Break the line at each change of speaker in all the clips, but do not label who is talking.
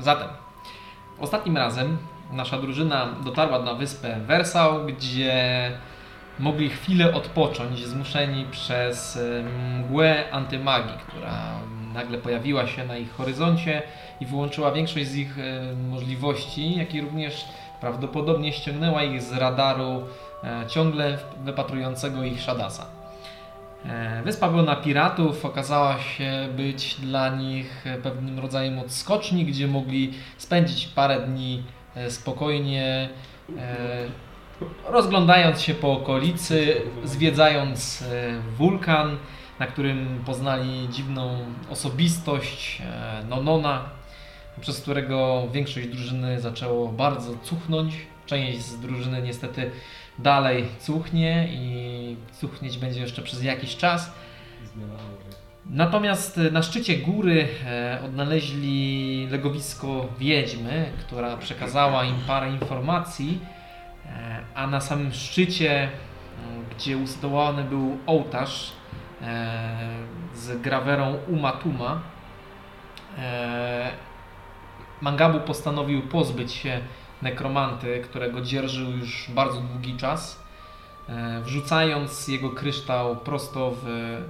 Zatem, ostatnim razem nasza drużyna dotarła na wyspę Wersał, gdzie mogli chwilę odpocząć, zmuszeni przez e, mgłę antymagii, która nagle pojawiła się na ich horyzoncie i wyłączyła większość z ich e, możliwości, jak i również prawdopodobnie ściągnęła ich z radaru e, ciągle wypatrującego ich Shadasa. E, Wyspa pełna piratów okazała się być dla nich e, pewnym rodzajem odskoczni, gdzie mogli spędzić parę dni e, spokojnie, e, rozglądając się po okolicy, zwiedzając e, wulkan, na którym poznali dziwną osobistość e, Nonona, przez którego większość drużyny zaczęło bardzo cuchnąć. Część z drużyny niestety dalej cuchnie i cuchnieć będzie jeszcze przez jakiś czas. Natomiast e, na szczycie góry e, odnaleźli legowisko wiedźmy, która przekazała im parę informacji, e, a na samym szczycie, m, gdzie usytuowany był ołtarz e, z grawerą Umatuma, e, Mangabu postanowił pozbyć się nekromanty, którego dzierżył już bardzo długi czas, e, wrzucając jego kryształ prosto w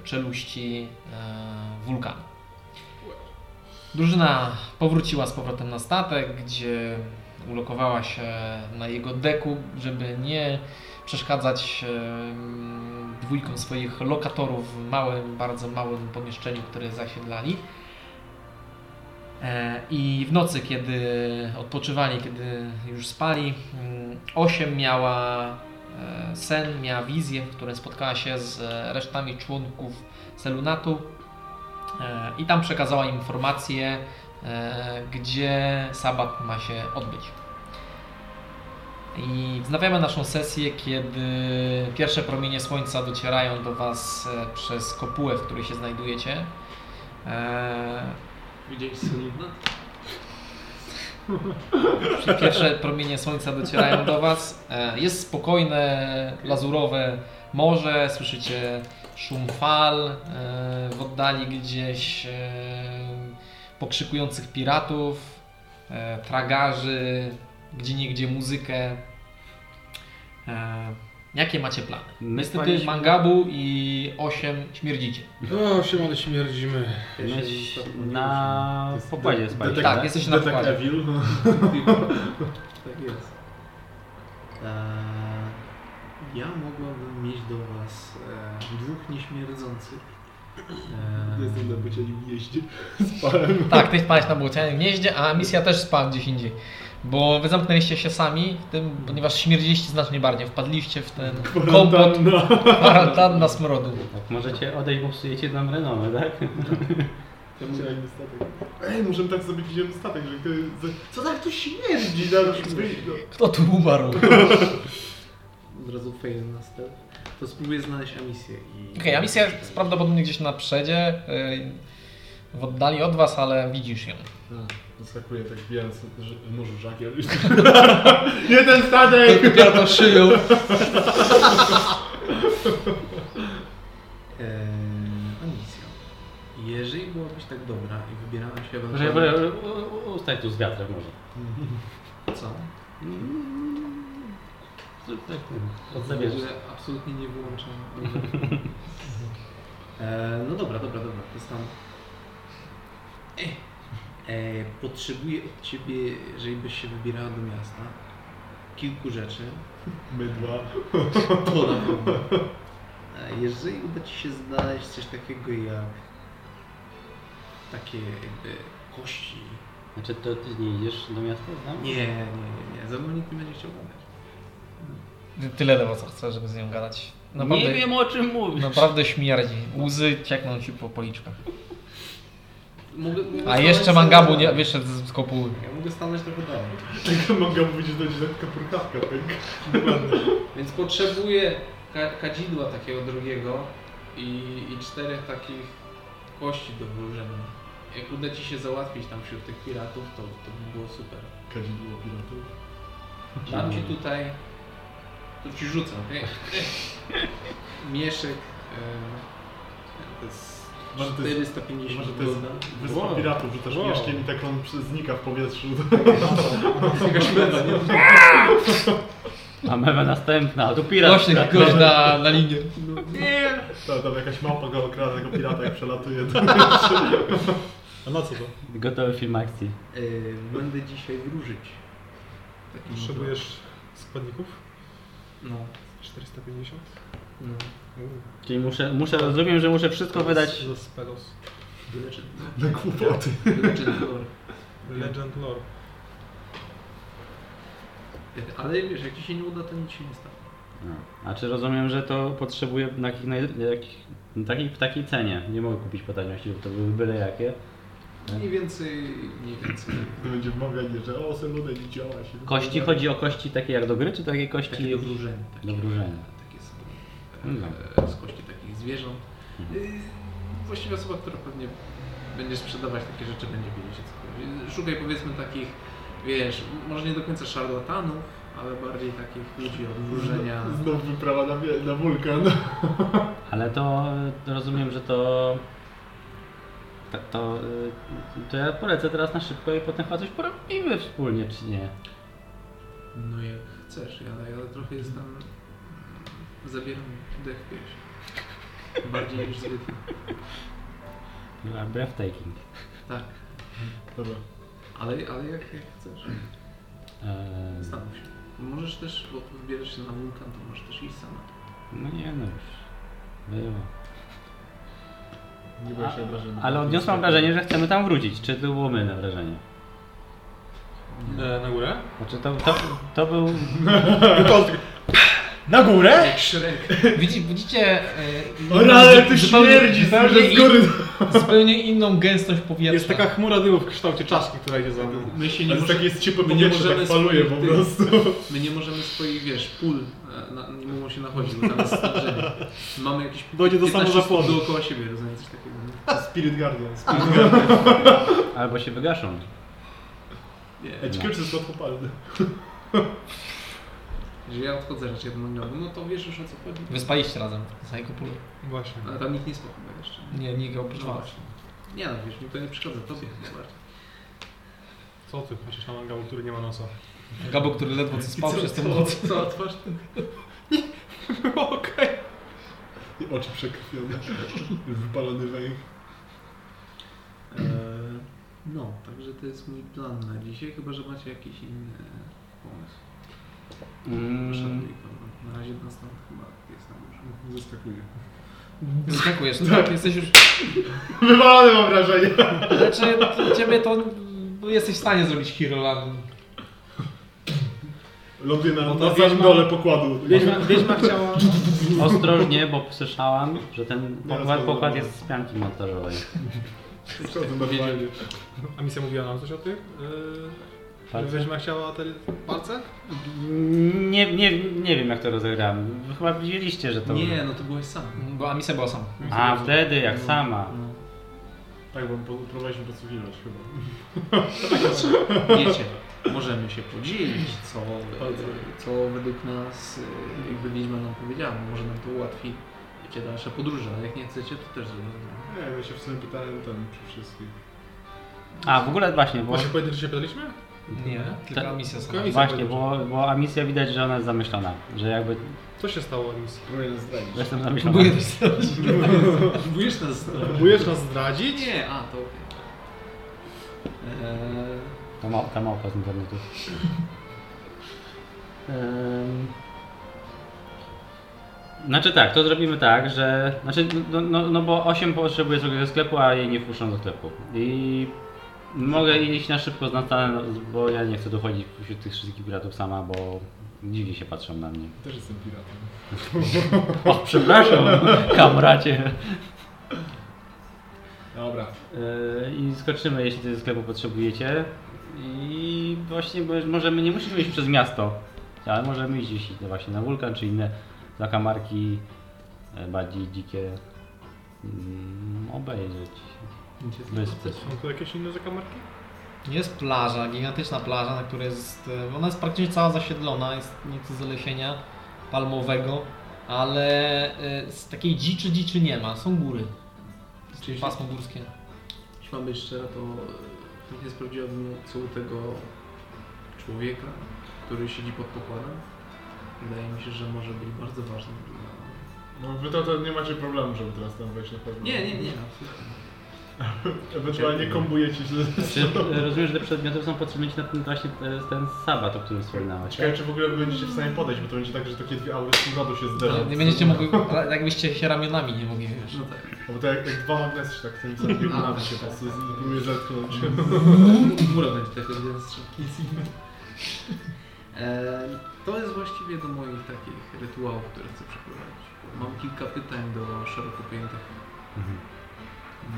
czeluści e, wulkanu. Drużyna powróciła z powrotem na statek, gdzie ulokowała się na jego deku, żeby nie przeszkadzać e, dwójkom swoich lokatorów w małym, bardzo małym pomieszczeniu, które zasiedlali. E, I w nocy, kiedy odpoczywali, kiedy już spali, mm, osiem miała e, sen, miała wizję, w której spotkała się z e, resztami członków Selunatu e, i tam przekazała im informację, e, gdzie sabat ma się odbyć. I wznawiamy naszą sesję, kiedy pierwsze promienie słońca docierają do Was e, przez kopułę, w której się znajdujecie. E,
Widzieliście solidna?
Pierwsze promienie słońca docierają do Was. E, Jest spokojne, lazurowe morze, słyszycie szum fal e, w oddali gdzieś e, pokrzykujących piratów, e, tragarzy, gdzie niegdzie muzykę. E, Jakie macie plany?
My
Niestety
spaliśmy-
Mangabu i 8 śmierdzicie.
O, się ale śmierdzimy.
Ja
My
się
ś-
nie ruszę.
na pokładzie spaliśmy.
Tak, jesteś na
Detek
pokładzie.
Evil.
Tak jest. E, ja mogłabym mieć do was e, dwóch nieśmierdzących. E,
Jestem na bocianie jeździ. Spałem.
Tak, ty spałeś na błocianym gnieździe, a misja też spała gdzieś indziej. Bo wy zamknęliście się sami, w tym, ponieważ śmierdziliście znacznie bardziej. Wpadliście w ten kompot
Kwarantanna.
kwarantanna smrodu.
Tak, możecie odejść, bo psujecie nam renomę, tak?
Ja musiałem na statek. Ej, możemy tak zrobić, idziemy na statek, że ktoś... Co tak tu śmierdzi? Dam się wyjść do...
Kto tu umarł?
Od razu fail na stealth. To spróbuję znaleźć Amisję i...
Okej, a misja jest prawdopodobnie gdzieś na przedzie, yy, w oddali od was, ale widzisz ją.
Zaskakuje tak bijając w morzu żagiel. Jeden statek!
Dopiero to szyją.
E, Amisja. Jeżeli byłabyś tak dobra i wybierałem się...
Proszę,
ewentualnie-
proszę, u- u- ustań tu z wiatrem może.
Co?
Tak, odzabierz.
W ogóle absolutnie nie wyłączam. e, no dobra, dobra, dobra, to jest tam. E, potrzebuję od ciebie, jeżeli byś się wybierała do miasta, kilku rzeczy.
Mydła.
To na pewno. E, jeżeli uda ci się znaleźć coś takiego jak takie jakby kości.
Znaczy to ty nie idziesz do miasta tak? z nami?
Nie, nie, nie, nie. Za mną nikt nie będzie chciał gadać.
Tyle lewo co chcę, żeby z nią gadać.
No, nie wiem o czym mówisz.
Naprawdę śmierdzi. Łzy ciekną ci po policzkach.
Mogę, mogę
A jeszcze
stanąć-
Mangabu nie wyszedł z z kopuły.
Ja mogę stanąć trochę dalej.
Tylko mogę powiedzieć, że to jest taka purkawka, tak?
Więc potrzebuję ka- kadzidła takiego drugiego i, i czterech takich kości do wyłożenia. Jak uda ci się załatwić tam wśród tych piratów, to, to by było super.
Kadzidło piratów.
Dam ci tutaj, to ci rzucam, okej? Mieszek, e, to jest
Może to jest,
450
może to jest
woda.
wyspa
Wow.
piratów, że też
Wow.
mieszkiem i tak on przy- znika w powietrzu.
Jakaś meda, nie?
A mewa następna, tu pirat.
Rośnie
pirat.
gość na, na linię.
Ta, tam jakaś małpa go okrada, tego pirata jak przelatuje. A na co to?
Gotowy film akcji.
Yy, Będę dzisiaj wróżyć. Takim
Potrzebujesz składników?
No,
450?
no.
Czyli muszę, muszę, rozumiem, że muszę wszystko wydać.
Za Spelos.
Legend.
Na głupoty.
Legend lore.
Legend Lore.
Yy, Ale wiesz, jak ci się nie uda, to nic się nie stanie.
A czy rozumiem, że to potrzebuję na jakich, na jakich, na takiej, w takiej cenie? Nie mogę kupić po taniości, bo to były byle jakie.
Mniej więcej, mniej więcej.
To będzie wmawiać, że o, seludę nie działa się.
Kości, chodzi o kości takie jak do gry, czy takie kości...
Takie do wróżenia. Takie,
Do wróżenia.
Takie są
Mhm.
e, z kości takich zwierząt.
Mhm.
Yy, Właściwie osoba, która pewnie będzie sprzedawać takie rzeczy, będzie wiedzieć o co chodzi. Szukaj powiedzmy takich, wiesz, może nie do końca szarlatanów, ale bardziej takich ludzi od wróżenia.
No,
Znowu wyprawa na, wie- na wulkan.
Ale to y, rozumiem, że to... To, to, y, to ja polecę teraz na szybko i potem chyba coś porobimy wspólnie, czy nie?
No jak chcesz, ja, ja trochę jestem... Zabieram dech w piersi. Bardziej niż zwykle.
Była breathtaking.
Tak,
Dobra.
ale, ale jak, jak chcesz.
Eee,
Zastanów się. Możesz też, bo wybierzesz się na wulkan, to możesz też iść sama.
no nie no już. Było.
Nie boję się obrażenia.
Ale odniosłam wrażenie, że chcemy tam wrócić. Czy to było mylne wrażenie?
E, na górę?
Znaczy to, to, to był...
Na górę?
Jak Shrek.
Widzi, widzicie... e,
O, ale ty
zupełnie-
śmierdzisz,
zupełnie
że z góry.
in- Zupełnie inną gęstość powietrza.
Jest taka chmura dymu w kształcie czaszki, która idzie za mną.
My się nie
Ale
możemy...
tak jest ciepłe
my nie
powietrze,
możemy
tak faluje po
swoich tych-
prostu.
My nie możemy swoich, wiesz, pól, e, na, nie mogą się nachodzić, bo tam jest stężenie. Mamy jakieś
Dojdzie do
15 stóp
samozapłonu.
dookoła siebie, rozumiem coś takiego. nie?
Spirit Guardian.
Albo się wygaszą.
Nie.
Ej, ciekawe, czy to jest łatwopalne.
Jeżeli ja odchodzę raczej od magniowy, no to wiesz już o co chodzi.
Wyspaliście razem z Aikopulu.
Właśnie.
Ale tam nikt nie spał chyba jeszcze.
Nie, nikt oprócz
No
was.
właśnie. Nie no, wiesz, mi to nie przeszkadza, tobie chyba bardziej.
Co ty patrzysz na mangał, który nie ma nosa?
Gabo, który ledwo co spał
I co-
przez tę
co-
noc.
Co otwarz?
Okej.
I oczy przekrwione. Wypalony węch.
Eee, No, także to jest mój plan na dzisiaj, chyba że macie jakiś inny pomysł.
Mm,
Szanuj go. Na razie nas tam chyba jest na górze.
Zaskakuje.
Zaskakujesz. No tak, jesteś już...
Wywalony mam wrażenie.
Znaczy, ciebie to... no, Jesteś w stanie zrobić Hirolan.
Ląduje na,
No to
na samym
wieźma-
dole pokładu.
Wiedźma, wiedźma chciała...
ostrożnie, bo słyszałem, że ten
Teraz
pokład,
będę
pokład
robił.
jest z pianki montażowej.
Wchodzę normalnie.
A misja mówiła nam coś o tych? Yy,
Palce?
wiedźma chciała te palce?
Nie, nie, nie wiem jak to rozegrałem. Wy Chyba widzieliście, że to...
Nie, no to byłeś sam. No,
Bo Amisa była sama.
A, wtedy, jak sama.
Tak, bo po- próbowaliśmy podsłuchiwać chyba.
Wiecie, możemy się podzielić, co, e, co według nas, e, jakby Wiedźma nam powiedziała, no, może nam to ułatwi wiecie, dalsze podróże, ale jak nie chcecie, to też zrobimy.
Nie, ja się w sumie pytałem ten przy wszystkich.
A, w ogóle właśnie, bo...
Właśnie pojedynczo się pytaliśmy?
Nie, tylko
Tak.
Amisa sama.
Amisja
Właśnie, bo,
pojedynczo.
bo misja widać, że ona jest zamyślona. Że jakby
Co się stało, misji?
Próbuję nas zdradzić.
jestem zamyślona.
Próbuję coś zrobić.
Próbujesz nas
Próbujesz nas zdradzić?
Nie, a to okej. Eee,
Ta, ma, ta małpa z internetu. Em, Znaczy tak, to zrobimy tak, że... Znaczy, no, no, no bo 8 potrzebuje sobie do sklepu, a jej nie wpuszczą do sklepu. I mogę iść na szybko z Natanem, bo ja nie chcę tu chodzić wśród tych wszystkich piratów sama, bo dziwnie się patrzą na mnie.
Też jestem piratem.
O, przepraszam, kamracie.
Dobra.
Yy, I skoczymy, jeśli tego sklepu potrzebujecie. I właśnie bo możemy, nie musimy iść przez miasto, ale możemy iść gdzieś no właśnie na wulkan czy inne zakamarki e, bardziej dzikie mm, obejrzeć.
gdzie to
Wyspy.
jest?
Są tu jakieś inne zakamarki?
Jest plaża, gigantyczna plaża, na której jest. e, Ona jest praktycznie cała zasiedlona, jest nieco zalesienia palmowego, ale e, z takiej dziczy dziczy nie ma, są góry.
Czyli
pasmo górskie.
jeśli mam być szczera, to e, chętnie sprawdziłabym co u tego człowieka, który siedzi pod pokładem. Wydaje mi się, że może być bardzo ważny dla...
No wy to, to nie macie problemu, żeby teraz tam wejść na pewno.
Nie, nie, nie, absolutnie.
Ewentualnie kombujecie się ze
Czy, e, rozumiem, że do przedmiotów są potrzebne ci na ten, właśnie e, ten sabat, o którym wspominałeś.
Ciekawe, czy w ogóle będziecie w stanie podejść, bo to będzie tak, że takie dwie aury z przodu się zderzą.
Nie będziecie mogli, jakbyście się ramionami nie mogli, wiesz.
No tak.
Bo to jak, jak dwa magnesy się tak tym samym biegunem się po prostu próbuje zetknąć.
Mura będzie tak jeden strzał. E, To jest właściwie do moich takich rytuałów, które chcę przeprowadzić. Mam kilka pytań do szeroko pojętych
Mhm.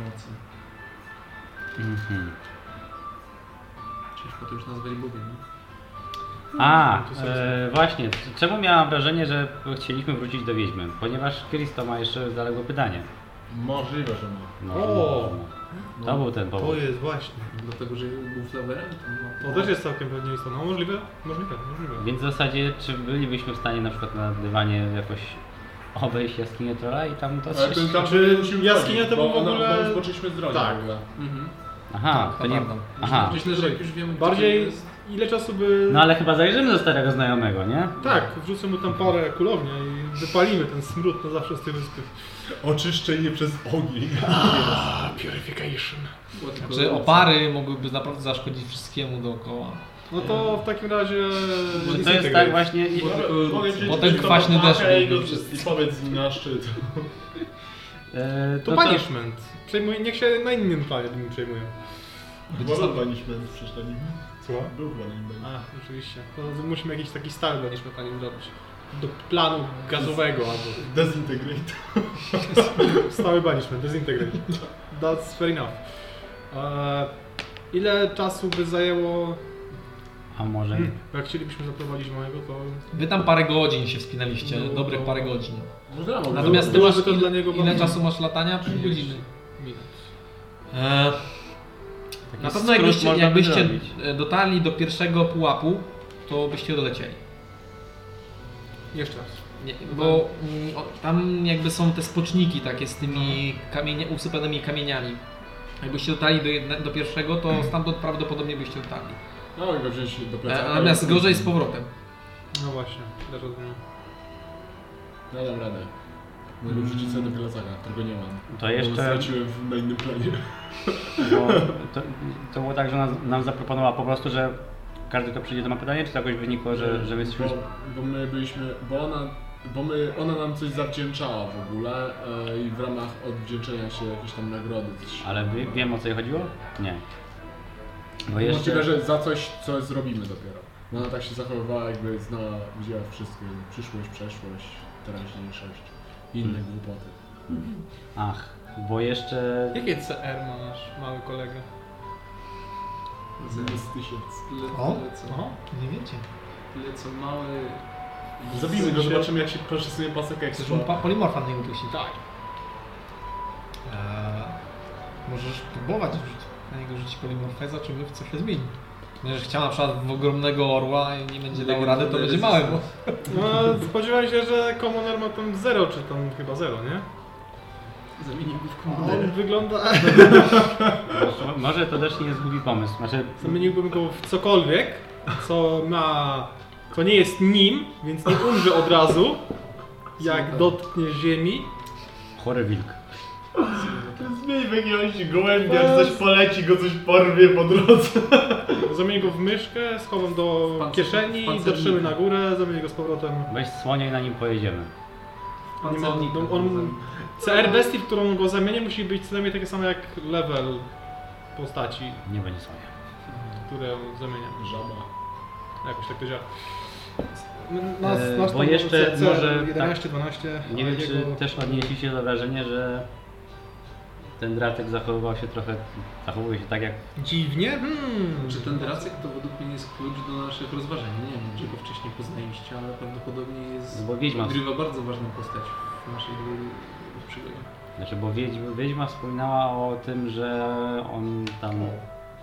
mocy.
Mhm.
Ciężko to już nazwać Bogiem.
A, e, właśnie, c- czemu miałam wrażenie, że chcieliśmy wrócić do Wiedźmy? Ponieważ Kristo ma jeszcze zaległe pytanie.
Możliwe, że ma.
No,
O!
no,
Tak,
To był ten
To
powód.
jest właśnie.
Dlatego, że był flawerem, to ma...
To też jest całkiem pewnie istotne. No możliwe, możliwe, możliwe.
Więc w zasadzie, czy bylibyśmy w stanie na przykład na dywanie jakoś obejść jaskinię trolla i tam to
Ale ten tam
Czy
musimy
jaskinia to
bo
był w
ona-
ogóle-
Bo już poczęliśmy z drogi
Tak.
w ogóle.
Mhm.
Aha, to nie...
Naprawdę.
Aha,
Myślę, że jak już wiemy, gdzie to
Bardziej
jest,
ile czasu by...
no ale chyba zajrzymy do starego znajomego, nie?
Tak, wrzucę mu tam parę kulownia i wypalimy ten smród na zawsze z tej wyspy.
Oczyszczenie przez ogień.
Purification.
było tylko-
Znaczy opary mogłyby naprawdę zaszkodzić wszystkiemu dookoła.
No to w takim razie...
Czy to jest
disintegrate.
tak właśnie...
Mogę wziąć
Potem
tylko
kwaśny
machę
deszcz
i go-
będzie wszyscy.
I powiedz z nim na szczyt.
E,
To punishment. Przejmuj, niech się na innym planie nim przejmuje.
Będzie
Była
sam-
banishment przecież na nim.
Co?
Był banishment.
A, oczywiście. To musimy jakiś taki stary banishment na nim zrobić. Do planu gazowego albo...
Dezintegrate.
Stały banishment, dezintegrate. No, That's fair enough. Eee, ile czasu by zajęło...
A może...
Hmm, jak chcielibyśmy zaprowadzić małego, to...
Wy tam parę godzin się wspinaliście,
No,
dobrych
to-
parę godzin.
Można
Natomiast ty
byłoby
masz
to
ile,
dla niego
ile
bardzo-
czasu masz latania? Pół godziny.
minut.
E,
Taki
na pewno
skrót
jakbyście,
można by
jakbyście
zrobić.
e, dotarli do pierwszego pułapu, to byście dolecieli.
Jeszcze raz.
Nie, bo mm, o, tam jakby są te spoczniki takie z tymi kamienie, usypanymi kamieniami. Jakbyście dotarli do, jedne, do pierwszego, to stamtąd prawdopodobnie byście dotarli.
No tak, mogę go wziąć do
E,
plecaka.
Natomiast gorzej z powrotem.
No właśnie, też rozumiem.
No dam radę. Mogę wrzucić sobie do plecaka, którego nie mam.
To
Bo
jeszcze...
straciłem w- na innym planie.
Bo to, to było tak, że nas, nam zaproponowała po prostu, że każdy kto przyjdzie to ma pytanie, czy to jakoś wynikło, że, że my jesteśmy...
Bo, bo my byliśmy... Bo ona... Bo my, ona nam coś zawdzięczała w ogóle e, i w ramach odwdzięczenia się jakieś tam nagrody. Coś
Ale wy, wiem o co jej chodziło? Nie. Bo
Jeszcze...
jeszcze...
Możliwe, że za coś, co zrobimy dopiero. Bo Ona tak się zachowywała, jakby znała, widziała wszystko. jakby Przyszłość, przeszłość, teraźniejszość. i Inne
Mhm.
głupoty.
Ach, bo jeszcze...
Jakie CR ma nasz mały kolega?
Tyle,
Z tysiąc.
O?
tyle, co,
Aha.
Nie wiecie.
tyle co mały...
Zabijmy go, zobaczymy jak się przesunię pasek
Chcesz mu
ekstra.
pa- polimorfa na niego puścić?
Tak.
Eee, możesz próbować rzucić, na niego rzucić polimorfeza, czy w co się zmieni. Będziesz chciał na przykład w ogromnego orła i nie będzie dał rady, to będzie mały. Bo...
No, spodziewałem się, że Commoner ma tam 0, czy tam chyba 0, nie?
Zamienił go w
A On
komandera.
wygląda...
Może- Może to też nie jest głupi pomysł. Znaczy,
Zamieniłbym go w cokolwiek, co ma... co nie jest nim, więc nie umrze od razu, jak
Super.
dotknie ziemi.
chory wilk.
Zmień w jakiegoś gołębia, coś poleci, go coś porwie po drodze.
Zamienię go w myszkę, schowam do
W pancer- w
kieszeni,
pancerniku.
dotrzemy na górę, zamienię go z powrotem.
Weź słonia i na nim pojedziemy.
Nie ma, no, on, CR bestii, w którą go zamienię, musi być co najmniej takie samo jak level postaci,
Nie będzie słonia.
które zamieniam.
Żaba.
Jakoś tak to działa. No,
Eee,
nas
bo
tam
jeszcze
CR
może tak,
11, 12.
Nie
a
wiem, czy
jego-
też odnieśliście do wrażenia, że ten dratek zachowywał się trochę... zachowuje się tak jak...
Dziwnie? Hmm.
Czy ten dracek to według mnie jest klucz do naszych rozważań? Nie wiem, czy go wcześniej poznaliście, ale prawdopodobnie jest.
no Bo wiedźma,
Odgrywa bardzo ważną postać w naszej dru- przygodzie.
znaczy, bo wiedźma, wiedźma wspominała o tym, że on tam...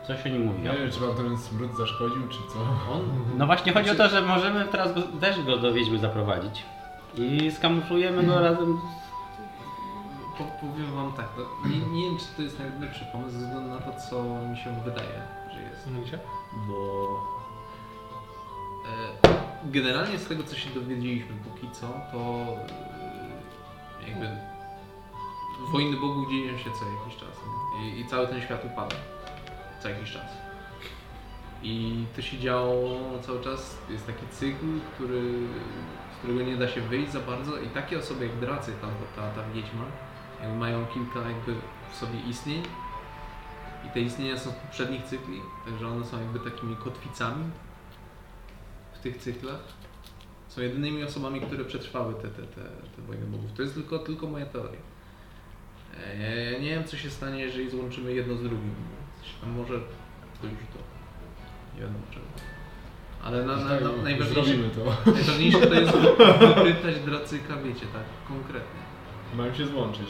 Coś o nim
Nie
mówiła.
wiem, czy wam ten smród zaszkodził, czy co.
On?
No właśnie chodzi o to, że możemy teraz go- też go do Wiedźmy zaprowadzić. I skamuflujemy go razem
po, powiem wam tak, no, nie, nie wiem czy to jest najlepszy pomysł ze względu na to, co mi się wydaje, że jest.
Mówicie?
Bo
E, Generalnie z tego, co się dowiedzieliśmy póki co, to e, jakby wojny bogów dzieją się co jakiś czas nie? I, i cały ten świat upada co jakiś czas. I to się działo cały czas, jest taki cykl, który, z którego nie da się wyjść za bardzo i takie osoby jak Dracy, ta, ta, ta wiedźma, jakby mają kilka jakby w sobie istnień i te istnienia są z poprzednich cykli, także one są jakby takimi kotwicami w tych cyklach. Są jedynymi osobami, które przetrwały te, te, te, te wojny bogów. To jest tylko, tylko moja teoria. E, Ja, ja nie wiem, co się stanie, jeżeli złączymy jedno z drugim. Coś tam może to już to. Nie wiadomo czego. Ale na, na, na,
Tak,
najważniejsze,
zrobimy to.
najważniejsze to jest wy- wypytać dracyka, wiecie, tak konkretnie.
Mają się złączyć.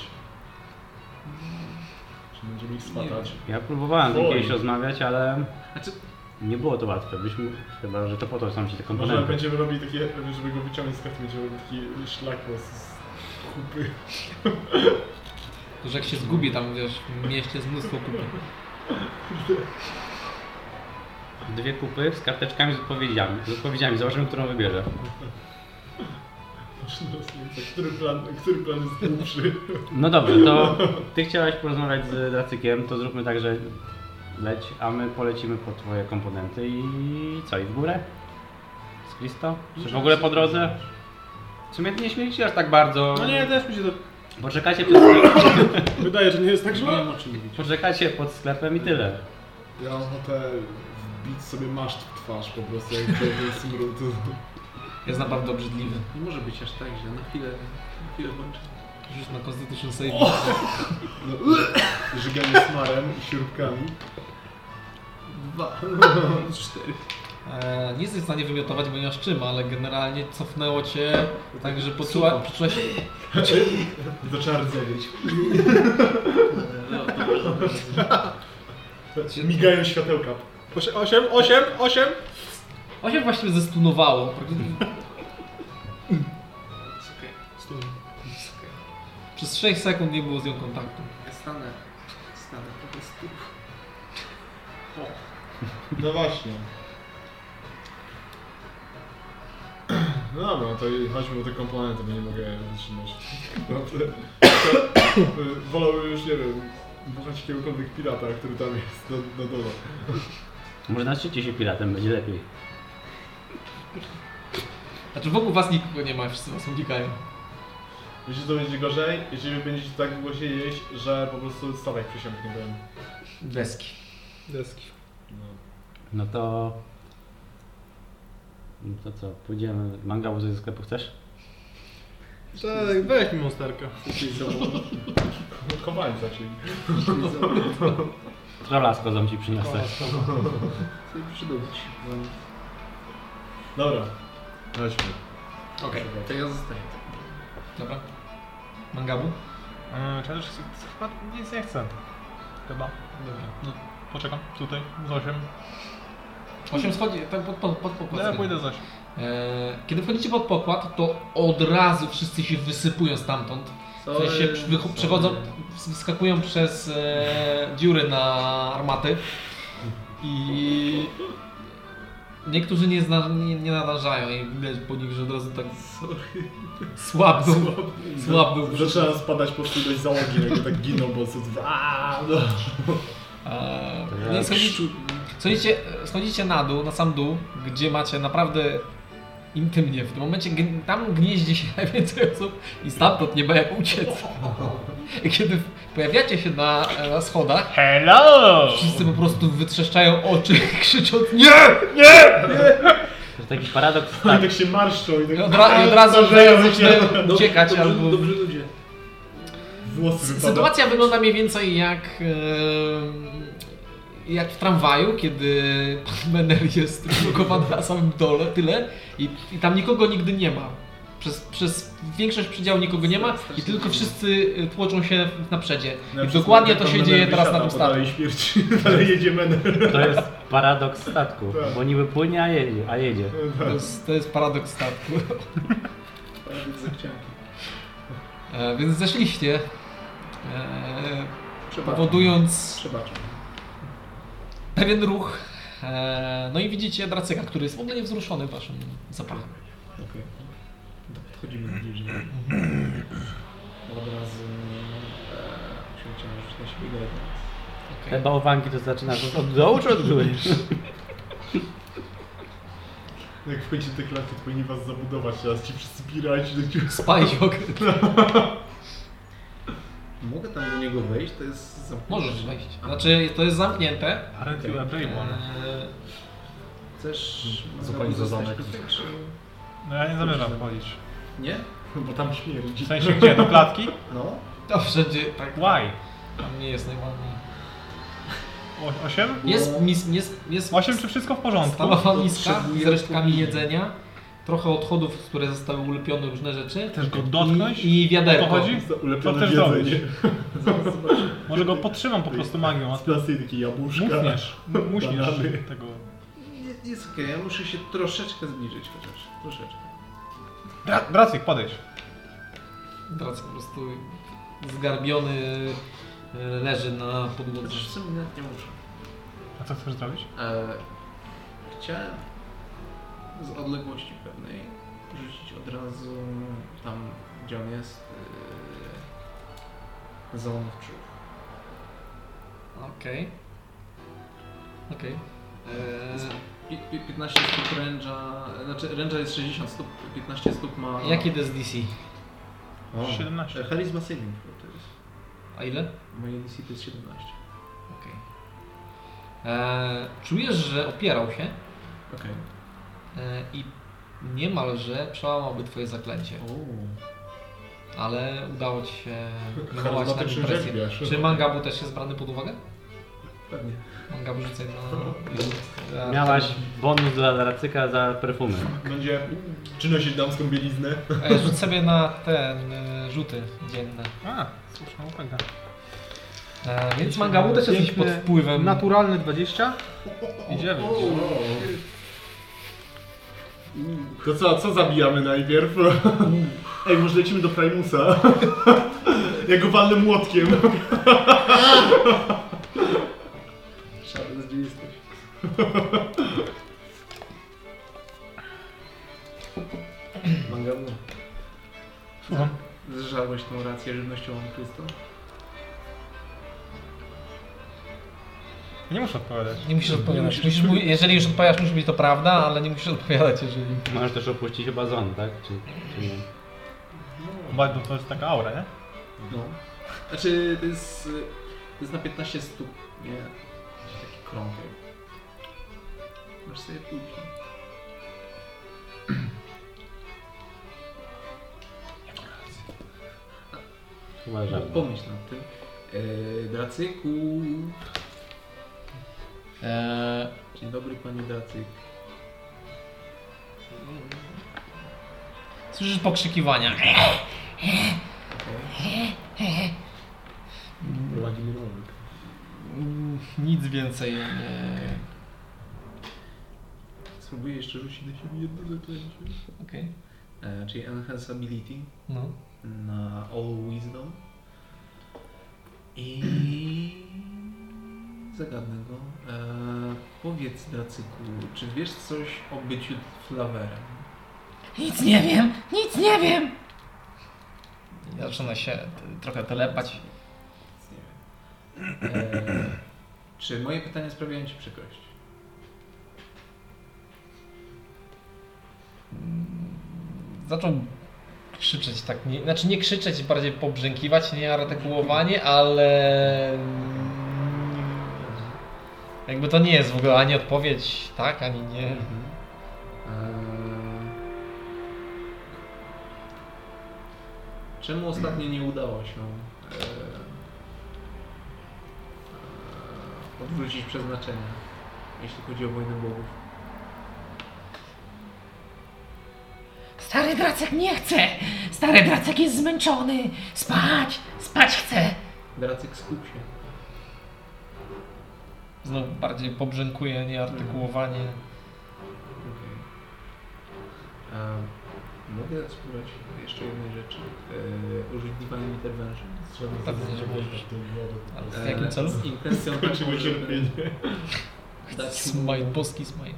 Czy będziemy ich swatać?
Ja próbowałem z nim
Oj.
kiedyś rozmawiać, ale
Znaczy,
nie było to łatwe. Byśmy, chyba, że to po to są ci
Może
te komponenty.
będziemy robić takie, żeby go wyciągnąć z karty, będziemy robić taki szlakos z kupy.
To, że jak się zgubi tam, wiesz, w mieście jest mnóstwo kupy.
Dwie kupy z karteczkami z odpowiedziami. Z odpowiedziami, zobaczymy, którą wybierze.
Który plan, który plan jest głupszy?
No dobrze, to ty chciałaś porozmawiać z Dracykiem, to zróbmy tak, że leć, a my polecimy po twoje komponenty i co, i w górę? Z Christo? Czy w ogóle po drodze? W sumie nie śmieliście aż tak bardzo.
No nie, też mi się to
Poczekacie przed,
wydaje, że nie jest tak
No, nie
źle.
wiem o czym mówić.
poczekacie pod sklepem i tyle.
Ja mam ochotę wbić sobie maszt w twarz po prostu, jak to jest smród.
Jest naprawdę obrzydliwy.
Nie może być aż tak, że na chwilę, na chwilę włączę.
Rzuć na Constitution Save.
No, żyganie smarem i śrubkami.
Dwa, cztery.
E, nie jesteś w stanie wymiotować, bo nie masz czym, ale generalnie cofnęło cię, także poczuła,
Sucho.
poczułaś...
Zaczęła rdzewieć.
No, dobra, dobra.
Migają światełka.
8, 8, 8.
Osiem właściwie zestunowało.
Jest okej,
Stój.
jest okej.
Przez 6 sekund nie było z nią kontaktu.
Ja stanę, stanę po prostu.
No właśnie. No dobra, to i chodźmy do te komponenty, bo nie mogę wytrzymać. No to, to, y, wolałbym już, nie wiem, buchać jakiegokolwiek pirata, który tam jest na, na dole.
Może naczycie się piratem, będzie lepiej.
Znaczy wokół was nikogo nie ma, wszyscy was unikają.
Wiecie, co będzie gorzej? Jeżeli będziecie tak długo siedzieć, że po prostu statek przysiąknie ten.
Deski.
Deski.
No.
No to... No to co, pójdziemy, mangał ze sklepu chcesz?
Tak, weź mi monsterkę.
No, Kowalca, czyli.
Trawlasko zam ci
E,
przyniosę.
Chcę przydobyć.
Dobra. Chodźmy.
Okej.
To ja zostaję.
Dobra. Mangabu?
Eee, Czy ja też chcę- chyba nic nie chcę. Chyba.
Dobra.
No, poczekam tutaj z 8.
8 schodzi, tam pod, pod, pod pokład.
No ja pójdę z 8.
E, Kiedy wchodzicie pod pokład, to od razu wszyscy się wysypują stamtąd. W sensie przy- wycho- przechodzą, wyskakują przez e, dziury na armaty i niektórzy nie, zna, nie, nie nadążają i widać po nich, że od razu tak słabną, słabną.
Zaczęłam spadać po prostu dość załogi, jakby tak ginął, bo co. Aaaa, no.
E,
To ja
nie, schodzicie, schodzicie, schodzicie na dół, na sam dół, gdzie macie naprawdę intymnie. W tym momencie gn- tam gnieździ się najwięcej osób i stamtąd nie ma jak uciec. I Kiedy pojawiacie się na, na schodach,
Hello!
Wszyscy po prostu wytrzeszczają oczy, krzycząc NIE!
To taki paradoks
I
tak.
tak się marszczą i tak
I od, ra- i od razu
Starzeją się.
zaczynają uciekać
Dobrzy-
albo...
Dobrzy ludzie.
Włosy wypadają.
Sytuacja wygląda mniej więcej jak... em, jak w tramwaju, kiedy pan Mener jest blokowany na samym dole, tyle i, i tam nikogo nigdy nie ma. Przez, przez większość przedziału nikogo nie ma i tylko wszyscy y, tłoczą się w naprzedzie.
No,
I
tak,
dokładnie to się dzieje teraz na tym statku.
Dalej śmierci, dalej jedzie mener.
To jest paradoks statku,
Tak.
bo niby płynie, a jedzie. A jedzie.
To jest, to jest paradoks statku.
Paradoks zachcianki.
E, Więc zeszliście e,
Przebaczam.
powodując
Przebaczam.
pewien ruch. E, no i widzicie Dracyka, który jest w ogóle niewzruszony waszym zapachem.
Okej. Podchodzimy bliżej.
Od razu e, się chciałem rzucić na siebie gledek.
Te
Okej.
bałwanki to zaczyna od dołu czy od góry?
Jak wchodzicie do tej klatki, to powinni was zabudować teraz, ci wszyscy piraci, tak ci...
Spajok.
Mogę tam do niego wejść? To jest zamknięte.
Możesz wejść. Znaczy, to jest zamknięte.
Ale ty
E,
Chcesz
Zupełnie
zostać
zazamek.
tutaj, czy...
No ja nie zamierzam wchodzić.
Nie?
Bo tam śmierdzi.
W sensie gdzie? Do klatki?
No.
to wszędzie tak.
Why?
Tam nie jest najładniej.
O, osiem?
Jest, mis, jest, jest
Osiem czy wszystko w porządku?
stalowa
To
miska z
potrzebuję
resztkami
odpowiedzi.
jedzenia, trochę odchodów, które zostały ulepione, różne rzeczy.
Też go dotknąć?
I, i wiaderko.
O to chodzi?
Za Ulepione
też
jedzenie.
Zaraz zobaczymy.
Może go podtrzymam po prostu magią,
No.
a
Z
ty
plastyki, jabłuszka.
muśniesz. mu- Muśniesz
Banany.
tego.
Nie- Jest okej, ja muszę się troszeczkę zbliżyć chociaż. Troszeczkę.
Dra- Dracyk, podejdź.
Teraz po prostu zgarbiony e, leży na podłodze.
Chociaż w sumie nawet nie muszę.
A co chcesz zrobić?
E, chciałem z odległości pewnej rzucić od razu tam, gdzie on jest, e, zone of truth.
Okej. Okej.
Pi- pi- 15 stóp ręża, znaczy ręża jest 60 stóp, 15 stóp ma...
E, Jakie to jest DC?
O,
17.
e, Charisma saving throw to jest.
A ile?
Moje DC to jest 17.
Okej. E, Czujesz, że opierał się
Okej.
e, i niemalże przełamałby twoje zaklęcie, ale udało ci się wywołać na
Charyzmatyczny
nim presję.
rzeźbiarz.
Czy Mangabu też jest brany pod uwagę?
Pewnie.
Mangabu rzucaj na...
Miałaś bonus dla Dracyka za perfumy.
Będzie... Czy nosić damską bieliznę?
E, Rzuć sobie na ten e, rzuty dzienne.
A, słuszna uwaga.
E, Więc Mangabu też jesteś pod wpływem.
Naturalny 20 i 9.
To co, co zabijamy najpierw? Ej, może lecimy do Primusa? Ja go walnę młotkiem.
Szary, gdzie jesteś? Mangabu, zżarłeś tą rację żywnościową Krysto?
Nie muszę odpowiadać.
Nie musisz odpowiadać. Musisz, mu- jeżeli już odpowiadasz, musi być to prawda, ale nie musisz odpowiadać, jeżeli...
Możesz też opuścić chyba zon, tak? Czy, czy nie?
Chyba, bo to jest taka aura, nie?
No. Znaczy, to jest, y, to jest na 15 stóp, nie? Taki krągły. Masz sobie później.
Chyba żadne.
Pomyśl nad tym. Eee, Dracyku.
E,
Dzień dobry, panie Dracyk.
Słyszysz pokrzykiwania.
Władimirowy.
Mm, Nic więcej nie...
Spróbuję jeszcze rzucić na siebie jedno zaklęcie.
Okej.
Eee, czyli Enhance Ability
No.
na All Wisdom. I. Zagadnę go. Eee, powiedz, Dracyku, czy wiesz coś o byciu flawerem?
Nic nie wiem, nic nie wiem! Zaczyna się t- trochę telepać.
Nie wiem. Eee, czy moje pytania sprawiają Ci przykrość?
Zaczął krzyczeć tak, nie, znaczy nie krzyczeć, bardziej pobrzękiwać, nie artykułowanie, ale... Jakby to nie jest w ogóle ani odpowiedź tak, ani nie.
Eee, Czemu ostatnio nie udało się eee, eee, odwrócić przeznaczenia, jeśli chodzi o wojnę bogów?
Stary Dracek nie chce! Stary Dracek jest zmęczony! Spać! Spać chce!
Dracyk, skup się.
Znowu No, bardziej pobrzękuje, nie artykułowanie.
Okej. Em, Mogę spróbować jeszcze jednej rzeczy. Eee, użyć Divine Intervention.
Tak,
Trzeba
że możesz.
tą wodę.
Ale w jakim celu?
Z intencją taką,
Kończymy
żeby,
cierpienie.
dać mu,
Smite, boski smite.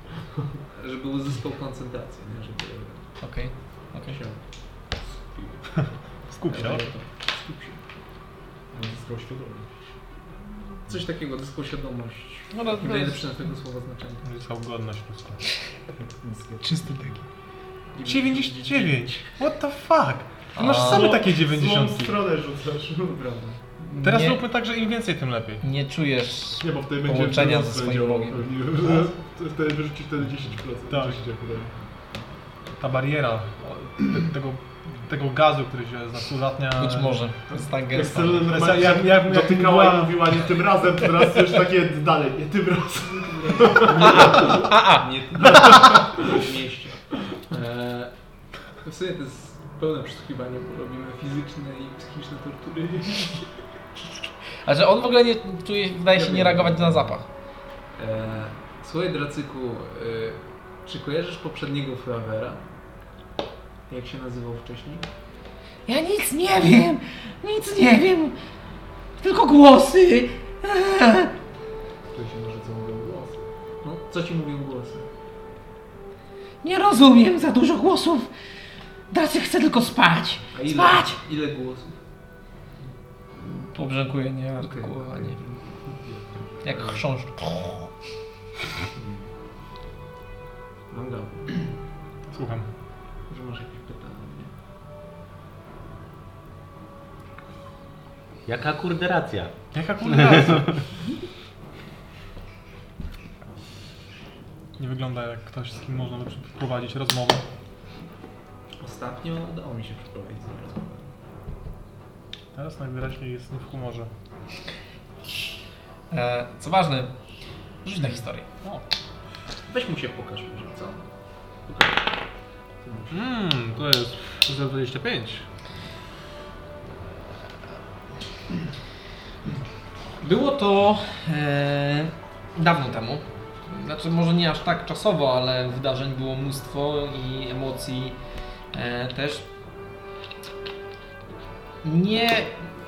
żeby uzyskał koncentrację, nie? żeby
Okej, okej.
się skupił.
Skup się.
Eee, skup się.
Zyskał świadomość.
Coś takiego, zyskał świadomość.
No, no,
Nie
no, jest
najlepsze na tego słowa znaczenie.
Zyskał godność ludzką.
Nisko.
Czysty taki. 99! What the fuck? Ty masz
A,
same
no,
takie
Złą
90.
stronę rzucasz.
Prawda.
Teraz
nie,
róbmy tak, że im więcej, tym lepiej.
nie czujesz
Nie, bo wtedy będzie
połączenia
wzrost
ze swoim
działał
Bogiem.
pewnie. Że- Wtedy wyrzuci wtedy 10%.
Tak.
10%.
Ta bariera o, te, tego, tego gazu, który się z nas uzatnia.
Być może. Jest tak
Jak
gęsta.
Selena
Jest-
Remar-
jak- jak- jak
dotykała
była-
i mówiła nie tym razem, teraz już takie dalej, nie tym razem.
Nie, nie w mieście. Eee, w sumie to jest pełne przesłuchiwanie, bo robimy fizyczne i psychiczne tortury.
A że on w ogóle nie czuje, wydaje się
Ja
nie
wiem.
reagować na zapach.
Eee, słuchaj, Dracyku, eee, czy kojarzysz poprzedniego Flavera? Jak się nazywał wcześniej?
Ja nic nie wiem, nic nie wiem. Tylko głosy. Eee.
To się może co mówią głosy.
No, co ci mówią głosy?
Nie rozumiem za dużo głosów. Dacy chce tylko spać.
A ile,
Spać!
ile głosów?
Pobrzękuje nieartykułowanie. Jak chrząszcz.
Mam gawę.
Słucham.
Może masz jakieś pytania?
Jaka kurde racja?
Jaka kulminacja? Nie wygląda jak ktoś, z kim można by prowadzić rozmowę.
Ostatnio udało mi się przeprowadzić z nim rozmowę.
Teraz najwyraźniej jest w humorze.
E, co ważne, rzuć na historię.
Weź mu się pokaż może, co?
Mmm, to jest 025.
Było to e, dawno temu. Znaczy, może nie aż tak czasowo, ale wydarzeń było mnóstwo i emocji e, też. Nie,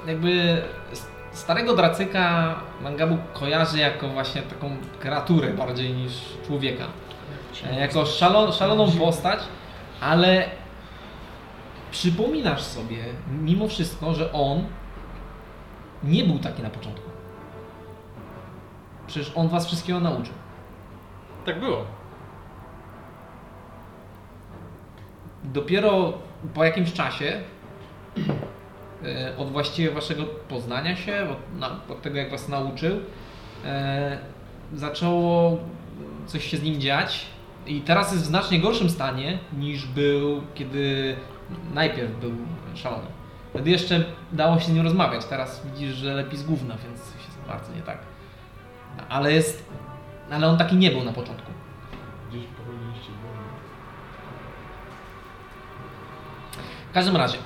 jakby s- starego dracyka Mangabu kojarzy jako właśnie taką kreaturę bardziej niż człowieka. E, jako szalon, szaloną postać, ale przypominasz sobie mimo wszystko, że on nie był taki na początku. Przecież on was wszystkiego nauczył.
Tak było.
Dopiero po jakimś czasie, e, od właściwie waszego poznania się, od, na, od tego jak was nauczył, e, zaczęło coś się z nim dziać. I teraz jest w znacznie gorszym stanie niż był, kiedy najpierw był szalony. Wtedy jeszcze dało się z nim rozmawiać, teraz widzisz, że lepi z gówna, więc coś jest bardzo nie tak. No, Ale jest. Ale on taki nie był na początku.
Gdzieś popełniliście błąd.
W każdym razie,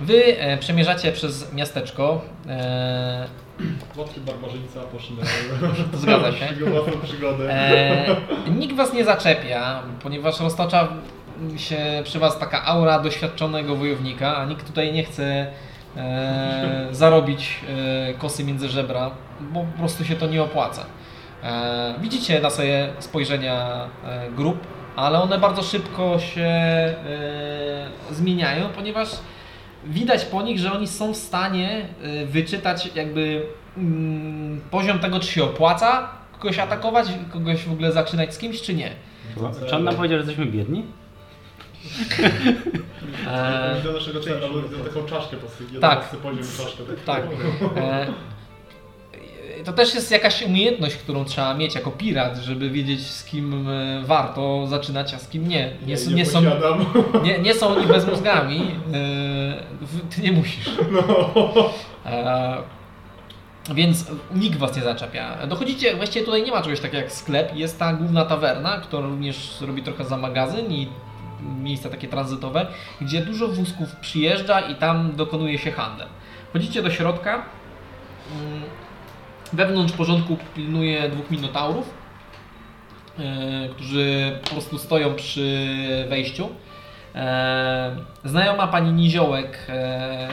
wy e, przemierzacie przez miasteczko. E,
Łatwy barbarzyńca poszedł
Zgadza się.
Przygodę, przygodę.
e, nikt was nie zaczepia, ponieważ roztacza się przy was taka aura doświadczonego wojownika, a nikt tutaj nie chce e, zarobić e, kosy między żebra, bo po prostu się to nie opłaca. E, widzicie na sobie spojrzenia e, grup, ale one bardzo szybko się e, zmieniają, ponieważ widać po nich, że oni są w stanie e, wyczytać jakby mm, poziom tego, czy się opłaca kogoś atakować, kogoś w ogóle zaczynać z kimś, czy nie.
Chyba-
Czy on nam powiedział, że jesteśmy biedni?
E,
Do naszego celu, albo do taką czaszkę po prostu.
Tak.
Tak. poziom czaszkę. Tak.
Tak. E, To też jest jakaś umiejętność, którą trzeba mieć jako pirat, żeby wiedzieć z kim e, warto zaczynać, a z kim nie. Nie, s- nie, są,
posiadam.
nie, nie są oni bez mózgami. e, w- Ty nie musisz. E, Więc nikt was nie zaczepia. Dochodzicie, właściwie tutaj nie ma czegoś takiego jak sklep. Jest ta główna tawerna, która również robi trochę za magazyn i miejsca takie tranzytowe, gdzie dużo wózków przyjeżdża i tam dokonuje się handel. Wchodzicie do środka. mm, Wewnątrz porządku pilnuje dwóch minotaurów, e, którzy po prostu stoją przy wejściu. E, znajoma pani Niziołek e,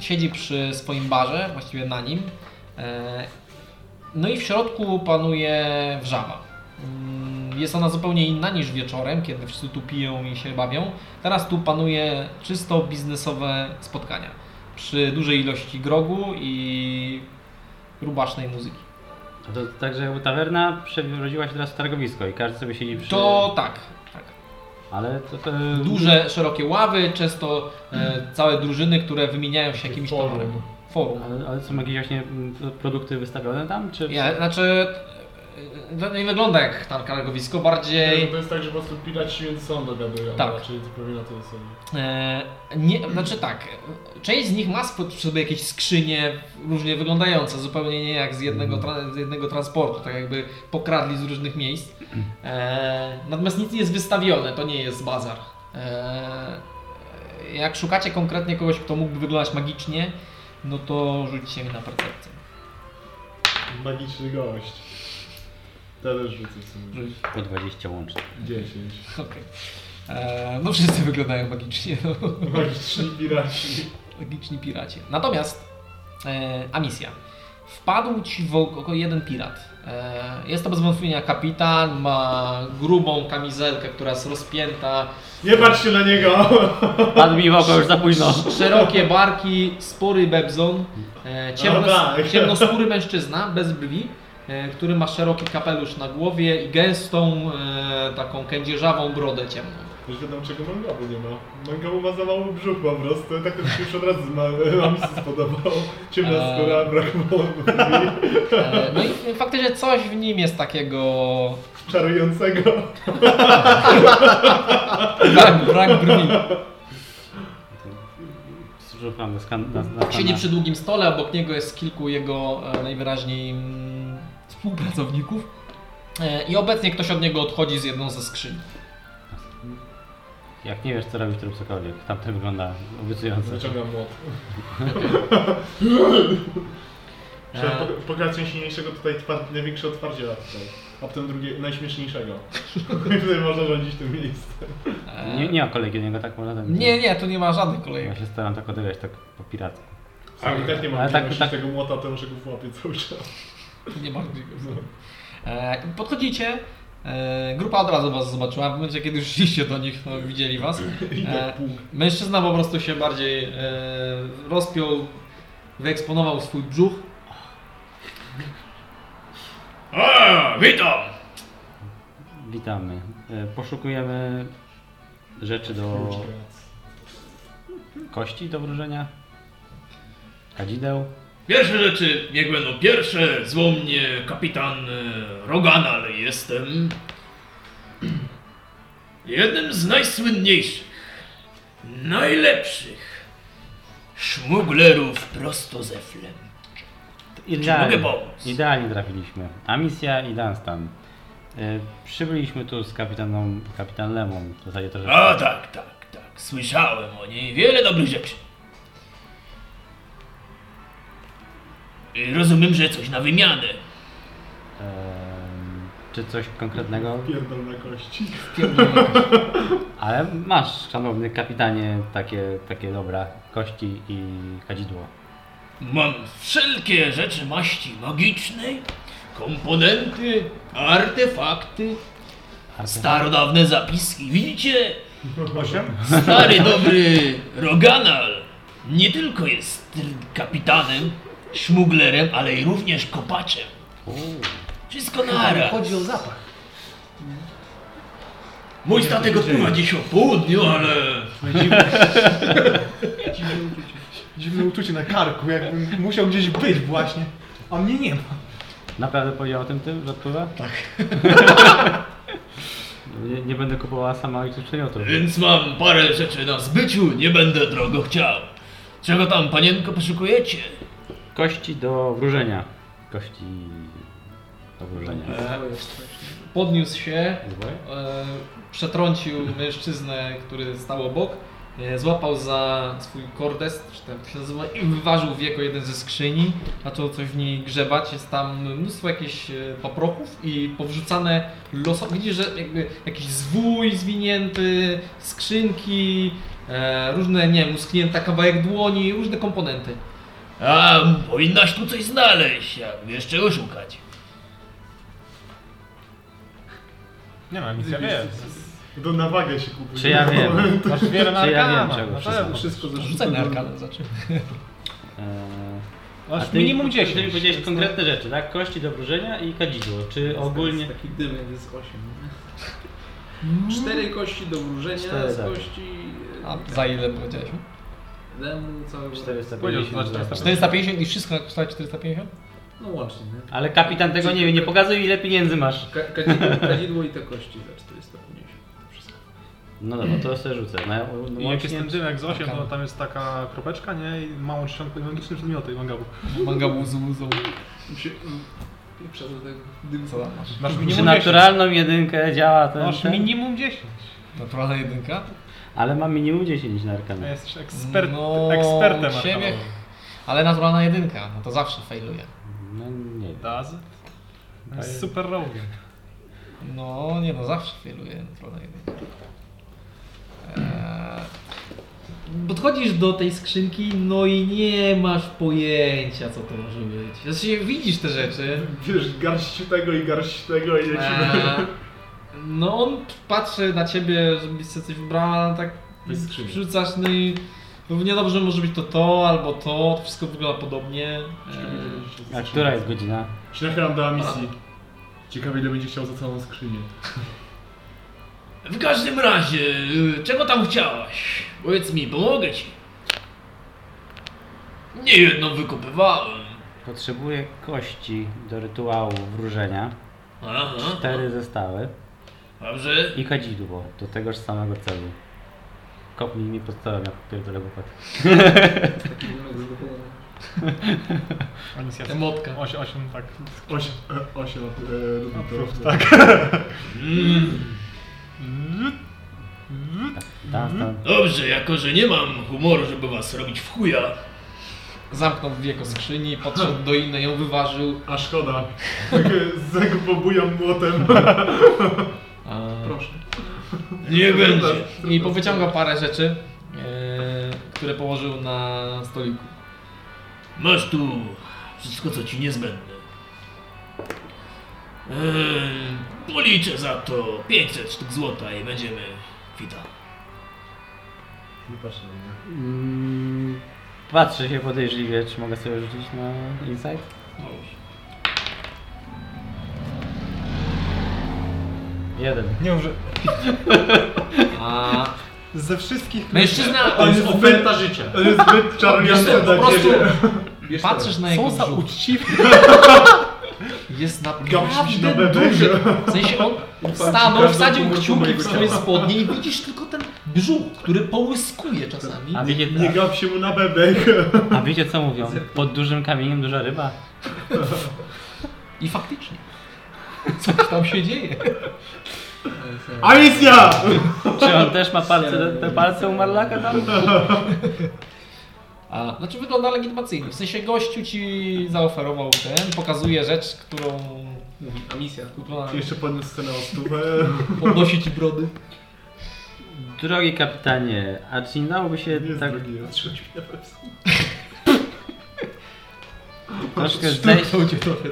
siedzi przy swoim barze, właściwie na nim. E, no i w środku panuje wrzawa. Mm, Jest ona zupełnie inna niż wieczorem, kiedy wszyscy tu piją i się bawią. Teraz tu panuje czysto biznesowe spotkania przy dużej ilości grogu i rubasznej muzyki.
A To także jakby tawerna przerodziła się teraz w targowisko i każdy sobie siedzi przy...
To tak, tak.
Ale to, to...
Duże, szerokie ławy, często e, całe drużyny, które wymieniają się jakimś
Forum.
towarem. Forum.
Ale, ale są jakieś właśnie mm, produkty wystawione tam, czy...
Ja, znaczy, e, to nie wygląda jak targowisko, bardziej...
To jest tak, że po prostu piraci się między sobą dogadują,
Tak.
raczej zupełnie na tej zasadzie.
E, nie, znaczy tak, część z nich ma spo- przy sobie jakieś skrzynie różnie wyglądające, zupełnie nie jak z jednego, tra- z jednego transportu, tak jakby pokradli z różnych miejsc. E, natomiast nic nie jest wystawione, to nie jest bazar. E, jak szukacie konkretnie kogoś, kto mógłby wyglądać magicznie, no to rzućcie mi na percepcję.
Magiczny gość. Teraz rzucę sobie.
Rzuć.
Po 20 łącznie.
10.
Okej. E, No wszyscy wyglądają magicznie, no.
Magiczni piraci.
Magiczni piracie. Natomiast e, a misja. Wpadł ci w oko jeden pirat. E, jest to bez wątpienia kapitan, ma grubą kamizelkę, która jest rozpięta,
Nie patrz się na niego!
Padł mi w oko już za późno.
szerokie barki, spory bebzon, e, ciemnos,
No tak.
ciemnoskóry mężczyzna bez brwi, e, który ma szeroki kapelusz na głowie i gęstą, e, taką kędzierzawą brodę ciemną.
Już wiadomo czego mangabu nie ma. Mangabu ma za mały brzuch po prostu. Tak to mi się już od razu ma, ma mi się spodobało. Ciemna
Eee.
skóra, brak mówi.
E, no i faktycznie coś w nim jest takiego
Czarującego.
brak, brak brwi.
Zrzucam na skan... Na, na
Siedzi
pana.
przy długim stole, obok niego jest kilku jego e, najwyraźniej mm, współpracowników. E, I obecnie ktoś od niego odchodzi z jedną ze skrzyni.
Jak nie wiesz co robić, to rób cokolwiek. Tamten wygląda obiecująco.
Zaciągam młot.
E.
Eee.
Pokaż silniejszego tutaj twar- największe otwarcie lat tutaj. A potem drugie, najśmieszniejszego. I tutaj można rządzić tym miejscem.
E,
Nie, nie ma kolegi do niego, tak można tam...
nie, nie, tu nie ma żadnych kolejek.
Ja się staram tak odegrać, tak po piracku.
A i tak nie mam
Ale tak-
tak,
tak-
tego młota, to muszę go włapie cały czas.
Tu nie ma żadnych e, Podchodzicie. E, grupa od razu was zobaczyła. W momencie, kiedy już szliście do nich, no, widzieli was.
I
E.
tak pół.
Mężczyzna po prostu się bardziej e, rozpiął, wyeksponował swój brzuch.
Witamy. E, Poszukujemy rzeczy do kości do wróżenia, kadzideł.
Pierwsze rzeczy, biegłe no pierwsze, zło mnie kapitan e, Rogan, ale jestem jednym z najsłynniejszych, najlepszych szmuglerów prosto ze flem.
Idealnie,
mogę pomóc?
idealnie trafiliśmy. A misja i Dunstan. E, Przybyliśmy tu z kapitaną, kapitan Lemą. W zasadzie to, że
A tak, tak, tak, słyszałem o niej wiele dobrych rzeczy. I Rozumiem, że coś na wymianę.
em, czy coś konkretnego.
Pierdol na kości.
Ale masz, szanowny kapitanie, takie, takie dobra kości i kadzidło.
Mam wszelkie rzeczy maści magicznej, komponenty, artefakty, starodawne zapiski. Widzicie,
Osiem?
stary dobry Roganal nie tylko jest kapitanem, szmuglerem, ale i również kopaczem. Wszystko naraz.
Chodzi o zapach.
Mój statek odpływa dziś o południu, ale
Dziwne uczucie na karku, jakbym musiał gdzieś być właśnie.
A mnie nie ma.
Naprawdę powiedział o tym tym, że odpływa? Tak. nie, nie będę kupowała sama ich przedmiotów.
więc mam parę rzeczy na zbyciu, nie będę drogo chciał. Czego tam, panienko, poszukujecie?
Kości do wróżenia. Kości do wróżenia.
Podniósł się,
Dwoje?
E, przetrącił mężczyznę, który stał obok E, Złapał za swój kordes, czy tam to się nazywa, i wyważył w jako jeden ze skrzyni. Zaczął coś w niej grzebać. Jest tam mnóstwo jakichś e, paprochów i powrzucane losowo. Widzisz, że jakby jakiś zwój zwinięty, skrzynki, e, różne, nie wiem, usknięta kawałek dłoni, różne komponenty.
A, powinnaś tu coś znaleźć, jak wiesz czego szukać.
Nie no, misja wie.
To na wagę się kupuje.
Czy ja wiem? E,
Masz wiele na
Czy ja
arkana,
wiem,
No
czego
na
wszystko.
pewno.
Wszystko ze
Rzucaj na arkanę, znaczy.
Eee,
Masz minimum
Ty mi
10.
powiedziałeś konkretne rzeczy, tak? Kości do wróżenia i kadzidło. Czy ogólnie...
Taki dym jak jest 8. Cztery kości do wróżenia
Cztery,
z
tak.
kości. e,
A tak. za ile powiedziałeś?
Demu całego.
450
Powiedział,
zł.
450 i wszystko kosztowało 450?
No łącznie, nie?
Ale kapitan tego nie wie, nie pokazuj ile pieniędzy masz.
Ka- kadzidło, kadzidło i te kości za 450. To wszystko.
No dobra, to sobie rzucę. Na,
I
łącznie-
jak jest ten dymek z 8, to
Taka.
tam jest taka kropeczka, nie? I małą czcionką i magiczne przedmioty i mangabu.
Manga łzu, łzu.
Mi się- mm, Pieprza do tego dymu.
Co tam masz?
Masz
Przy
minimum 10.
naturalną jedynkę działa ten,
Masz
ten.
minimum 10.
Naturalna jedynka?
Ale mam minimum 10 na arkanę.
Ja Jesteś ekspert,
No,
ekspertem.
siebie-
arkanowym.
Ale naturalna jedynka, no to zawsze failuje.
No nie wiem.
Does it?
Jest super rogiem.
No nie no, zawsze failuje naturalna jedynka. Eee, podchodzisz do tej skrzynki, no i nie masz pojęcia co to może być. Znaczy widzisz te rzeczy.
Wiesz, garść tego i garść tego i
E.
lecimy.
Eee, no on patrzy na ciebie, żebyś sobie coś wybrała, ale tak
Bez skrzyni.
rzucasz, no i równie dobrze może być to to albo to, to wszystko wygląda podobnie. Eee,
A która jest godzina?
Szlachta nam dała misji. Ciekawe ile będzie chciał za całą skrzynię.
W każdym razie, y, czego tam chciałaś? Powiedz mi, pomogę ci. Nie jedno wykopywałem.
Potrzebuję kości do rytuału wróżenia.
Aha.
Cztery zestawy.
Dobrze.
I kadzidło do tegoż samego celu. Kopnij mi pod stołem, jak pierdolę głupot.
Taki dymek z dupą.
A misja
Emotka.
8, 8, tak.
Osie, e, osie lat e, lubi to.
tak.
Tam, tam.
Dobrze, jako że nie mam humoru, żeby was robić w chuja.
Zamknął w wieko skrzyni, podszedł do innej, ją wyważył.
A szkoda. Tak e, zagobobujam młotem.
Proszę.
Nie będzie.
I powyciąga parę rzeczy, e, które położył na stoliku.
Masz tu wszystko, co ci niezbędne. Eee, policzę za to 500 sztuk złota i będziemy kwita.
Nie patrz na mnie.
Mm, Patrzę się podejrzliwie, czy mogę sobie rzucić na insight? Jeden.
Nie uży...
A
Ze wszystkich...
mężczyzna
To jest oferta
życia.
To jest zbyt
Wiesz co,
czarniasty
po
dla
prostu
ciebie.
patrzysz na jego
Są za
brzuch,
uczciwy.
jest
Gapsi
naprawdę
do bebek.
duży. W sensie on stanął, wsadził
każdą
kciuki
mojego
w swoje
ciała.
spodnie i widzisz tylko ten brzuch, który
Tak.
połyskuje czasami.
A wiecie,
Nie gap się mu na bebek.
a, a wiecie co mówią? Pod dużym kamieniem duża ryba.
I faktycznie. Coś tam się dzieje.
A misja!
Czy on też ma palce, te palce umarlaka tam?
A, znaczy wygląda legitymacyjnie. W sensie gościu ci zaoferował ten, pokazuje rzecz, którą...
Mówi, a misja.
która
Jeszcze podniósł scenę o stówę.
podnosi ci brody.
Drogi kapitanie, a czy nie dałoby się
Nie jest
tak
drugi, ja trzeci na pewno.
troszkę zejść,
cię trochę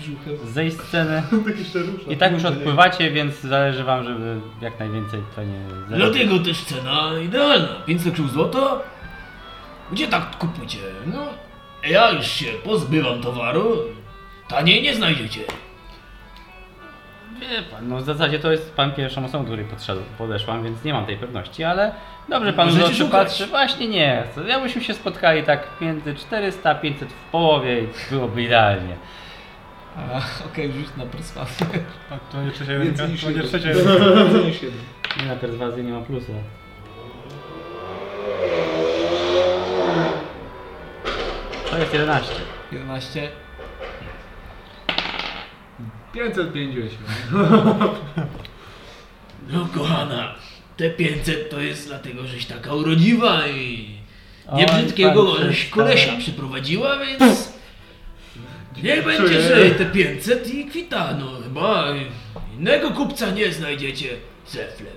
brzuchem.
zejść z sceny?
Tak jeszcze rusza.
I tak już odpływacie, więc zależy wam, żeby jak najwięcej to nie...
Dlatego też cena idealna. 500 sztuk złota? Gdzie tak kupujecie? No, ja już się pozbywam towaru. Taniej nie znajdziecie.
Wie pan, no w zasadzie to jest pan pierwszą osobą, której podszedł, podeszłam, więc nie mam tej pewności, ale dobrze pan
No, Możecie
w oczy
szukać.
patrzy. Właśnie nie, to ja byśmy się spotkali tak między 400 500 w połowie i byłoby idealnie.
A, Okej, rzuć na perswazję.
A to nie trzecia jedynka?
Więcej niż
To nie trzecia
jeden.
jedynka.
Więcej niż jeden.
Nie na perswazji nie ma plusa. To jest 11.
11.
550.
No kochana, Te 500 to jest dlatego, żeś taka urodziwa i niebrzydkiego
Oj, pan
żeś
przestań.
kolesia przyprowadziła, więc niech będzie żyje te 500 i kwita, no chyba innego kupca nie znajdziecie zeflem.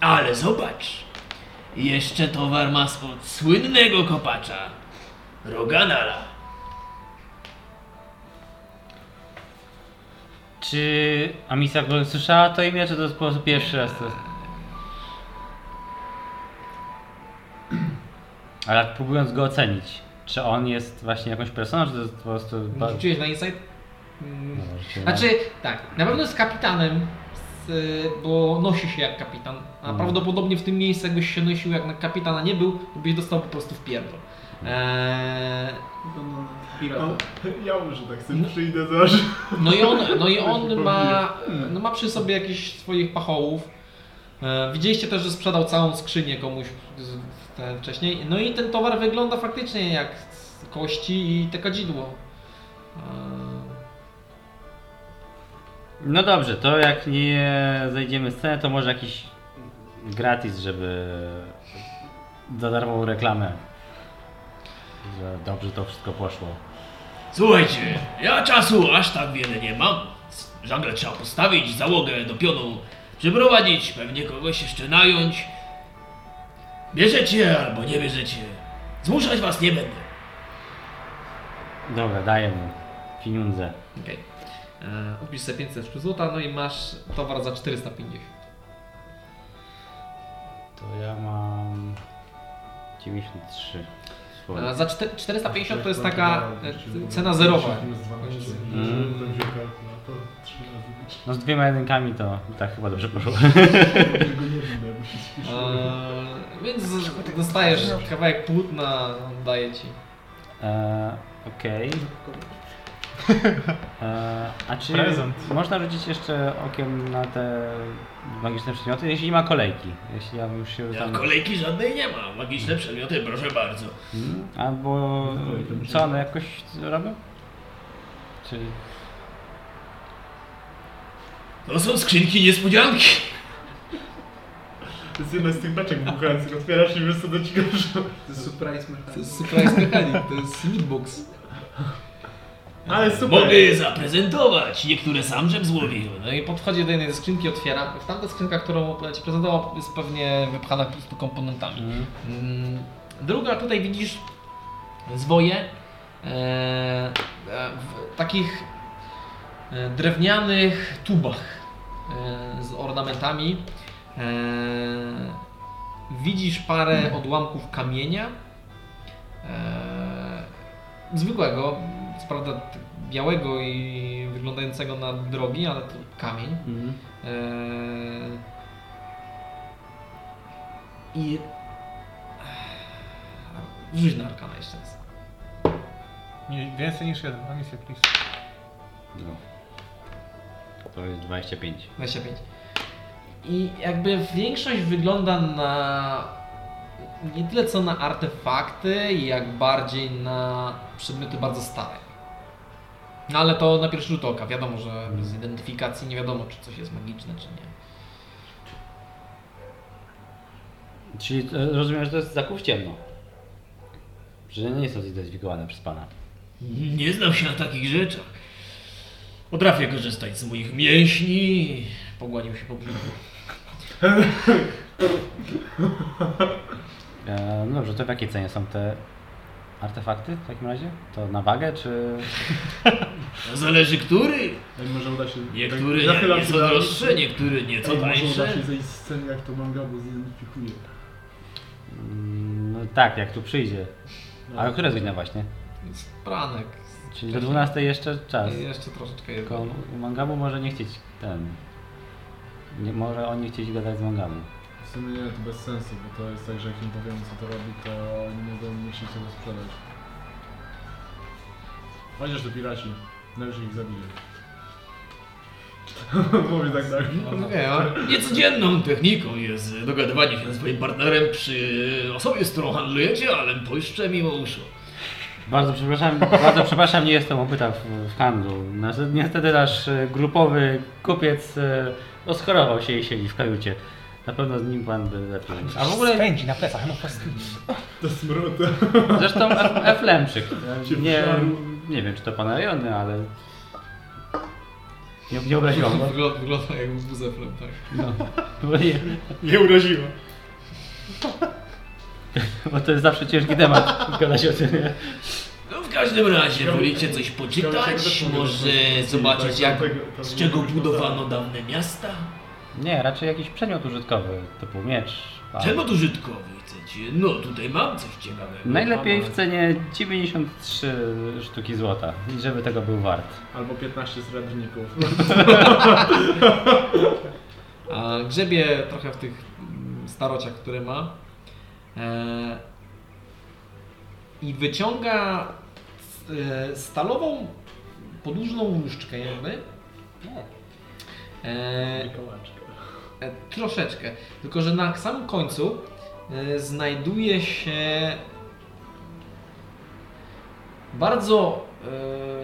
Ale zobacz, jeszcze towar ma spod słynnego kopacza, Roganala.
Czy Amicia w ogóle słyszała to imię, czy to jest po prostu pierwszy raz to? Ale tak próbując go ocenić, czy on jest właśnie jakąś personą, czy to jest po prostu... ba-
Rzuciłeś na insight? Mm,
No, rzuciłem na-
Znaczy, tak, na pewno jest kapitanem, z, y, bo nosi się jak kapitan. A
Mm.
prawdopodobnie w tym miejscu, jakbyś się nosił jak na kapitana nie był, to byś dostał po prostu w pierdol. Eee,
Wygląda na pirata.
Ja może tak sobie przyjdę zaraz.
no i on, no i on ma, no ma przy sobie jakiś swoich pachołów. E, Widzieliście też, że sprzedał całą skrzynię komuś z- te- wcześniej. No i ten towar wygląda faktycznie jak z kości i te kadzidło. E,
No dobrze, to jak nie zejdziemy z ceny, to może jakiś gratis, żeby za darmową reklamę. Że dobrze to wszystko poszło.
Słuchajcie, ja czasu aż tak wiele nie mam. Żagle trzeba postawić, załogę do pionu przyprowadzić, pewnie kogoś jeszcze nająć. Bierzecie albo nie bierzecie. Zmuszać was nie będę.
Dobra, daję mu pieniądze.
Okej. Okay. Upisz sobie 500 sztuk złota, no i masz towar za 450.
To ja mam 93. złote.
E, Za czte- 450 to jest taka
Tak,
e, cena zerowa.
Mm.
Będzie kalkulator, trzy razy liczę.
No z dwiema jedynkami to tak chyba dobrze poszło.
Tego nie będę, bo się śpieszę.
E, Więc z- dostajesz kawałek płótna, on daje ci.
E, Okej. E, A czy
Prezent.
można rzucić jeszcze okiem na te magiczne przedmioty, jeśli nie ma kolejki? Jeśli ja już się
Ja
tam...
kolejki żadnej nie mam. Magiczne przedmioty, proszę bardzo.
Mm, Albo co one jakoś robią? Czy
To są skrzynki niespodzianki.
To jest jedna z tych beczek buchających, otwierasz i wiesz co do ci gorzą.
To jest surprise
To
mechanic.
jest surprise mechanic, to jest hitbox.
Ale super!
Mogę zaprezentować. Niektóre sam żem złowił.
No i podchodzi do jednej ze skrzynki, otwiera. W tamta skrzynka, którą ci prezentował, jest pewnie wypchana po prostu komponentami.
Mm.
Mm, Druga tutaj widzisz zwoje e, e, w takich e, drewnianych tubach e, z ornamentami. E, widzisz parę odłamków kamienia. E, zwykłego, co prawda t- białego i wyglądającego na drogi, ale to kamień.
Mhm.
E, I e, Rzuć na arkana jeszcze raz.
Nie, Więcej niż jeden, na misję, please.
No. To jest 25.
25. I jakby większość wygląda na nie tyle co na artefakty, jak bardziej na przedmioty bardzo stare. No ale to na pierwszy rzut oka. Wiadomo, że bez identyfikacji nie wiadomo, czy coś jest magiczne, czy nie.
Czyli e, rozumiem, że to jest zakup w ciemno. Że nie są zidentyfikowane przez pana.
Nie znam się na takich rzeczach. Potrafię korzystać z moich mięśni.
Pogłanił się po brzuchu.
E, no dobrze, to w jakiej cenie są te artefakty w takim razie? To na wagę czy...
To zależy który.
Ej, może uda się...
Niektóre
tak,
nie,
zachylam się
nieco
na-
droższe, niektóre nieco
Ej, może uda
tańsze.
się zejść z sceny, jak to manga, bo zidentyfikuje.
Mm, no tak, jak tu przyjdzie. A o które godzina właśnie?
Pranek.
Czyli do 12 jeszcze czas.
I jeszcze troszeczkę jest.
Tak. Tylko u Mangabu może nie chcieć ten... Nie, może on nie chcieć gadać z Mangabu.
W sumie nie, to bez sensu, bo to jest tak, że jak im powiemy co to robi, to oni mogą myśleć tego sprzedać. Chociaż to piraci, najwyżej ich zabili. Mówię tak dalej.
No wiem, ale-
Niecodzienną techniką jest dogadywanie się ze swoim partnerem przy osobie, z którą handlujecie, ale pojeszcze mimo uszu.
Bardzo przepraszam, bardzo przepraszam, nie jestem opyta w, w handlu. Nas- Niestety nasz e, grupowy kupiec e, rozchorował się i siedzi w kajucie. Na pewno z nim pan by lepiej.
A w ogóle... Spędzi na plecach, no prosto.
To smruta.
Zresztą F- Eflemczyk.
Cię
Nie,
wziąłem.
nie wiem, czy to pana rejony, ale... Nie, nie obraziłam go.
Wygląda, wygląda jak buzeflem, tak.
Bo, nie,
Nie uraziło.
bo to jest zawsze ciężki temat. Gada się o tym. nie?
No w każdym razie wolicie coś poczytać, może
Tak,
zobaczyć jak, z czego budowano dawne miasta?
Nie, raczej jakiś przedmiot użytkowy, typu miecz. pal.
Przedmiot użytkowy chcecie? No tutaj mam coś ciekawego.
Najlepiej
Mam-
w cenie 93 sztuki złota. I żeby tego był wart.
Albo 15 srebrników.
A grzebie trochę w tych mm, starociach, które ma. E, I wyciąga e, stalową, podłużną nóżkę jakby. E, e, troszeczkę. Tylko, że na samym końcu e, znajduje się bardzo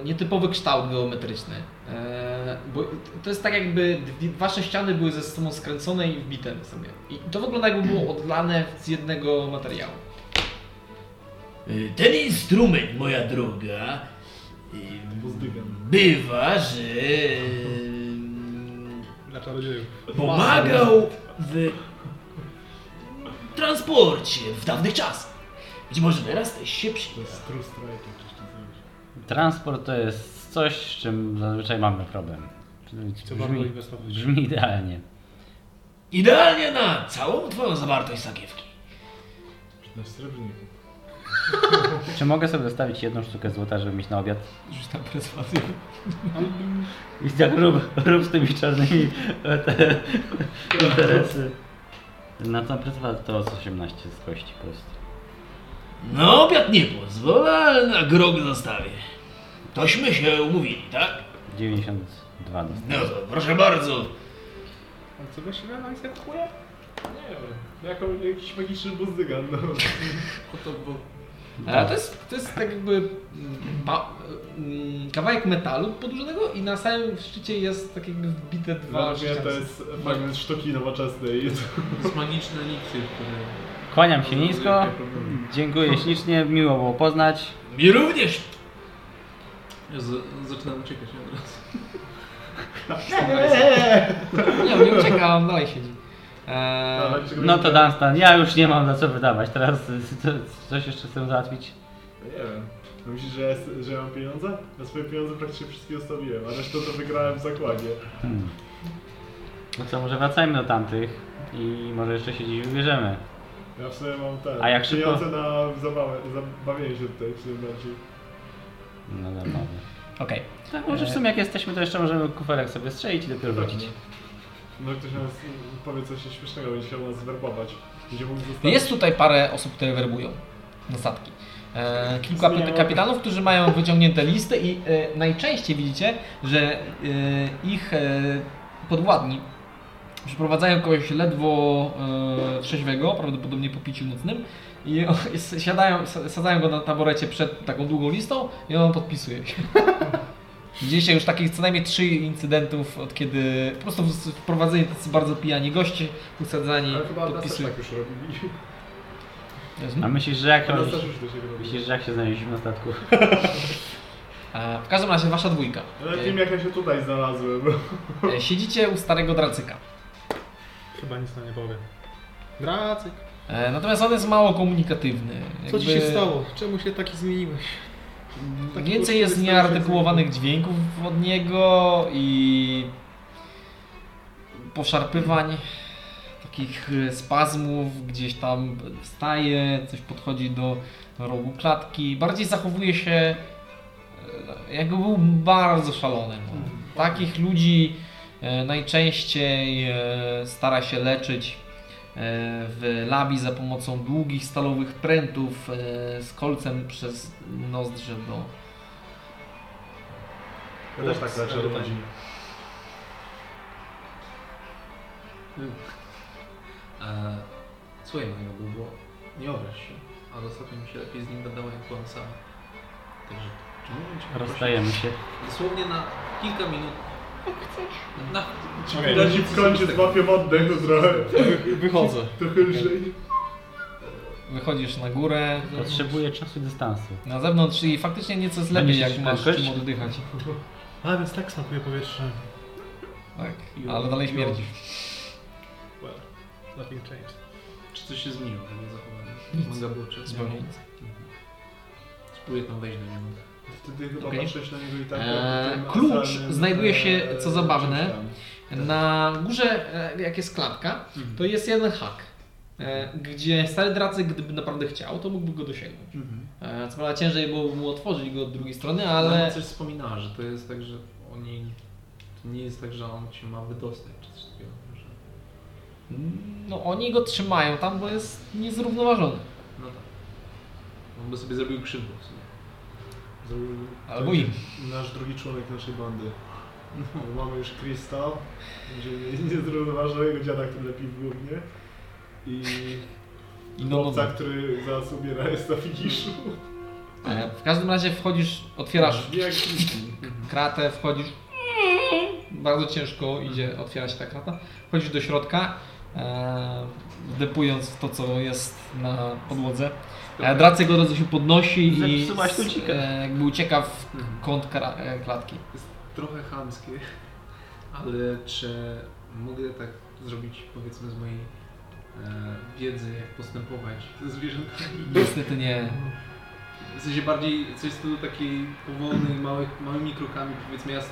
e, nietypowy kształt geometryczny. E, bo to jest tak jakby dwie, wasze ściany były ze sobą skręcone i wbite w sobie. I to wygląda jakby było odlane z jednego materiału.
Y, Ten instrument, moja droga, y,
Pozdygam.
bywa, że y, mm,
Dla czarodziejów.
pomagał w transporcie w dawnych czasach. Być może teraz też się
To
przyda.
jest true strike, jak coś tam zrobisz.
Transport to jest coś, z czym zazwyczaj mamy problem.
Co warto
Brzmi,
inwestować.
brzmi idealnie.
Idealnie na całą twoją zawartość sakiewki.
15 srebrników.
Czy mogę sobie zostawić jedną sztukę złota, żeby mieć na obiad?
Rzuć tam perswazję.
I tak rób, rób z tymi czarnymi te interesy. Na tą prezentację to jest 18 z kości po prostu.
No, obiad nie pozwolę, ale na grog zostawię. Tośmy się umówili, tak?
92 dostałem.
No to proszę bardzo.
A co właściwie na misję kupuje?
Nie wiem. No jako jakiś magiczny buzdygan, no.
Oto, bo
E, to, jest, to jest tak jakby mm, ba, mm, kawałek metalu podłużonego i na samym szczycie jest tak jakby wbite dwa
Dla mnie
ściany.
to jest fragment sztuki nowoczesnej.
to jest magiczny eliksir, który...
Kłaniam się nisko.
Jakie problemy.
Dziękuję ślicznie, miło było poznać.
Mi również.
Ja z, zaczynam uciekać od razu.
Nie, on nie ucieka, on dalej siedzi. E,
Ale czego-
No to Dunstan, ja już nie mam na co wydawać. Teraz y, co- coś jeszcze chcę załatwić.
Nie wiem. No Myślisz, że, jest- że ja mam pieniądze? Ja swoje pieniądze praktycznie wszystkie zostawiłem, a resztę to wygrałem w zakładzie.
Hmm. No co, może wracajmy do tamtych i może jeszcze się dziś wybierzemy.
Ja w sumie mam te
A jak szybko-
pieniądze na zabawę, zabawienie się tutaj w tym bardziej.
No dobra.
Okej.
Tak, może w sumie jak jesteśmy, to jeszcze możemy kuferek sobie strzelić i dopiero wrócić.
No ktoś nas mm, powie coś śmiesznego, będzie chciał nas werbować. Będzie mógł zostawić.
Jest tutaj parę osób, które werbują na statki. E, kilku kapi- kapitanów, którzy mają wyciągnięte listy i e, najczęściej widzicie, że e, ich e, podwładni przeprowadzają kogoś ledwo e, trzeźwego, prawdopodobnie po piciu nocnym i, o, i s- siadają, s- sadzają go na taborecie przed taką długą listą i on podpisuje się. Widzieliście już takich co najmniej trzy incydentów, od kiedy po prostu w- wprowadzeni tacy bardzo pijani goście, usadzani,
Ale chyba nas też
podpisują.
tak już robili.
Mhm.
A myślisz, że jak,
Nas też już No to się robi.
myślisz, że jak się znaleźliśmy na statku?
E, W każdym razie wasza dwójka.
Ale tym jak ja się tutaj znalazłem.
E, e, Siedzicie u starego dracyka.
Chyba nic na nie powiem. Dracyk.
E, Natomiast on jest mało komunikatywny.
Co ci
Jakby
się stało? Czemu się taki zmieniłeś? Taki
Więcej jest
kurczę,
nieartykułowanych dźwięków od niego i poszarpywań, takich e, spazmów, gdzieś tam wstaje, coś podchodzi do rogu klatki. Bardziej zachowuje się e, jakby był bardzo szalony. No. Takich ludzi e, najczęściej e, stara się leczyć e, w labi za pomocą długich stalowych prętów e, z kolcem przez nozdrze do
Ja też tak leczę ludzi.
E, no, słuchaj mojego było, nie obraź się, ale ostatnio mi się lepiej z nim gadało jak byłam sama. Także ciągnąć.
Rozstajemy się.
Dosłownie na kilka minut. Na,
Okej,
no
na-
w końcu złapię oddech trochę.
Wychodzę.
Trochę lżej.
Wychodzisz na górę.
Potrzebuję czasu i dystansu.
Na zewnątrz i faktycznie nieco jest
Będzie
lepiej,
się
jak masz
szybkość?
czym oddychać.
A więc tak smakuje powietrze.
Tak, ale dalej śmierdzi.
Well, nothing changed.
Czy coś się zmieniło w jego zachowaniu?
Nic.
Manga było czy
Zupełnie nic.
Spróbuję tam wejść do niego.
Wtedy chyba
Okej.
patrzyłeś na niego i tak...
Eee,
tym
klucz
asalnym,
znajduje się,
eee,
co zabawne,
czymś tam.
Na górze, e, jak jest klatka, to jest jeden hak, e, gdzie stary dracy, gdyby naprawdę chciał, to mógłby go dosięgnąć. E, Co prawda ciężej byłoby mu otworzyć go od drugiej strony,
Ale
ale
coś wspominała, że to jest tak, że oni. To nie jest tak, że on cię ma wydostać czy coś takiego. Że...
no, oni go trzymają tam, bo jest niezrównoważony.
No tak. On by sobie zrobił krzywdę w sumie.
Zrobił
Albo im.
Nasz drugi członek naszej bandy. Bo Mamy już Krystal, czyli niezrównoważonego dziada, który lepi w głównie. I
I no, no,
chłopca, który zaraz umiera jest na finiszu.
E, W każdym razie wchodzisz, otwierasz
Jak Krystal.
kratę, wchodzisz. Bardzo ciężko idzie, otwiera się ta krata. Wchodzisz do środka, e, wdepując w to, co jest na podłodze. E, Dracy go od razu się podnosi i
Zepsułaś tu dzikę.
e, jakby ucieka w kąt kra- e, klatki.
Trochę chamskie, ale czy mogę tak zrobić powiedzmy z mojej e, wiedzy, jak postępować ze zwierzętami?
Niestety nie.
W sensie bardziej coś z tyłu takiej powolnej, małych, małymi krokami, powiedzmy ja s-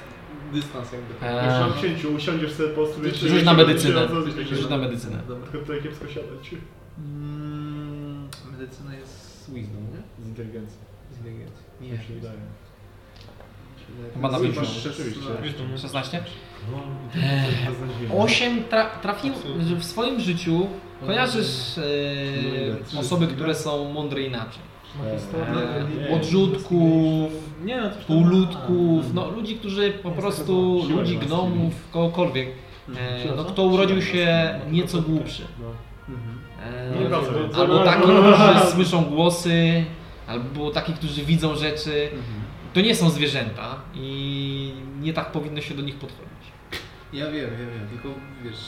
dystans jakby.
E,
Już mam księciu, usiądziesz sobie po prostu. wiesz,
Rzuć na
się
medycynę.
będzie coś takiego.
Rzuć na medycynę.
Dobra.
Tylko tutaj kiepsko siadać.
Mm, medycyna jest z wisdom, nie?
Z inteligencji,
Z inteligencji.
nie mi się
Mhm.
wydaje.
Chyba na
Chyba
wyższą.
rzeczywiście.
16?
No, inteligencja to jest dziwne.
8 tra- trafił w swoim życiu. Kojarzysz e, osoby, które są mądre inaczej. E, odrzutków,
Nie no, coś tam-
półludków, no ludzi, którzy po prostu,
siła
ludzi,
własna.
gnomów, kogokolwiek, e, no kto urodził się nieco głupszy. E,
No, no,
Albo
no,
taki,
no, no, no.
którzy słyszą głosy, albo taki, którzy widzą rzeczy. To nie są zwierzęta i nie tak powinno się do nich podchodzić.
Ja wiem, ja wiem, tylko wiesz,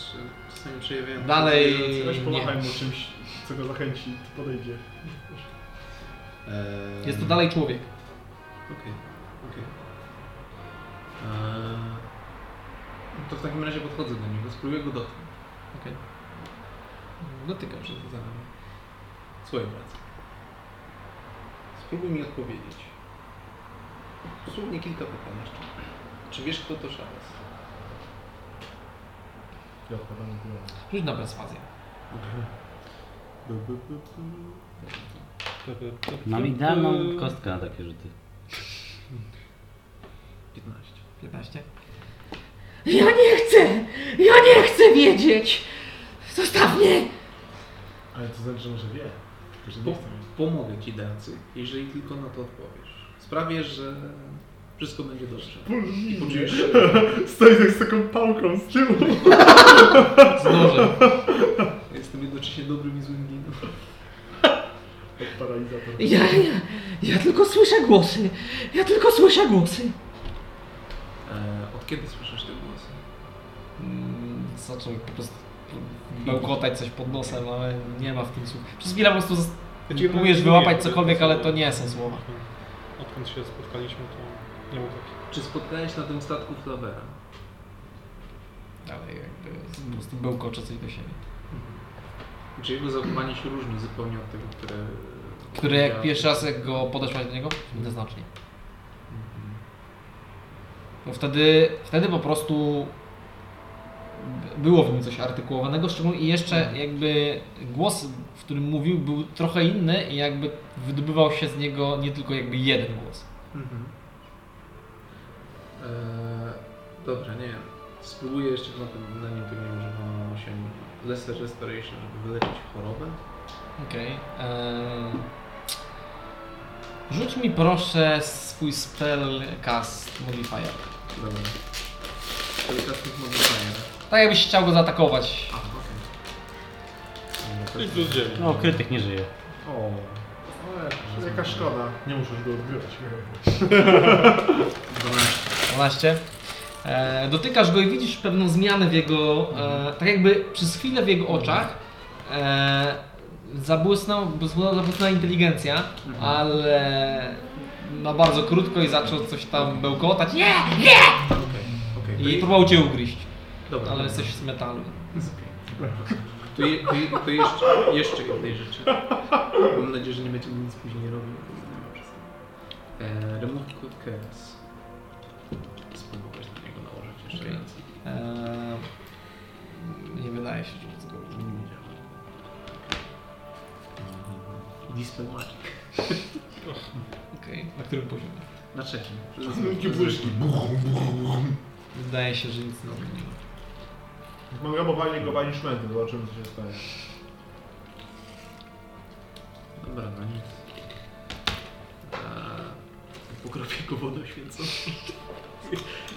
czasami przejawiają...
Dalej.
Weź
Nie.
pomachaj mu czymś, co go zachęci, to podejdzie.
Eee,
Jest to dalej człowiek.
Okej, okej. Eee, no To w takim razie podchodzę do niego, spróbuję go dotknąć.
Okay. Dotykam się.
Za nami. Słuchaj brat. Spróbuj mi odpowiedzieć. Dosłownie kilka pytań jeszcze. Czy wiesz kto to Szaras?
Ja odpowiadam na głowę.
Rzuć na perswazję.
Mam idealną kostkę na takie rzuty.
15.
15.
Ja nie chcę! Ja nie chcę wiedzieć! Zostaw mnie!
Ale to znaczy, że może wie. Tylko, że
Po,
nie chce mieć.
pomogę ci Dacy, jeżeli tylko na to odpowiesz. Sprawię, że wszystko będzie dobrze. I poczujesz się.
Stoi tak z taką pałką z tyłu.
Zdążę.
Jestem jednocześnie dobrym i złym ginem.
Jak paralizator.
Ja, ja, ja tylko słyszę głosy! Ja tylko słyszę głosy!
E, od kiedy słyszysz te głosy?
Mm, Zaczął po prostu Mm. bełkotać coś pod nosem, ale nie ma w tym słów. Przez chwilę po prostu z- próbujesz wyłapać cokolwiek, ale Znaczy, to nie są słowa.
Odkąd się spotkaliśmy, to nie było tak.
Czy spotkałeś na tym statku Flavera?
Ale jakby po prostu bełkocze coś do siebie.
Czy jego zachowanie się różni zupełnie od tego, które...
Który jak pierwszy raz jak go podeszłaś do niego? Jednoznacznie. Bo wtedy, wtedy po prostu b- było w nim coś artykułowanego, szczególnie i jeszcze jakby głos, w którym mówił, był trochę inny i jakby wydobywał się z niego nie tylko jakby jeden głos.
Mhm. Eee, dobra, nie wiem. Spróbuję jeszcze na tym, na nim to nie używam 8 Lesser Restoration, żeby wyleczyć chorobę.
Okej. em, Rzuć mi proszę swój spell cast modifier.
Dobra. Delikatnych modyfikacji.
Tak jakbyś chciał go zaatakować.
A, okej.
Czyli plus 9.
No, krytyk nie żyje.
O,
No, jaka szkoda. Nie musisz go odbierać.
12. E, dotykasz go i widzisz pewną zmianę w jego. E, tak jakby przez chwilę w jego oczach e, zabłysnął, zabłysnęła, zabłysnęła inteligencja, ale na bardzo krótko i zaczął coś tam bełkotać. Nie!
Okej, to
I
je-
próbował cię ugryźć,
dobra.
ale jesteś z metalu.
To, je, to, je, to jeszcze, jeszcze jednej rzeczy. Mam nadzieję, że nie będziemy nic później robił. E, remove code chaos. Spróbować na niego nałożyć jeszcze
Okej.
raz.
E, nie wydaje się, że to
Dispel magic.
Okej, na którym poziomie?
Na trzecim.
Wielkie błyszki. Buch, buch, buch.
Wydaje się, że nic nowego nie ma.
Mam ramowanie go banishmentem, zobaczymy co się stanie.
Dobra, no nic. E, pokropię go wodą święcą.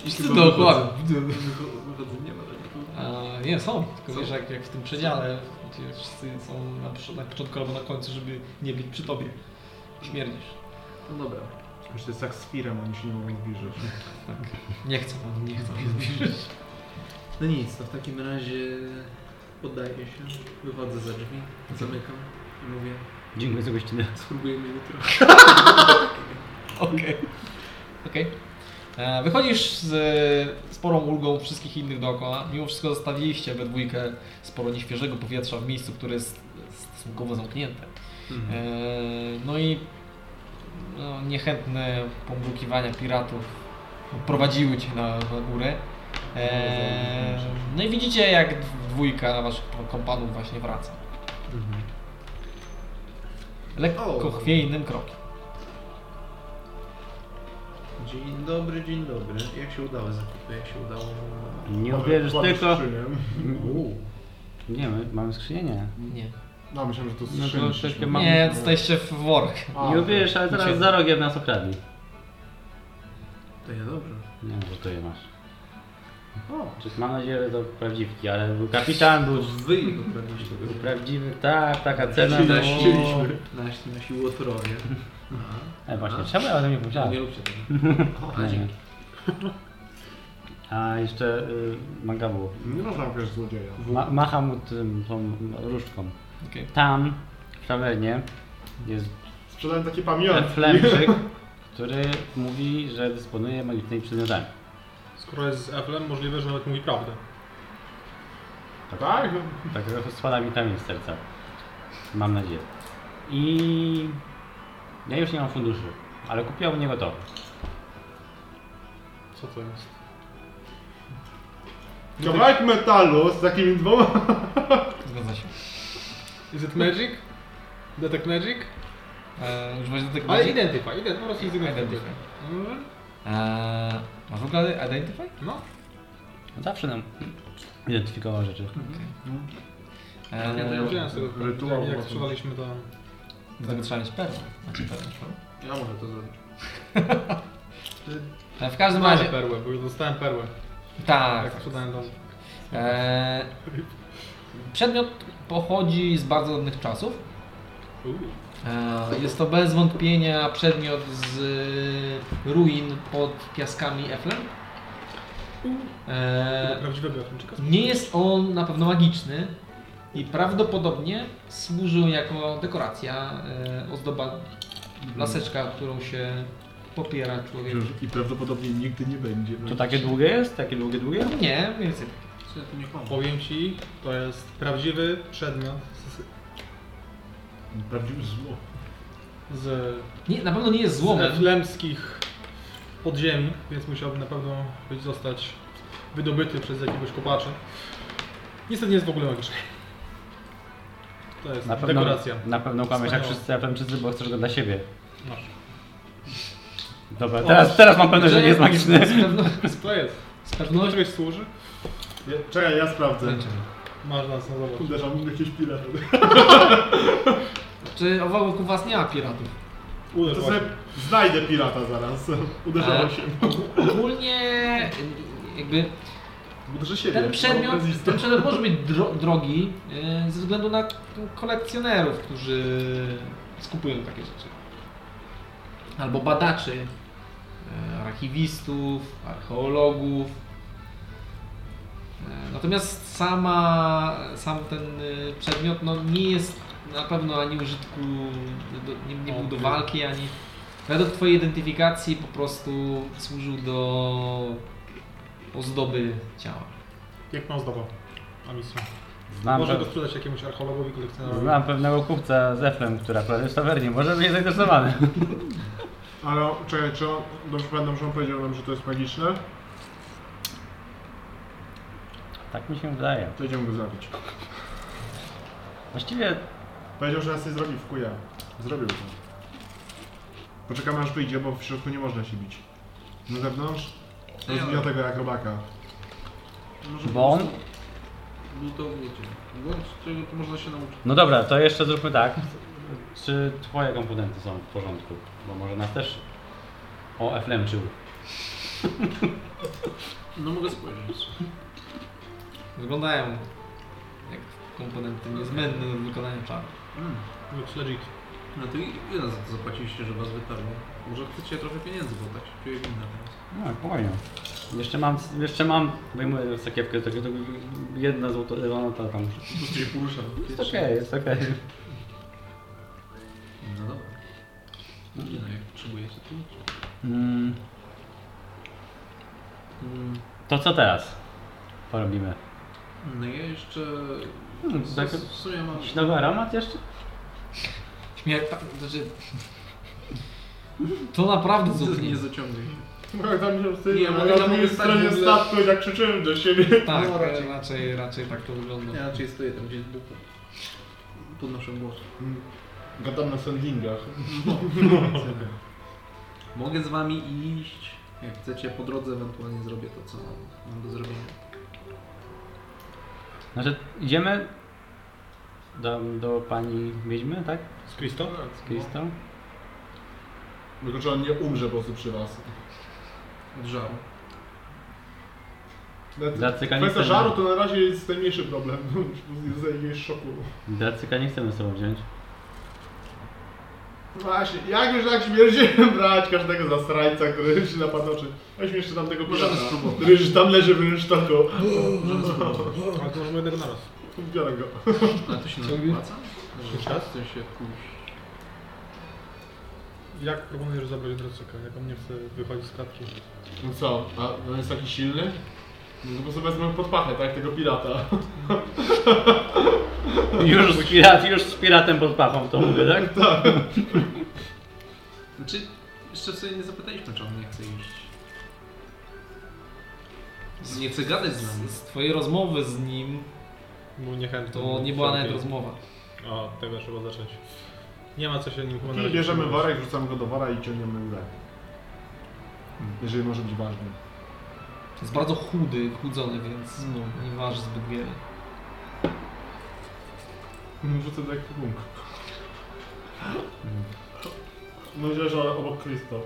Jeśli
Ty
go
do
wychodzę-
okławy.
wycho- Wychodzę, nie ma do niego.
E, nie, są, tylko
Są?
wiesz, jak, jak w tym przedziale, gdzie wszyscy są na, przy- na początku albo na końcu, żeby nie być przy tobie. Śmierdzisz.
No dobra.
Już to jest jak z firem, oni się nie mogą zbliżyć.
Nie chcę, on nie chcę mnie zbliżyć.
No nic, to w takim razie poddaję się, wychodzę za drzwi, zamykam i mówię,
Dziękuję za gościnę.
spróbujemy jutro.
Okej. Okej. E, Wychodzisz z e, sporą ulgą wszystkich innych dookoła. Mimo wszystko zostawiliście we dwójkę sporo nieświeżego powietrza w miejscu, które jest stosunkowo zamknięte. E, No i no, niechętne pomrukiwania piratów prowadziły cię na, na górę. E, No i widzicie, jak dwójka waszych kompanów właśnie wraca. Lekko
O.
chwiejnym krokiem.
Dzień dobry, dzień dobry. Jak się udało zakupy, jak się udało...
Nie uwierzysz
Kładę
tylko...
skrzynię.
Nie, my mamy skrzynię, nie.
Nie,
No, myślałem, że to
No
jest
to
skrzynia.
troszkę mam...
nie jesteście w worek.
A,
Nie uwierzysz, ale teraz za rogiem nas okradli.
To ja dobrze.
Nie wiem, że to je masz.
O,
Czy mam nadzieję, że to prawdziwki, ale był kapitan, był,
wy jego prawiliście.
był prawdziwy, tak, taka cena.
Czyli
no.
naściliśmy. Naśli nasi łotrowie.
E, właśnie, czemu ja o tym nie
A,
pomyślałem?
nie róbcie tego.
Nie.
A, dzięki.
A jeszcze y, Magabu.
Nie można wiesz złodzieja.
Ma, macham mu tym, tą różdżką.
Okej.
Tam, w tawernie, jest
Sprzedałem takie pamiątki.
Flemczyk, który mówi, że dysponuje magicznymi przedmiotami.
Skoro jest z Eflem, możliwe, że nawet mówi prawdę.
Tak?
Tak, trochę spada mi kamień z serca. Mam nadzieję. I ja już nie mam funduszy, ale kupiłem u niego to.
Co to jest?
Kawałek metalu z takimi dwoma...
Zgadza się.
Is it magic? Detect magic?
Eee, używać do tego
Ale
będzie-
identyfy, identyfy, po prostu identyfy. Mhm.
Identify. Eee, masz w ogóle Identify?
No,
Zawsze nam identyfikował rzeczy.
Eee,
ja to wziąłem z tego,
rytuał
jak
ma-
sprzedaliśmy to...
do tego trzeba mieć perłę. Macie perłę?
Ja mogę to zrobić.
Eee, W każdym
Znałem
razie...
perłę, bo już dostałem perłę,
Tak.
jak sprzedałem dom.
Eee, przedmiot pochodzi z bardzo dawnych czasów. Eee, jest to bez wątpienia przedmiot z ruin pod piaskami Eflem. Eee,
Prawdziwego Eflemczyka.
Nie jest on na pewno magiczny i prawdopodobnie służył jako dekoracja, e, ozdoba, laseczka, którą się popiera człowiek.
I prawdopodobnie nigdy nie będzie.
To takie długie jest? Takie długie, długie?
Nie, mniej więcej.
Co ja tu nie kłamam?
Powiem ci, to jest prawdziwy przedmiot z,
Prawdziwe zło.
z
Nie, na pewno nie jest
z
złomem.
eflemskich podziemi, więc musiałby na pewno być zostać wydobyty przez jakiegoś kopacza. Niestety nie jest w ogóle magiczny. To jest
Na pewno,
dekoracja.
na pewno kłamiesz jak
Wspaniała.
wszyscy Japończycy, bo chcesz go dla siebie.
Masz.
Dobra, teraz, teraz mam pewność, Tak, że nie jest magiczny.
Z, pewno,
To jest.
z
No
pewnością.
czegoś służy?
Ja, czekaj, ja sprawdzę.
Masz nas na zobacz.
Uderzam w jakieś pirata.
Czy owa- wokół was nie ma piratów?
Uderz
To
właśnie.
sobie znajdę pirata zaraz. Uderzam się.
E, Ogólnie jakby
Uderzę siebie.
ten
No,
przedmiot,
bez istoty.
ten przedmiot może być dro, drogi e, ze względu na kolekcjonerów, którzy skupują takie rzeczy. Albo badaczy, e, archiwistów, archeologów. E, Natomiast sama, sam ten y, przedmiot no, nie jest na pewno ani użytku, do, nie, nie był do walki, ani według Twojej identyfikacji po prostu służył do ozdoby ciała.
Jak ma ozdoba? A misja.
Znam,
Może
pe-
go sprzedać jakiemuś archeologowi, kolekcjonerowi.
znam pewnego kupca z Eflem, który akurat jest w tawernie. Może być zainteresowany.
Ale o- czekaj, czy on, dobrze pamiętam, że on powiedział nam, że to jest magiczne?
Tak mi się wydaje.
To idziemy go zabić.
Właściwie
Powiedział, że nas nie zrobi w kuja. Zrobił to. Poczekamy aż wyjdzie, bo w środku nie można się bić. Na zewnątrz rozbija tego jak robaka.
Może
Bo on-
Lutowniecie. Bądź czego to można się nauczyć.
No dobra, to jeszcze zróbmy tak. Czy twoje komponenty są w porządku? Bo może nas też o eflemczył.
No mogę spojrzeć.
Wyglądają jak komponenty niezbędne do wykonania czaru.
Mm.
Looks legit.
No to i wy nas za to zapłaciliście, że was wytarło. Może chcecie trochę pieniędzy, bo tak się czuję winna teraz.
No, spokojnie. Jeszcze mam, jeszcze mam, wyjmuję sakiewkę, takie to jedna złota, no to tam.
Po prostu się poruszam.
Jest okej, jest okej.
No dobra. Nie no, jak potrzebujecie, to idźcie.
Mm,
Mm.
To co teraz? Porobimy.
No ja jeszcze...
Hmm,
w-
tak-
W sumie mam...
Jakiś nowy aromat jeszcze?
Śmiech, tak, znaczy... To naprawdę
Nie,
zupełnie...
nie zaciągnij się.
No jak tam się
Nie,
wstydzę,
mogę
a na
tam
drugiej
stać w
stronie
ogóle.
statku jak krzyczyłem do siebie.
Tak,
No, raczej.
raczej. Raczej, tak to wygląda.
Ja raczej stoję tam gdzieś dupą. Podnoszę głos.
Gadam na sendingach.
Mogę z wami iść. Jak chcecie, po drodze ewentualnie zrobię to, co mam, mam do zrobienia.
Znaczy, idziemy do, do pani wiedźmy, tak?
Z Christo?
Z Kristą?
Tylko czy on nie umrze po prostu przy was.
Drzał.
Zacykanicę
Kwestia
na-
żaru to na razie jest najmniejszy problem. Już jakiegoś szoku.
Dacyka nie chcemy z sobą wziąć.
Właśnie, jak już tak śmierdziłem brać każdego zasrańca, który się napadł oczy. Weźmy jeszcze tamtego pirata, który już tam leży w rynsztoku.
Możemy spróbować.
Ale to możemy jednego naraz.
Biorę go.
Ale to się
Co
nam
mówię?
opłaca? Że w sensie pójść.
Jak proponujesz zabrać Dracyka? Jak on nie chce wychodzić z klatki?
No co, a on jest taki silny? No to po prostu wezmę pod pachę, tak, tego pirata.
Już z, pirat, już z piratem pod pachą to mówię, tak?
Znaczy, jeszcze sobie nie zapytaliśmy, czy on nie chce iść. Nie chce gadać z nami.
Z, z twojej rozmowy z nim
Był niechętny.
to nie była nawet rozmowa.
O, od tego trzeba zacząć. Nie ma co się nim chyba na
I
razie
bierzemy
przejmować.
worek, wrzucamy go do wora i ciągniemy górę. Jeżeli może być ważny.
Jest bardzo chudy, chudzony, więc no, nie waży zbyt wiele.
Mm, Wrzucę do ekwipunku. Myślę, No że obok Kristo.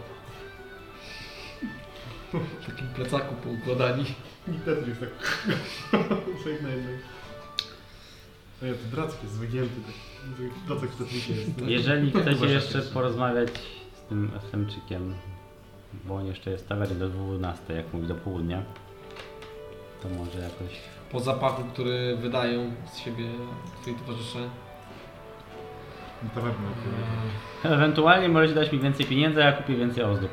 W takim plecaku poukładani.
I Tetris tak. Człowiek na jednej. No ja to Dracek jest wygięty. tak. Dracek w Tetrisie jest. no?"
No
Jeżeli
Chyba,
chcecie
że
jeszcze
jest.
porozmawiać z tym Efemczykiem, bo on jeszcze jest w tawernie do 12, jak mówi, do południa, to może jakoś...
Po zapachu, który wydają z siebie twoi towarzysze.
Na tawernę.
Ewentualnie możecie dać mi więcej pieniędzy, a ja kupię więcej ozdób.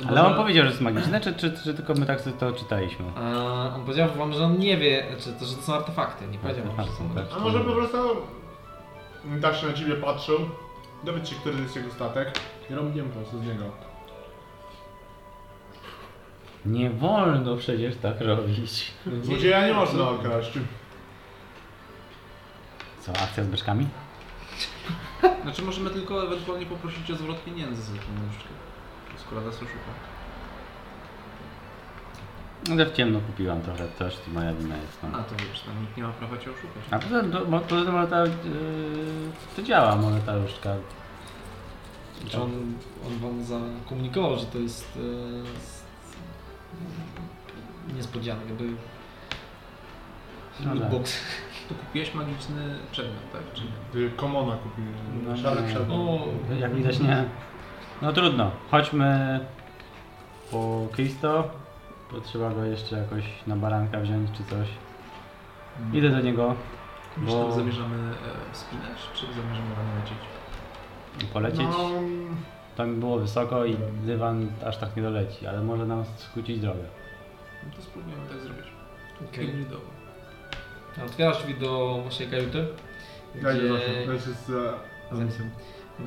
No
Ale on powiedział, że jest magiczne, czy, czy, czy tylko my tak sobie to czytaliśmy?
A on powiedział wam, że on nie wie, czy to, że to są artefakty.
Tak,
Nie powiedział wam, że są
A może po prostu tak się na ciebie patrzył, dowiedz się, który jest jego statek. I robiłem po prostu z niego.
Nie wolno przecież tak robić.
Złodzieja nie można okraść.
Co, akcja z beczkami?
Znaczy, możemy tylko ewentualnie poprosić o zwrot pieniędzy za tą nóżkę. Skoro nas oszuka.
No ja w ciemno kupiłam trochę też, to moja wina jest. No.
A to wiesz, tam nikt nie ma prawa cię oszukać.
A poza tym, to, bo- poza tym moneta, yy, to działa monetaruszka.
Czy on, on wam zakomunikował, że to jest e, s- niespodzianek, jakby
No tak.
Lootbox.
Tu kupiłeś magiczny przedmiot, tak? Czy nie?
Y, Komona kupiłem.
No,
Szary
nie.
Mm.
przedmiot.
O,
Jak widać nie. No trudno. Chodźmy po Cristo. Bo trzeba go jeszcze jakoś na baranka wziąć czy coś.
Mm.
Idę do niego.
Czy tam
Bo
zamierzamy e, wspinać, czy zamierzamy rano lecieć?
polecieć.
No,
Tam było wysoko i dywan aż tak nie doleci, ale może nam skrócić drogę.
No to spróbujemy tak zrobić.
Okej.
Hybrydowo.
Otwierasz drzwi do waszej kajuty,
ja idę zawsze.
gdzie,
Ja się z Amisem.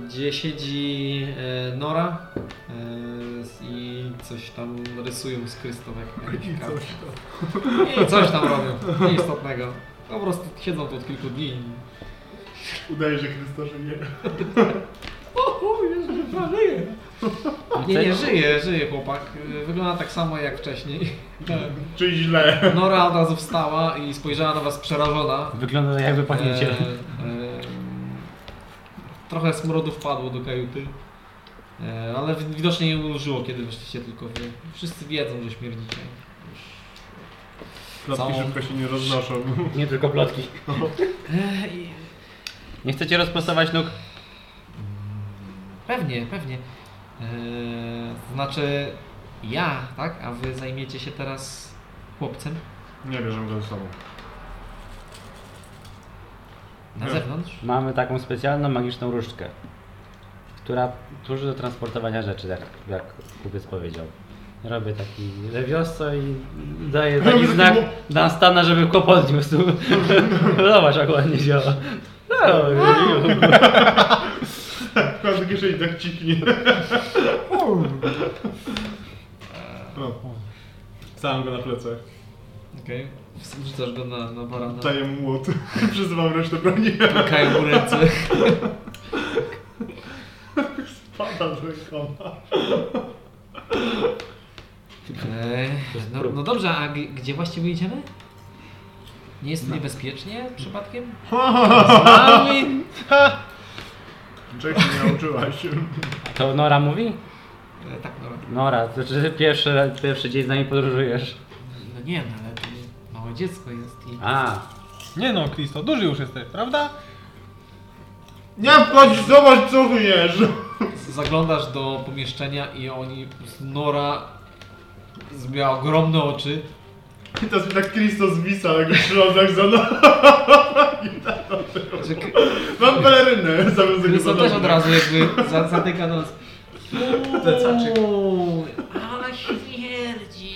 gdzie siedzi e, Nora e, z- i coś tam rysują z Krystowek.
I
jakieś
coś
karty.
tam.
I coś tam robią, nieistotnego. Po prostu siedzą tu od kilku dni. i-
Udaje, że Chrysta żyje.
Nie, nie, żyje, żyje chłopak. E, Wygląda tak samo jak wcześniej. Tak.
Czyli źle.
Nora od razu wstała i spojrzała na was przerażona.
Wygląda tak, jakby
E,
pachniecie.
e, trochę smrodu wpadło do kajuty, e, ale wi- widocznie nie ulżyło, kiedy weszliście tylko wy. Wszyscy wiedzą, że śmierdzicie.
Klapki
Całą-
szybko się nie roznoszą.
Nie tylko plotki.
E, i-
Nie chcecie rozprostować nóg?
Pewnie, pewnie. E, znaczy ja, tak? A wy zajmiecie się teraz chłopcem
Nie bierzemy go ze sobą.
na
Nie.
zewnątrz?
Mamy taką specjalną magiczną różdżkę, która służy do transportowania rzeczy, jak, jak kupiec powiedział. Robię taki lewiosco i daję taki znak na Stana, żeby go podniósł. Zobacz jak ładnie działa. No,
Wkład do kieszeni tak ciknie. Sam go na plecach.
Okej. Wrzucasz go na, na barana.
Daję mu młot. Przyzywam resztę broni.
Pękają mu ręce.
Spada z rękoma.
E, no, no dobrze, a g- gdzie właściwie idziemy? Nie jest tu niebezpiecznie przypadkiem? Z nami?
Czego nie nauczyłaś?
to Nora mówi?
E, tak, no,
Nora, to czy ty pierwszy, pierwszy dzień z nami podróżujesz?
no nie no, ale to małe dziecko jest i...
A,
Nie no, Kristo, duży już jesteś, prawda?
Nie wchodź, zobacz co chujesz!
Zaglądasz do pomieszczenia i oni... po prostu Nora miała ogromne oczy.
I teraz mi tak Christo zwisa, ale go trzymam tak za no.
Znaczy, K-
Mam pelerynę zamiast tego
Krysto też od
za nogę.
razu jakby za- zatyka nos.
Plecaczek.
Uuu, Ale śmierdzi.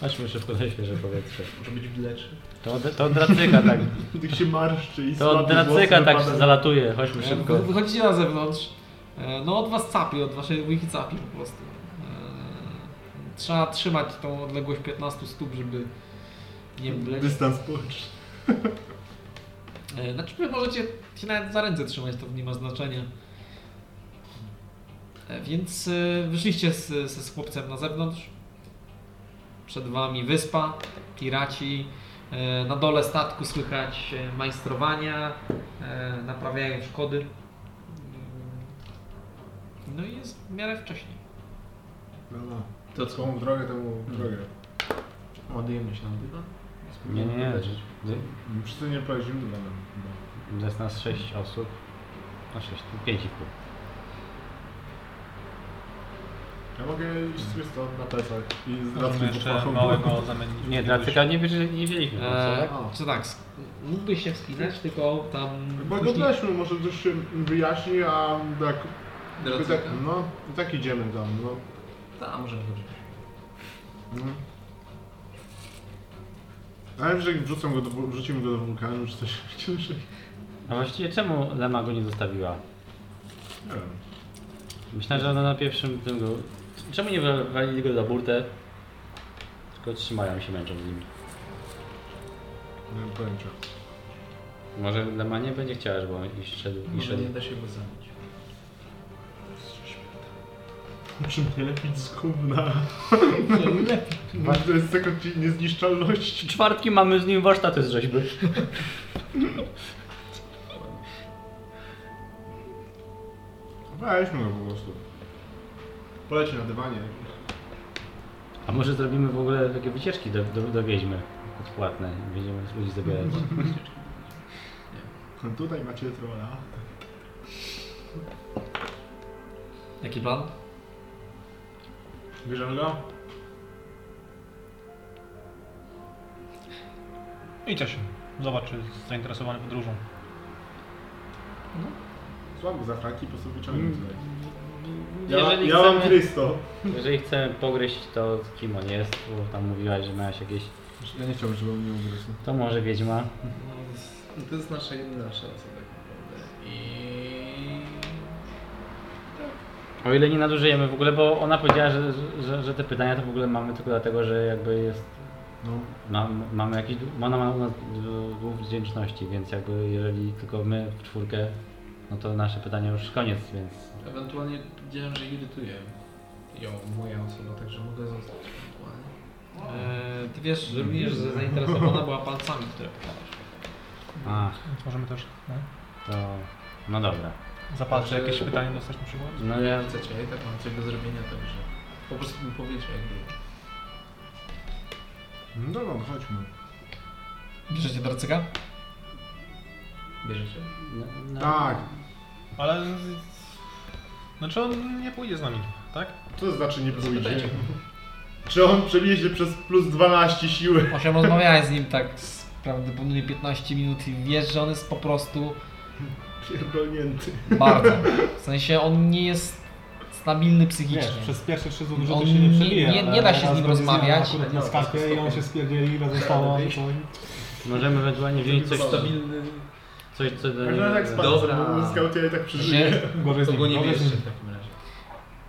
chodźmy szybko na świeże powietrze.
Może być wlecz.
To, od- to od dracyka tak,
Tak się marszczy i
to od
słaby
dracyka
głos
tak
wypada.
zalatuje, chodźmy szybko.
E, Wy- Wychodzicie na zewnątrz. e, No od was capi, od waszej dwójki capi po prostu. E, Trzeba trzymać tą odległość 15 stóp, żeby nie mleć.
Dystans społeczny.
E, Znaczy wy możecie się nawet za ręce trzymać, to nie ma znaczenia. E, Więc e, wyszliście z, z, z chłopcem na zewnątrz. Przed wami wyspa, piraci. E, Na dole statku słychać e, majstrowania, e, naprawiają szkody. Mm. No i jest w miarę wcześniej.
No, no.
To co?
Komu w drogę, temu w drogę.
Ładujemy się na dywan?
Nie, nie, nie. Wy-
Przy tym nie prawie zimno dla mnie.
Jest nas 6 osób. No 6, 5,5.
Ja mogę iść z Christo na plecach i z
Możemy
dracyku
jeszcze
pachą.
małego zamędzić.
Nie, dlaczego nie, wiedzieli- nie wiedzieliśmy. po co,
E,
tak?
czy tak, sk- mógłbyś się wspinać, tylko tam...
Bo go
później-
odleśmy, może coś się wyjaśni, a tak... jakby tak no, i tak idziemy tam, no.
Tak, możemy chodzić.
Mhm. Ale że wrzucą go do, wul- wrzucimy go do wulkanu czy coś ciężej.
A właściwie czemu Lema go nie zostawiła?
Nie wiem.
Myślę, że ona na pierwszym tym go... Czemu nie wywalili go za burtę? Tylko trzymają się, męczą z nimi.
Nie mam pojęcia.
Może Lema nie będzie chciała, żeby on iść szedł i
Może
szedł.
nie da się go zabić.
Muszę mnie lepić z gówna. Lepiej. To jest taka ci- niezniszczalność.
Czwartki mamy z nim warsztaty z rzeźby.
Weźmy go po prostu. Poleci na dywanie.
A może zrobimy w ogóle takie wycieczki do, do, do Wiedźmy odpłatne. Będziemy ludzi zabierać.
No Tutaj macie trolla.
Jaki plan?
Bierzemy go.
Idź się. Zobacz, czy jest zainteresowany podróżą.
Słabo za franki, po prostu wyciągnę tutaj. Ja,
Jeżeli
ja mam
chcemy,
300.
jeżeli chcemy pogryźć to kim on jest, bo tam mówiłaś, że miałeś jakieś...
Ja nie chciałbym, żeby on mnie ugryzł.
To może Wiedźma.
No, z- no to jest nasza jedyna szansa tak naprawdę. I...
O ile nie nadużyjemy w ogóle, bo ona powiedziała, że, że, że te pytania to w ogóle mamy tylko dlatego, że jakby jest...
No,
Mam, mamy jakiś... Ona ma u nas dług wdzięczności, więc jakby jeżeli tylko my w czwórkę, no to nasze pytania już koniec, więc...
Ewentualnie widziałem, że irytuje ją moja osoba, także mogę zostać ewentualnie.
tak.
Eee, ty wiesz, że również zainteresowana była palcami, które pokazałeś.
A,
Więc możemy też no,
to... No dobra.
zapatrzę
Znaczy-
jakieś pytanie dostać na przykład.
No ja...
Jak chcecie, ja i tak mam coś do zrobienia, także po prostu mi powiecie jak było.
no dobra, no chodźmy.
Bierzecie Darcyka?
Bierzecie?
No, no,
Tak,
Ale... z- Znaczy on nie pójdzie z nami, tak?
co to znaczy nie pójdzie?
Zapytajcie.
Czy on przewiezie przez plus 12 siły?
Osiem rozmawiałem z nim tak z prawdopodobnie 15 minut i wiesz, że on jest po prostu
Pierdolnięty.
bardzo. W sensie on nie jest stabilny psychicznie.
Wiesz, przez pierwsze trzy dużo
On
to się nie
nie-
przebije.
nie- nie
ale
da się z
raz
nim
będzie zmiana
rozmawiać.
Akurat na skapie i on się spierdzieli, ile zostało. no to-
Możemy ewentualnie wziąć coś, co,
stabilny.
coś, co do
Każdy tak spadł,
Dobra.
bo scout ja i tak przeżyje.
Że
Gorzej z
To
nim,
go nie tak
gorzej z
bierzcie
nim.
w takim razie.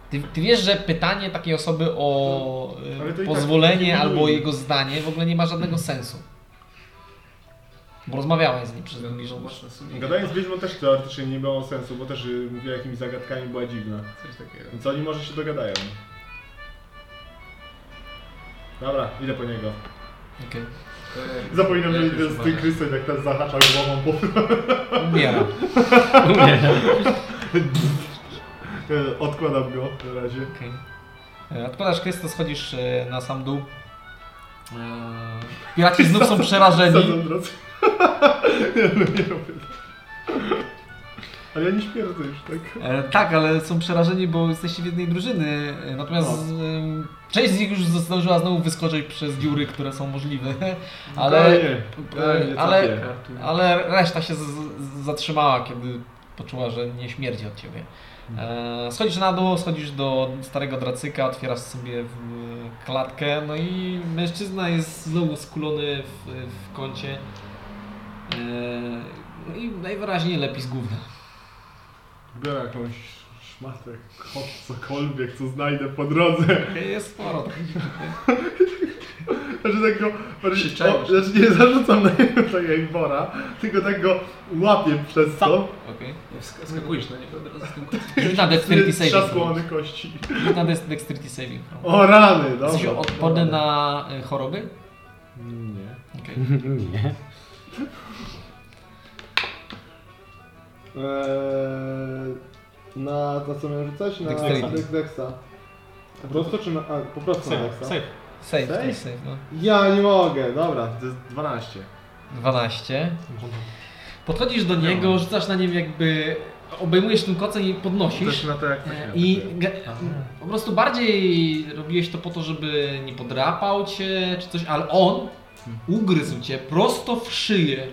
ty, ty wiesz, że pytanie takiej osoby o e,
Ale to i tak
pozwolenie
nie
albo
buduje.
jego zdanie w ogóle nie ma żadnego sensu. Bo rozmawiałem z nim przez
Względem
dłuższą
na własne sumienie.
Gadanie z Wiedźmą też teoretycznie nie miało sensu, bo też y, mówiła jakimiś zagadkami, była dziwna.
Coś takiego.
Więc oni może się dogadają. Dobra, idę po niego.
Okej.
Zapominam, że
Jak
idę
już
z tym
uważasz.
Krysem, jak ten zahacza tak głową po...
Umiera.
E, Odkładam go na razie.
Okej. E, Odkładasz Krysto, schodzisz e, na sam dół. E,
Eee,
Piraci znów są przerażeni.
Sadzą drodzy. ja no nie robię tak. Ale ja nie śmierdzę już, tak?
E, tak, ale są przerażeni, bo jesteście w jednej drużyny. E, Natomiast em, część z nich już zdążyła znowu wyskoczyć przez dziury, które są możliwe. Ale,
nie,
e, ale,
Kartu.
ale reszta się z, z, zatrzymała, kiedy poczuła, że nie śmierdzi od ciebie. E, schodzisz na dół, schodzisz do starego dracyka, otwierasz sobie w, klatkę, no i mężczyzna jest znowu skulony w, w kącie. E, no i najwyraźniej lepi z gówna.
Biorę jakąś szmatę, kot, cokolwiek, co znajdę po drodze.
Jest sporo.
Znaczy tak go... Znaczy,
Krzyczałeś.
o, znaczy nie zarzucam na niego tak jak wora, tylko tak go łapię przez to.
Okej.
Sk- Skakujesz na niego od razu z tym kotem.
Rzuć na dexterity saving throw.
Trzasłony kości.
Rzuć na dex- dexterity saving throw.
O rany, dobra.
Jesteś odporny na y, choroby?
Nie.
Okej.
Nie.
Eee, na to co miałem rzucać? Na
Dexterity.
Dex- Dexa. Po prostu czy na... A, po prostu na
No, Safe,
Dexa.
safe.
Save,
Save?
to jest save, no.
Ja nie mogę, dobra, to jest 12.
12. Podchodzisz do niego, rzucasz na nim jakby... Obejmujesz tym kocem i podnosisz.
na to tak, jak
E, I ge- po prostu bardziej robiłeś to po to, żeby nie podrapał cię czy coś, ale on ugryzł cię prosto w szyję.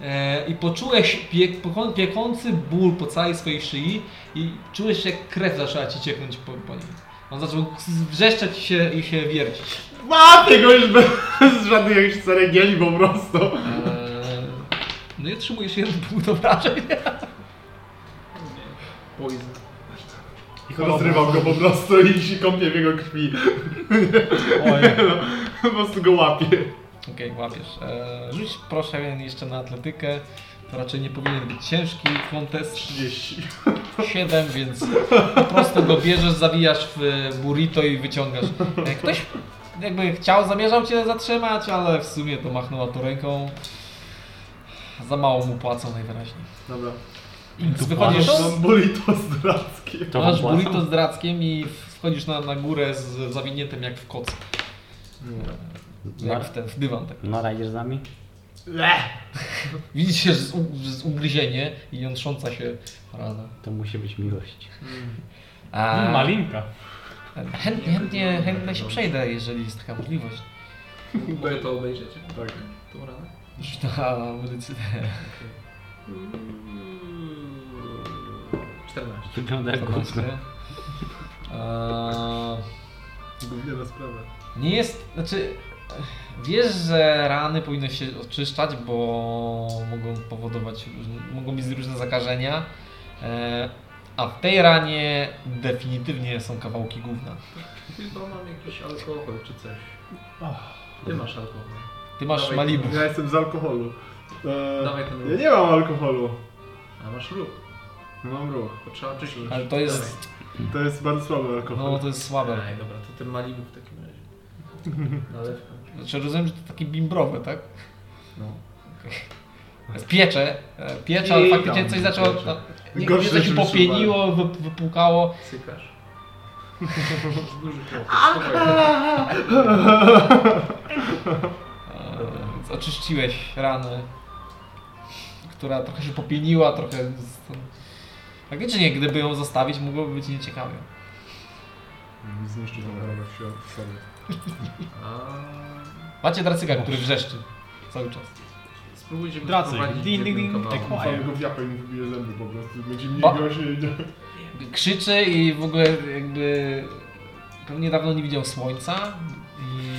E, I poczułeś piek, pokon- piekący ból po całej swojej szyi i czułeś, jak krew zaczęła ci cieknąć po, po nim. On zaczął wrzeszczeć się i się wiercić.
Łapię go już bez bez żadnych jakichś ceregieli po prostu.
E, no i otrzymujesz jeden punkt obrażeń.
Poison.
I rozrywał go po prostu i się kąpie w jego krwi. No,
Oj,
Po prostu go łapie.
Okej, łapiesz. E, rzuć proszę jeszcze na atletykę. To raczej nie powinien być ciężki kontest.
30.
7, więc po prostu go bierzesz, zawijasz w burrito i wyciągasz. E, Ktoś jakby chciał, zamierzał cię zatrzymać, ale w sumie to machnął tu ręką. Za mało mu płacą najwyraźniej.
Dobra.
I wychodzisz,
Mam burrito z drackiem.
To
masz
opłacam.
burrito z drackiem i wchodzisz na, na górę z zawiniętym jak w koc. Jak w ten w dywan tak.
Nora, idziesz z nami?
Widzicie, że z, u- że z ugryzienie i jątrząca się rana.
To musi być miłość.
A
Malinka.
chętnie, chętnie, chętnie się przejdę, jeżeli jest taka możliwość.
Mogę to obejrzeć?
Tak.
Tą ranę?
Na ulicy.
Mm. 14.
Wygląda jak gówno.
Eee,
Gówniana sprawa.
Nie jest, znaczy wiesz, że rany powinno się oczyszczać, bo mogą powodować, różne- mogą być różne zakażenia, e, a w tej ranie definitywnie są kawałki gówna.
Chyba mam jakiś alkohol czy coś. Ty masz alkohol.
Ty masz
Dawaj,
Malibu.
Ja jestem z alkoholu. Eee,
Dawaj ten
ja
ruch.
nie mam alkoholu.
A masz ruch.
Mam ruch.
To trzeba czyścić.
Ale to jest,
To jest bardzo słaby alkohol.
no to jest słabe.
Dawaj. Aj, dobra, to ten Malibu w takim razie. Nalewka.
Znaczy rozumiem, że to takie bimbrowe, tak?
No.
Okej. Piecze, e, piecze, ale
I
faktycznie
tam
coś zaczęło,
piecze.
no, nie,
Gorsze
nie, coś
rzeczy
popieniło, wy- wypłukało.
Sykasz. Duży chłopak.
E, więc oczyściłeś ranę, która trochę się popieniła, trochę... z- Faktycznie, gdyby ją zostawić, mogłoby być nieciekawie.
Zniszczył tą ranę w środ- w sobie.
A...
Macie dracyka, który wrzeszczy cały czas.
Spróbujcie go
Dracy.
sprowadzić
Ding,
w
ding,
jednym
ding.
kawałku.
Tak,
Sam go w japę i mu wybije zęby po prostu. Będzie mi
Ba-
groźniej. nie?
Krzyczy i w ogóle jakby... Pewnie dawno nie widział słońca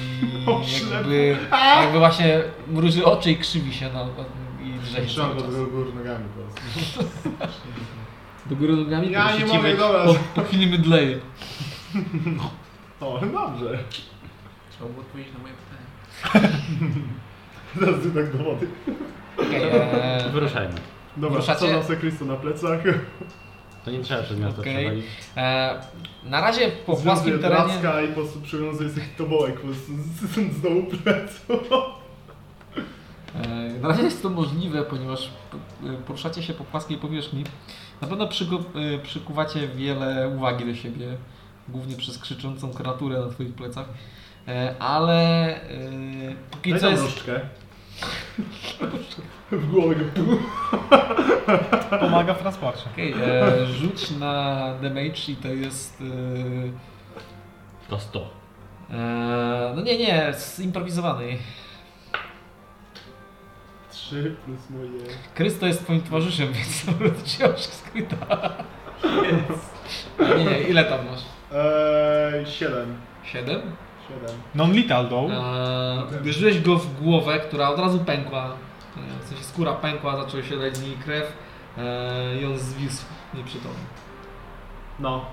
O,
i
ślepy.
jakby, jakby właśnie mruży oczy i krzywi się na, No i drze się
Trzymam
cały
go
czas.
do góry nogami po prostu.
Do góry nogami?
Ja nie
Siedzimy,
mogę, dobra.
Po, po chwili mydleje.
O, dobrze.
Trzeba było odpowiedzieć na moje pytanie.
Teraz idę tak do wody.
Okej, e,
Wyruszajmy.
Dobra,
Ruszacie?
co nam se Kristo na plecach?
To nie trzeba przez miasto
Okej.
przechodzić.
e, na razie po
Związuje
płaskim terenie...
placka i po prostu przywiązuje sobie tobołek po prostu z, z, z dołu pleców.
E, Na razie jest to możliwe, ponieważ po- e, poruszacie się po płaskiej powierzchni. Na pewno przygo- e, przykuwacie wiele uwagi do siebie, głównie przez krzyczącą kreaturę na twoich plecach. E, Ale e, póki
Daj
co
tam
jest
różdżkę. W głowę go pum.
Pomaga w transporcie.
Okej, e, rzuć na damage i to jest... e,
To 100.
e, No nie, nie, zimprowizowanej.
3 plus moje...
Krysto jest twoim towarzyszem, więc wróciło wszystko i tak. Więc- Nie, nie, ile tam masz?
Eee, 7.
Siedem?
7.
Non-lethal though.
Eee, uderzyłeś go w głowę, która od razu pękła. Eee, W sensie skóra pękła, zaczęła się lać z niej krew eee, i on zwisł nieprzytomny.
No.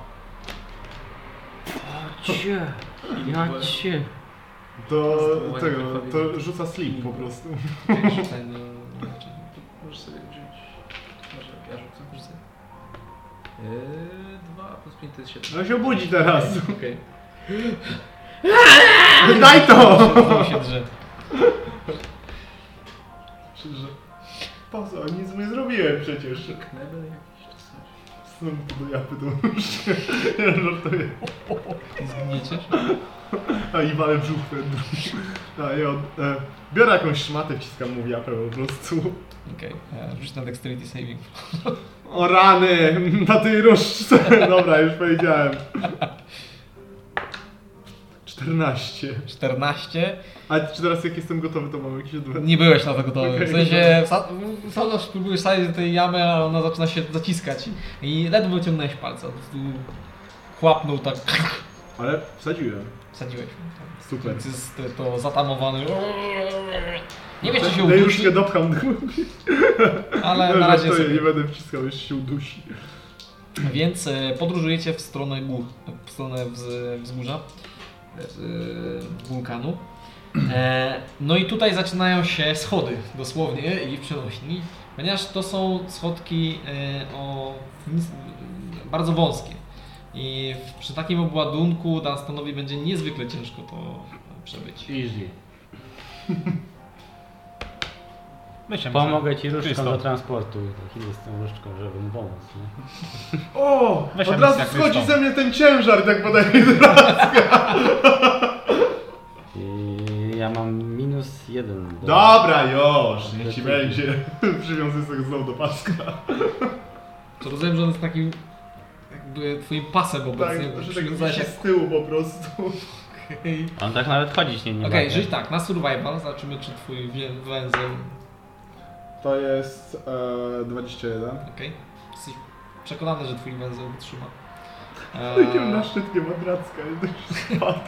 Cie, ja cię.
To,
Zdobyłem
tego,
alfabet.
to rzuca sleep po prostu.
Jakieś rzucaj na- na raczej.
Możesz sobie wziąć. Może ja rzucę. Rzucę. Yy, 2 plus 5 to jest 7.
No się obudzi teraz.
Okej.
Daj to!
Znowu się drze.
Krzyże. Po co? Nic nie zrobiłem przecież.
Knebel jakiś czy coś.
Snu do japy do różdżkę. Ja żartuję.
Zgniecie?
A i walę brzuchwę. A ja od, e, biorę jakąś szmatę, wciskam mu w japę po prostu.
Okej, eee, rzuć na dexterity saving.
O rany! Na tej różdżce! Dobra, już powiedziałem. 14.
14.
A czy teraz jak jestem gotowy, to mam jakiś odwet?
Nie byłeś na to gotowy. W
Okej.
sensie, wsa- wsadzasz, próbujesz sadzić do tej jamy, a ona zaczyna się zaciskać. I ledwo wyciągnąłeś palca. Po prostu chłapnął tak,
Ale wsadziłem.
wsadziłeś.
Super.
Więc jest to zatamowany. Nie wiesz, czy się
No i
udusi,
już nie dopcham do
ale na razie
Żartuję,
sobie.
nie będę wciskał, jeszcze się udusi.
Więc e, podróżujecie w stronę gór, w stronę wz, wzgórza e, e, wulkanu. E, no i tutaj zaczynają się schody, dosłownie i w przenośni, ponieważ to są schodki e, o, nic- bardzo wąskie. I w, przy takim obładunku Dunstanowi będzie niezwykle ciężko to przebyć.
Easy.
Myślę,
Pomogę ci różdżką
Krzysztof.
do transportu. Tak idę z tą różdżką, żeby mu pomóc. Nie?
O!
Weź
od
tam
razu
jest jak
schodzi
wyszło.
ze mnie ten ciężar, tak podaje.
I ja mam minus jeden. do-
Dobra, już, niech ci będzie. Przywiązuję sobie znowu do paska.
To rozumiem, że on jest takim jakby twoim pasem obecnie,
Tak,
bo
że tak
przywiązałeś
się
jak...
z tyłu po prostu.
On tak nawet chodzić nie, nie
Okej,
ma.
okay, żyć tak, na survival, zobaczymy czy twój wie- węzeł,
To jest e, 21.
okej? Jesteś przekonany, że twój węzeł wytrzyma.
Takim na
Eee,
szczytkiem od Racka, i to już spadł.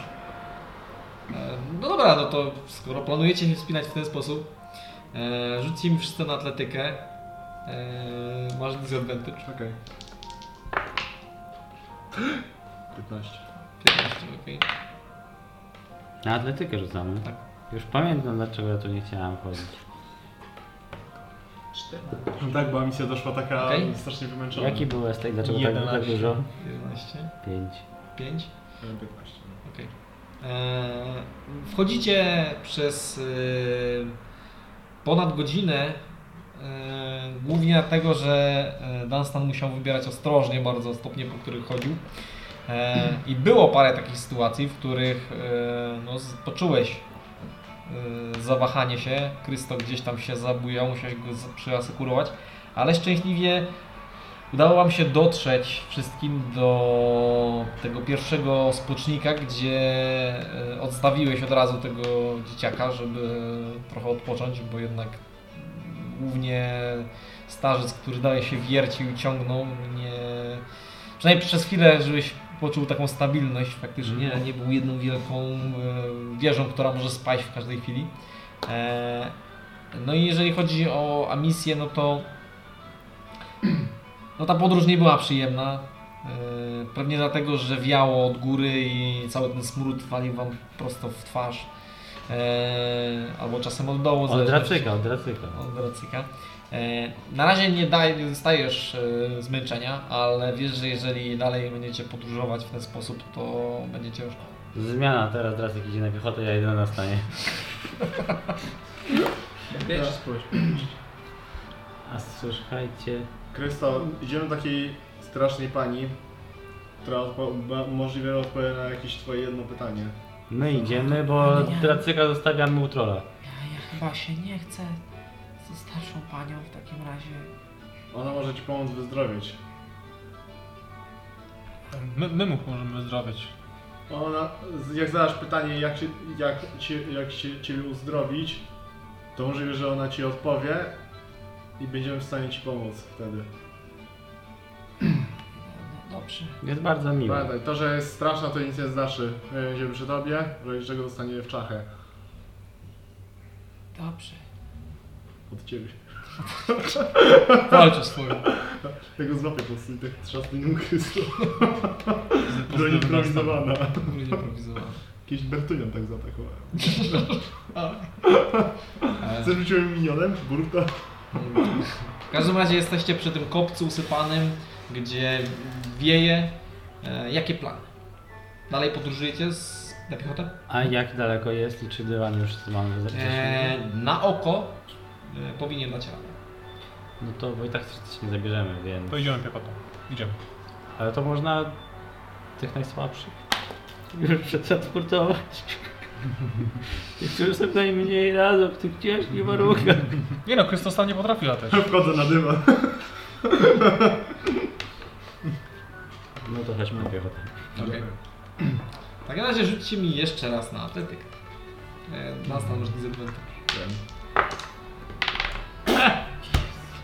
E, No dobra, no to skoro planujecie się wspinać w ten sposób, e, rzućcie mi wszyscy na atletykę. E, masz disadvantage.
Czekaj. 15.
15, okej.
Na atletykę rzucamy.
Tak.
Już pamiętam dlaczego ja tu nie chciałem chodzić.
Tak, była misja doszła taka
Okej.
strasznie wymęczona.
Jaki był estek? Dlaczego tak, tak
11.
dużo?
11,
Pięć.
5.
E, 15. no.
Okej. E, Wchodzicie przez e, ponad godzinę. e, Głównie dlatego, że e, Dunstan musiał wybierać ostrożnie bardzo stopnie, po których chodził. E, I było parę takich sytuacji, w których e, no, z- poczułeś e, zawahanie się. Krysto gdzieś tam się zabujał, musiałeś go z- przyasekurować. Ale szczęśliwie Udało Wam się dotrzeć wszystkim do tego pierwszego spocznika, gdzie e, odstawiłeś od razu tego dzieciaka, żeby trochę odpocząć, bo jednak głównie starzec, który dalej się wiercił i ciągnął, nie... przynajmniej przez chwilę, żebyś poczuł taką stabilność, faktycznie nie był jedną wielką e, wieżą, która może spaść w każdej chwili. E, No i jeżeli chodzi o misję, no to no ta podróż nie była przyjemna. Yy, Pewnie dlatego, że wiało od góry i cały ten smród walił wam prosto w twarz. Yy, Albo czasem od dołu.
Od
zależy-
dracyka, od dracyka.
Od dracyka. Yy, Na razie nie, daj, nie dostajesz yy, zmęczenia, ale wiesz, że jeżeli dalej będziecie podróżować w ten sposób, to będzie ciężko.
Zmiana, teraz dracyk idzie na piechotę, ja jedyna na stanie.
Wiesz, spójrz.
A słuchajcie,
Krysto, idziemy do takiej strasznej pani, która odpo- ba- możliwie odpowie na jakieś twoje jedno pytanie.
my idziemy, bo dracyka zostawiamy u trola.
Ja, ja chyba się nie chcę ze starszą panią w takim razie.
Ona może ci pomóc wyzdrowieć.
My, my mu możemy zdrowieć.
Ona, z- jak zadasz pytanie, jak, się, jak, cię, jak się, ciebie uzdrowić, to możliwe, że ona ci odpowie i będziemy w stanie ci pomóc wtedy.
No, no, dobrze.
Jest bardzo miło.
Pamiętaj, to, że jest straszna, to nic nie znaczy. My Będziemy przy tobie, wobec czego dostanie w czachę
Dobrze.
od ciebie.
Walczę swoją.
Tego złapię po prostu i tak trzasnę nim Krysto. Broń
Pozdrowienia
improwizowana.
Góry improwizowane.
Jakiś Bertunian tak zaatakował. Chcesz być moim minionem? Burta.
W każdym razie jesteście przy tym kopcu usypanym, gdzie wieje. E, jakie plany? Dalej podróżujecie z, na piechotę?
A jak daleko jest i czy dywan już mamy za
E,
wcześnie?
na oko e, powinien dać radę.
No to bo i tak coś nie zabierzemy, więc...
To idziemy piechotą. Idziemy.
Ale to można tych najsłabszych już przetransportować. Tych, którzy sobie najmniej radzą w tych ciężkich warunkach.
Nie no, Krystosa nie potrafiła też.
Wchodzę na dywan.
No to chodźmy na piechotę.
Okay. W takim razie rzućcie mi jeszcze raz na atletykę. E, na stan różnicy będę.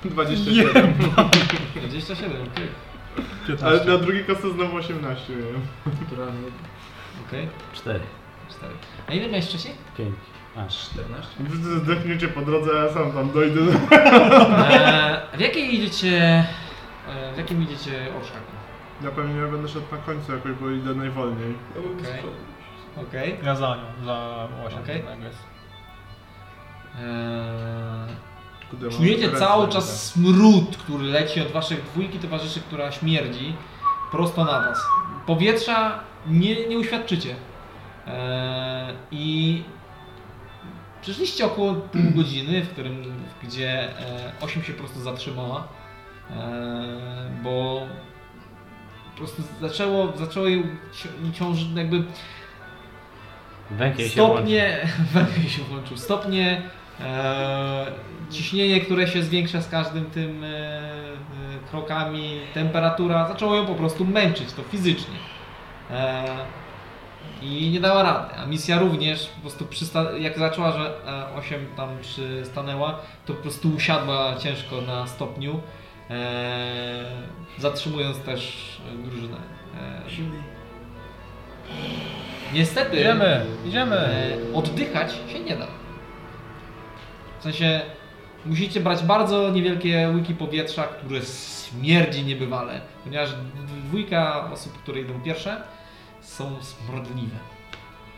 27.
27, okej.
Ale na drugi kostce znowu 18 miałem.
Naturalnie.
Okej,
Cztery,
4. A ile miałeś wcześniej?
pięć. A,
14?
Zdechniecie po drodze, a ja sam tam dojdę.
E, w jakiej idziecie. E, w jakim idziecie orszaku?
Ja pewnie będę szedł na końcu jakoś, bo idę najwolniej.
Okej. Okej.
Ja za nią, za 8.
Okej.
Tak jest.
E,
Kurde, mam tak.
Czujecie
ręce
cały
tutaj.
czas smród, który leci od waszych dwójki towarzyszy, która śmierdzi prosto na was. Powietrza nie, nie uświadczycie. Eee, I Przeżyliście około pół godziny, w którym, gdzie e, osiem się po prostu zatrzymała, e, bo po prostu zaczęło, zaczęło jej cią- ciąż, jakby
Węgiel się łączy.
stopnie, węgiel się włączył, stopnie, e, ciśnienie, które się zwiększa z każdym tym e, e, krokami, temperatura, zaczęło ją po prostu męczyć, to fizycznie. E, I nie dała rady, a misja również po prostu przysta- jak zaczęła, że e, 8 tam przystanęła, to po prostu usiadła ciężko na stopniu, e, zatrzymując też e, drużynę. E, niestety...
Idziemy, idziemy.
E, oddychać się nie da. W sensie musicie brać bardzo niewielkie łyki powietrza, które śmierdzi niebywale, ponieważ dwójka osób, które idą pierwsze, są smrodliwe.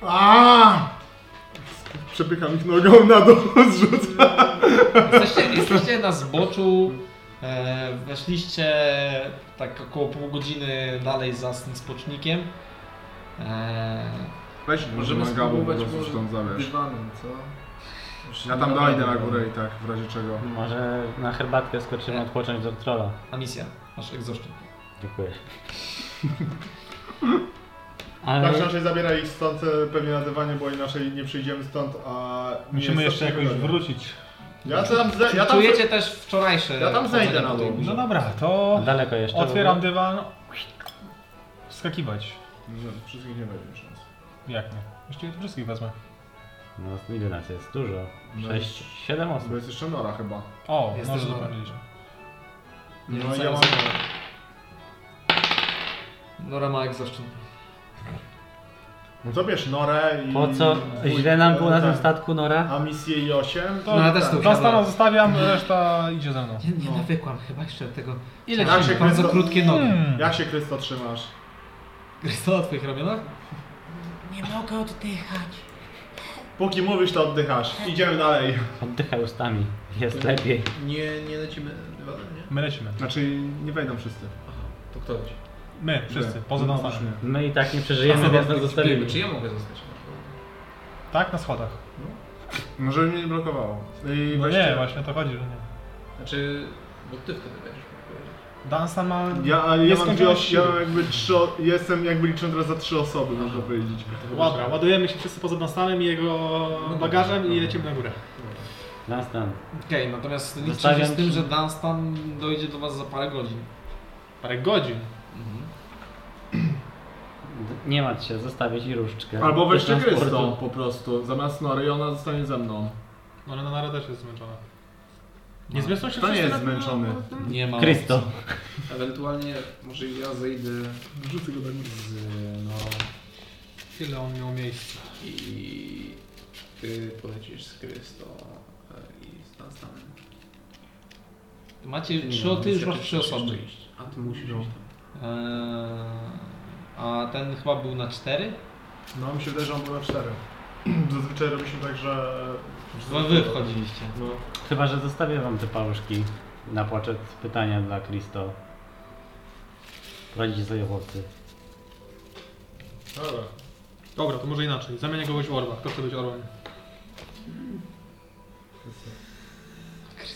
A! Przepycham ich nogą na dół, zrzucam.
Jesteście, jesteście na zboczu, e, weszliście tak około pół godziny dalej za tym spocznikiem. E,
Weź
Możemy
mangabą po
spróbować
prostu
może
stąd zabierz.
dywanem, co? Już
Ja
nie
tam
dobra,
dojdę na
dobra.
górę i tak, w razie czego.
Może na herbatkę skoczymy odpocząć do trolla.
a misja, masz egzoszczyk.
Dziękuję. Ale...
Tak czy inaczej zabiera ich stąd e, pewnie na dywanie, bo inaczej nie przyjdziemy stąd, a... nie
Musimy
jest
jeszcze
stąd
jakoś
wygodnie.
wrócić.
Ja tam, zaj- ja tam
Czujecie też wczorajsze
ja tam zejdę
chodzenie
na
po tej
dół.
górze.
No dobra, to
Daleko jeszcze.
otwieram dywan. Wskakiwać.
Nie, No, Wszystkich nie będzie szans.
Jak nie? Właściwie to wszystkich wezmę.
No, ile nas jest? Dużo.
No.
Sześć, siedem
Bo
osób.
jest jeszcze Nora chyba.
O,
Jest
no
też
zupełnie
dobra.
nieźle.
Nie
No
rzucają
ja mam...
sobie. Nora ma egzoszczyn.
No to bierz Norę i...
Po co?
Wuj-
Źle nam było na
e,
tym
tak.
statku, Nora?
A misję i tak. 8?
To
No, ja też tu
Dla
usiadłem.
stanu zostawiam, reszta idzie ze mną.
Nie, nie
No.
nawykłam chyba jeszcze tego.
Ile
Tak,
ci-
bardzo
to-
krótkie nogi.
Hmm.
Jak się Krysto trzymasz?
Krysto na twoich ramionach?
Nie mogę oddychać.
Póki mówisz, to oddychasz. Idziemy dalej.
Oddychaj ustami. Jest lepiej.
Nie, nie lecimy dywanem, nie?
My lecimy.
Znaczy, nie wejdą wszyscy.
To kto leci?
My, wszyscy,
Nie.
poza
No,
nas.
już nie.
My i tak nie przeżyjemy, więc nas zostawimy.
Czy ja mogę zostać?
Tak, na schodach.
Może No, mnie nie blokowało. I
No
weźcie-
nie, właśnie o to chodzi, że nie.
Znaczy, bo ty wtedy będziesz mógł powiedzieć.
Dansa ma...
Ja, a ja, mam dwie,
nieskończone
os- ja
siły.
mam jakby trzy, o- jestem jakby licząc teraz za trzy osoby, można powiedzieć.
Dobra, ładujemy się wszyscy poza Danstanem i jego bagażem i lecimy na górę.
Dunstan.
Okej, natomiast liczcie się
Zostawiam
z tym,
ci-
że Dunstan dojdzie do was za parę godzin.
Parę godzin.
d- Nie martw się, zostawię ci różdżkę.
Albo
Do
weźcie
transportu.
Krysto po prostu, zamiast Nory i ona zostanie ze mną.
No ale Nara też jest zmęczona. Nie zmieszczą się
To nie
wszyscy
jest
na-
zmęczony.
Nie ma.
Krysto.
Ewentualnie może ja zejdę
Rzucę go tak.
z no, Norą
Ile on miał miejsca?
i ty polecisz z Krysto e, i z Danstanem.
Macie
no,
trzy, ty już masz trzy osoby.
A ty musisz
No.
iść tam.
Eee, a ten chyba był na cztery?
No mi się wydaje, że on był na cztery. Zazwyczaj robi się tak, że...
Chyba wy wchodziliście.
No.
Chyba, że zostawię wam te paluszki na poczet pytania dla Kristo. Radzicie sobie chłopcy.
Dobra.
Dobra, to może inaczej. Zamienię kogoś w orła. Kto chce być orłem?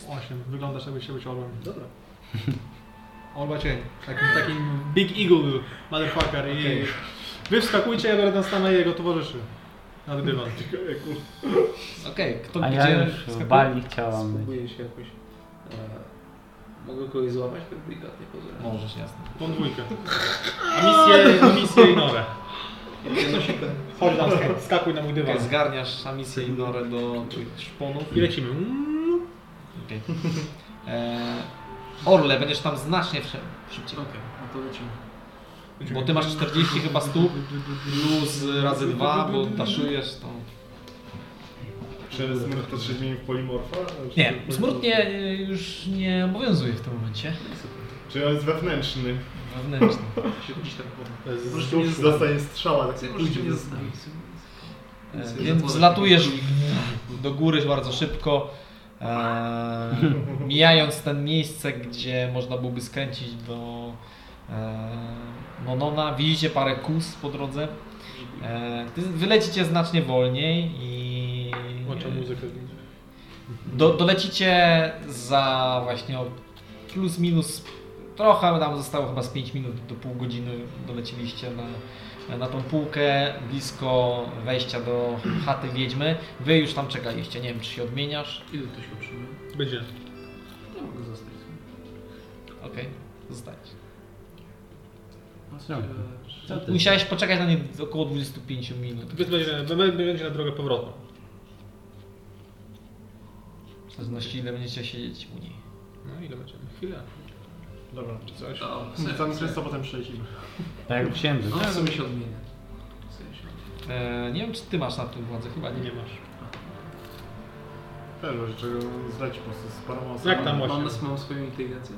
Osiem. Wyglądasz jakbyś chciał być orłem.
Dobra.
Orła cień. Takim, takim Big Eagle motherfucker. I wy wskakujcie, ja będę stanę i jego towarzyszy. Na dywan.
Okej, kto
A
gdzie
ja już w
wskakuje?
Bali chciałam być.
Spróbuję się jakoś. E, mogę kogoś złamać, ten brygat nie pozwolę.
Możesz, jasne.
Tą dwójkę. A misję, misję i norę. Chodź tam, skak- skakuj na mój dywan.
Okej, Tak, zgarniasz misję i Norę do tych szponów.
I lecimy. Mm.
Okej. Eee, Orle, będziesz tam znacznie wszy- szybciej.
Okej, no to lecimy.
Bo ty masz 40 chyba stóp, plus razy dwa, bo taszujesz to.
Czy smród to się zmieni w polimorfa? Czy-
Nie, smutnie y, już nie obowiązuje w tym momencie.
Czy on jest wewnętrzny?
Wewnętrzny.
To się gdzieś tam powiem.
Z
mnie
duszy zostanie strzała, tak
Możecie mnie zostawić.
E, Więc zlatujesz do góry bardzo szybko, e, mijając ten miejsce, gdzie można byłoby skręcić do e, Monona. Widzicie parę kus po drodze. E, ty wylecicie znacznie wolniej i
Włączam muzykę.
Do, dolecicie za właśnie o plus minus trochę, tam zostało chyba z 5 minut do pół godziny dolecieliście na, na tą półkę blisko wejścia do chaty wiedźmy. Wy już tam czekaliście, nie wiem czy się odmieniasz.
Ile to się otrzymuje?
Będzie.
Nie mogę zostać.
Okej, zostajesz.
No.
e,
Co ty?
Musiałeś poczekać na nie około 25 minut.
Więc będzie, b- będzie na drogę powrotną.
W zależności ile będziecie siedzieć u niej.
No ile będziemy? Chwilę.
Dobra, czy coś?
No,
O,
Tam często potem przelecimy.
Tak jak księżyc.
No, w sumie się odmienia. W sumie się
E, nie wiem czy ty masz na tym władzę, chyba nie.
Nie masz.
Pewnie, że czego zleci po prostu z paroma osobami.
Jak tam
odmienia.
osiem?
Mam, mam swoją inteligencję?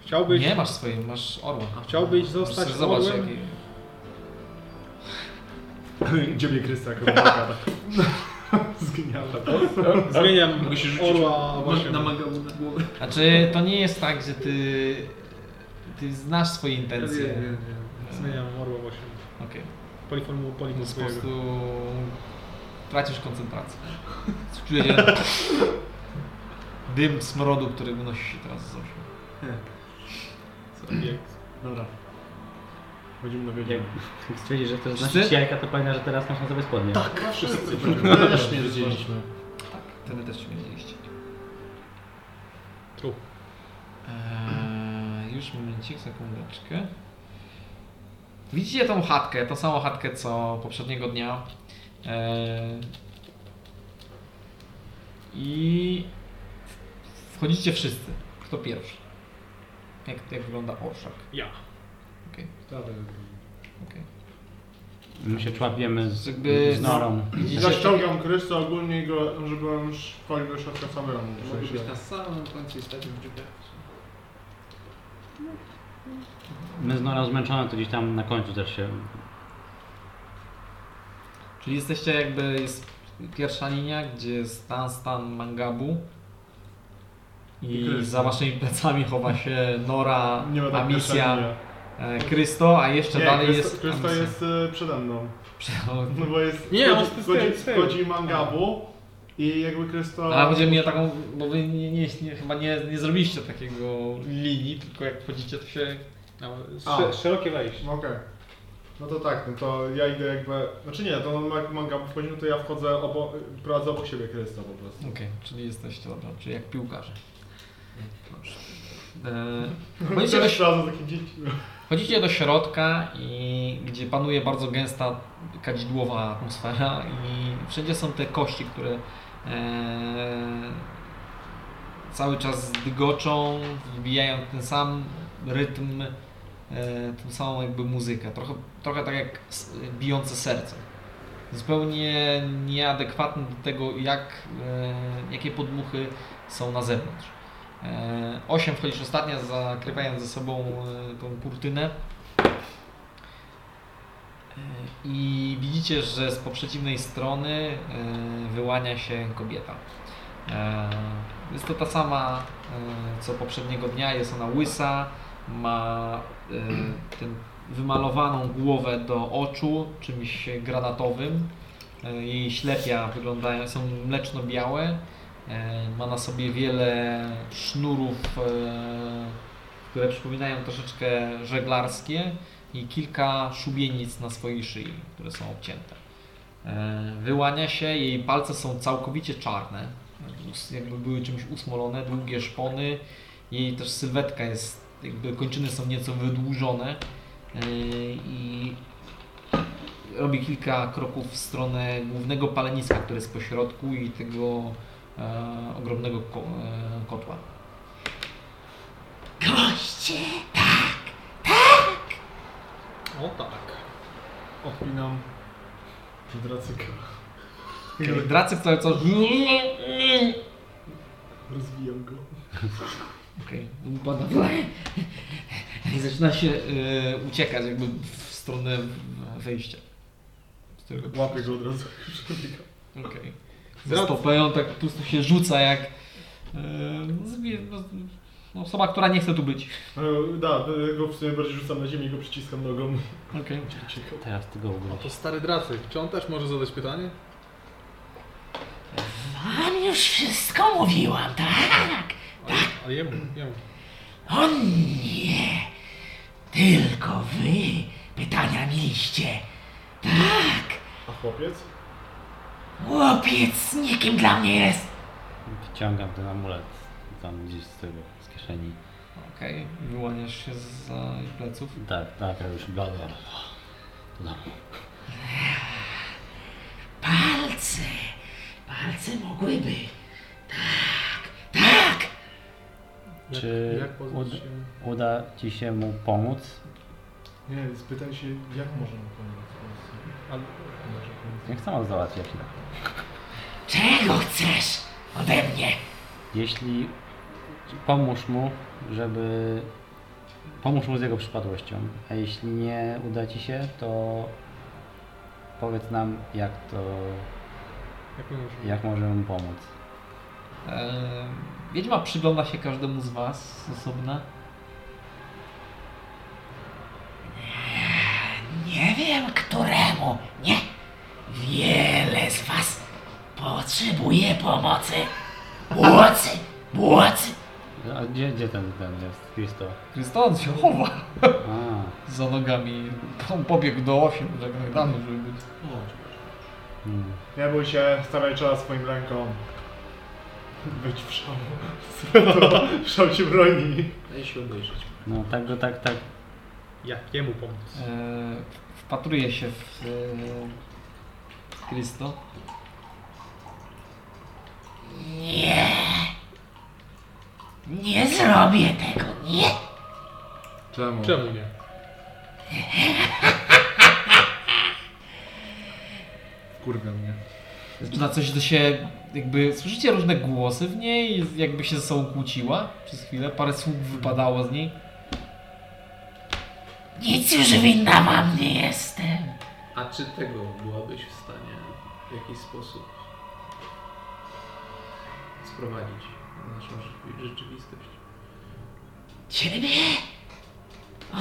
Chciałbyś,
Nie masz swojej, masz orła.
chciałbyś zostać
Zobacz, zobacz
orłem?
jakie...
Gdzie mnie krysta kropelka, tak. Zgniata.
Zmieniam
Mogę się rzucić
orła
Może
właśnie.
na magamu na głowę.
Znaczy, to nie jest tak, że ty, ty znasz swoje intencje.
Wiem, wiem, wiem.
Zmieniam orła właśnie.
Okej.
Poliformu, polimu
Więc po
swojego.
prostu tracisz koncentrację. Czujesz dym smrodu, który unosi się teraz z oczu.
Jak-
Dobra. Chodzimy na wiedzie.
Jak jak stwierdzisz, że chcesz
Wszyscy?
znać jajka, to znaczy, pamiętaj, że teraz masz na sobie spodnie. Tak.
Wszyscy będziemy. Też śmierdziliśmy.
Wtedy Tak. też się widzieliście.
Tu.
Eee, już momencik, sekundeczkę. Widzicie tą chatkę, tą samą chatkę co poprzedniego dnia. Eee, I wchodzicie wszyscy. Kto pierwszy? Jak, jak wygląda orszak?
Ja.
Okej,
Tak,
okej.
My się człapiemy z,
Jakby-
z norą.
Zaściągam krysta ogólnie i go, żeby on już wpalił do środka samemu.
To Mogę być na samym końcu i stać w drzwiach.
My z norą zmęczone, to gdzieś tam na końcu też się...
Czyli jesteście jakby, jest pierwsza linia, gdzie jest Stan Stan Mangabu. I
Krysta.
za waszymi plecami chowa się Nora,
Nie ma tak
Amicia,
pierwsza
E, Krysto, a jeszcze
linia.
dalej
Nie,
jest.
Krysta- Krysta
Amicia.
jest y, przede mną. No bo jest...
Nie, on
chodzi,
jest
chodzi,
z tyłu.
chodzi mangabu i jakby krysta...
Ale będziemy mieli taką, bo wy nie, nie, nie, chyba nie, nie zrobiliście takiego linii, tylko jak wchodzicie to się...
No,
A.
sze- szerokie wejście.
No Okej. No to tak, no to ja idę jakby... Znaczy nie, to on jak mangabu wchodzi, no to ja wchodzę obok... Prowadzę obok siebie krysta po prostu.
Okej, czyli jesteście, dobra, czyli jak piłkarze. Dobrze. E, wchodzicie, do,
Też
śro-
razem taki dzieci.
wchodzicie do środka i gdzie panuje bardzo gęsta kadzidłowa atmosfera i wszędzie są te kości, które e, cały czas dygoczą, wbijają ten sam rytm, e, tą samą jakby muzykę. Trochę, trochę tak jak s- bijące serce. Zupełnie nieadekwatne do tego, jak, e, jakie podmuchy są na zewnątrz. E, Osiem wchodzisz ostatnia, zakrywając ze sobą e, tą kurtynę. E, I widzicie, że z poprzeciwnej strony e, wyłania się kobieta. E, Jest to ta sama e, co poprzedniego dnia. Jest ona łysa, ma e, ten wymalowaną głowę do oczu czymś granatowym. E, Jej ślepia wyglądają, są mleczno-białe. E, Ma na sobie wiele sznurów, e, które przypominają troszeczkę żeglarskie i kilka szubienic na swojej szyi, które są obcięte. E, Wyłania się, jej palce są całkowicie czarne, us- jakby były czymś usmolone, długie szpony. Jej też sylwetka jest, jakby kończyny są nieco wydłużone e, i robi kilka kroków w stronę głównego paleniska, które jest po środku i tego e, ogromnego ko- e, kotła.
O tak.
Odpinam dracyka.
Dracy, które co.
Rozwijam go.
Okej, upada w lanie. I zaczyna się e, uciekać jakby w stronę wejścia. Z którego
Łapię go od razu.
Okej.
Dracy.
Okay. Stopeją tak po prostu się rzuca jak. E, zbie, no, no, osoba, która nie chce tu być.
E, Da, e, go w sumie bardziej rzucam na ziemię i go przyciskam nogą.
Okej.
Teraz ty go
To
ugryź.
stary Dracyk. Czy on też może zadać pytanie?
już wszystko mówiłam, tak?
Ale, ale jemu, jemu.
O nie! Tylko wy pytania mieliście. Tak!
A chłopiec?
Chłopiec nikim dla mnie jest.
Wyciągam ten amulet tam gdzieś z tego, z kieszeni.
Okej, wyłaniasz się za jej pleców.
Tak, tak, ja już No. bla, bla, bla. Do domu.
Palce! Palce mogłyby. Tak! Tak!
Czy
Jak pozbyć
uda,
się...
uda ci się mu pomóc?
Nie, spytaj się, jak możemy pomóc.
Ale,
Niech sama załatwi jak się da.
Czego chcesz ode mnie?
Jeśli pomóż mu, żeby. Pomóż mu z jego przypadłością. A jeśli nie uda ci się, to powiedz nam, jak to.
jak my możemy?
Jak możemy mu pomóc.
E, Wiedźma przygląda się każdemu z Was z osobna.
Nie wiem któremu. Nie. Wiele z was potrzebuje pomocy. Błocy! Błocy!
A gdzie, gdzie ten, ten jest? Kristo.
Krystian się chowa
A,
za nogami. On pobiegł do osi, żegnaj damy, żeby być.
hmm.
Nie bój się, stawiaj czoła swoim lękom. Być w szału. W szał cię broni.
Daj się obejrzeć.
No tak go tak, tak.
Jak jemu pomóc?
E, wpatruje się w e, Krysto.
Nie. Nie zrobię tego. Nie.
Czemu?
Czemu nie?
Kurwa mnie.
Zaczyna coś do się, jakby słyszycie różne głosy w niej, jakby się ze sobą kłóciła przez chwilę, parę słów wypadało z niej.
Nic już winna wam nie jestem.
A czy tego byłabyś w stanie w jakiś sposób sprowadzić na naszą rzeczy- rzeczywistość?
Ciebie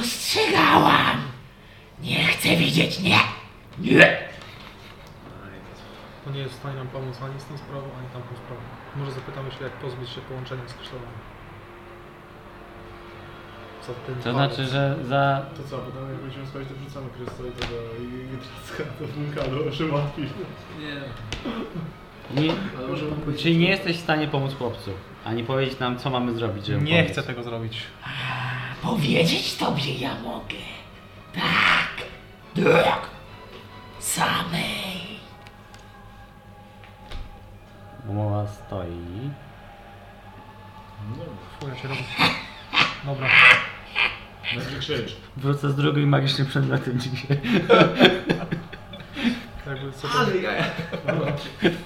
ostrzegałam. Nie chcę widzieć nie. Nie.
A, jak jest-
To nie jest w stanie nam pomóc ani z tą sprawą, ani tamtą sprawą. Może zapytamy się, jak pozbyć się połączenia z Krzysztofem. Za ten
To
palec.
znaczy, że za.
To co, potem jak będziemy spać, to wrzucamy Krysto i to do i- i Tracka do wulkanu, żeby łatwiej.
Nie, no,
Nie,
ale może bym powiedzieć-
czyli nie jesteś w stanie pomóc chłopcu, ani powiedzieć nam, co mamy zrobić, żeby
Nie
pomóc.
chcę tego zrobić.
Powiedzieć tobie ja mogę. Tak. Tak. Samej.
Umowa stoi.
Chuja się robi. Dobra.
Będzie krzycz.
Wrócę z drugim magicznym przedmiotem dzisiaj.
Jakby co to...
Ale ja...
O,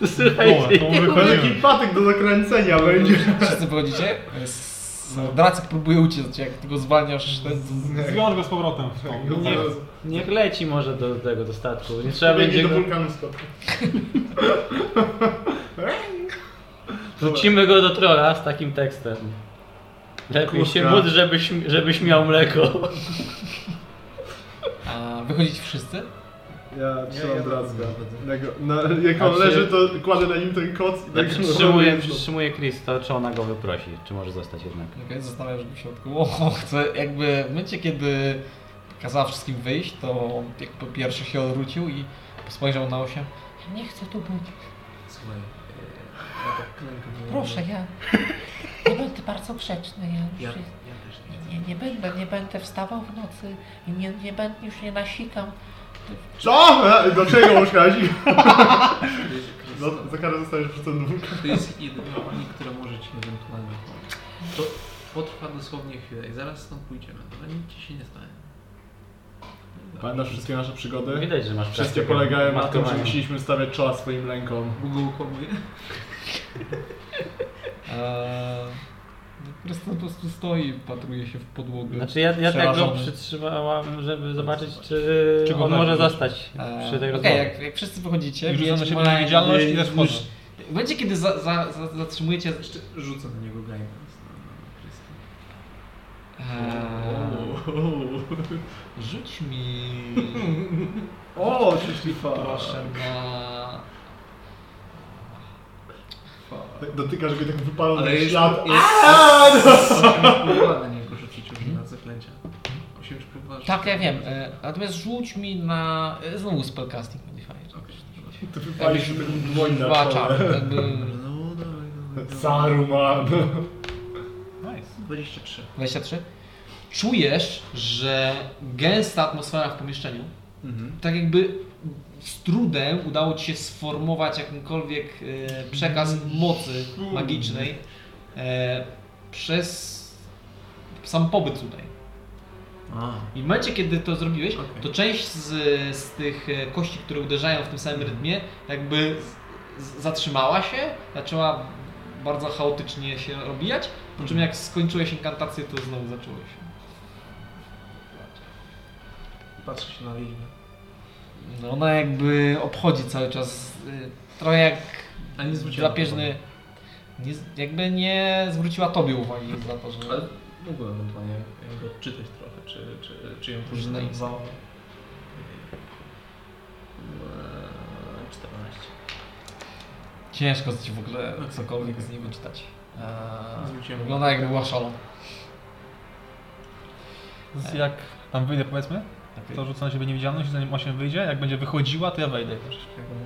Słuchajcie,
to
nie-
Taki
wypełniłem.
patyk do zakręcenia będzie.
Wszyscy wychodzicie. E, S- Dracek próbuje uciec, jak tylko zwalniasz ten...
Zbiorę go z powrotem. O,
Nie,
niech leci może do tego, do statku. Nie trzeba
będzie
będzie
do
go...
wulkanu skoczy.
Wrzucimy go do trola z takim tekstem. Lepiej
Kurka.
się módl, żebyś, żebyś miał mleko.
A wychodzicie wszyscy?
Ja trzymam
ja
Dracka.
będę.
Ja go- na- Jak
A
on
czy-
leży, to kładę na nim ten koc i
Ja
tak
przytrzymuję, przytrzymuję Kristo, czy ona go wyprosi, czy może zostać jednak.
Okej, zostawiasz go w środku. O, chcę, jakby w momencie, kiedy kazała wszystkim wyjść, to on jakby pierwszy się odwrócił i spojrzał na osiem. Ja nie chcę tu być.
Słuchaj, e, ja tak klękam.
Proszę, ja nie będę bardzo grzeczny. Ja
Ja, ja
już
też nie.
nie, nie będę, nie będę wstawał w nocy i nie, nie będę, już nie nasikam.
Co? E, Do czego łóżka?
No,
Krysto,
No, Za karę zostajesz przez ten wulkan.
to jest jedyna pani, która może ci ewentualnie pomóc. To potrwa dosłownie chwilę i zaraz stąd pójdziemy, ale nic ci się nie stanie.
Pamiętasz wszystkie nasze przygody?
Widać, że masz
Wszystkie
praktykę
polegają na tym, że
matkowania.
musieliśmy stawiać czoła swoim lękom.
Google komuje. E,
Eee, Krystian po prostu stoi, patruje się w podłogę.
Znaczy ja, ja tak go
Przerażony.
przytrzymałam, żeby zobaczyć, czy,
Czy go
on może
weźmie.
zostać
Eee,
przy tej
Okej,
rozmowie.
jak, jak wszyscy wychodzicie,
I rzucę na
więc
siebie
ma-
niewidzialność
y,
i też wchodzę.
już- W momencie, kiedy za, za, za, zatrzymujecie...
Jeszcze rzucę na niego guidance. na- na Krysto.
e, Eee,
E,
Rzuć mi.
O, czyli fa.
Proszę na.
tak dotykasz go i tak wypalą
Ale
ten
jest,
ślad.
jest, jest 8 szkół na niego rzucić już na zaklęcia. 8 szkół
Tak, ja wiem. e, Natomiast rzuć mi na... e, Znowu spellcasting modifier.
Ty wypalisz
Jakbyś
taką tak dłoń na
Dwa
czole.
czary. Jakby
No dawaj, dawaj, dawaj.
Saruman.
23.
23. Czujesz, że gęsta atmosfera w pomieszczeniu,
Mhm.
tak jakby z trudem udało Ci się sformować jakimkolwiek e, przekaz mocy magicznej e, przez sam pobyt tutaj.
A.
I w momencie, kiedy to zrobiłeś,
Okej.
to część z, z tych e, kości, które uderzają w tym samym
Mhm.
rytmie, jakby z, z, zatrzymała się, zaczęła bardzo chaotycznie się rozbijać, po
Mhm.
czym jak skończyłeś inkantację, to znowu zaczęło się.
Patrzę się na Lilię.
No ona jakby obchodzi cały czas, y, trochę jak
A nie zwróciła
drapieżny... Nie, z- jakby nie zwróciła Tobie uwagi za to, że...
Ale mogłem ewentualnie jakby odczytać trochę, czy, czy, czy ją to
Może na
zdenerwowało. Eee, 14.
Ciężko ci w ogóle
Tak.
cokolwiek z niej wyczytać. Tak. E,
Eee, Zwróciłem
Wygląda jakby była szalona.
Z- Jak tam wyjdę powiedzmy,
Tak.
to rzucę na siebie niewidzialność, zanim 8 wyjdzie. Jak będzie wychodziła, to ja wejdę też.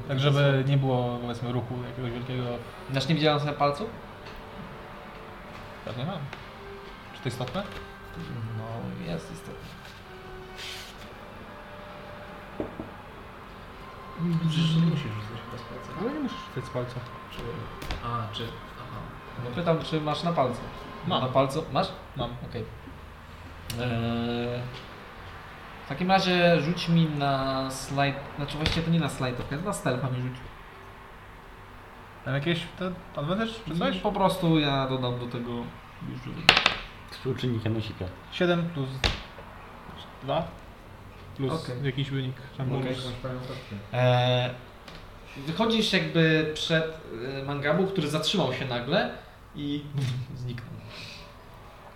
Tak, żeby nie było powiedzmy ruchu jakiegoś wielkiego.
Znasz nie widziałem na palcu?
Pewnie mam. Czy to istotne?
No, jest istotnie.
Przecież nie musisz rzucać chyba z palca.
Ale nie musisz rzucać z palca.
Czy... A, czy... Aha.
No pytam, czy masz na palcu.
Mam.
Na palcu? Masz?
Mam.
Okej. Eee, w takim razie rzuć mi na slajd. Znaczy właściwie to nie na slajd, to na stealth mi rzuć.
Tam jakieś te advantage czy coś?
Po prostu ja dodam do tego już rzucę.
Współczynnik Janosika.
7 plus 2 plus
Okej.
jakiś wynik. Tam
Okej.
bonus.
Eee, wychodzisz jakby przed e, Mangabu, który zatrzymał się nagle i zniknął.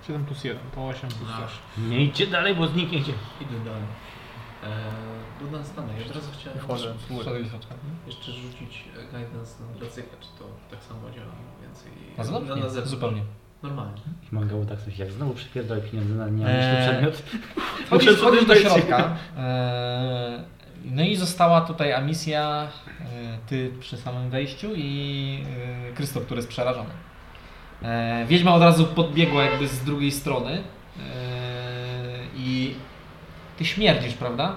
7 plus 1 to 8 plus
No.
2.
Nie idźcie dalej, bo znikniecie.
Idę dalej. Eee, Dodam stanę. Ja od razu chciałem
Wchodzę.
Wszedłeś na czas.
jeszcze rzucić e, guidance na Dracyka, czy to tak samo działa więcej.
Na zewnątrz?
na, na
Nie,
zewnątrz.
zupełnie.
Normalnie.
I Mangało tak coś jak znowu przypierdolę pieniądze na nieamyślny
Eee.
przedmiot.
Wchodzisz,
Muszę
wchodzisz do
sobie wejść.
środka. e, No i została tutaj Amisja, e, ty przy samym wejściu i e, Krzysztof, który jest przerażony. E, Wiedźma od razu podbiegła jakby z drugiej strony e, i ty śmierdzisz, prawda?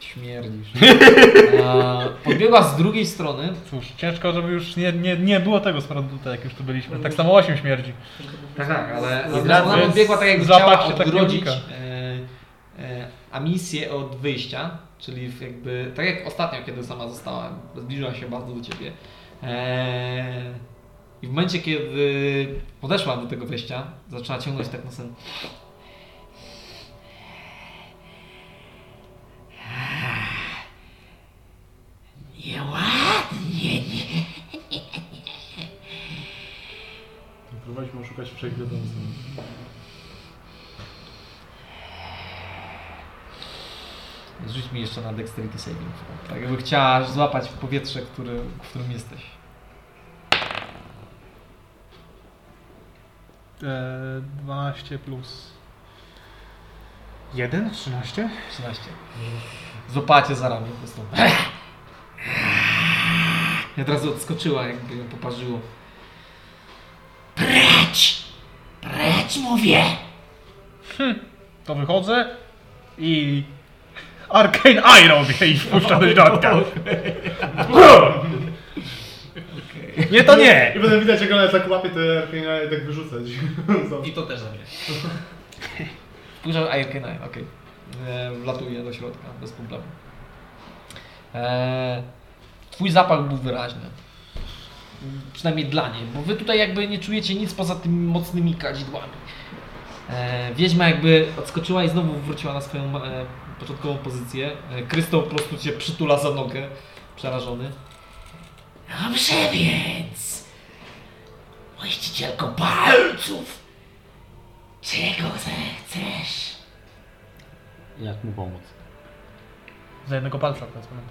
Śmierdzisz. E, Podbiegła z drugiej strony,
Cóż, ciężko, żeby już nie, nie, nie było tego z powodu tutaj, jak już tu byliśmy. Tak samo 8 śmierdzi.
Tak, tak, ale
Zdradzę.
ona ona podbiegła tak jakby
Zapach
chciała
się tak nie
odgrodzić
unika.
e, e, Amisję od wyjścia, czyli w jakby, tak jak ostatnio, kiedy sama została, zbliżyła się bardzo do Ciebie. E, I w momencie, kiedy podeszła do tego wyjścia, zaczęła ciągnąć tak nosem.
Nieładnie, nie.
Próbowaliśmy szukać wszędzie tam z
Rzuć mi jeszcze na dexterity saving. throw. Tak jakby chciała złapać w powietrze, który, w którym jesteś.
E, 12 plus 1, 13?
13. Złapacie za ramię po prostu. I od razu odskoczyła, jakby ją poparzyło.
Precz! Precz, mówię!
To wychodzę i Arcane Eye robię i wpuszczam do środka. Nie to nie!
I potem widać jak ona tak łapie te ramienia i tak wyrzucać.
I to też zabierz.
Spojrzał Airkena, okej. E, Wlatuje do środka, bez problemu. E, twój zapach był wyraźny. Mm, Przynajmniej dla niej, bo wy tutaj jakby nie czujecie nic poza tymi mocnymi kadzidłami. E, wiedźma jakby odskoczyła i znowu wróciła na swoją e, początkową pozycję. E, Krysto po prostu cię przytula za nogę, przerażony.
Dobrze więc, właścicielko palców, czego zechcesz?
Jak mu pomóc?
Za jednego palca teraz powiem.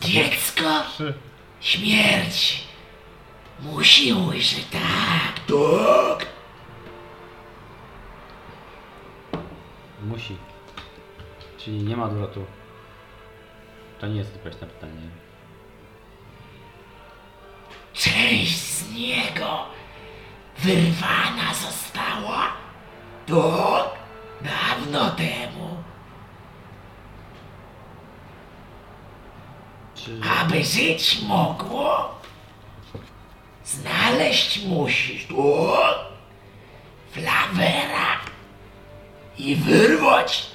Dziecko
Trzy.
Śmierć! Musi ujrzeć, tak, tak.
Musi. Czyli nie ma odwrotu. To nie jest odpowiedź na pytanie.
Część z niego wyrwana została tak dawno temu,
Czy...
aby żyć mogło. Znaleźć musisz tak flawera i wyrwać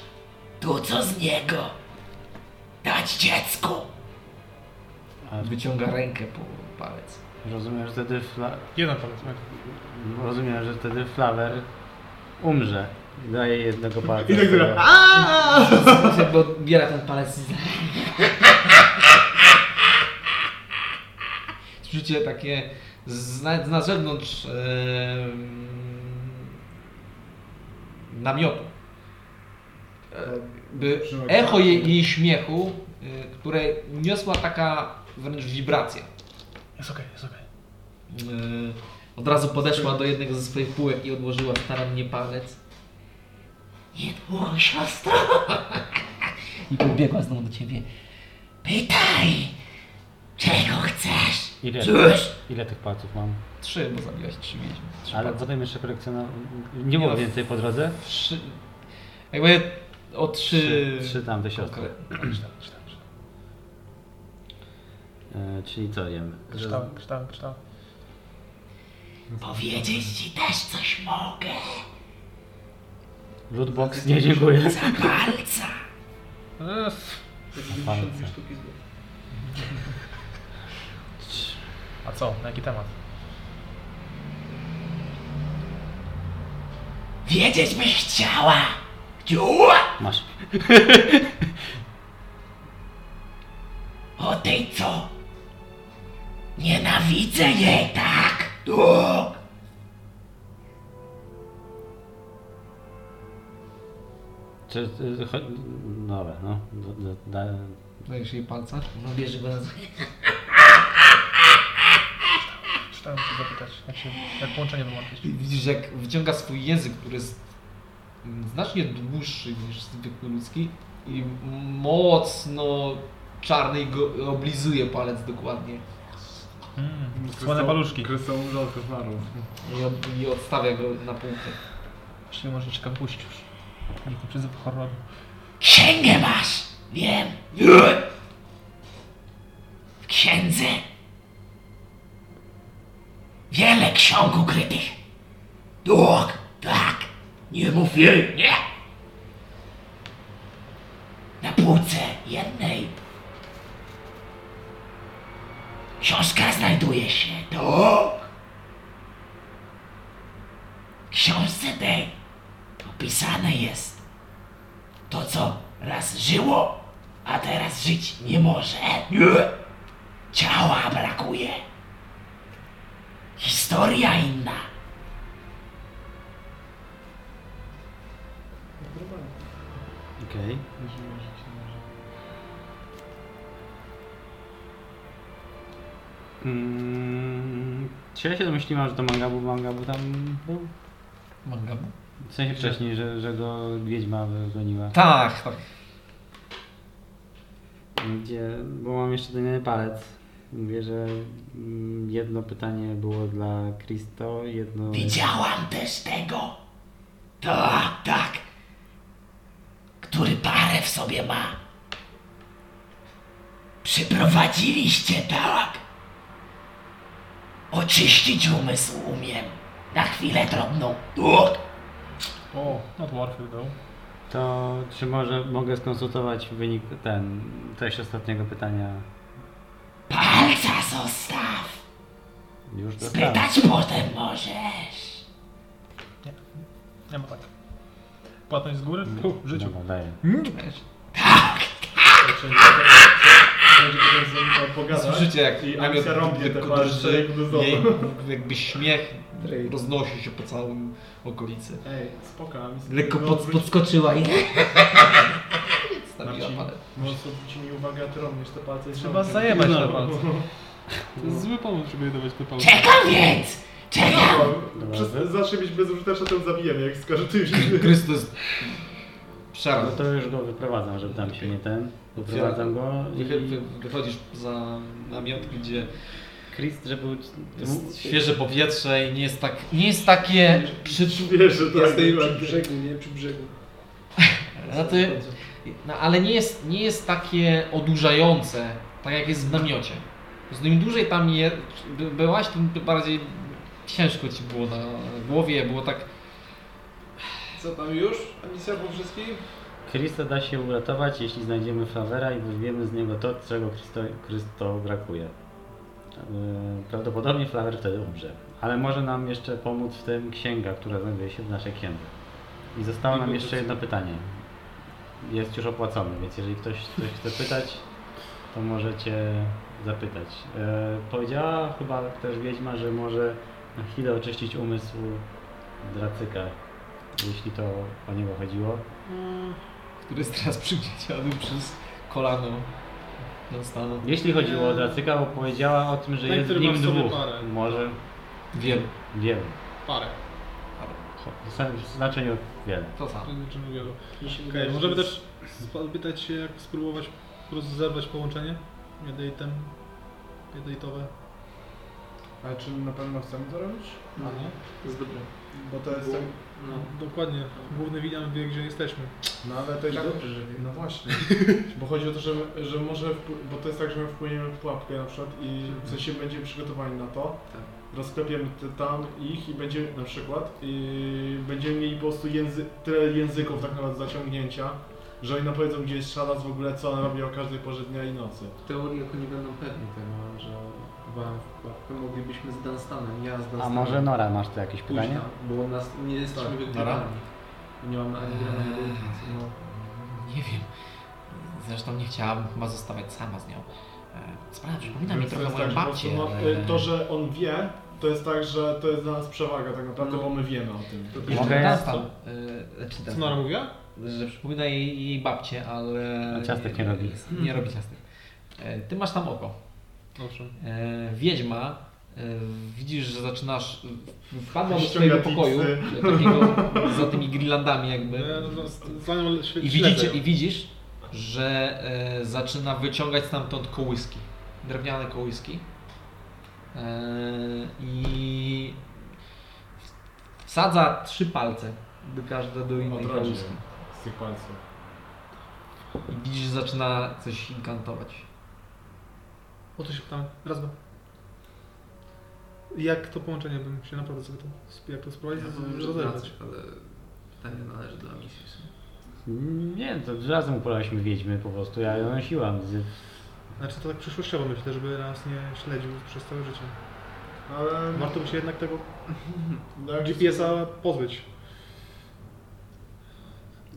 to, co z niego. Dać dziecku.
A
Wyciąga rękę po palec.
rozumiem, że wtedy fla...
Jeden palec, tak.
Rozumiem, że wtedy Flawer umrze. Daje jednego palca.
I tak
tego.
zrobię.
Jakby odbiera ten palec. i- Słyszycie takie z, na- na zewnątrz em, namiotu. By echo jej, jej śmiechu, y, które niosła taka wręcz wibracja.
Jest okej, jest okej.
Yy, od razu podeszła do jednego ze swoich półek i odłożyła starannie palec.
Niedługo, siostro. I pobiegła znowu do ciebie. Pytaj, czego chcesz?
Ile,
Cóż?
ile tych palców mam?
Trzy, bo zabiłaś trzy wiedźmy. Trzy
Ale
palce.
potem jeszcze kolekcjoner... Nie było
Nie,
więcej po drodze?
Trzy, jakby o trzy...
Trzy, trzy tamte siostry.
Okej.
E, czyli co wiem? że-
Kształt, kształt, kształt.
Powiedzieć ci też coś mogę.
Lootbox nie dziękuję.
Za palca.
No
Palce.
sztuki złota.
A co? Na jaki temat?
Wiedzieć byś chciała. Chciała
Masz.
o tej co? Nienawidzę jej, tak? Tu.
Czy... y, cho- Dobra, no. Do, do, da,
Dajesz jej palca?
No bierze go na
Chciałem cię zapytać, jak, się, jak połączenie wyłączyć.
I Widzisz, jak wyciąga swój język, który jest mm, znacznie dłuższy niż zwykły ludzki i mocno czarny i go oblizuje palec dokładnie.
Mm, słone paluszki.
Krystoł rzadko zmarł.
I, od, i odstawia go na półkę.
Czyli może czeka puść już. Jaki przyzyw horroru.
Księgę masz! Wiem! W księdze wiele ksiąg ukrytych. Tak, tak. Nie mów jej, nie! Na półce jednej książka znajduje się. Tak. W książce tej opisane jest to, co raz żyło, a teraz żyć nie może. Nie. Ciała brakuje. Historia inna.
Okej. Mm, Czy ja się domyśliłam, że to Mangabu Mangabu tam był?
Manga.
W sensie wcześniej, że, że go wiedźma wygoniła.
Tak, tak.
Gdzie, bo mam jeszcze ten jeden palec. Mówię, że mm, jedno pytanie było dla Kristo, jedno...
Widziałam też tego. Tak, tak. Który parę w sobie ma. Przyprowadziliście, tak. Oczyścić umysł umiem. Na chwilę drobną. Tak.
O, no to Warfield był.
To czy może mogę skonsultować wynik, ten, treść ostatniego pytania?
Palca zostaw.
Już tak. dostałem.
Spytać potem możesz.
Nie ma tak. Płatność z góry?
No,
W życiu.
Dobra, daję.
Pogadać.
Słyszycie jak
tak? I
namiot
Alicja rąbnie te
tylko
palce,
drży,
jakby znowu.
jej jakby śmiech roznosi się po całym okolicy.
Ej, spoko, Amicja.
Lekko
no,
pod,
wróć-
podskoczyła i stawiła
Marcin,
palec.
Może zwróci mi uwagę, a ty robisz te palce. i
Trzeba
rąbnie.
zajebać
No.
te palce. To jest zły pomysł, żeby jedować te pałki.
Czekam więc! Czekam!
Dobra, Przez, zacznę być bezużyteczny, ten zabijemy, jak skaże ty już.
Krystus.
No
Przeraz.
to już go wyprowadzam, żeby tam się nie ten. Wyprowadzam go i
Wy- wy- Wychodzisz za namiot, gdzie
Chris, żeby...
jest świeże powietrze i nie jest, tak, nie jest takie przy...
Wiesz, że tak.
Jestem
tak.
przy brzegu, nie? Przy brzegu.
No, ty, no, ale nie jest, nie jest takie odurzające, tak jak jest w namiocie. Z nim dłużej tam je, by- byłaś, tym bardziej ciężko ci było na głowie, było tak
Co tam już? A misja po wszystkim?
Krista da się uratować, jeśli znajdziemy Fawera i wywiemy z niego to, czego Krysto, Krysto brakuje. Yy, Prawdopodobnie Flawer wtedy umrze, ale może nam jeszcze pomóc w tym księga, która znajduje się w naszej księdze. I zostało nam jeszcze jedno pytanie. Jest już opłacony, więc jeżeli ktoś coś chce pytać, to możecie zapytać. E, powiedziała chyba też Wiedźma, że może na chwilę oczyścić umysł Dracyka, jeśli to o niego chodziło.
który jest teraz przygnieciony przez kolano do stanu.
Jeśli chodziło o Dracyka, opowiedziała o tym, że
Ten,
jest w
który
nim
ma w sobie
dwóch.
parę.
Może
Wielu.
wielu.
Parę.
W sen- W znaczy, znaczeniu wiele.
To samo.
Czym- czym wielu. Okej, możemy też spytać się, jak spróbować po prostu zerwać połączenie? Jedejtem. Jedejtowe.
A czy na pewno chcemy to robić?
No. nie?
To jest dobre.
Bo to jest tak...
No.
Dokładnie. Główny William wie, gdzie jesteśmy.
No ale to i tak...
dobrze, że wiem.
No właśnie. Bo chodzi o to, że, my- że może... Wpł- bo to jest tak, że my wpłyniemy w pułapkę na przykład i w sensie będziemy przygotowani na to.
Tak.
Rozklepiemy te, tam ich i będziemy na przykład... I będziemy mieli po prostu języ, tyle języków tak naprawdę zaciągnięcia, że oni nam powiedzą gdzie jest szalas w ogóle, co on robi o każdej porze dnia i nocy.
W teorii jako nie będą pewni tego, że wam w pułapkę moglibyśmy z Dunstanem, ja z Dunstanem.
A może Nora, masz tu jakieś
pójść
pytanie?
tam, bo nas nie jesteśmy
Tak.
wygrywani. Nie mamy ani grana, ani
Eee.
nic, no.
Nie wiem. Zresztą nie chciałabym chyba zostawać sama z nią. E, Sprawa przypomina mi
Więc to
trochę
jest
moją
tak, że
babcię.
po prostu,
ale-
no, To, że on wie, to jest tak, że to jest dla nas przewaga tak naprawdę, bo my wiemy o tym.
Jeszcze
Mogę-
Dunstan, e, znaczy
Co
Dunstan,
Nora mówiła?
Że przypomina jej, jej babcię, ale...
A ciastek nie robi.
Nie, nie robi ciastek. E, Ty masz tam oko.
Owszem.
E, Wiedźma, e, widzisz, że zaczynasz... Wpadła do
Ściąga
swojego pokoju, e,
tipsy.
takiego za tymi grillandami jakby.
E, no, z- Z nią śle-
I,
śledzę
widzicie,
ją.
I widzisz, że e, zaczyna wyciągać stamtąd kołyski. Drewniane kołyski. E, I wsadza trzy palce do każdej do innej
Odrodzi ją
kołyski.
z tych palców.
I widzisz, że zaczyna coś inkantować.
O to się pytałem. Raz, dwa. Jak to połączenie bym się naprawdę zapytał? Jak to
Ja
spróbować?
powiem, że
rozerwać.
Dracek, ale pytanie należy do misji. w sumie.
Mm, Nie, to razem upalaliśmy wiedźmy po prostu, ja ją nosiłam. Z-
Znaczy to tak przyszło trzeba myślę, żeby nas nie śledził przez całe życie.
No, Ale...
Warto by się jednak tego
no, jak-
GPS-a pozbyć.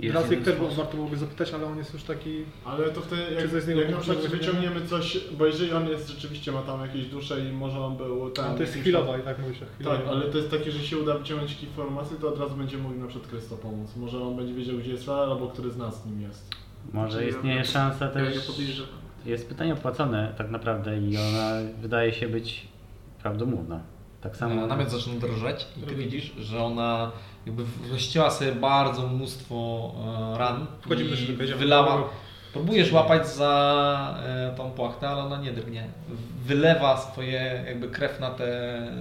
Jest
Dracek
jeden
też
sposób.
warto byłoby zapytać, ale on jest już taki...
Ale to wtedy,
Czy coś z niego
jak, jak na przykład
wyciągniemy?
wyciągniemy coś, bo jeżeli on jest rzeczywiście, ma tam jakieś dusze i może on był tam...
to jest
jakimś-
chwilowa i tak mówi się. Chwilowa.
Tak, ale to jest takie, że się uda wyciągnąć jakieś informacje, to od razu będzie mówił na przykład Krysto pomóc. Może on będzie wiedział, gdzie jest Lala, albo który z nas nim jest.
Może istnieje szansa
Ja nie
też...
podejrzewam.
Jest pytanie opłacone tak naprawdę i ona wydaje się być prawdomówna. Tak samo...
No,
E, Namiot zaczyna drżeć i ty widzisz, że ona jakby rozcięła sobie bardzo mnóstwo e, ran
Wchodzimy do
i
środka, idziemy.
wylała. Próbujesz łapać za e, tą płachtę, ale ona nie drgnie. Wylewa swoje jakby krew na te e,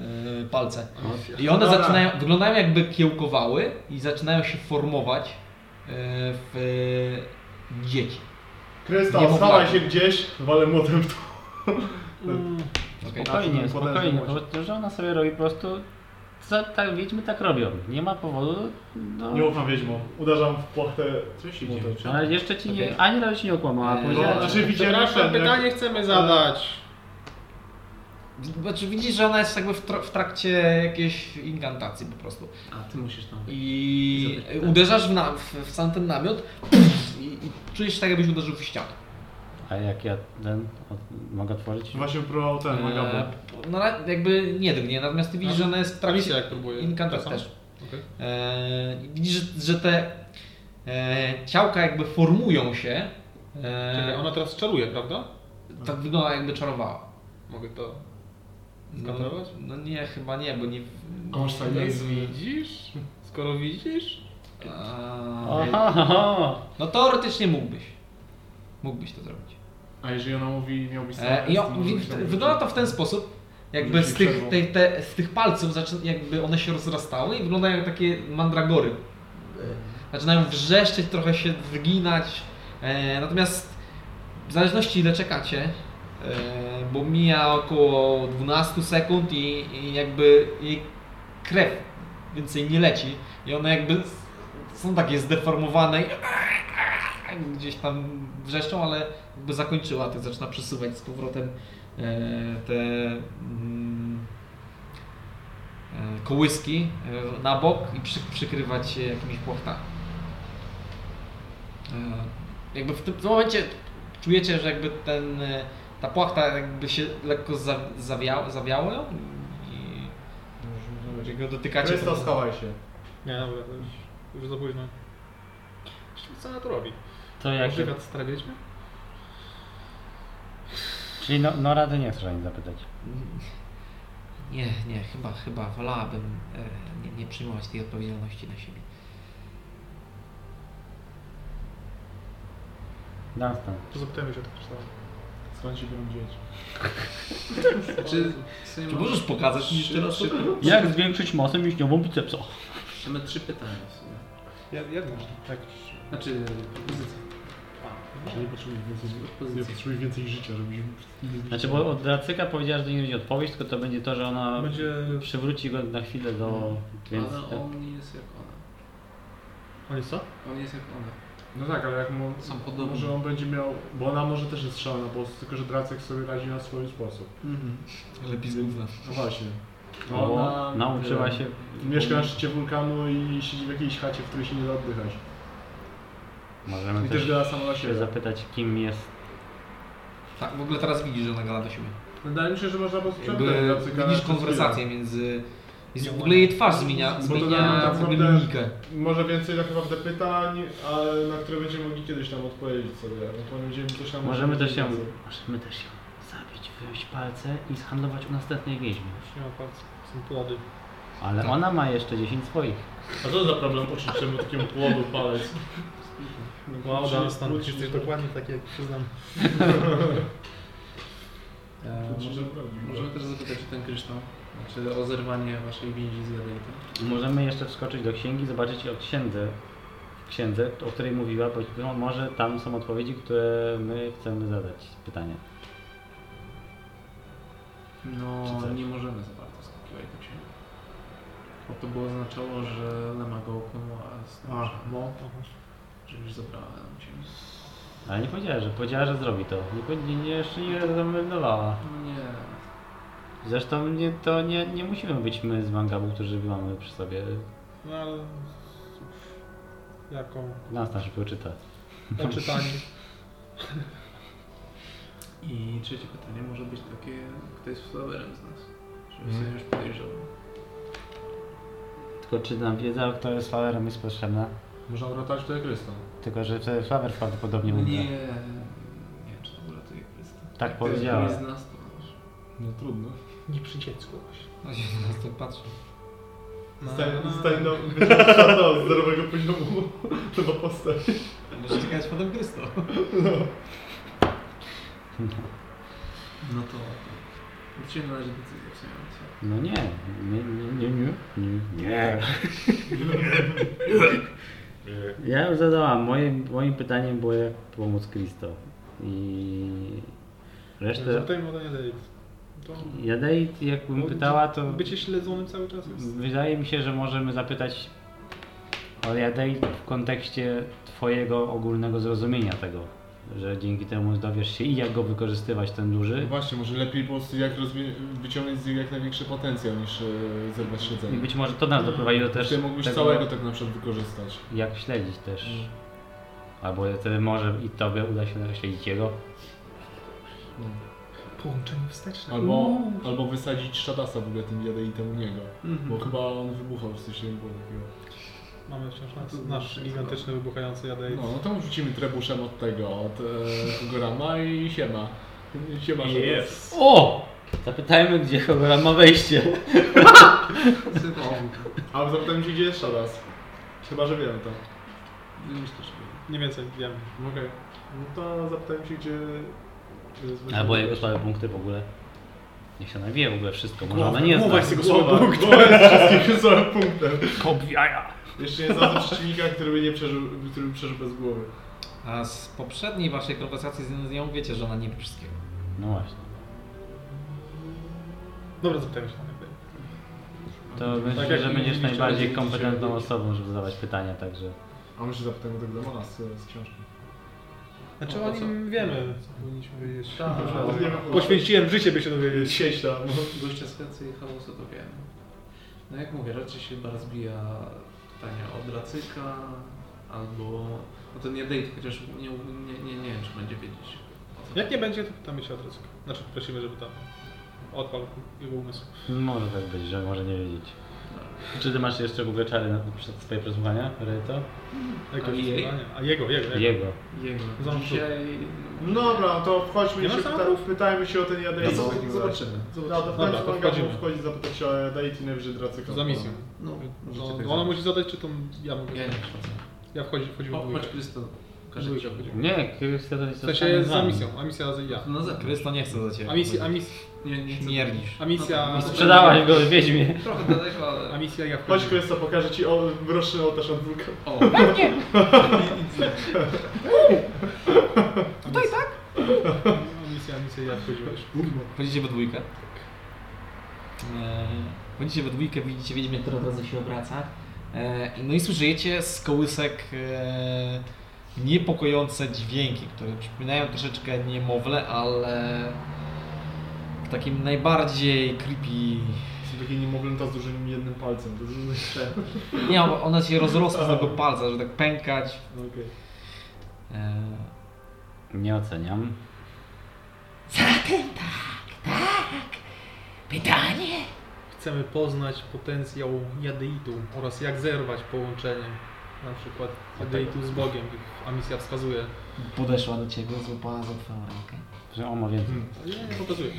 palce.
No,
I one
Dobra.
zaczynają, wyglądają jakby kiełkowały i zaczynają się formować e, w e, dzieci. Nie
Krysto,
mów
schowaj
tak.
się gdzieś, walę młotem w to.
Okej.
Spokojnie,
Na tym podejrzewam
spokojnie,
właśnie.
bo to, że ona sobie robi po prostu... Co, tak, wiedźmy tak robią. Nie ma powodu do...
Nie ufam wiedźmom. Uderzam w płachtę
Co się
młotem.
dzieje?
No, Ale jeszcze ci nie,
Okej.
ani razu ci nie okłamała,
Eee,
powiedziała.
No,
Wiedziałem.
znaczy widziałem
Przepraszam, pytanie chcemy zadać.
Znaczy widzisz, że ona jest jakby w, tra- w trakcie jakiejś inkantacji po prostu.
A ty musisz tam być.
I
Zapytaj.
uderzasz w, na, w, w sam ten namiot i, i czujesz się tak, jakbyś uderzył w ścianę.
A jak ja ten od, mogę otworzyć?
Właśnie próbował
Tak,
ten,
E,
Magabu.
no, na- jakby nie drgnie, natomiast ty widzisz, że ona jest w
Trawicie
trakcie
jak próbuje.
inkantacji
Tak
też.
samo? Okej.
E, i widzisz, że te e, ciałka jakby formują się. E,
Czekaj, ona teraz czaruje, prawda?
Tak wygląda jakby czarowała.
Mogę to...
No,
Skontrolować?
no nie, chyba nie, bo nie...
Konsztainizm.
Widzisz? Skoro widzisz?
A,
Aha, aha.
no teoretycznie mógłbyś. Mógłbyś to zrobić.
A jeżeli ona mówi, miałbyś
E, I on, wi- wygląda to w ten sposób, jakby
Może się
z tych,
przerwą.
te, te, z tych palców zaczyna, jakby one się rozrastały i wyglądają jak takie mandragory. E, Zaczynają wrzeszczeć, trochę się wyginać. E, natomiast w zależności ile czekacie, e, bo mija około 12 sekund i, i jakby jej krew więcej nie leci i one jakby s- są takie zdeformowane i gdzieś tam wrzeszczą, ale jakby zakończyła, tak zaczyna przesuwać z powrotem e, te mm, e, kołyski e, na bok i przy, przykrywać je jakimiś płachtami. E, jakby w tym w momencie czujecie, że jakby ten, e, ta płachta jakby się lekko za, zawiała, zawiała ją i jak go dotykacie...
Krysta,
to-
schowaj się.
Nie, dobra, to już, już za późno. Co ona to robi?
To jak.
Ożywiat stara wiedźmy?
Czyli no, no rady nie chcesz ani zapytać.
Nie, nie, chyba, chyba wolałabym e, nie, nie przyjmować tej odpowiedzialności na siebie.
Dunstan.
To zapytajmy się tak. o to kształt.
Skąd się będą dzieć?
Czy,
Czy możesz pokazać mi jeszcze raz?
Trzy,
Jak zwiększyć masę mięśniową bicepsa?
trzy, mamy trzy pytania w sumie.
Ja, ja wiem, że tak.
Znaczy, propozycje.
Czy nie potrzebujesz więcej, nie
Propozycje.
potrzebujesz więcej życia, żebyś...
Znaczy, bo od Dracyka powiedziała, że to nie będzie odpowiedź, tylko to będzie to, że ona
Będzie...
przywróci go na chwilę do. Więc
Ale
te-
on nie jest jak ona.
On jest co?
On jest jak ona.
No tak, ale jak mu...
Są podobni.
Może on będzie miał... Bo ona może też jest szalona, bo tylko, że Dracek sobie radzi na swój sposób.
Lepiej z gówna.
No właśnie. No,
bo
ona,
nauczyła
nie
się.
wiem, Mieszka na szczycie wulkanu i siedzi w jakiejś chacie, w której się nie da oddychać.
Możemy
I też
No też
gada sama na
się
siebie.
zapytać, kim jest.
Tak, w ogóle teraz widzisz, że ona gada do siebie.
Wydaje mi się, że można po prostu przepytać
Jakby
Dracyka
widzisz
przez chwilę.
konwersację między... Jest, w ogóle jej twarz zmienia,
Bo to
zmienia
tak
w ogóle
naprawdę-
mimikę.
Może więcej tak naprawdę pytań, ale na które będziemy mogli kiedyś tam odpowiedzieć sobie. Ewentualnie będziemy coś tam
Możemy też ją. Możemy też ją zabić, wyjąć palce i zhandlować u następnej wiedźmy.
Już nie ma palca. Są płody.
Ale ona ma jeszcze 10 swoich.
A co za problem poczuć czemu takiemu płodu palec?
Wow,
Czyli
Dan, stan.
wrócisz
Jesteś
do-
dokładnie taki, jak przyznam.
E, może, możemy też zapytać o ten kryształ. Znaczy o zerwanie waszej więzi z Jadejtem.
I możemy jeszcze wskoczyć do księgi, zobaczyć o księdze, księdze o której mówiła, bo no, może tam są odpowiedzi, które my chcemy zadać pytanie. Czy
No,
coś?
nie możemy za bardzo tak skakiwać do księgi. Bo to by oznaczało, że Lema go uknęła, a
A,
znalazła,
no.
że już zabrała nam księgi.
Ale nie powiedziała, że powiedziała, że zrobi to. Nie, powie- nie, nie jeszcze nie zameldowała.
No nie,
Zresztą nie, to nie, nie musimy być my z Mangabu, którzy mamy przy sobie.
No ale... Jaką?
Nas nasz wyczyta.
O czytanie.
I trzecie pytanie może być takie, kto jest flowerem z nas? Żeby sobie już podejrzewał.
Tylko czy nam wiedza, kto jest Flawerem jest potrzebna?
Można wracać do Krysta.
Tylko, że wtedy Flawer prawdopodobnie umrze.
No Nie, nie, czy to uratuje Krysta.
Tak
Jak
powiedziała.
To jest któryś z nas, to wiesz.
No trudno.
Nie przy dziecku właśnie.
No się na nas tak patrzy.
No,
Stań na
No.
wyciągnięcia z zerowego poziomu. Chyba postać.
Możesz czekać potem Krysto.
No to... Do Ciebie należy decyzja w sumie. Macie.
No nie, nie, nie, nie, nie, nie. nie. Ja już zadałam, moim, moim pytaniem było jak pomóc Kristo. I
No
resztę...
Zapytajmy o Daniel David. To...
Jadeit, jakbym pytała, to
Bycie śledzonym cały czas jest.
wydaje mi się, że możemy zapytać o Jadeit w kontekście twojego ogólnego zrozumienia tego. Że dzięki temu dowiesz się i jak go wykorzystywać ten duży.
No Właśnie, może lepiej po prostu jak rozwi- wyciągnąć z niego jak największy potencjał niż e, zerwać
I
śledzenie.
być może to nas doprowadzi do też
Ty mógłbyś
tego-
całego tak na przykład wykorzystać.
jak śledzić też. Albo wtedy może i tobie uda się śledzić jego.
Połączenie wsteczne.
Albo, albo wysadzić Shadasa w ogóle tym jadeitem u niego.
Mhm.
Mhm.
Bo chyba on wybuchał z tym było takiego.
Mamy wciąż nas, nasz gigantyczny, wybuchający Jadej.
No, no to rzucimy trebuszem od tego, od e, Gorama i siema. Siema, że
O! Zapytajmy, gdzie cholera ma wejście.
Ale zapytam cię, gdzie jeszcze raz. Chyba, że wiem to.
Mniej więcej wiem.
Okej. No to zapytam cię, gdzie...
Albo jego słabe punkty w ogóle. Niech się nabije w ogóle wszystko, może
Głowa-
ona nie
głowa
zna.
jest jego słabym punktem. Głowa jest wszystkich słabym punktem.
Kop jaja.
Jeszcze nie znalazłem przeciwnika, który by nie przeżył, który by przeżył bez głowy.
A z poprzedniej waszej konwersacji z nią wiecie, że ona nie wie wszystkiego.
No właśnie.
Dobra, zapytajmy się tam jakby.
To myślę,
jak
że
mi
będziesz
chciałeś
najbardziej
wiedzieć,
kompetentną
chciałem
osobą, żeby zadawać pytania, także...
A może zapytajmy tego demona z, z książki.
Znaczy
No,
o
to co?
nim wiemy, co powinniśmy wiedzieć.
Może nie wiem,
Poświęciłem życie, by się dowiedzieć.
sieć tam.
Gościa z Hecy i Chaosu to wiem. No jak mówię, raczej się chyba rozbija pytania od Racyka albo... No to nie date, chociaż nie, nie, nie, nie wiem czy będzie wiedzieć. o co
Jak nie będzie, to pytamy się o Trycyka. Znaczy prosimy, żeby tam odpalł jego umysł.
Może tak być, że może nie wiedzieć. Czy ty masz jeszcze w ogóle czary na przed swoje przesłuchania, Reto?
Jakie
A jej?
przesłanie? A jego, jego, jego.
Jego.
Jego.
Zamknął.
Dzisiaj...
No dobra, to wchodźmy
Nie
i
ma
się,
samochodu?
pyta, pytajmy się o ten jadejty.
No, zobaczymy.
Dobra, to
Dobra,
wchodźmy,
to
wchodzimy.
wchodzimy.
wchodzić zapytać się o jadejty najwyżej dracyka.
Za misją.
No,
No,
możecie tak
no ona
zrobić.
musi zadać, czy to ja mogę
Ja nie
zadać?
wchodzę.
Ja wchodzi, wchodzimy w
O, Chodź
dwójkę.
Krysto,
W
każę ci
dwójkę
obejrzeć.
wchodzimy.
Nie, Krystia to jest
W sensie za misją, a misja za ja.
No za
Krysto nie chce za ciebie.
Tak. A misja, a misja,
Nie, nie chcę-
Śmierdzisz.
a misja...
No to-
Sprzedałaś go w Wiedźmie.
Trochę daleko, ale...
A misja ja
Chodź
wchodzimy.
Krysto, pokażę ci o, roczny ołtarz od wulka.
O,
Tutaj tak? A misja, a misja ja wchodziłeś.
Wchodzicie we dwójkę. E, Wchodzicie we dwójkę, widzicie wiedźmę, która od razu się obraca. E, No i słyszycie z kołysek e, niepokojące dźwięki, które przypominają troszeczkę niemowlę, ale w takim najbardziej creepy...
Są takie niemowlęta z dużym jednym palcem. To jest
Nie, ona się rozrosła z tego palca, że tak pękać.
No Okej.
E,
Nie oceniam.
Zatem tak, tak. Pytanie?
Chcemy poznać potencjał jadeitu oraz jak zerwać połączenie na przykład jadeitu z Bogiem, a misja wskazuje.
Podeszła do ciebie, złapała za twoją rękę
Że on ma więcej.
Nie, nie pokazuje.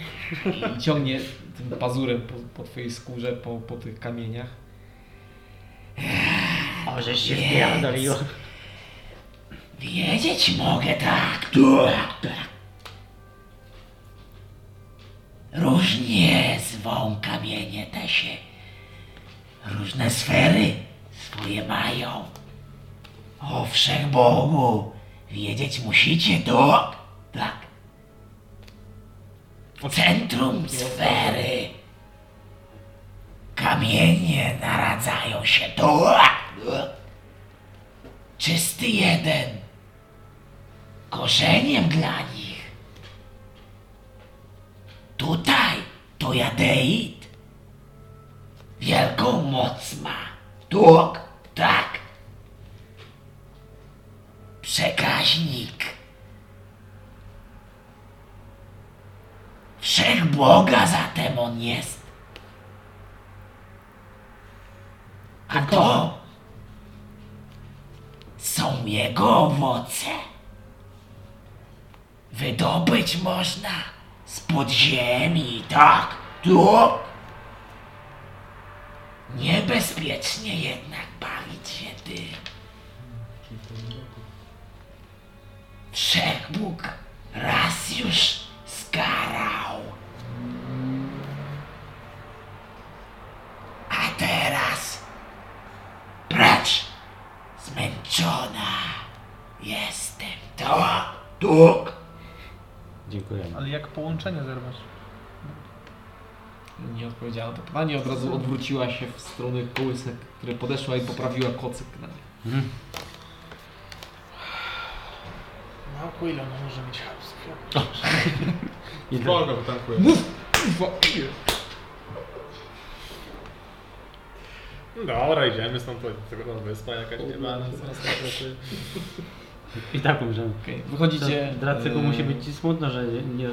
i ciągnie tym pazurem po, po twojej skórze, po, po tych kamieniach.
Może Eee, się wpierdoliło.
Wiedzieć mogę tak, tak, tak. Różnie zwą kamienie te się. Różne sfery swoje mają. O Bogu wiedzieć musicie, tak, tak. Centrum sfery. Kamienie naradzają się, tak, tak. Czysty jeden korzeniem dla nich. Tutaj to jadeit. Wielką moc ma. Tuk, tak. Przekaźnik. Wszechboga zatem on jest. A to są jego owoce wydobyć można z podziemi, tak, tu. Niebezpiecznie jednak bawić się tym. Wszechbóg raz już skarał. A teraz precz zmęczona jestem. To, tuk.
Dziękujemy.
Ale jak połączenie zerwać?
Nie odpowiedziała na to pytanie, od razu odwróciła się w stronę kołysek, które podeszła i poprawiła kocyk na nie.
Małko ile ona może mieć chaos.
Spoko, wytankuję.
No dobra, idziemy stąd, to tego tam wyspa jakaś nie ma. no
I tak umrzemy.
Okej, wychodzicie...
Dracyku
e,
musi być ci smutno, że nie,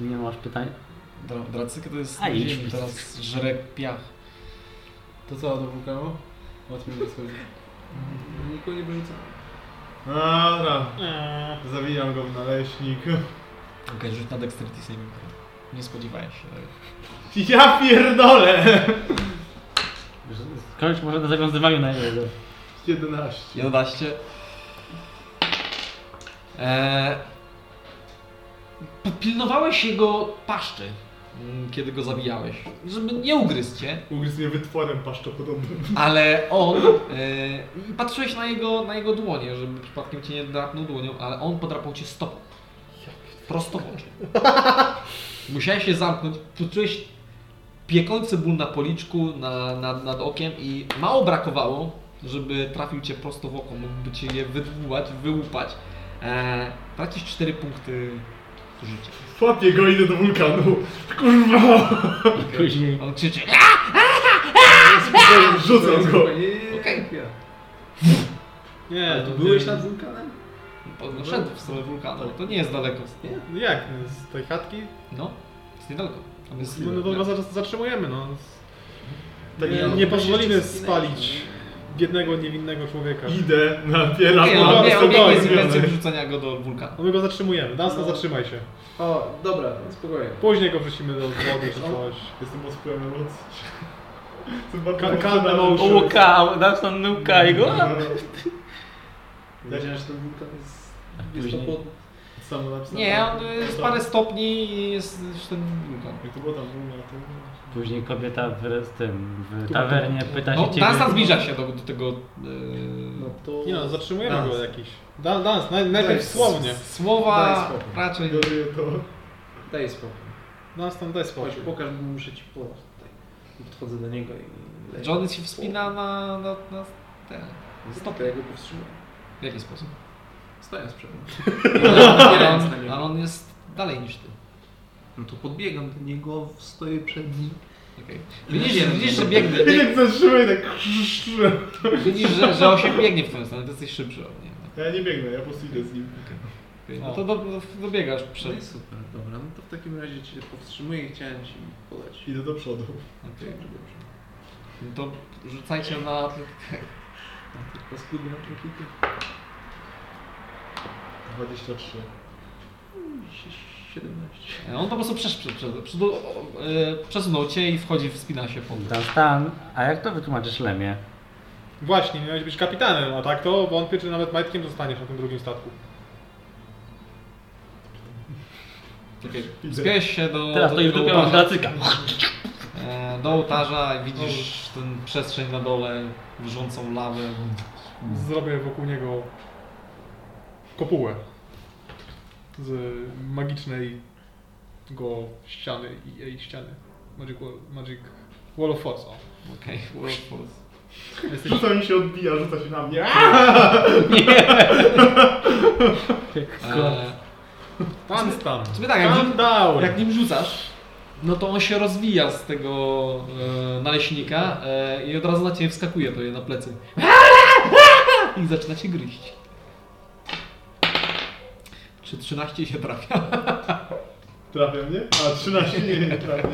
nie masz pytań.
Dra- Dracyk to jest
A,
na
idź.
ziemi, teraz żre piach.
to co, do wulkanu? Łatwo mi schodzi. Nikogo nie wyrzucam.
Dobra, zawijam go w naleśnik.
Okej, rzuć na dexterity saving. throw. Nie spodziewałem się tego.
Ja pierdolę!
Kończ może na zawiązywaniu na jego.
11.
11. Eee, podpilnowałeś jego paszczy, mm, kiedy go zabijałeś, żeby nie ugryzł cię,
Ugryzł mnie wytworem paszczopodobnym.
ale on... Eee, i patrzyłeś na jego, na jego dłonie, żeby przypadkiem cię nie drapnął dłonią, ale on podrapał cię stopą. Prosto w oczy. Musiałeś się zamknąć, poczułeś piekący ból na policzku, na, nad, nad okiem i mało brakowało, żeby trafił cię prosto w oko, mógłby cię je wydłułać, wyłupać. Eee, tracisz 4 punkty życia.
Łapię go, idę do wulkanu. Kurwa!
Później
On krzyczy,
Rzucam go.
Okej.
Nie,
Ale
to
to
byłeś
ty-
nad wulkanem?
on szedł w stronę wulkanu, to nie jest daleko, nie?
No jak, no, z tej chatki?
No, jest niedaleko. Tam jest,
No, no to was zat- zatrzymujemy, no.
Tak
nie, no,
ja-
nie pozwolimy spalić biednego, niewinnego człowieka.
Idę, napieram.
nie,
no,
on
to
nie,
jest
on
to
nie jest
dalej,
inwencją
dalej.
wrzucenia go do wulkanu.
No my go zatrzymujemy. Dunstan,
No.
zatrzymaj się.
O, dobra, spokojnie.
Później go wrzucimy do wody czy
No.
coś.
Jestem pod wpływem emocji. Jestem bardzo
Ka-
emocjonalny.
Kalm emotion.
łukał, Dunstan nuka jego.
No.
Wiedziałem, że ten wulkan jest, jest
Później.
to pod...
Samo napisane.
Nie, on jest parę stopni i jest już ten wulkan.
Jak to było tam, było na tym.
Później kobieta w, z tym, w tawernie pyta się
No,
ciebie.
Dunstan zbliża się do, do tego... e,
No to...
Nie no, zatrzymujemy
Dans.
go jakiś. Dan, dans, naj, najpierw
Dans.
słownie.
Daj
Słowa
spokój.
raczej...
Gotuję to.
Daj spokój.
Dunstan, daj
Chodź,
spokój.
pokaż, bo muszę ci podać tutaj. Podchodzę do niego i... leję.
Johnny się wspina na... na, na ten.
Stop, ja go powstrzymuję.
W jaki sposób?
Stojąc przed nim.
Ale
Napierając na
on, ale
niego.
on jest dalej niż ty.
No to podbiegam do niego, stoję przed nim.
Okej.
No
Widzisz, widzisz, że biegnie.
I
bieg-
jak zatrzymaj, tak krzyżę.
Widzisz, że, że on się biegnie w twoją stronę, ty jesteś szybszy od niego.
Ja nie biegnę, ja po prostu idę z nim.
Okej, No to do, do, dobiegasz przed...
No i super, dobra, no to w takim razie cię powstrzymuję i chciałem ci podać.
Idę do przodu.
Okej, No to rzucajcie na atletykę.
Tylko skudnia atletykę.
23.
17.
On po prostu przesz, przed, przed, przed, o, o, e, przesunął cię i wchodzi, wspina się pod...
Dunstan, a jak to wytłumaczysz Lemie?
Właśnie, miałeś być kapitanem, a tak to wątpię, czy nawet majtkiem zostaniesz na tym drugim statku.
Okej, Wspiąłeś się do...
Teraz
do
to już
tego
dopiero mam
ołtarza.
klasyka.
E, Do ołtarza widzisz ten przestrzeń na dole, wrzącą lawę.
Mm.
Zrobię wokół niego kopułę z magicznej go ściany i jej ściany. Magic Wall, Magic wall of Force. o.
Okej, World Force.
Jesteś,
Rzuca mi się odbija, rzuca się na mnie.
E,
tam, tam.
Sobie tak, jak,
Tam down.
jak nim rzucasz, no to on się rozwija z tego e, naleśnika e, i od razu na ciebie wskakuje to je na plecy. I zaczyna cię gryźć. Czy 13 się trafia?
Trafia mnie? A 13 nie, nie trafia.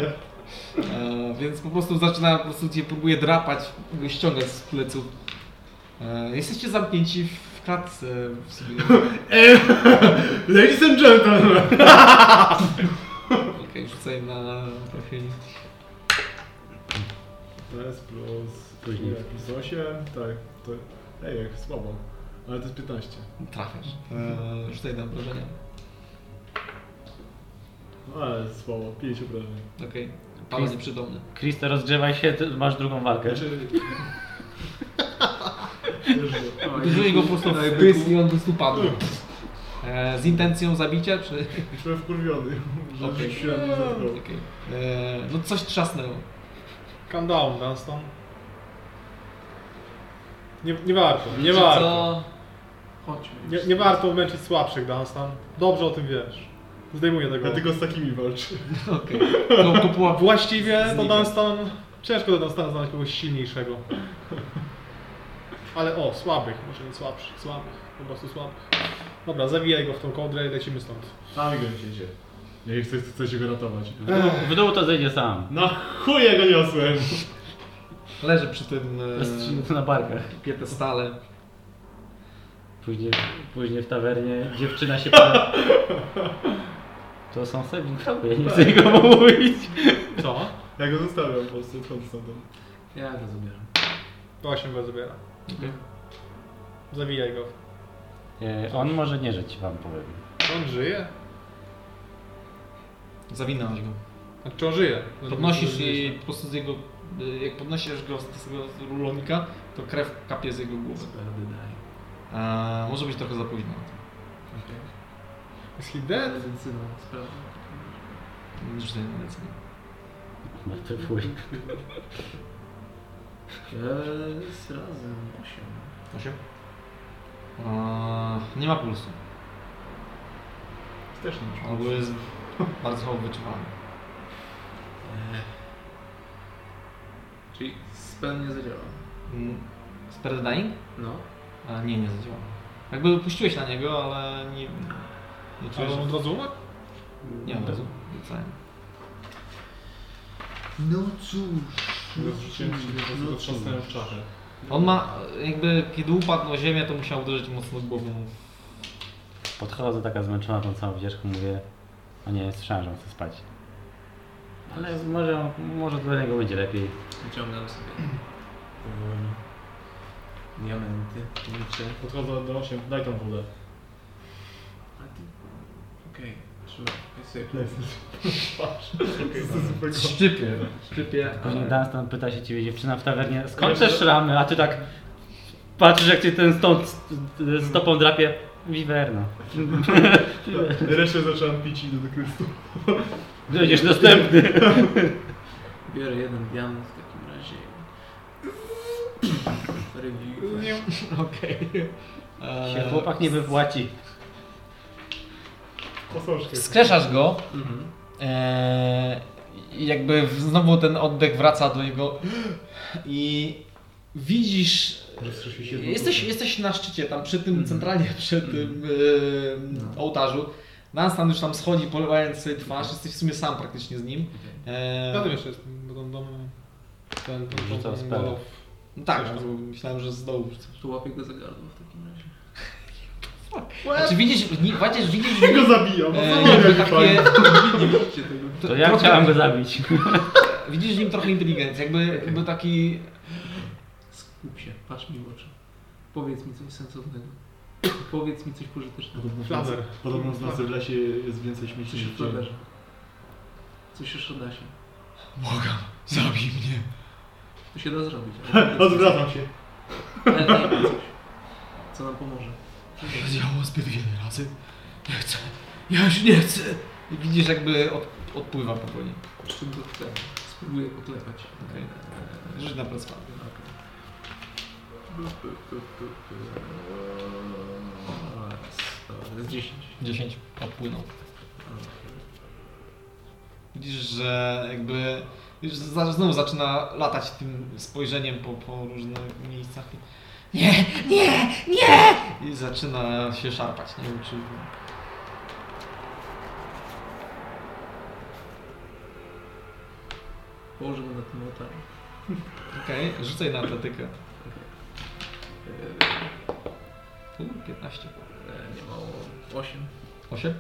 E, więc po prostu zaczyna, po prostu cię próbuje drapać, go ściągać z pleców. E, jesteście zamknięci w klatce w sobie.
E, Ladies and gentlemen!
Okej, rzucaj na trafienie.
To jest plus...
Później.
ile? Plus 8? Tak. To... Ej, jak słabo. Ale to jest 15.
Trafiasz. E, rzucaj na obrażenia.
No ale słabo, 5 obrażeń.
Okej. Pada nieprzytomny.
Chris, to rozgrzewaj się, ty masz drugą walkę.
Znaczy...
Uderzyli go po prostu w pysk i on po prostu padł. E, z intencją zabicia, czy...
Już byłem wkurwiony, że
Okej.
okay. rzuciłem mu
No.
za drogę.
Okej. E, no coś trzasnęło.
Calm down, Dunstan. Nie, nie warto, nie
Wiecie
warto.
co? Chodźmy.
Nie, nie warto męczyć słabszych, Dunstan. Dobrze o tym wiesz. Zdejmuję tego.
Dlatego z takimi walczy.
Okej. No
A
kopuła...
właściwie to
Znika.
Dunstan... Ciężko do Dunstana znaleźć kogoś silniejszego. Ale o, słabych, może nie słabszych, słabych, po prostu słabych. Dobra, zawijaj go w tą kołdrę i lecimy stąd.
Tam go siedzie. Niech ktoś chce się go ratować.
W dół to zejdzie sam.
Na chuje go niosłem!
Leży przy tym
Rozstrzygnę to
e,
Y, na barkach.
piedestale.
Później, później w tawernie dziewczyna się pyta. To są sebbingowe, ja nie chcę nikomu mówić.
Co?
Ja go zostawiam po prostu, odchodzę stamtąd.
Ja go zabieram.
8 go zabiera. Zawijaj go.
E, On może nie żyć, wam powiem.
On żyje?
Zawinąłeś go.
A czy on żyje? No,
Podnosisz
nie
i
wiem,
po prostu z jego... y, Jak podnosisz go z tego rulonika, to krew kapie z jego głowy.
Sperdy daj.
A, może być trochę za późno.
Is he dead?
Decydent, sprawdzę.
Rzucaj na medycynę.
Martwy wuj.
Eee, z razem 8.
Osiem? A, nie ma pulsu.
Też nie
On w ogóle jest bardzo słabo wyczuwalny.
Czyli spell nie zadziała.
Mm, Spirit Dying?
No.
A, nie, nie zadziałało. Jakby puściłeś na niego, ale nie... Nie
Ale
czujesz,
on od
że...
razu umarł?
Nie, od razu. Wcale.
No cóż.
Rozrzuciłem się, po prostu go trzasnąłem w czachę.
On ma, jakby kiedy upadł na ziemię, to musiał uderzyć mocno głową.
Podchodzę taka zmęczona tą całą wycieczką, mówię, o nie, słyszałem, że on chce spać. Ale może, może dla niego będzie lepiej.
Wyciągam sobie powoli diamenty, liczę.
Podchodzę do 8, daj tą wodę.
A ty? Okej, trzymaj. Ja sobie
Patrz. Okay,
Szczypie. Szczypie.
Tak, Później Dunstan pyta się ciebie dziewczyna w tawernie, skąd te szramy, a ty tak patrzysz jak cię ten stąd stopą drapie. Wiwerno.
Resztę zacząłem pić i idę do Krystu.
Będziesz następny.
Biorę jeden diament w takim razie. Review.
Okej.
Się
Eee,
chłopak nie wypłaci.
Posążkę.
Wskrzeszasz go.
Mhm.
Eee, i jakby w- znowu ten oddech wraca do jego i widzisz. e,
Rozkrzeszył się dwa
Jesteś,
duchy.
jesteś na szczycie, tam przy tym,
Mhm.
centralnie przy tym eee,
No. Mhm.
ołtarzu. Dunstan już tam schodzi, polewając sobie twarz. Jesteś w sumie sam praktycznie z nim. Eee,
No
Ja tym jeszcze jestem, bo tam dom... Ten, ten, ten,
Rzucał
ten,
spell.
Wolof.
no tak, no, myślałem, że z dołu. rzucę.
Tu łapię go za gardło w takim razie.
Znaczy widzisz, ni- chociaż widzisz,
Go zabijam, no
Eee,
co mogę
jakby
mi fajnie.
takie,
Nie widzicie tego.
To ja chciałem go zabić.
widzisz w nim trochę inteligencji, jakby, jakby taki...
Skup się, patrz mi w oczy. Powiedz mi coś sensownego. Powiedz mi coś pożytecznego.
Podobno w nocy-
Flazer.
Podobno w nocy w lesie jest więcej śmieci
Coś
niż
o
w dzień.
flaberze. Coś o szadasie.
Zabij mnie.
To się da zrobić. ale powiedz mi
Odwracam się.
coś. Ale daj mi coś, co nam pomoże.
Działo zbyt wiele razy. Nie chcę. Ja już nie chcę. I widzisz jakby od, odpływa powoli.
Przy czym to chcę. Spróbuję poklepać.
Okej. Rzuć na prospa.
To jest 10.
10. Odpłynął. Widzisz, że jakby... Już za- znowu zaczyna latać tym spojrzeniem po, po różnych miejscach. i- Nie, nie, nie! I zaczyna się szarpać. Nie wiem, czy...
Położę go na tym ołtarzu.
Okej, rzucaj na atletykę.
Eee,
U, 15.
eee, Nie mało. 8.
8?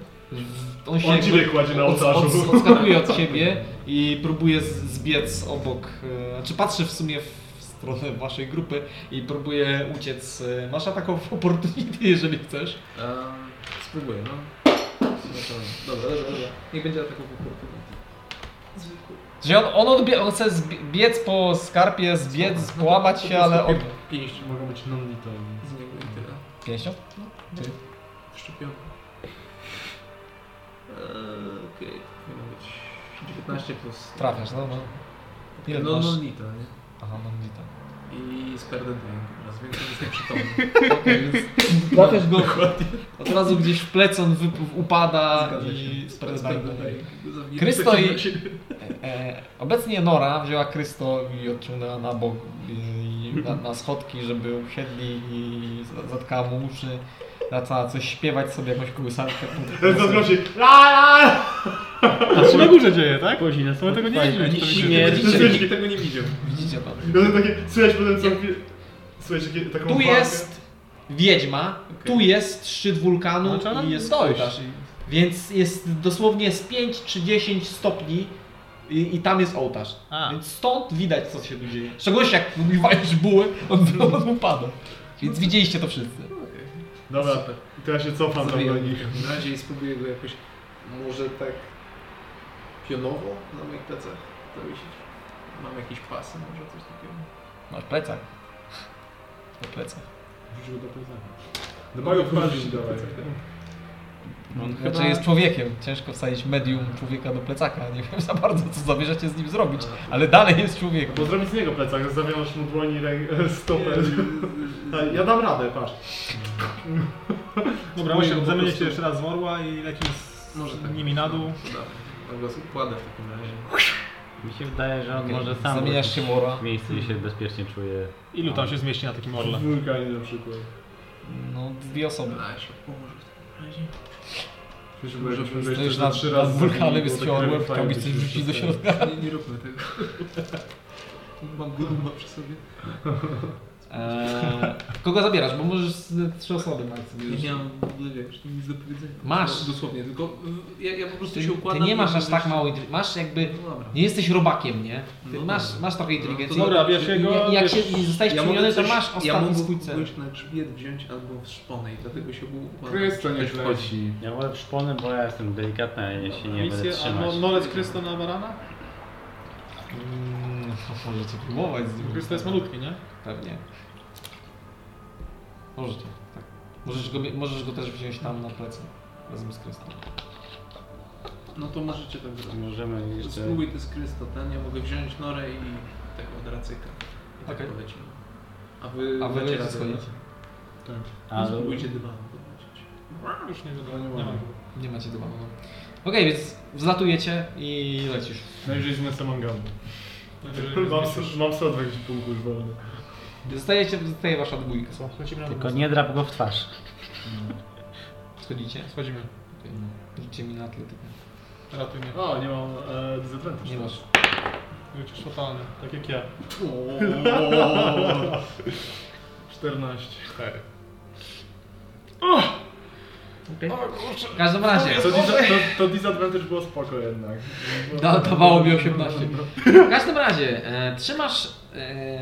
On
On dziwę
jakby
kładzie na
od-
ołtarzu.
od- Odskakuje od siebie i próbuje z- zbiec obok. e, Znaczy patrzy w sumie w stronę waszej grupy i próbuje uciec. E, Masz taką opportunity, jeżeli chcesz.
Ehm, spróbuję, no. Zobaczymy. Dobra, dobra, dobra. Niech będzie atakował oportunity. Zwykły.
Czyli on, on, odbie, on chce zbie- biec po skarpie, zbiec, połamać się, ale od...
Pięść
Mogą być non-lethal.
z niego i tyle.
Pięścią?
Wszczepiony. Eee, Okej, to powinno być 19 plus.
Trafiasz, no. no. Ile
No,
masz?
no, nita, nie?
Aha, no widzę.
I z perdentem raz, więc jest nieprzytomny.
Okej, więc Trafiasz go od razu gdzieś w plec, on wyp- upada
Zgadza
i...
się.
spredaje.
Zawinięty.
Krysto i... E, obecnie Nora wzięła Krysto i odciągnęła na bok i na, na schodki, żeby usiedli i za- zatkała mu uszy. Zaczęła coś śpiewać sobie, jakąś kołysankę.
Zatkam się. Aaaa!
A co na górze dzieje, tak?
Później na
No tego nie
fajnie.
widzimy, czy to widzimy.
Śmierć.
Widzicie-
Nikt tego nie widział.
Widzicie to.
I potem takie, słychać potem całą chwilę. Słychać takie, taką
Tu
walkę.
jest wiedźma, tu jest szczyt wulkanu
No, trzeba
i jest
dojść.
korytarz. I Więc jest dosłownie z 5 czy 10 stopni i, i tam jest ołtarz.
A.
Więc stąd widać, co się tu dzieje. W szczególności jak wywalisz buły, on, on upada. Więc widzieliście to wszyscy.
Dobra, to ja się cofam tam do
Zrobiłem.
nich.
Na razie spróbuję go jakoś, może tak pionowo na moich plecach zawiesić. Mam jakieś pasy, może coś takiego.
Masz plecak. Na plecach.
Wrzuć go do plecaka.
Do bagów parzy dawaj.
No,
On znaczy jest człowiekiem. Ciężko wsadzić medium człowieka do plecaka. Nie wiem za bardzo, co zamierzacie z nim zrobić, ale dalej jest człowiekiem.
Bo zrobić z niego plecak, zawiąż mu dłoni rę- stopę. Tak, Ja dam radę, patrz.
Dobra,
Musi
Łysiek,
po
zamienię
prostu-
się jeszcze raz w orła i leci z
Może tak.
nimi na dół.
Dobra, to go układę w takim razie.
Mi się wydaje,
No,
że on
Okej,
może sam
Zamieniasz się w orła.
w miejscu gdzie się bezpiecznie czuje.
Ilu tam się zmieści na takim orle?
Wulkanie na przykład.
No, dwie osoby.
Na się położę w takim razie.
Przecież
Może
jakbyśmy
stoisz
wejść
nad-
trzy
nad
razy
wulkanem,
zabili,
jest
było
ciągłe,
takie
chciałbyś
fajne,
coś
byśmy
wrzucić do
przestali.
środka.
Nie, nie róbmy tego. Mam gumę przy sobie.
Eee, kogo zabierasz? Bo możesz z- trzy osoby mać sobie.
Nie miałem w ogóle wiesz, nic do powiedzenia.
Masz.
No, dosłownie, tylko y, ja, ja po prostu
Ty,
się układam.
ty nie masz
i-
aż tak mało inteligencji. Masz jakby.
No dobra.
Nie jesteś robakiem, nie? Ty
No
masz,
dobra.
masz trochę inteligencji.
No to dobra,
bierz jego,
I- i Jak
bierz-
się i zostajesz
Ja
przyjmiony,
mogę
to
coś,
masz
ja
ostatni
mogę
swój cel.
kogoś na grzbiet wziąć albo w szponę i dlatego się był układam.
Krysto
Ktoś
niech
wchodzi.
leci.
Ja wolę szpony, bo ja jestem delikatna i się nie będę
Misję, a
trzymać.
no, nolec Krysto na barana?
Mm, to możecie próbować z nim.
Krysto jest malutki, nie?
Pewnie. Możecie, tak. Możesz go, możesz go też wziąć tam na plecy. Razem z Krystą.
No to możecie tak zrobić.
Możemy jeszcze...
Spróbuj ty z Krysto, ten ja mogę wziąć norę i tego odracyka. I tak
Okej.
polecimy. A wy,
A wy
dacie
lecie
radę,
schodzicie.
no?
A, do-
Spróbujcie dywan podlecieć.
Już nie
No, nie
wiadomo,
ma.
nie mam.
Nie macie dymanu. Okej, więc wzlatujecie i lecisz.
Najwyżej zmęcę mangamu.
Najwyżej
Mam,
Znaczy, jest-
mam 120 punktów już wolny.
Zostajecie, zostaje wasza dwójka.
Co? Lecimy na
Tylko
dół.
nie drap go w twarz.
Schodzicie?
Schodzimy.
Okej, no. Rzućcie mi na atletykę.
Ratuj mnie.
O, nie mam e, disadvantage.
Nie masz.
Wrócisz fatalny, tak jak ja.
14.
W każdym razie,
To, disa, to, to disadvantage było spoko jednak.
da, dawało No, mi 18. W każdym razie, e, trzymasz e,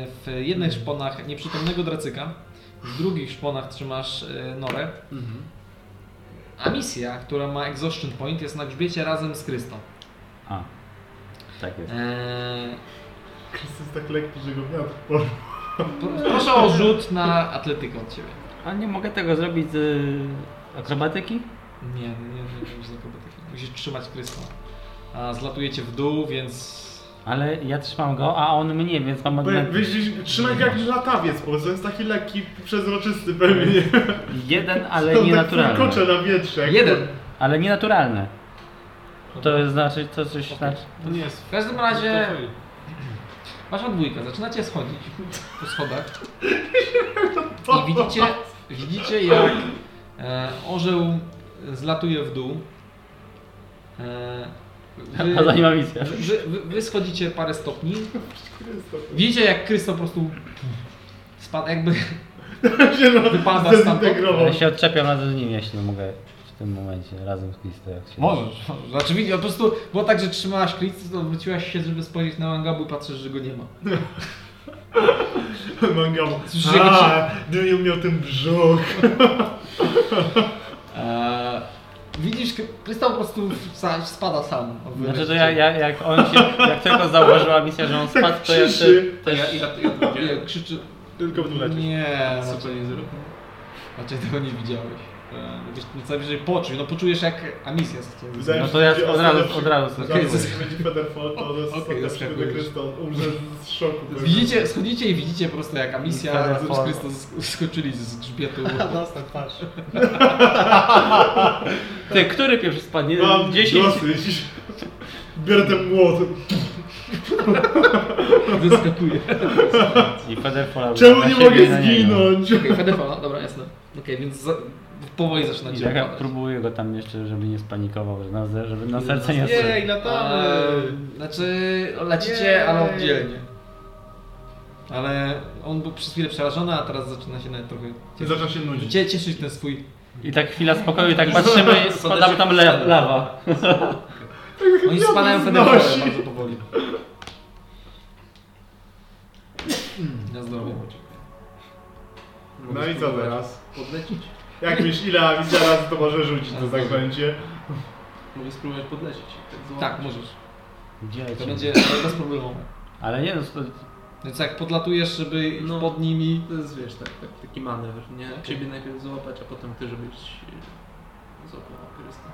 w jednych szponach nieprzytomnego dracyka, w drugich szponach trzymasz e, norę,
Mhm.
a misja, która ma exhaustion point, jest na grzbiecie razem z Krystą.
A, tak jest.
E,
Chris jest tak lekki, że go miał. Bo
pro- proszę o rzut na atletykę od ciebie.
A nie mogę tego zrobić z y, akrobatyki?
Nie, nie, nie, nie musisz akrobatyki. Musisz trzymać Krystą. A zlatujecie w dół, więc...
Ale ja trzymam go, a on mnie, więc mam
bo jak
odmę-
wyjdziesz- trzymaj go jak latawiec, bo on jest taki lekki, przezroczysty pewnie.
jeden,
On
ale
tak
nienaturalny.
furkocze na wietrze. jak-
Jeden!
Ale nienaturalny. To znaczy, to coś znaczy...
To nie jest...
W każdym razie... Wasza dwójka, zaczynacie schodzić po schodach i widzicie, widzicie jak e, orzeł zlatuje w dół. E,
A za nim
wy,
ma misję.
wy, Znaczy, wy, wy schodzicie parę stopni.
Krysto.
Widzicie jak Krysto po prostu spada, jakby
się no,
Wypada
zdezintegrował.
Ja się odczepiam razem z nim, jeśli mogę w tym momencie, razem z Christo, jak się...
Możesz. możesz. Znaczy widzi- po prostu było tak, że trzymałaś klic, to wróciłaś się, żeby spojrzeć na Mangabu i patrzysz, że go nie ma.
Mangamu.
Słyszysz, jak
A, Dyniu miał ten brzuch.
Eee, widzisz, Krysto po prostu sa- spada sam.
Znaczy, to ja, ja, jak on się, jak tylko zauważyła misja, że on spadł, to ja się...
Tak Krzyczy.
To ja, ja, ja to
Nie,
widziałem.
krzyczy.
Tylko w dół lecisz.
Nie,
Co to
raczej,
nie zrobił?
raczej tego nie widziałeś. Eee, Wiesz, no co wyżej poczuj, no poczujesz jak Amisja z tym
Wydaje mi
No
się,
to ja
że
od razu,
ostateczny-
od razu.
Okej,
Zaraz, jak będzie Federfall, to od razu
Okej,
okay, do
zaskakujesz.
Krystal. Umrze z szoku.
Widzicie, schodzicie i widzicie po prostu jak Amisja
Fajna
razem z
forma.
Krystus sk- skoczyli z grzbietu.
No.
Dostał twarz.
Ty, który pierwszy spadnie?
Mam
10?
dosyć. Biorę ten młot.
Wyskakuje.
I Federfola
Czemu nie mogę
no
zginąć?
Okej, Fedefa, no, dobra, jasne. Okej, więc za, powoli zaczynacie
Ja
opadać.
tak próbuję go tam jeszcze, żeby nie spanikował, że na, żeby na serce nie
Jej,
no.
strzelił.
latamy!
Eee, Znaczy, lecicie,
Jej.
ale oddzielnie. Ale on był przez chwilę przerażony, a teraz zaczyna się nawet trochę
I
cieszyć,
zaczyna się nudzić.
Cie- cieszyć ten swój
I tak chwila spokoju, i tak patrzymy, spadamy tam le- lawa.
Oni spadają wtedy w górę bardzo powoli. Na zdrowie.
No i co teraz?
Podlecieć?
Jak myślisz, ile Amicia razy to może rzucić to tak zaklęcie?
Mogę spróbować podlecieć. złapać.
Tak, możesz.
Gdzie
To
lecimy?
będzie bez problemu.
Ale nie, no to,
Więc jak podlatujesz, żeby iść
No.
pod nimi,
To jest wiesz, tak, tak, taki manewr, nie? Ciebie najpierw złapać, a potem ty, żebyś e, złapał Krysta.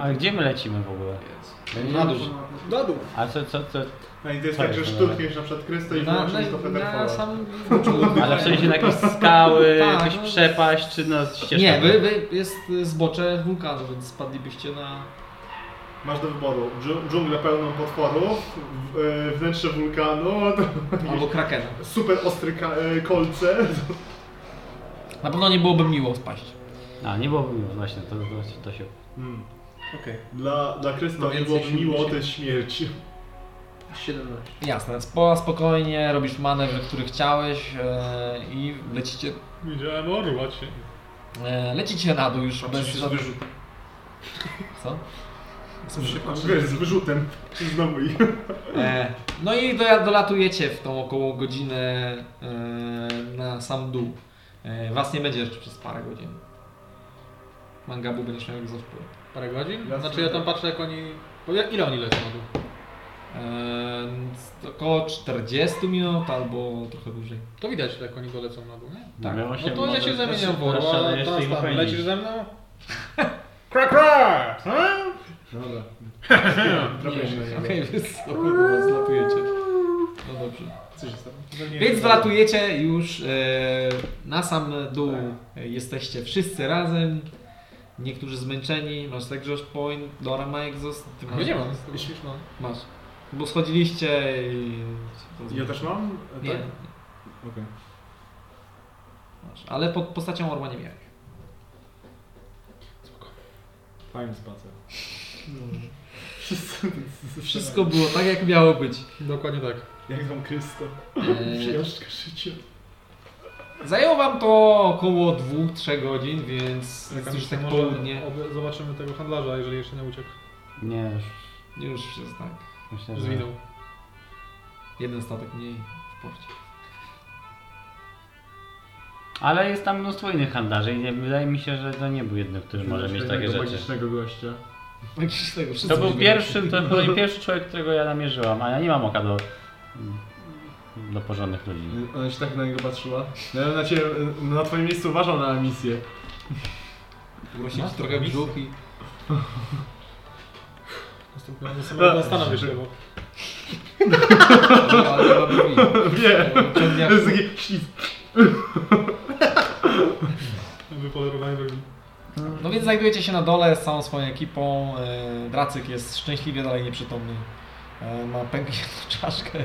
a gdzie my lecimy w ogóle?
Jest.
Na dół.
Na dół.
A co, co, co?
No i to jest
Tak,
tak, że
no.
szturchniesz na przykład Krysto i
na, na,
włączysz to
na
Federfola.
samym boczu.
Ale w sensie na jakieś skały,
Tak,
jakąś
no.
przepaść, czy na ścieżkę?
Nie, wy, wy jest y, zbocze wulkanu, więc spadlibyście na...
Masz do wyboru dżu- dżunglę pełną potworów, w, e, wnętrze wulkanu,
albo krakena.
super ostre ka- e, kolce.
Na pewno nie byłoby miło spaść.
A, nie byłoby miło, właśnie, to, to, to się...
Hmm.
Okej.
Dla, dla Krysto
No
nie
więcej
byłoby miło,
siedemdziesiąt.
to jest śmierć.
17.
Jasne, spo, spokojnie robisz manewr, który chciałeś e, i lecicie,
Widziałem orła cię.
e, lecicie na dół już bez
Patrzysz z
żadnych-
wyrzutem.
Co?
Wiesz, z wyrzutem. Czy Znowu ich.
E, no i doja- dolatujecie w tą około godzinę e, na sam dół. E, was nie będzie jeszcze przez parę godzin. Mangabu będziesz miał jak zawsze.
Parę godzin?
Ja
znaczy
sobie
ja tam
tak.
patrzę jak oni... Bo ja, ile oni lecą na dół?
E, z- około 40 minut albo trochę dłużej.
To widać jak oni go lecą na dół, nie?
Tak.
Miało
No to ja się zamieniam w
Teraz
orła,
trzeba
no,
a
jeszcze
teraz
ich
tam,
wypędzić.
lecisz ze mną? Kra, kra!
Dobra.
Okej, więc o kurwa, zlatujecie. No dobrze.
Co się stało?
Więc wlatujecie już e, na sam dół. E, Jesteście wszyscy razem. Niektórzy zmęczeni. Masz tak Josh Point, Dora ma exhaust. Ty masz?
Gdzie mam? Myślisz, no.
Masz. Bo schodziliście i... znaczy?
Ja też mam? E,
Nie,
Tak? Okej.
masz. Ale pod postacią Orła nie miałeś.
Fajny spacer.
No. Wszystko było tak, jak miało być.
Dokładnie tak.
Jak wam Krysto?
E,
Przyjażdżka życia.
zajęło wam to około 2-3 godzin, więc jest już tak
może
południe.
ob- Zobaczymy tego handlarza, jeżeli jeszcze nie uciekł.
Nie, już
Już jest tak.
myślę, że...
Zwinął.
Jeden statek mniej w porcie.
Ale jest tam mnóstwo innych handlarzy i nie- wydaje mi się, że to nie był jeden, który może mieć takie rzeczy.
magicznego gościa.
Jakiś tego
To
wszyscy
był
byli
pierwszy, to był pierwszy człowiek, którego ja namierzyłam, a ja nie mam oka do, do porządnych ludzi.
Ona się tak na niego patrzyła. No, ja bym na ciebie, na twoim miejscu uważał na misję.
Prosić trochę brzuch i...
Następnie on sobie zastanowię się, bo...
Ale chyba brwi.
Wiem.
Ciągnie-
To jest taki ślizg.
Wypolerowanie robi.
No więc znajdujecie się na dole z całą swoją ekipą. E, Dracyk jest szczęśliwie dalej nieprzytomny. E, Ma pękniętą czaszkę.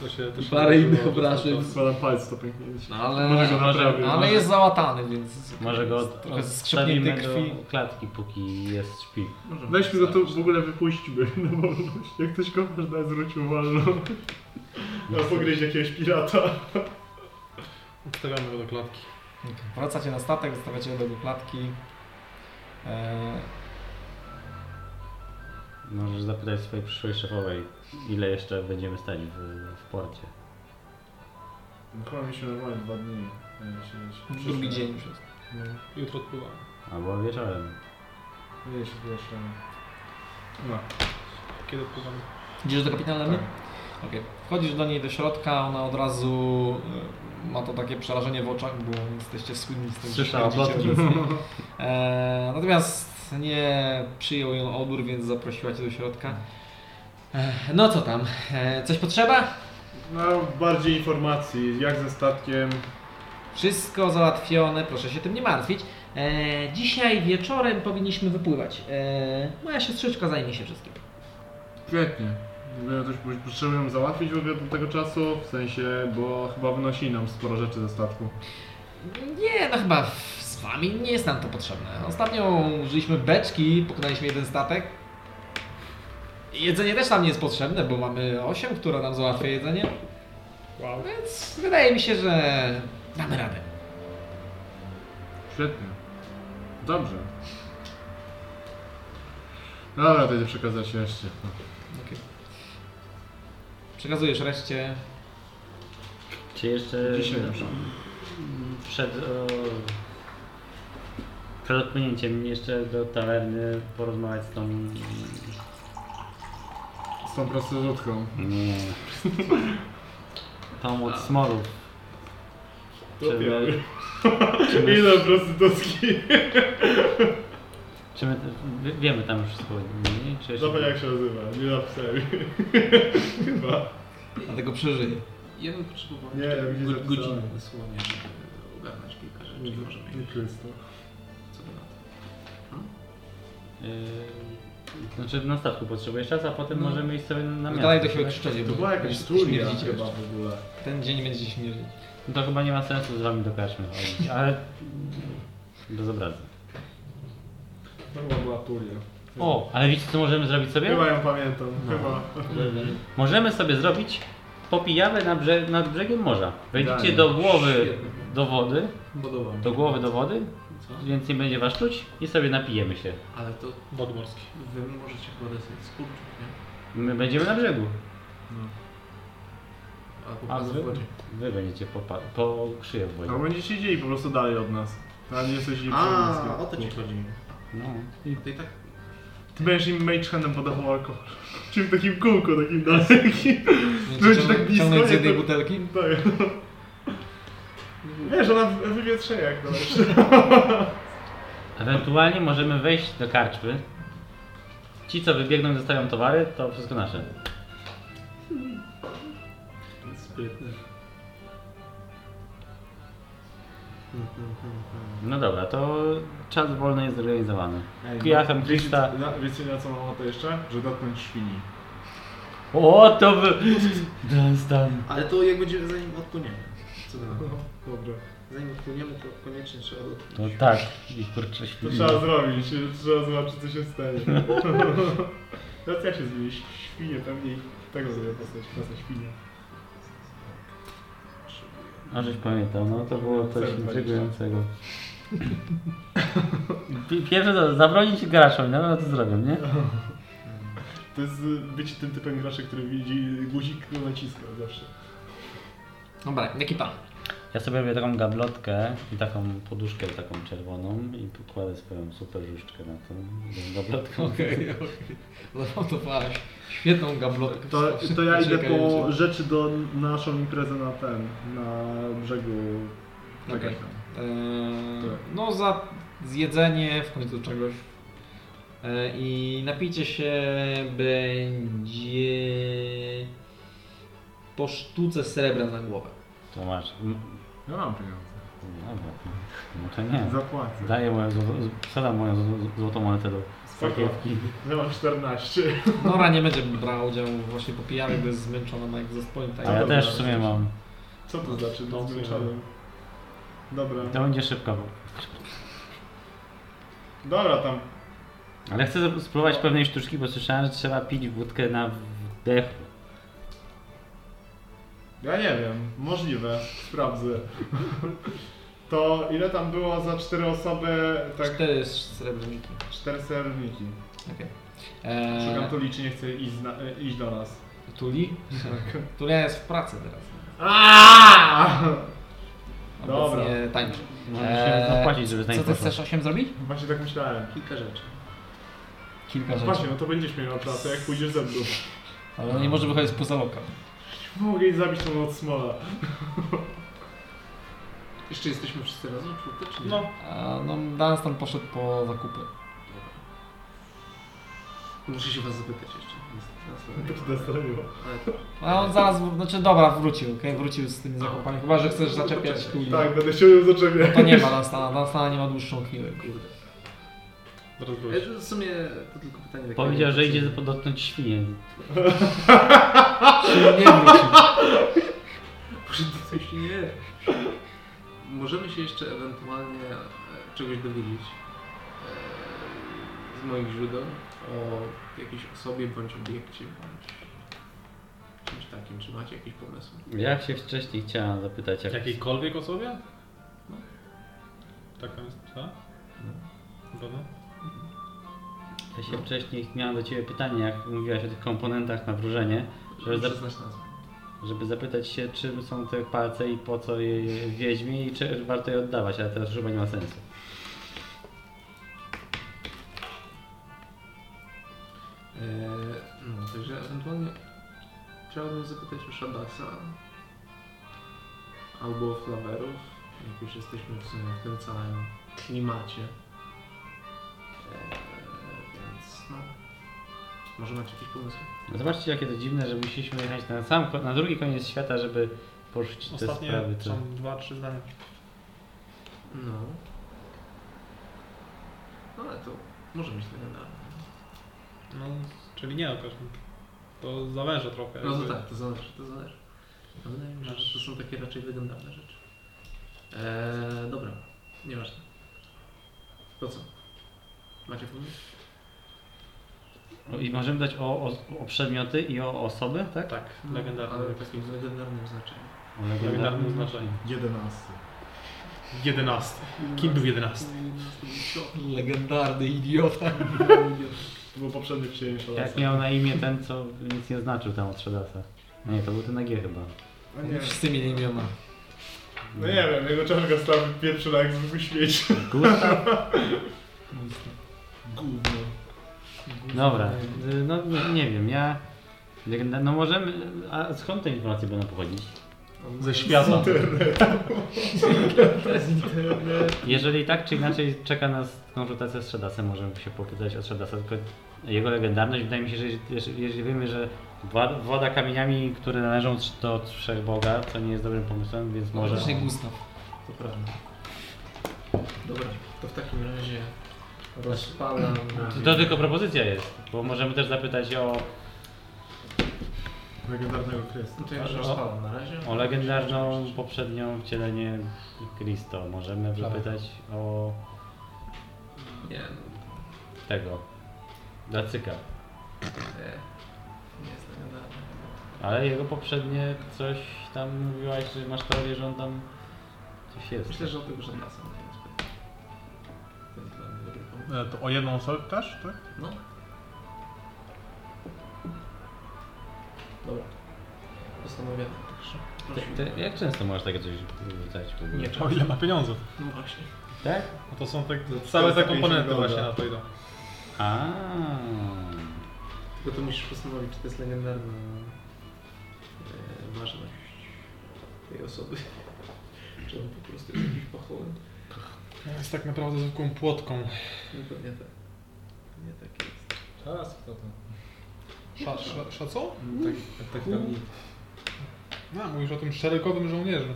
To się, to się
Parę
nie
innych
było.
obrażeń.
Składam palec, to pięknie jest.
No ale,
Może go
Może-
naprawię.
ale jest załatany, więc
Może go od-
trochę skrzypnięty
odstawimy
krwi.
do klatki, póki jest śpi.
Możemy
Weźmy go tu, w ogóle wypuśćmy. No bo jak ktoś go można zwrócił wolno. No pogryźć jakiegoś pirata.
Stawiamy go do klatki.
Okej. Wracacie na statek, zostawiacie go do klatki. E,
Możesz zapytać swojej przyszłej szefowej, ile jeszcze będziemy stać w, w porcie.
Chyba mi się normalnie dwa dni.
drugi dzień już jest.
No,
Jutro odpływamy.
Albo wieczorem.
nie się zgłaszam. No.
Kiedy odpływamy?
Idziesz do kapitana Lemy?
Tak.
Okej. Wchodzisz do niej do środka, ona od razu e, ma to takie przerażenie w oczach, bo jesteście słynni z tym, że
Słyszała
śmierdzicie
plotki.
obecnie. E, natomiast nie przyjął ją odór, więc zaprosiła cię do środka.
Tak.
E, no co tam? E, coś potrzeba?
No, bardziej informacji, jak ze statkiem.
Wszystko załatwione, proszę się tym nie martwić. E, dzisiaj wieczorem powinniśmy wypływać. E, moja siostrzyczka zajmie się wszystkim.
Świetnie. My coś potrzebujemy załatwić w ogóle do tego czasu, w sensie, bo chyba wynosi nam sporo rzeczy ze statku.
Nie, no chyba w- z wami nie jest nam to potrzebne. Ostatnio użyliśmy beczki, pokonaliśmy jeden statek. Jedzenie też nam nie jest potrzebne, bo mamy 8, które nam załatwia jedzenie.
Wow.
Więc wydaje mi się, że
Damy radę.
Świetnie. Dobrze. No Dobra, to idę przekazać reszcie.
Okay. Przekazujesz reszcie.
Czy jeszcze
Dzisiaj na przykład.
przed o, przed odpłynięciem jeszcze do tawerny porozmawiać z tą...
Z tą prostytutką.
Nie. Tą od smorów. Czy my, czy my,
Ile prostytutki?
czy my wie- wiemy tam już wszystko? Nie? Czy jeszcze...
Zobacz jak się nazywa, nie napisałem. Chyba.
Dlatego przeżyję.
Ja bym potrzebował
Nie,
jeszcze
ja bym nie
go-
zapisałem.
godziny dosłownie, żeby ogarnąć kilka rzeczy. Może
Nie
mieć
czysto.
co do na to.
Yy, znaczy na statku potrzebujesz czas, a potem
No.
możemy iść sobie na miasto.
Dalej do siebie krzyczeć.
To była jakaś turnia chyba w ogóle.
Ten dzień będzie śmierdzić.
No to chyba nie ma sensu z wami do karczmy chodzić, ale bez obrazy.
To chyba była turnia.
O, ale wiecie co możemy zrobić sobie?
Chyba ją pamiętam,
No.
chyba.
Możemy sobie zrobić popijawę nad, brze- nad brzegiem morza. Wejdziecie do głowy do wody,
Podoba mi się.
do głowy do wody,
Co?
więc nie będzie was czuć i sobie napijemy się.
Ale to
Wody morskie.
wy możecie chyba dostać z kurczów, nie?
My będziemy na brzegu.
A po
A
prostu
wy?
w wodzie.
Wy będziecie po, pa- po szyję w
No
wodzie.
będziecie siedzieli po prostu dalej od nas. A nie jesteś im
A, o to ci chodzi.
No.
To i tak
Ty będziesz im mage handem podawał alkohol. Czyli w takim kółku, takim dalekim. Będzie tak blisko,
Ciągnąć z
jak
jednej
to-
butelki?
Tak. Wiesz, ona w- wywietrze jak to.
Ewentualnie możemy wejść do karczmy. Ci co wybiegną i zostawią towary, to wszystko nasze.
sprytne.
No dobra, to czas wolny jest zorganizowany.
Ej,
Pijachem
no,
Krista.
wiecie- na- Wiecie na co mam ochotę jeszcze? Że dotknąć świni.
O, to wy... Dunstan.
Ale to jak będziemy zanim odpłyniemy. Co do na to?
Dobra.
Zanim odpłyniemy, to koniecznie trzeba
No
dotknąć.
tak, i kurczę
To
świnia.
trzeba zrobić, trzeba zobaczyć co się stanie. Teraz ja się zmienię, świnie pewnie i tego zrobię postać, postać świnie.
A żeś pamiętał, no to było coś
Cel
intrygującego. Pi- Pierwsze to zabronić graczom, no no to zrobią, nie?
To jest y, być tym typem gracza, który widzi guzik, który naciska zawsze.
Dobra, No, jaki plan?
Ja sobie robię taką gablotkę i taką poduszkę taką czerwoną i pokładę swoją super różdżkę na tą tą gablotkę.
Okej, okej. No to parę. Świetną gablotkę.
To, to ja idę po
Czekającą.
rzeczy do naszą imprezę na ten, na brzegu.
Okej.
Okay.
Eee,
Tak.
no za zjedzenie w końcu czegoś. Eee, I napicie się będzie po sztuce srebra na głowę.
To masz. m-
Ja mam pieniądze.
Dobra, no to nie.
Zapłacę.
Daję moją, zł- wsadam moją zł- złotą monetę do
Spoko.
sakiewki.
Ja mam 14.
Nora nie będzie brała udziału właśnie po pijanych, bo jest zmęczona na tak? egzospoint.
A ja też w sumie mam.
Co to znaczy?
No,
No, zmęczonym. Dobra.
To będzie szybko.
Dobra, tam
Ale chcę zap- spróbować pewnej sztuczki, bo słyszałem, że trzeba pić wódkę na wdech.
Ja nie wiem, możliwe, sprawdzę. To ile tam było za cztery osoby, tak?
Cztery srebrniki.
Cztery serwniki.
Okej. Eee,
Szukam tu liczy, nie chcę iść, zna, e, iść do nas.
Tuli?
Tak.
Tulia jest w pracy teraz.
Aaaa! Dobra.
Dobra. Tańczy. Eee,
Możemy się zapłacić, żeby
Co
taniej
ty
poszło.
chcesz 8 zrobić?
Właśnie tak myślałem.
Kilka rzeczy.
Kilka
Właśnie, no to będziesz miał pracę, jak pójdziesz ze mną.
Ale on nie może wychodzić poza lokal.
Mogę jej zabić tą od smola.
Jeszcze jesteśmy wszyscy razem, czwórka czy nie?
No.
A, no, Dunstan poszedł po zakupy.
Muszę się was zapytać jeszcze. niestety, na
To
stronie.
się nastroiło.
Ale to...
A on zaraz, wr- znaczy dobra, wrócił, okej? Wrócił z tymi zakupami. Chyba, że chcesz zaczepiać
Poczekaj.
Tuli.
Tak, będę chciał ją zaczepiać.
To nie ma Dunstana. Dunstana nie ma dłuższą chwilę.
Kurde.
Zaraz
E,
wróci.
to W sumie to tylko pytanie takie...
Powiedział, że idzie dotknąć świnię.
Czyli nie wrócił.
Boże, to coś nie. Możemy się jeszcze ewentualnie e, czegoś dowiedzieć e, z moich źródeł o jakiejś osobie bądź obiekcie, bądź czymś takim? Czy macie jakiś pomysł?
Jak się wcześniej chciałem zapytać, jak...
Jakiejkolwiek osobie? Tak tam jest, co? Dobra.
Ja się wcześniej miałem do Ciebie pytanie, jak mówiłaś o tych komponentach na wróżenie, żeby,
Muszę
zap-
znać nazwę.
żeby zapytać się, czym są te palce i po co je wiedźmie i czy warto je oddawać, ale teraz już chyba nie ma sensu.
Eee, no, także ewentualnie chciałbym zapytać o Shadasa albo o Flaverów, jak już jesteśmy w sumie w tym całym klimacie. Eee, więc no, może macie jakieś pomysły?
No Zobaczcie, jakie to dziwne, że musieliśmy jechać na sam, ko- na drugi koniec świata, żeby poruszyć te
Ostatnie
sprawy. co-
są dwa, trzy zdania.
No. No ale to może być legendarne.
No, czyli nie, okaż To zawęża trochę.
No
jakby.
to tak, to zależy, to zależy. No, wydaje mi się, że to są takie raczej legendarne rzeczy. Eee, dobra, nieważne. To co? Macie pomysł?
No I możemy dać o, o, o przedmioty i o osoby, tak?
Tak, legendarny.
No, Ale w takim legendarnym znaczeniu.
O legendarnym
Legendarnym
znaczeniu.
znaczeniu.
11.
11. Kim był 11?
Legendarny idiota.
To było poprzednie wcielenie
Jak
szaleństwa.
miał na imię ten, co nic nie znaczył tam od Shadasa. Nie, to był ten na G chyba.
No nie,
Wszyscy mieli imiona.
no nie wiem, jego czarnego stawy pierwszy na jak zwykły świecie.
Gustaw?
Gówno.
Dobra, y, no nie, nie wiem, ja... legenda- No możemy... A skąd te informacje będą pochodzić?
Ze świata.
Jeżeli tak czy inaczej czeka nas konsultacja z Shadasem, możemy się popytać o Shadasa, tylko jego legendarność, wydaje mi się, że jeżeli, jeżeli wiemy, że wła- włada kamieniami, które należą trz- do trzech boga, to nie jest dobrym pomysłem, więc może...
Może Gustaw.
To prawda. Dobra, to w takim razie rozpalam.
To, to tylko propozycja jest, bo możemy też zapytać o,
Legendarnego kresu.
No to ja już rozpalam na razie.
o legendarną poprzednią wcielenie Christo, możemy zapytać o
Nie, no,
tego, Dacyka,
nie. Nie jest legendarne.
ale jego poprzednie coś tam mówiłaś, że masz teorię, że on tam coś jest.
Myślę, że o tego żadna sam nie jest pewien. To jest dla mnie dobry pomysł.
E, To o jedną osobę też, tak?
No. Dobra. Postanowione.
Ty,
Prosimy.
ty, jak często możesz takie coś rzucać w ogóle?
Nie
O ile ma pieniądze.
No właśnie.
Tak?
No to są tak, całe te komponenty
450
właśnie
golda.
na to idą.
A.
Tylko to musisz postanowić, czy to jest legendarna e, ważność tej osoby. Czy on po prostu jest jakimś pachołem.
Jest tak naprawdę zwykłą płotką.
No pewnie tak. Pewnie tak jest.
Teraz kto to?
Sza, sza, sza co?
Tak, tak tam nic.
No, mówisz o tym szeregowym żołnierzu.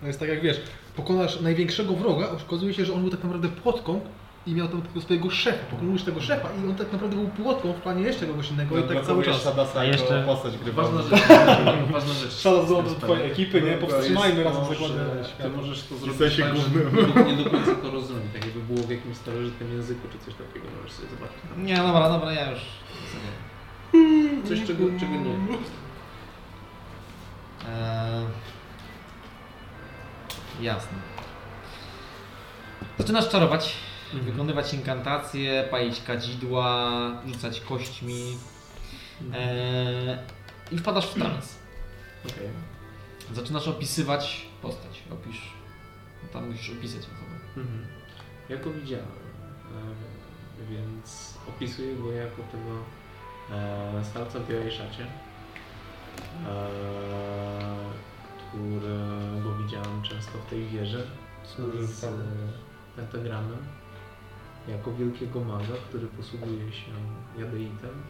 To jest tak jak wiesz, pokonasz największego wroga, okazuje się, że on był tak naprawdę płotką i miał tam tego swojego szefa. Pokonujesz tego szefa i on tak naprawdę był płotką w planie jeszcze kogoś innego i tak cały czas.
Shadasa
A
jako
jeszcze-
postać grywalna.
Ważna rzecz. ważna rzecz.
Szala do do
Jest
twojej ekipy, nie?
No, to
Powstrzymajmy
jest
razem
to,
zakładne
że
Ty
światło.
możesz to zrobić
sensie
tak, że
głównym.
nie do końca to rozumiem, tak jakby było w jakimś starożytnym języku czy coś takiego, możesz sobie zobaczyć tam
Nie, dobra, dobra, ja już.
coś, czego, czego nie.
Eee, jasne. Zaczynasz czarować, wykonywać inkantacje, paić kadzidła, rzucać kośćmi eee, i wpadasz w trans.
Okej.
Zaczynasz opisywać postać. Opisz. no Tam musisz opisać osobę.
Mhm. Ja go widziałem, em, więc opisuję go jako tego e, starca w białej szacie, e, którego widziałem często w tej wieży z e, pentagramem, jako wielkiego maga, który posługuje się jadeitem,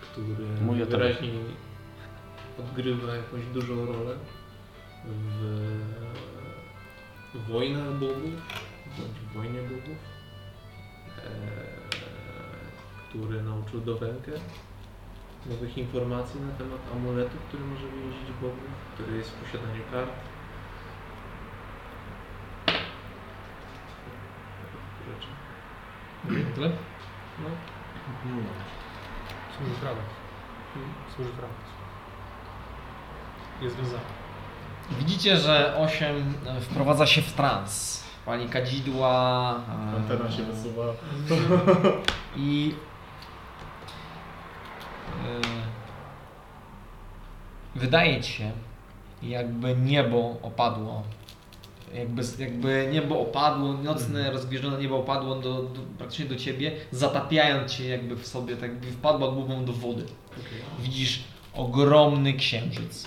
który
Mój otarek.
wyraźnie odgrywa jakąś dużą rolę w Wojnę Bogów, bądź w Wojnie Bogów, e, który nauczył Dowenkę nowych informacji na temat amuletu, który może wyjeździć Bogów, który jest w posiadaniu kart. Rzeczy.
Tyle?
No,
Służy prawa. Służy prawa. niezwiązane.
Widzicie, że 8 wprowadza się w trans. Pani kadzidła. e,
Antena się wysuwa.
I. y, wydaje ci się, jakby niebo opadło. Jakby, jakby niebo opadło, nocne, rozgwieżdżone niebo opadło do, do, praktycznie do ciebie, zatapiając cię jakby w sobie, tak jakby wpadła głową do wody. Widzisz ogromny księżyc.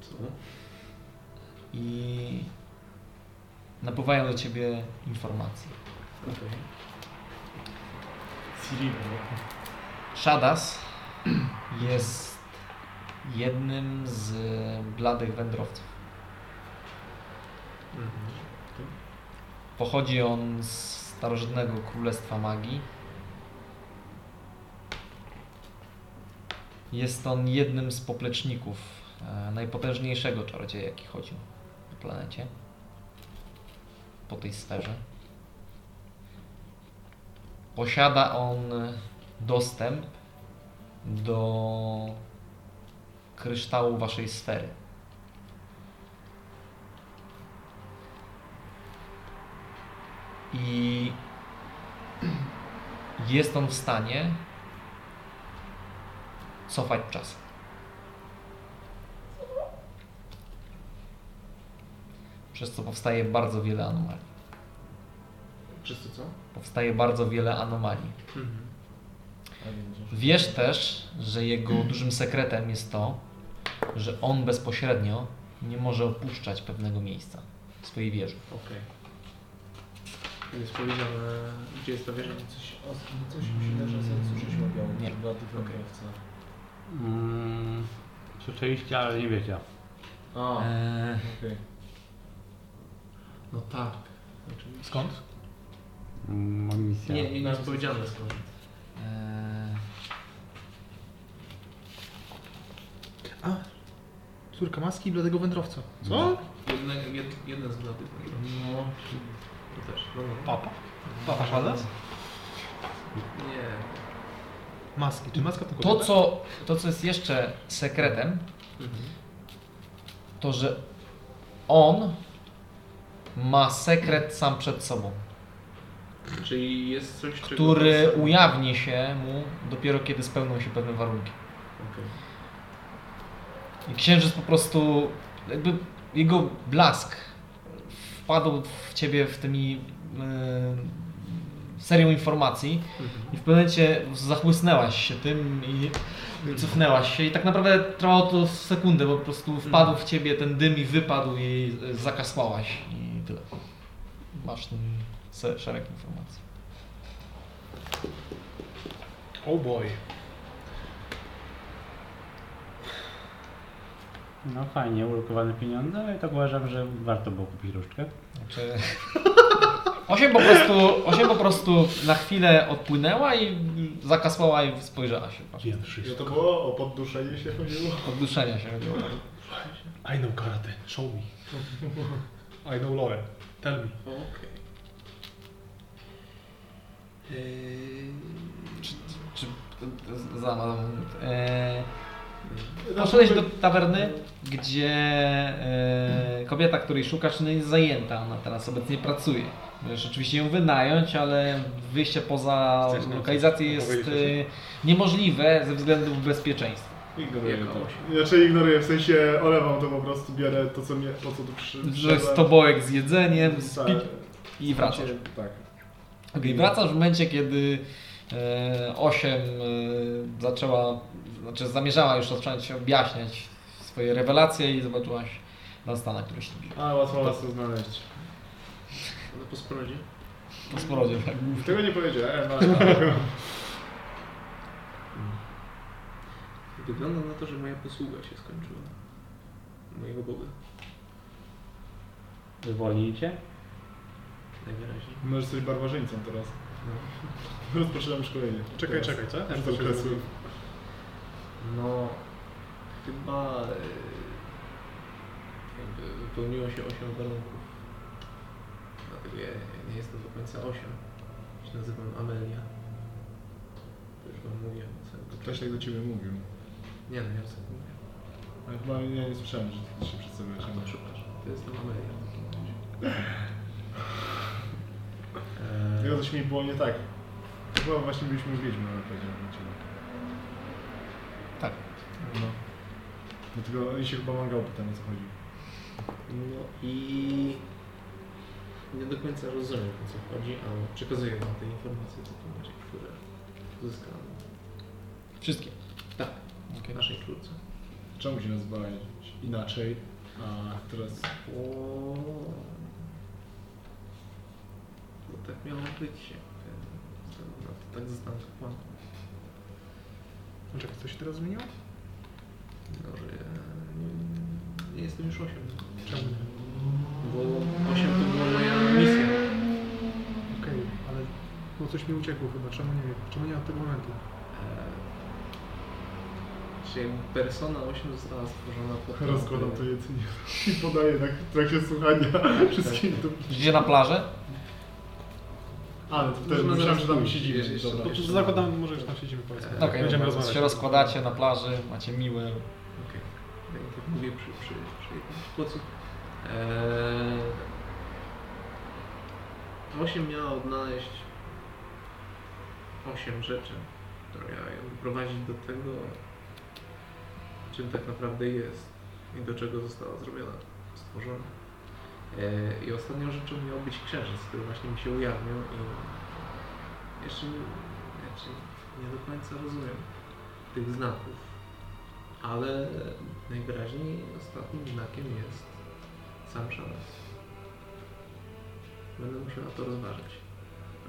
Co?
i napływają do ciebie informacje.
Okej.
Shadas jest jednym z bladych wędrowców.
Mhm.
Pochodzi on z starożytnego królestwa magii. Jest on jednym z popleczników e, najpotężniejszego czarodzieja, jaki chodził na planecie. Po tej sferze. Posiada on dostęp do kryształu waszej sfery. I jest on w stanie cofać czas. Przez co powstaje bardzo wiele anomalii.
Przez to co?
Powstaje bardzo wiele anomalii. Wiesz też, że jego dużym sekretem jest to, że on bezpośrednio nie może opuszczać pewnego miejsca swojej wieży.
Okej. Jest powiedziane, gdzie jest to wieża?
Coś, o- coś mi się wydaje, że słyszeliśmy o białym.
Nie.
Była tylko
Okej.
kierowca.
Mm, słyszeliście, ale nie wiecie.
A,
Eee,
okej.
No tak.
Skąd?
Mm, Mam misję.
Nie, nie, nie jest powiedziane skąd.
e,
eee,
Córka maski i bladego wędrowca.
No.
Co?
Jedne, jed, jeden z bladych wędrowców.
No,
To też. No, no.
Papa. Papa Shadas?
Nie.
Maski. Czy maska to
to,
kobieta?
co, to, co jest jeszcze sekretem,
Mhm.
to że on ma sekret sam przed sobą,
Czyli jest coś, czego...
który ujawni się mu dopiero kiedy spełnią się pewne warunki.
Okej.
I księżyc po prostu, jakby jego blask wpadł w ciebie w tymi e, serią informacji i w pewnym momencie zachłysnęłaś się tym i cofnęłaś się i tak naprawdę trwało to sekundę, bo po prostu wpadł w ciebie ten dym i wypadł i e, zakasłałaś i tyle. Masz ten se- szereg informacji.
Oh boy.
No fajnie, ulokowane pieniądze, ale tak uważam, że warto było kupić różdżkę.
Znaczy... Osiem po, prostu, osiem po prostu na chwilę odpłynęła i zakasłała i spojrzała się. patrz.
Wiem
I to było o podduszenie się chodziło.
Od duszenia się robiło.
I know karate. Show me. I know lore. Tell me.
Okej. Eee,
Czy za za- e, Poszedłeś do tawerny, gdzie e, kobieta, której szukasz, no jest zajęta. Ona teraz obecnie pracuje. Możesz oczywiście ją wynająć, ale wyjście poza
Chcesz nam
lokalizację
coś
jest e,
opowiedzieć
niemożliwe ze względów bezpieczeństwa.
Ignoruję
Jako
to.
osiem.
Znaczy ignoruję, w sensie olewam to po prostu, biorę to co mnie, po co tu przy,
Że
przyszedłem.
jest tobołek z jedzeniem z
Tak.
pik i wracasz.
Tak.
Ok, I wracasz w momencie, kiedy e, 8 e, zaczęła, znaczy zamierzała już zacząć objaśniać swoje rewelacje i zobaczyłaś na stanach, który ślubi.
A, łatwo was tu znaleźć.
No po sporodzie?
Po sporodzie, tak?
Tego nie powiedziałem, ale...
Wygląda na to, że moja posługa się skończyła. Mojego Boga.
Zwolnijcie?
Najwyraźniej.
Możesz coś barbarzyńcą teraz.
No.
Rozpoczynam szkolenie.
Czekaj,
teraz.
czekaj, co?
Aż
Jak
do
to się
kresu.
zrobi?
No, chyba e, jakby wypełniło się 8 warunków. Dlatego ja nie jestem do końca 8. Ja się nazywam Amelia. To już wam mówiłem. o całym
Ktoś tak do ciebie tak mówił.
Nie no, nie rozumiem.
Ale chyba ja nie słyszałem, że ty się przedstawiłeś.
No, przepraszam. To jest to Amelia w takim razie. Eee,
Tego coś mi było nie tak. To Chyba właśnie byliśmy wiedźmy, ale powiedziałem na ciebie.
Tak.
No. Dlatego on się chyba mangał pytam o co chodzi.
No i nie do końca rozumiem o co chodzi, ale przekazuję wam te informacje w takim razie, które uzyskałem
Wszystkie.
Tak.
Okej.
w naszej krótce.
Czemu się nazywałeś inaczej? A teraz...
O. To tak miało być. jak, e, zostałem- no to Tak zostałem kapłanem.
Czekaj, coś się teraz zmieniło?
No, że ja nie, nie jestem już 8.
Czemu?
Bo 8 to była moja misja.
Okej, ale no coś mi uciekło chyba, czemu nie wiem, czemu nie od tego momentu?
Eee, Czyli persona 8 została stworzona po
Rozkładam to jedzenie i podaję tak w trakcie słuchania wszystkim tu.
Idzie na plażę?
Ale to wtedy
Można
myślałem,
zaraz
że tam
pójść,
siedzimy.
jeszcze-
Dobra.
jeszcze-
Jeszcze zakładam, może już tam siedzimy powiedzmy.
Okej,
Tak, Będziemy
dobra,
rozmawiać.
się rozkładacie na plaży, macie miłe.
Okej. Tak jak mówię przy, przy, przy E, jakimś płocu. Eee, 8 miała odnaleźć 8 rzeczy, które miały ją doprowadzić do tego, czym tak naprawdę jest i do czego została zrobiona, stworzona. Eee, I ostatnią rzeczą miał być księżyc, który właśnie mi się ujawnił i jeszcze nie, znaczy nie do końca rozumiem tych znaków. Ale najwyraźniej ostatnim znakiem jest sam szalec. Będę musiała to rozważyć.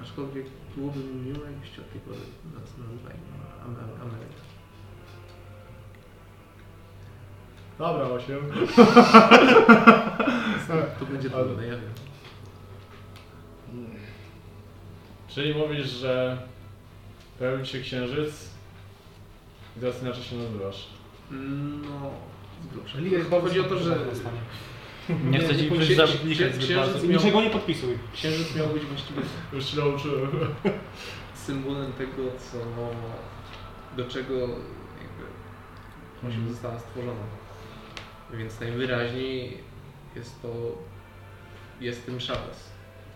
Aczkolwiek byłoby mi miło, jakbyście od tej pory nas nazywali Amelia.
Dobra, osiem.
To będzie
Ale-
trudne, ja wiem.
Czyli mówisz, że pojawił się księżyc i teraz inaczej się nazywasz.
No, zgruszę. Chodzi o to, że
Nie chcę ci
pójdźcie-
znikać zbyt
księżyc
bardzo.
miał-
Niczego nie podpisuj.
Księżyc miał być właściwie
Już się nauczyłem.
symbolem tego, co, do czego jakby osiem została stworzona. Więc najwyraźniej jest to, jest tym szales.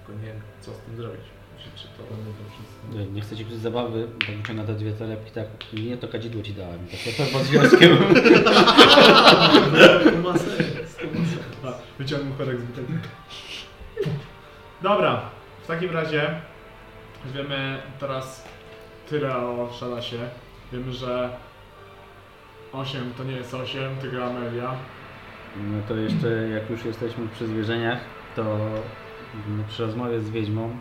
Tylko nie wiem, co z tym zrobić. Czy, czy to...
Nie, nie chcę ci psuć zabawy, tak wyciąga te dwie telepki, tak, nie, to kadzidło ci dałem, tak to pod związkiem.
To ma sens, to ma sens.
A, Wyciągnął korek z butelki. Dobra, w takim razie wiemy teraz tyle o Szalasie. Wiemy, że 8 to nie jest 8, tylko Amelia.
No to jeszcze, jak już jesteśmy przy zwierzeniach, to mm, przy rozmowie z wiedźmą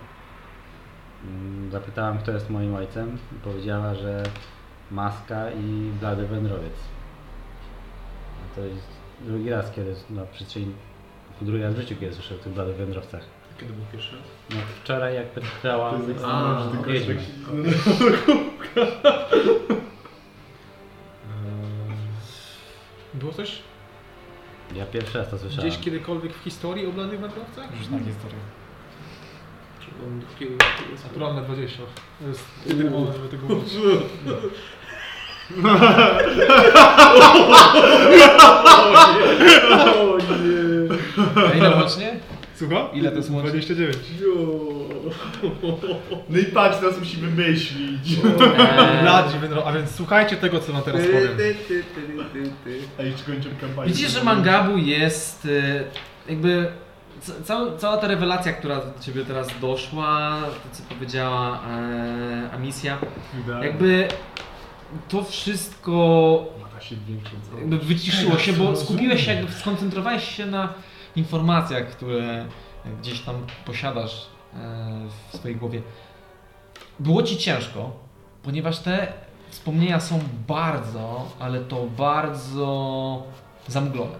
mm, zapytałem, kto jest moim ojcem i powiedziała, że Maska i Blady Wędrowiec. A To jest drugi raz, kiedy, no przynajmniej drugi raz w życiu, kiedy słyszę o tych Bladych Wędrowcach.
Kiedy był pierwszy raz?
No wczoraj, jak pytałam...
To jest
A,
ekstremalne, że tylko tak jest
wiedźmy.
taki...
Było coś
Ja pierwszy raz to słyszałem.
gdzieś kiedykolwiek w historii o blanych wędrowcach?
tak.
Różna historia.
Czy on do takiego...
Naturalne 20. To jest jedyny moment, żeby tego użyć.
A ile łącznie?
Słucham?
Ile to jest łącznie?
29.
No i patrz, teraz musimy myślić.
Eee. E,
Bladzi wędrowcy, a więc słuchajcie tego, co wam teraz powiem.
Ty, ty, ty, ty, ty.
Ej, czy kończymy kampanię?
Widzisz, że Mangabu jest y, jakby ca- cała, cała ta rewelacja, która do ciebie teraz doszła, to co powiedziała e, Amisja,
Jakby...
jakby to wszystko
Mata się większą całą.
jakby wyciszyło się, bo skupiłeś się, jakby skoncentrowałeś się na informacjach, które gdzieś tam posiadasz e, w swojej głowie. Było ci ciężko, ponieważ te wspomnienia są bardzo, ale to bardzo zamglone.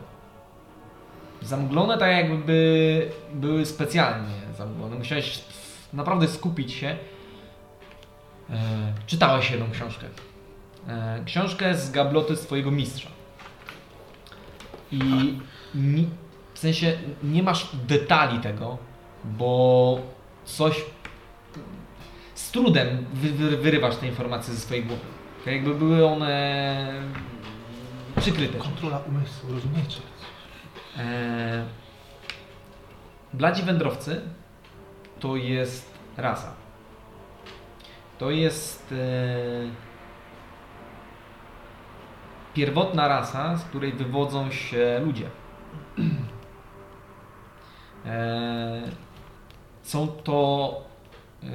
Zamglone tak jakby były specjalnie zamglone. Musiałeś naprawdę skupić się. E, czytałeś jedną książkę. E, książkę z gabloty swojego mistrza. I ni, w sensie nie masz detali tego, bo coś z trudem wy, wy, wyrywasz te informacje ze swojej głowy. Tak jakby były one przykryte.
Kontrola umysłu, rozumiecie?
Eee, bladzi wędrowcy to jest rasa. To jest eee, pierwotna rasa, z której wywodzą się ludzie. Eee, są to eee,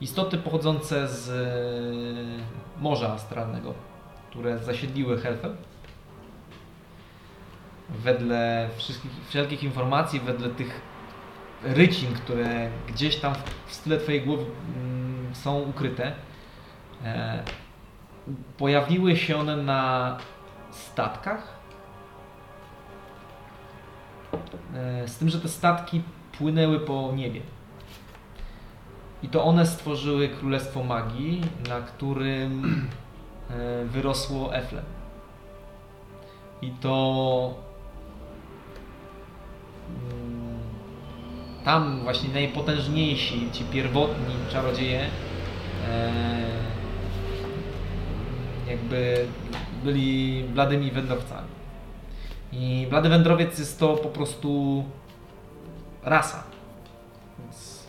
istoty pochodzące z eee, morza astralnego, które zasiedliły Helfel wedle wszystkich, wszelkich informacji, wedle tych rycin, które gdzieś tam w- w style Twojej głowy mm, są ukryte, e, pojawiły się one na statkach. E, z tym, że te statki płynęły po niebie. I to one stworzyły Królestwo Magii, na którym e, wyrosło Efle. I to mm, tam właśnie najpotężniejsi, ci pierwotni czarodzieje e, jakby byli bladymi wędrowcami. I blady wędrowiec jest to po prostu rasa. Więc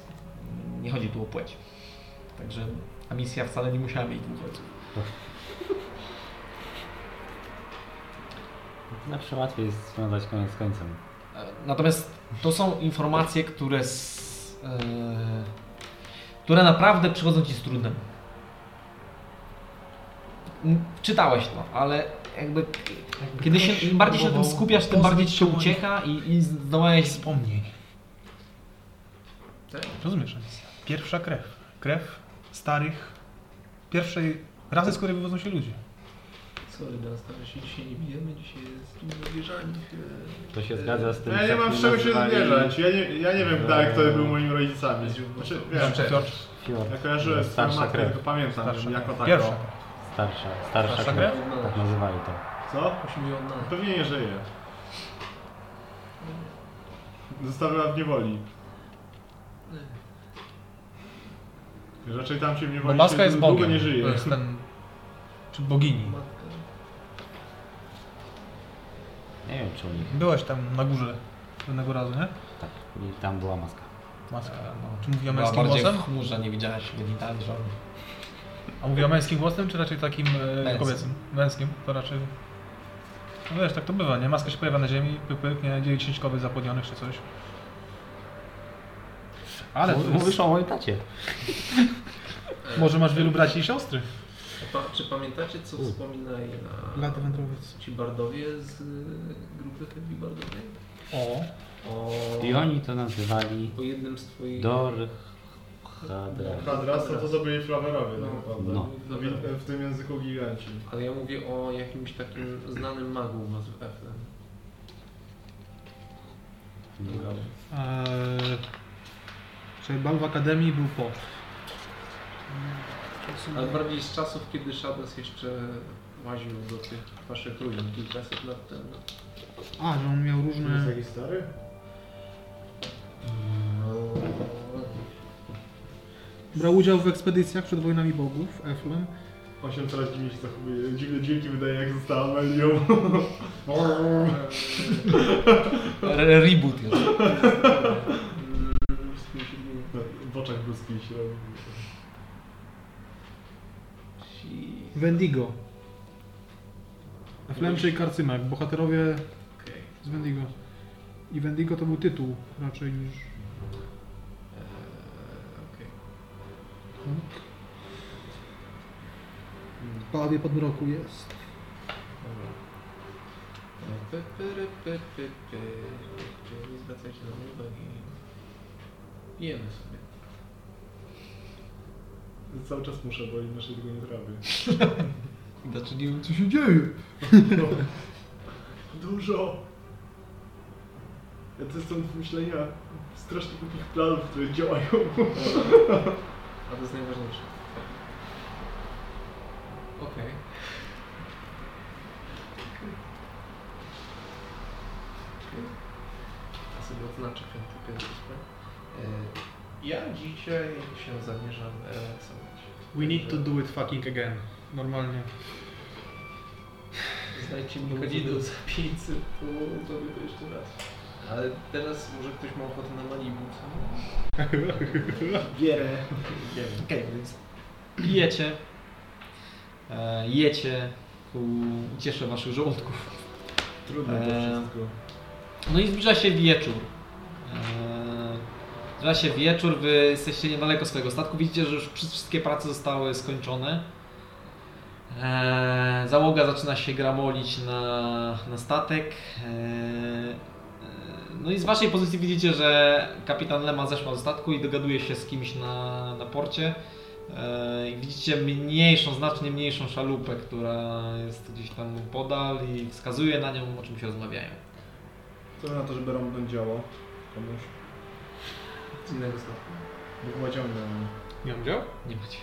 nie chodzi tu o płeć. Także ta misja wcale nie musiała mieć dwóch ojców.
Zawsze łatwiej jest związać koniec z końcem.
E, Natomiast to są informacje, które, s, e, które naprawdę przychodzą ci z trudem. M, Czytałeś to, ale jakby kiedy się, im bardziej się na tym skupiasz, tym bardziej ci się
Eee.
ucieka i, i zdołałeś
Wspomnień.
Tak?
Rozumiesz, Alicja? Pierwsza krew. Krew starych, pierwszej rasy, z której wywodzą się ludzie.
Sorry, na stary się dzisiaj nie bijemy, dzisiaj jest e, inne wierzanie.
To się zgadza z tym.
Ja nie
jak
mam
mnie
z czego się
nazywali
zmierzać. Ja nie, ja nie wiem dalej, kto był moimi rodzicami. Eee. Znaczy, wiem,
Fjord.
ja kojarzyłem swoją
Starsza
matkę,
krew.
tylko pamiętam
Starsza
jako
krew.
taką.
Pierwsza krew.
Starsza, starsza,
Starsza
krew.
krew?
Tak nazywali to.
Co?
Musimy ją na...
Pewnie nie żyje. Zostawiła w niewoli. Raczej tam się w
Bo
niewoli
maska
się
jest
długo
bogiem.
nie żyje.
To jest ten... Czy bogini.
Nie wiem czy u nich.
Byłeś tam na górze pewnego razu, nie?
Tak. I tam była maska.
Maska.
no.
Czy mówi o
była
męskim
bardziej
głosem?
w chmurze, nie widziałeś genitaliów. żadnych.
A mówi o męskim głosem, czy raczej takim e,
Męskim.
kobiecym? Męskim, to raczej... No wiesz, tak to bywa, nie? Maska się pojawia na ziemi, pyk, pyk, nie? Dzieje się kobiet zapłodnionych czy coś. Ale to
Mów-
jest...
Mówisz o moim tacie.
E.
Może masz wielu braci i siostry?
Pa, czy pamiętacie, co wspominali na...
wędrowiec.
Ci bardowie z y, grupy Heavy Bardowej?
O.
O...
I oni to nazywali
Po jednym z twoich...
Dor...
Kwadras no to, to co byli flawerowie, tak
No.
naprawdę.
No.
W- W tym języku giganci.
Ale ja mówię o jakimś takim znanym magu u was w Efle.
Eee, czyli bal w Akademii był po.
Ale bardziej z czasów, kiedy Shadows jeszcze łaził do tych waszych ruin kilkaset lat temu.
A, że on miał
To jest jakiś stary? No.
Brał udział w ekspedycjach przed wojnami bogów, Eflem.
On się coraz dziwniej się zachowuje. Dziwne dźwięki wydaje, jak została Melią.
Re- Reboot jest.
Z tym się nie-
w oczach ludzkich się robi.
Ci-
Wendigo. Eflem, czyli Karcymak, bohaterowie
Okej.
z Wendigo. I Wendigo to był tytuł raczej niż...
Eee, okej.
no. Palawie podmroku jest.
Py, pyry, py, py, py, py. Nie zwracajcie na mnie uwagi. Pijemy sobie.
Cały czas muszę, bo inaczej tego nie trawię.
Znaczy nie wiem co się dzieje.
Dużo! Ja to jestem do myślenia strasznie głupich planów, które działają.
A to jest najważniejsze. Okej. Okej. Ja sobie odznaczę piąty piąteczkę. Ja dzisiaj się e, zamierzam relaksować.
We need to do it fucking again. Normalnie.
Dajcie mi kadzidło za 500, to zrobię to jeszcze raz. Ale teraz może ktoś ma ochotę na Malibu, co?
Bierę.
Okej, więc pijecie, e, jecie ku cieszę waszych żołądków.
Trudno to
Eee.
wszystko.
No i zbliża się wieczór. E, Zbliża się wieczór, wy jesteście niedaleko swojego statku, widzicie, że już przy- wszystkie prace zostały skończone. E, Załoga zaczyna się gramolić na, na statek. E, e, No i z waszej pozycji widzicie, że kapitan Lema zeszła z statku i dogaduje się z kimś na, na porcie. E, I widzicie mniejszą, znacznie mniejszą szalupę, która jest gdzieś tam podal i wskazuje na nią, o czym się rozmawiają.
Co na to, żeby rąb działo komuś?
Z innego statku.
Bo chyba ciągle.
Nie mam dział?
Nie macie.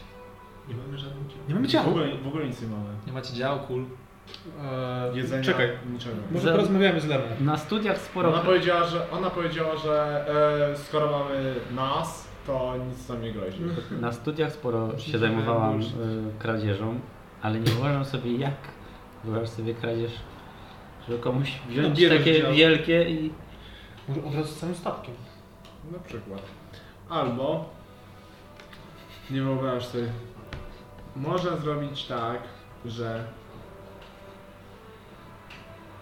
Nie mamy żadnych ciał.
Nie mamy ciała.
W ogóle, w ogóle nic nie mamy.
Nie macie dział, kul.
Eee,
Jedzenia,
Czekaj,
niczego.
może
Za-
porozmawiamy z Lemą.
Na studiach sporo...
Ona powiedziała, że, ona powiedziała, że e, skoro mamy nas, to nic nam nie grozi.
Na studiach sporo się zajmowałam y, kradzieżą, ale nie wyobrażam sobie jak wyobrażasz sobie kradzież, że komuś wziąć
Bierzesz
takie
dział.
wielkie i
No, Może od razu z całym statkiem.
Na przykład. Albo nie wyobrażasz sobie. Można zrobić tak, że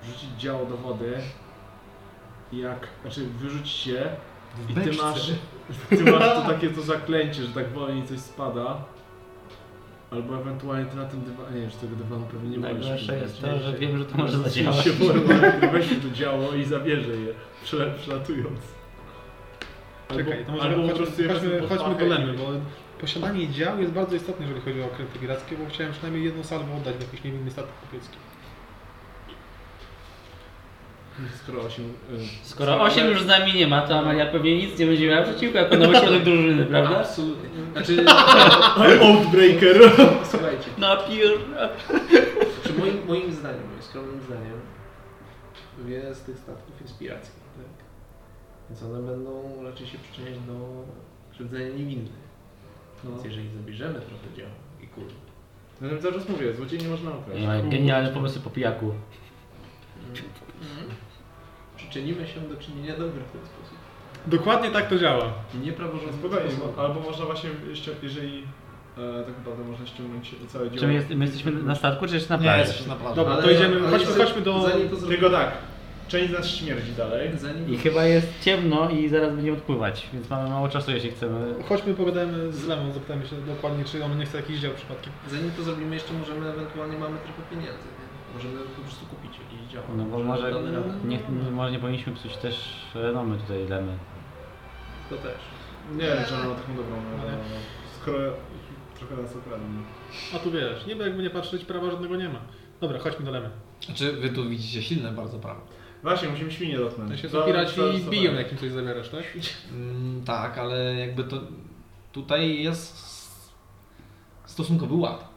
wrzucić działo do wody i jak, znaczy wyrzucić je i ty masz, ty masz to takie to zaklęcie, że tak wolniej coś spada. Albo ewentualnie ty na tym dywanie, nie wiem, czy tego dywanu pewnie nie możesz.
najgorsze jest to,
używać,
że
nie?
wiem, że to może
Możesz
zadziałać.
się porwać, gdy weźmie to działo i zabierze je, przela- przelatując. Albo,
Czekaj, to może
albo po
chodźmy-
prostu je
chodźmy-
wezmę pod
chodźmy do
pachę i-
Lemy, bo- Posiadanie dział jest bardzo istotne, jeżeli chodzi o okręty pirackie, bo chciałem przynajmniej jedną salwę oddać w jakiś niewinny statek kupiecki.
Skoro 8...
Skoro 8 już z nami nie ma, to Amalia pewnie nic nie będzie miała przeciwko jako nowy członek drużyny, prawda?
Absolutnie. Znaczy,
Outbreaker!
słuchajcie,
Napiór!
czy moim, moim zdaniem, moim skromnym zdaniem, wiele z tych statków jest pirackich, tak? Więc one będą raczej się przyczyniać do krzywdzenia niewinnych.
No.
Więc jeżeli zabierzemy trochę dział i kul,
Zatem cały czas mówię, złodziei nie można ukraść.
No. Genialne pomysły po pijaku.
przyczynimy Mhm. się do czynienia dobra w ten sposób.
Dokładnie tak to działa.
I niepraworządny
Spokojnie,
sposób.
bo- albo można właśnie, ścią- jeżeli e, tak naprawdę można ściągnąć całe
Czy
dzieło.
my, jest, my jesteśmy na statku, czy jeszcze na
Nie,
plaży?
jesteś na plaży.
Dobra, to idziemy,
ale
chodźmy,
jeszcze-
chodźmy do...
Zanim to zrobimy,
Tylko tak, część z nas śmierdzi dalej.
zanim
I chyba jest ciemno i zaraz będziemy odpływać, więc mamy mało czasu, jeśli chcemy
Chodźmy, pogadajmy z Lemą, zapytajmy się dokładnie, czy on nie chce jakiś dział przypadkiem.
Zanim to zrobimy, jeszcze możemy ewentualnie mamy trochę pieniędzy. nie? Możemy po prostu kupić jakieś działa.
No bo może
damy radę.
nie, nie- może nie powinniśmy psuć też e, renomy tutaj Lemy.
To też.
Nie wiem, czy ona ma taką dobrą,
e,
ale skoro trochę nas okradli.
A tu wiesz, niby jakby nie patrzeć, prawa żadnego nie ma. Dobra, chodźmy do Lemy.
Znaczy, wy tu widzicie silne bardzo prawo.
Właśnie, musimy świnie
To
dotknąć.
się
To-
piraci
to- to-
biją, jak im coś zabierasz, tak?
Mm, tak, ale jakby to tutaj jest stosunkowy ład.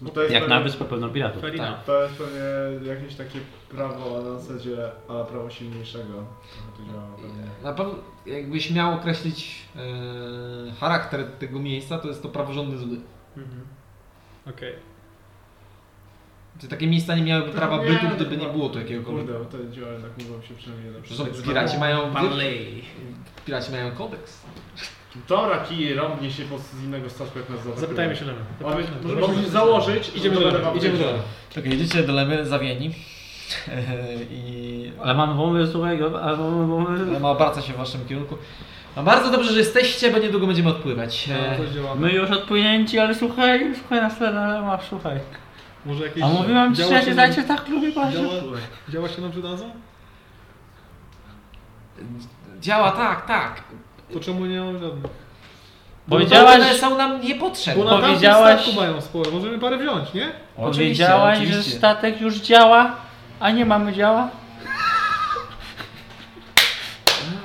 Bo to jest tak
Jak
pewnie-
na wyspę pełno piratów.
Fair enough.
To jest pewnie jakieś takie prawo na zasadzie, ale prawo silniejszego. Trochę to działa pewnie.
Na pewno, jakbyś miał określić e, charakter tego miejsca, to jest to praworządny zły.
Mhm. Okej.
Czy takie miejsca nie miałyby prawa
Nie, no
bytu,
to
gdyby nie
chyba-
było tu jakiegokolwiek.
Kurde, bo to działa jednak mówią się przynajmniej na
Zresztą
tak.
piraci mają,
Panley.
piraci mają kodeks.
Dobra, kije, rąbnie się po prostu z innego statku jak nas zabrał.
Zapytajmy się Lemy.
Mamy,
Zapytajmy
możemy
Lemy.
się założyć i
Idziemy do Lemy,
wam
idziemy do
powiedzieć.
Lemy.
Tak, jedziecie do Lemy zawieni i
Ale mamy bomby, słuchaj, ale mamy bomby.
Lema obraca się w waszym kierunku. No bardzo dobrze, że jesteście, bo niedługo będziemy odpływać. E,
No, coś działa.
My już odpłynięci, ale słuchaj, słuchaj nas Lema, słuchaj.
Może jakieś...
A mówiłam ci,
działa
że
się
się
nam-
dajcie tak lubię patrzeć.
Działa, działa się nam przydadzą?
Działa, tak, tak.
To czemu nie mam żadnych?
One
Powiedziałaś,
są nam
Bo
niepotrzebne.
na tamtym
Powiedziałaś-
statku mają sporo, możemy parę wziąć, nie?
Oczywiście,
powiedziałaś, że
oczywiście.
statek już działa, a nie mamy działa.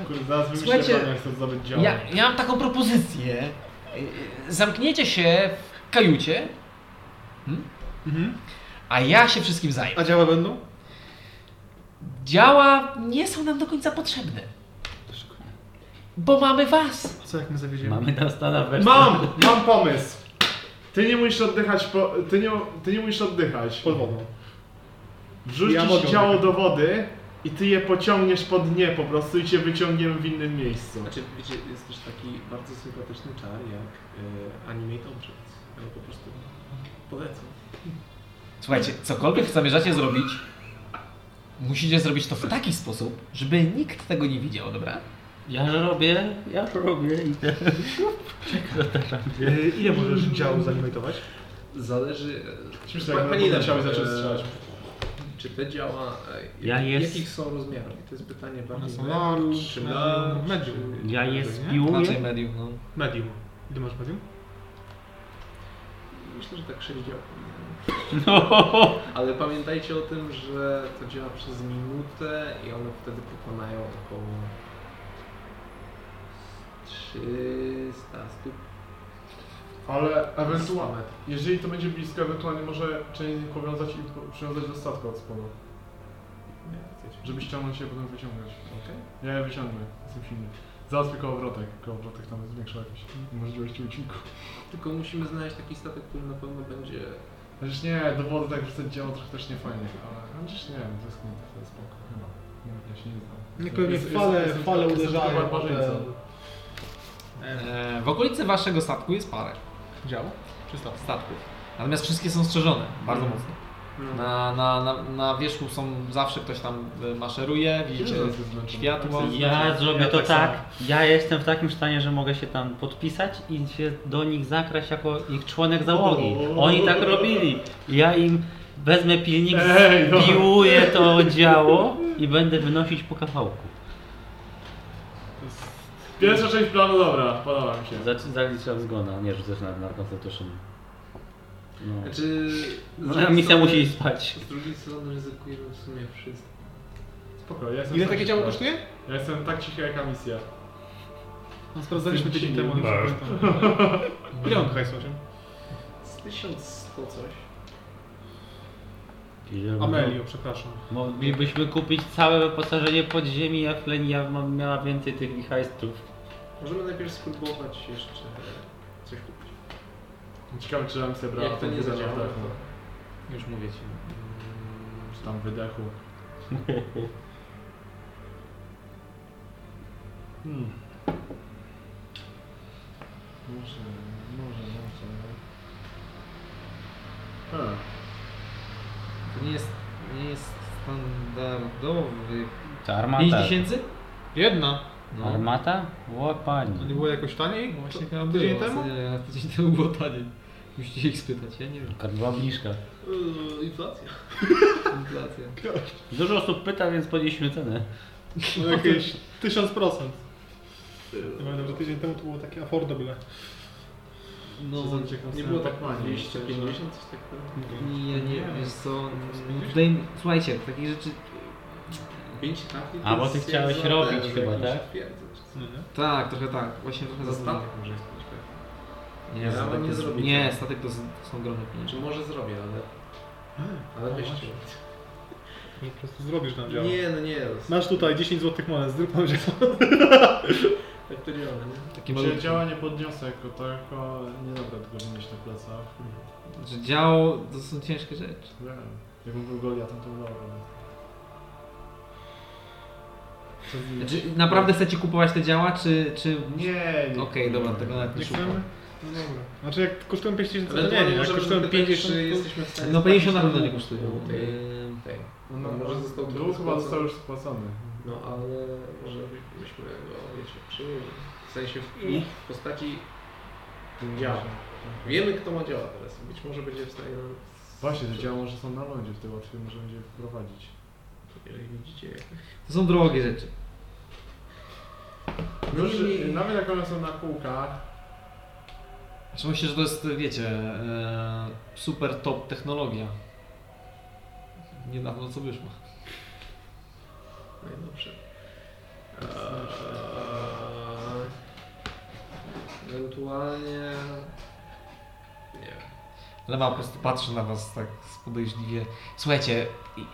Kurde, zaraz wymyślę
Słuchajcie,
plan, jak chcę zdobyć dział.
Ja, ja mam taką propozycję. E, Zamkniecie się w kajucie, hmm? a ja się wszystkim zajmę.
A działa będą?
Działa nie są nam do końca potrzebne. Bo mamy was.
Co jak my zawiedziemy?
Mamy na stanach
Mam! Mam pomysł! Ty nie musisz oddychać po... Ty nie, ty nie musisz oddychać.
Pod wodą.
Wrzucisz
Ja mogę
ciało
oddychać.
do wody i ty je pociągniesz po dnie po prostu i cię wyciągniemy w innym miejscu.
Znaczy, wiecie, jest też taki bardzo sympatyczny czar jak y, Animate Objects. Ja po prostu polecam.
Słuchajcie, cokolwiek zamierzacie zrobić, musicie zrobić to w taki sposób, żeby nikt tego nie widział, dobra?
Ja robię, ja robię.
E, Ile możesz działu zanimatować?
Zależy...
Myślę, że
Pan-
jak
panie
na
Lem,
ciało zaczął
e,
strzelać.
Czy te działa... e,
Ja
jak-
jest-
Jakich są rozmiarów? To jest pytanie
One
bardziej...
są
na-
large,
czy na-
medium, medium. Tak,
Ja je
Nie?
Raczej
Znaczy,
spiłuję.
medium, no.
Medium. Ile masz medium?
Myślę, że tak 6 dział.
No.
Ale pamiętajcie o tym, że to działa przez minutę i one wtedy pokonają około 300 stóp.
Ale ewentualnie,
Kilometr.
jeżeli to będzie blisko, ewentualnie może część z nich powiązać i po- przywiązać do statka od spodu. Żeby ściągnąć je, potem wyciągać. Ja je wyciągnę, jestem silny. Załatwię kołowrotek. Kołowrotek tam jest większa jakaś możliwość ucinku.
Tylko musimy znaleźć taki statek, który na pewno będzie...
Chociaż nie, do wody tak wrzucać działo trochę też nie fajnie, ale chociaż nie wiem, to jest nie, to jest spoko, chyba. Nie, Ja się nie znam.
Nie, pewnie
Jest- jest-
fale,
jestem-
fale
jestem
uderzają.
tylko barbarzyńcą.
potem-
E, w okolicy waszego statku jest parę
Dział? Czy staw?
statków. Natomiast wszystkie są strzeżone bardzo mocno. Na, na, na, na wierzchu są zawsze ktoś tam e, maszeruje, widzicie
Ile razy znaczy?
światło.
Ja zrobię
Ja
to
tak
tak. Ja jestem w takim stanie, że mogę się tam podpisać i się do nich zakraść jako ich członek załogi. Oni tak robili. Ja im wezmę pilnik,
Ej, no.
piłuję to działo i będę wynosić po kawałku.
Pierwsza część planu, dobra, podoba mi się.
Zac- Zaliczam zgona, nie rzucasz na narkotycznie. No.
Znaczy... z
No,
drugiej
misja
strony-
musi iść spać.
Z drugiej strony ryzykujemy w sumie wszystko.
Spoko, ja jestem
Ile
tak
takie działo
cicho.
kosztuje?
Ja jestem tak cichy jak misja.
No, sprawdzaliśmy tydzień
Pięć.
temu, nie pamiętam. Ile on hajs 8?
Z 1100 coś.
Amelio, przepraszam.
Moglibyśmy kupić całe wyposażenie pod ziemi, jak Lenia ma- miała więcej tych hajstów.
Możemy najpierw spróbować jeszcze coś kupić.
Ciekawe, czy misja brała
Jak to
ten
nie
wydech
zadziała,
tak, no.
oddechu.
Już mówię ci.
Czy tam wydechu. hmm. Może, może, może. Hmm.
Tak.
To nie jest, nie jest standardowy.
Ta
5
armata.
tysięcy?
Jedna.
No.
Armata? Ło
To
pani.
nie było jakoś taniej?
Właśnie
To-
chyba było.
Tydzień temu?
Nie, Tydzień temu było taniej. Musicie ich spytać, ja nie wiem.
Karbobliszka.
Yy, inflacja.
Inflacja.
Dużo osób pyta, więc podnieśmy cenę.
No jakieś 1000%. Pamiętam, że tydzień temu to było takie affordable.
No,
Nie było tak mało. 250
tak
coś takiego.
ja nie wiem, wiesz co. Tutaj, słuchajcie, takich rzeczy.
5 trafli
A, bo ty chciałeś robić chyba, tak?
No nie?
Tak, trochę tak, właśnie trochę
Za
za
statek
statek.
może jest 5
tak.
trafli.
Nie,
Ja
statek
wam nie
to, jest-
zrobię.
nie, statek to z- są ogromne pieniądze.
Znaczy może zrobię, ale... Ale
no
wiesz
właśnie.
czy-
Może po prostu zrobisz nam dział.
Nie, no nie. no,
Masz tutaj 10 złotych monet, zrób nam dział.
Tak to działa, nie?
Takie
Czy
malutkie.
działa nie podniosę jako tako, nie dobra tego mieć na plecach.
Hmm.
Że działo to są ciężkie rzeczy.
Wiem. Jakbym był Goliatem, to dobra. Co z
Znaczy,
nim?
Czy Znaczy, naprawdę
Tak.
chcecie kupować te działa, czy. czy... no,
Nie, nie.
Okej, dobra, tego nawet nie
Nie
szukam.
chcemy? No dobra. Znaczy jak kosztują 5000, to
Ale
nie, nie. Jak kosztują 50,
czy
to...
jesteśmy w stanie...
No 50 na
spłacić
pewno nie
dług
kosztują.
tej-
Yy,
tej.
No,
No, może został
Dług
tylko
chyba
spłacony.
został już spłacony.
No ale może by- byśmy go, wiecie, przyjęli. W sensie w, w postaci działa. Wiemy kto ma działa teraz. Być może będzie w stanie nam...
Właśnie, te działa może są na lądzie, wtedy łatwiej może będzie je wprowadzić.
Jeżeli widzicie jak...
To są drogie rzeczy.
No już,
i-
y, nawet jak one są na kółkach,
Znaczy myślę, że to jest, wiecie, e, super top technologia. Niedawno co wyszło.
No i dobrze. Eee, Ewentualnie... Nie.
No Lewa po prostu patrzy na was tak podejrzliwie. Słuchajcie,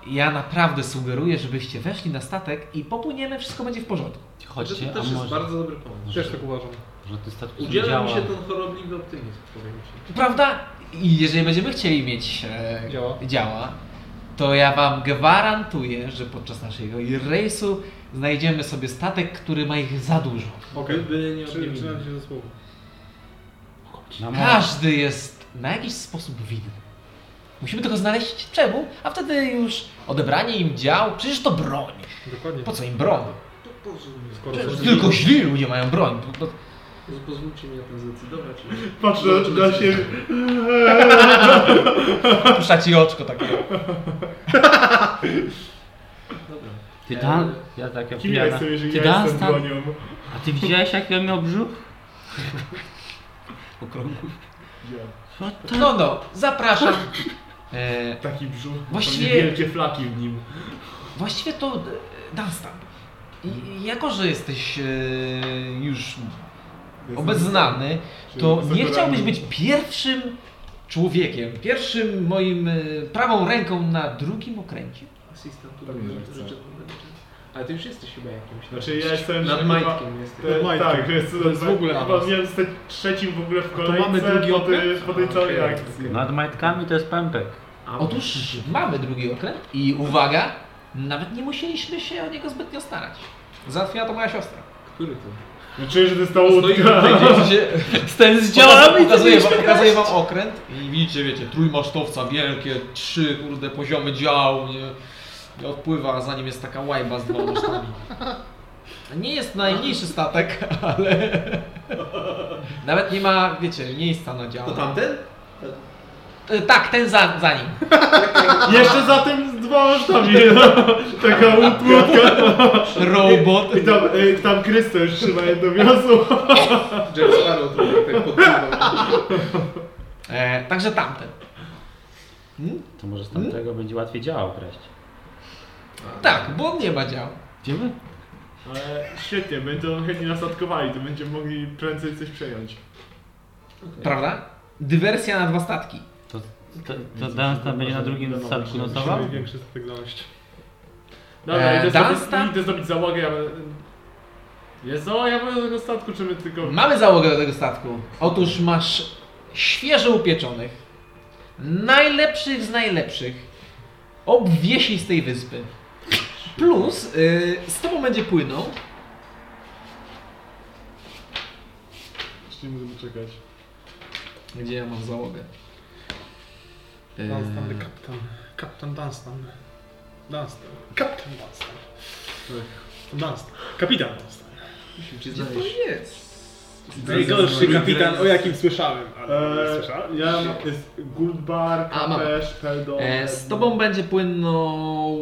ja naprawdę sugeruję, żebyście weszli na statek i popłyniemy, wszystko będzie w porządku.
Chodźcie,
Znaczy, to
a
też jest
może,
bardzo dobry pomysł.
Też tak uważam.
może ty statku
Udziela mi
działa.
się ten chorobliwy optymizm, powiem ci.
Prawda? I jeżeli będziemy chcieli mieć e,
Działa.
działa, to ja wam gwarantuję, że podczas naszego rejsu znajdziemy sobie statek, który ma ich za dużo.
Okej.
Gdyby nie
Czy-
odmienił.
Trzymam się ze słowa.
Na morzu.
Każdy jest na jakiś sposób winny. Musimy tylko znaleźć czemu, a wtedy już odebranie im dział, przecież to broń.
Dokładnie.
Po co im broń?
To pozwól-
Skoro
Przecież
są-
tylko źli ludzie mają broń. Po- po-
poz- Pozwólcie mi na tym zdecydować.
Patrzę na siebie.
Puszcza ci oczko tak takie.
Dobra.
Ty Dan, ja tak jak
Kim ja
pijana.
jestem, jeżeli
Ty
ja
Dan
jestem
stan-
bronią?
A ty widziałeś jak ja miał brzuch?
Ja.
No no, zapraszam. E,
Taki brzuch,
Właściwie-
Właściwie... wielkie flaki w nim.
Właściwie to e, Dunstan. I- i Jako, że jesteś e, już
Jestem-
obeznany,
Czy
to nie
zakoranym-
chciałbyś być pierwszym człowiekiem, pierwszym moim e, prawą ręką na drugim okręcie?
Asystent tu
Pewnie, że chcę.
Ale ty już jesteś chyba jakimś.
Znaczy ja jestem...
Nad majtkiem jesteś.
Te,
majtkiem.
tak, jest,
To jest w ogóle
Chyba
awans.
miałem zostać trzecim w ogóle w kolejce
mamy drugi
po, tej,
okręt?
po tej całej
Okej.
akcji.
Nad majtkami to jest pępek.
Otóż mamy drugi okręt i uwaga, nawet nie musieliśmy się o niego zbytnio starać. Załatwiła to moja siostra.
Który to?
No Czuję, że to jest ta
Stoi
łódka.
Ten
Pokazuję,
z działami
pokazuję, wam, pokazuję wam okręt i widzicie, wiecie, trójmasztowca, wielkie, trzy kurde poziomy dział, nie, nie odpływa, a za nim jest taka łajba z dwoma masztami. Nie jest najmniejszy statek, ale nawet nie ma, wiecie, miejsca na dział.
To tamten?
E, Tak, ten za, za nim.
Jeszcze za tym z dwoma masztami. Taka łód- łódka.
Robot.
I tam, y, tam Krysto już trzyma jedno wiosło.
Jack Sparrow trochę tak podpływał.
E, także tamten.
To może z tamtego będzie łatwiej działał wreszcie.
Tak, bo on nie ma dział.
Idziemy?
Ale świetnie, będą chętnie nas atakowali, to będziemy mogli prędzej coś przejąć.
Prawda? Dywersja na dwa statki.
To, to, to Dunstan będzie na drugim statku nocował?
Musimy większy statek znaleźć.
Dobra,
Eee,
idę,
Dunstan?
zrobić, idę zrobić załogę, ja będę... Jest załoga, ja będę do tego statku, czy my tylko...
Mamy załogę do tego statku. Otóż masz świeżo upieczonych, najlepszych z najlepszych, obwiesi z tej wyspy. Plus y, z tobą będzie płynął.
Czy nie możemy czekać?
Gdzie ja mam załogę? Y,
Dunstan, the captain. Captain Dunstan. Dunstan. Captain Dunstan. Dunstan. Kapitan Dunstan.
Musimy cię
Gdzie to
znaleźć.
jest?
Najgorszy kapitan, o jakim słyszałem, ale nie
Eee,
słyszałem.
ja mam, jest Guldbar,
A, mam.
Kapesz, Peldon...
E, z tobą będzie płynął...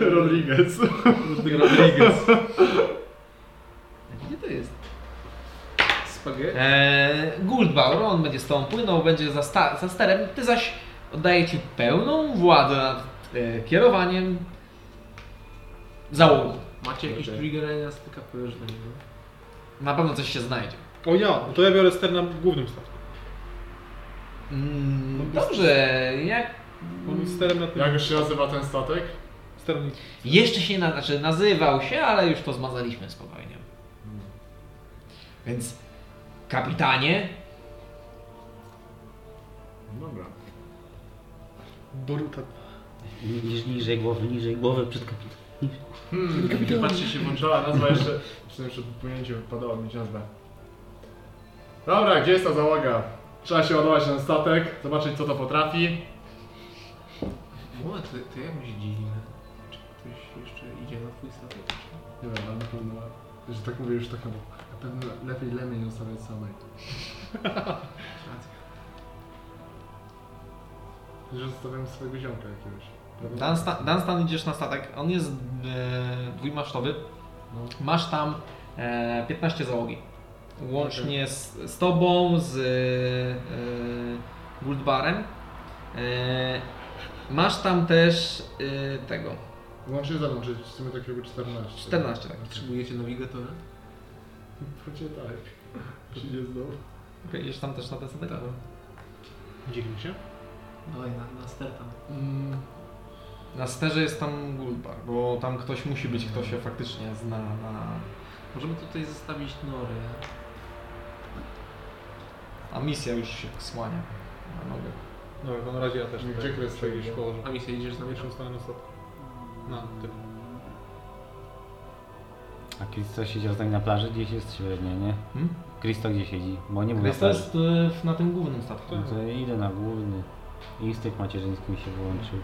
y,
Rodriguez.
Rodriguez.
Gdzie to jest?
Spaghetti?
E, Guldbaur, on będzie z tobą płynął, będzie za, sta- za sterem, ty zaś oddaję ci pełną władzę nad e, kierowaniem załogą.
Macie jakieś
Okej.
triggera z tylko powiesz do niego?
Na pewno coś się znajdzie.
O ja, no to ja biorę ster na głównym statku.
Mm, dobrze, jak...
On jest sterem na tym...
Jak już się nazywa ten statek?
Sterem...
Jeszcze się na, znaczy nazywał się, ale już to zmazaliśmy spokojnie. Więc kapitanie,
No Dobra.
Boruta.
Niż niżej głowy, niżej głowy przed kapitanem.
Hmm, patrzcie się włączała nazwa jeszcze... Przynajmniej przed płynięciem wypadało mieć nazwę. Dobra, gdzie jest ta załoga? Trzeba się ładować na ten statek, zobaczyć co to potrafi.
O, to, to jak się dzielimy? Czy ktoś jeszcze idzie na twój statek?
Nie wiem, ale na pewno... Że tak mówię, już tak na bok. Na pewno lepiej Lemy nie ustawiać samej.
Racja.
Że zostawiam swojego ziomka jakiegoś.
Dunstan, Dunstan idziesz na statek, on jest e, dwójmasztowy. Masz tam e, 15 załogi. Łącznie z, z tobą, z e, Guldbarem. E, masz tam też e, tego.
Łącznie ze mną, czyli w sumie takiego 14.
14, tak.
Potrzebujecie nawigatora?
Chodźcie tak. Przyjdzie znowu.
Okej, Idziesz tam też na ten statek?
Tak.
Dzielimy się?
Dawaj, na, na ster tam.
Mm. Na sterze jest tam Gulbar, bo tam ktoś musi być, kto się faktycznie zna na...
Możemy tutaj zostawić nory.
A misja już się słania na nogę.
Dobra, to na razie ja też
Gdzie
tutaj
Kres
sobie
będzie?
gdzieś położę.
A mi się idziesz z nami?
Pierwszą stronę na stop. Na tył.
A Kristo siedział z nami na plaży gdzieś jest średnio, nie?
Hmm?
Kristo gdzie siedzi? Bo nie był na
Kres to
plaży.
jest y, w- na tym głównym statku.
No to idę na główny. Instynkt macierzyński mi się wyłączył.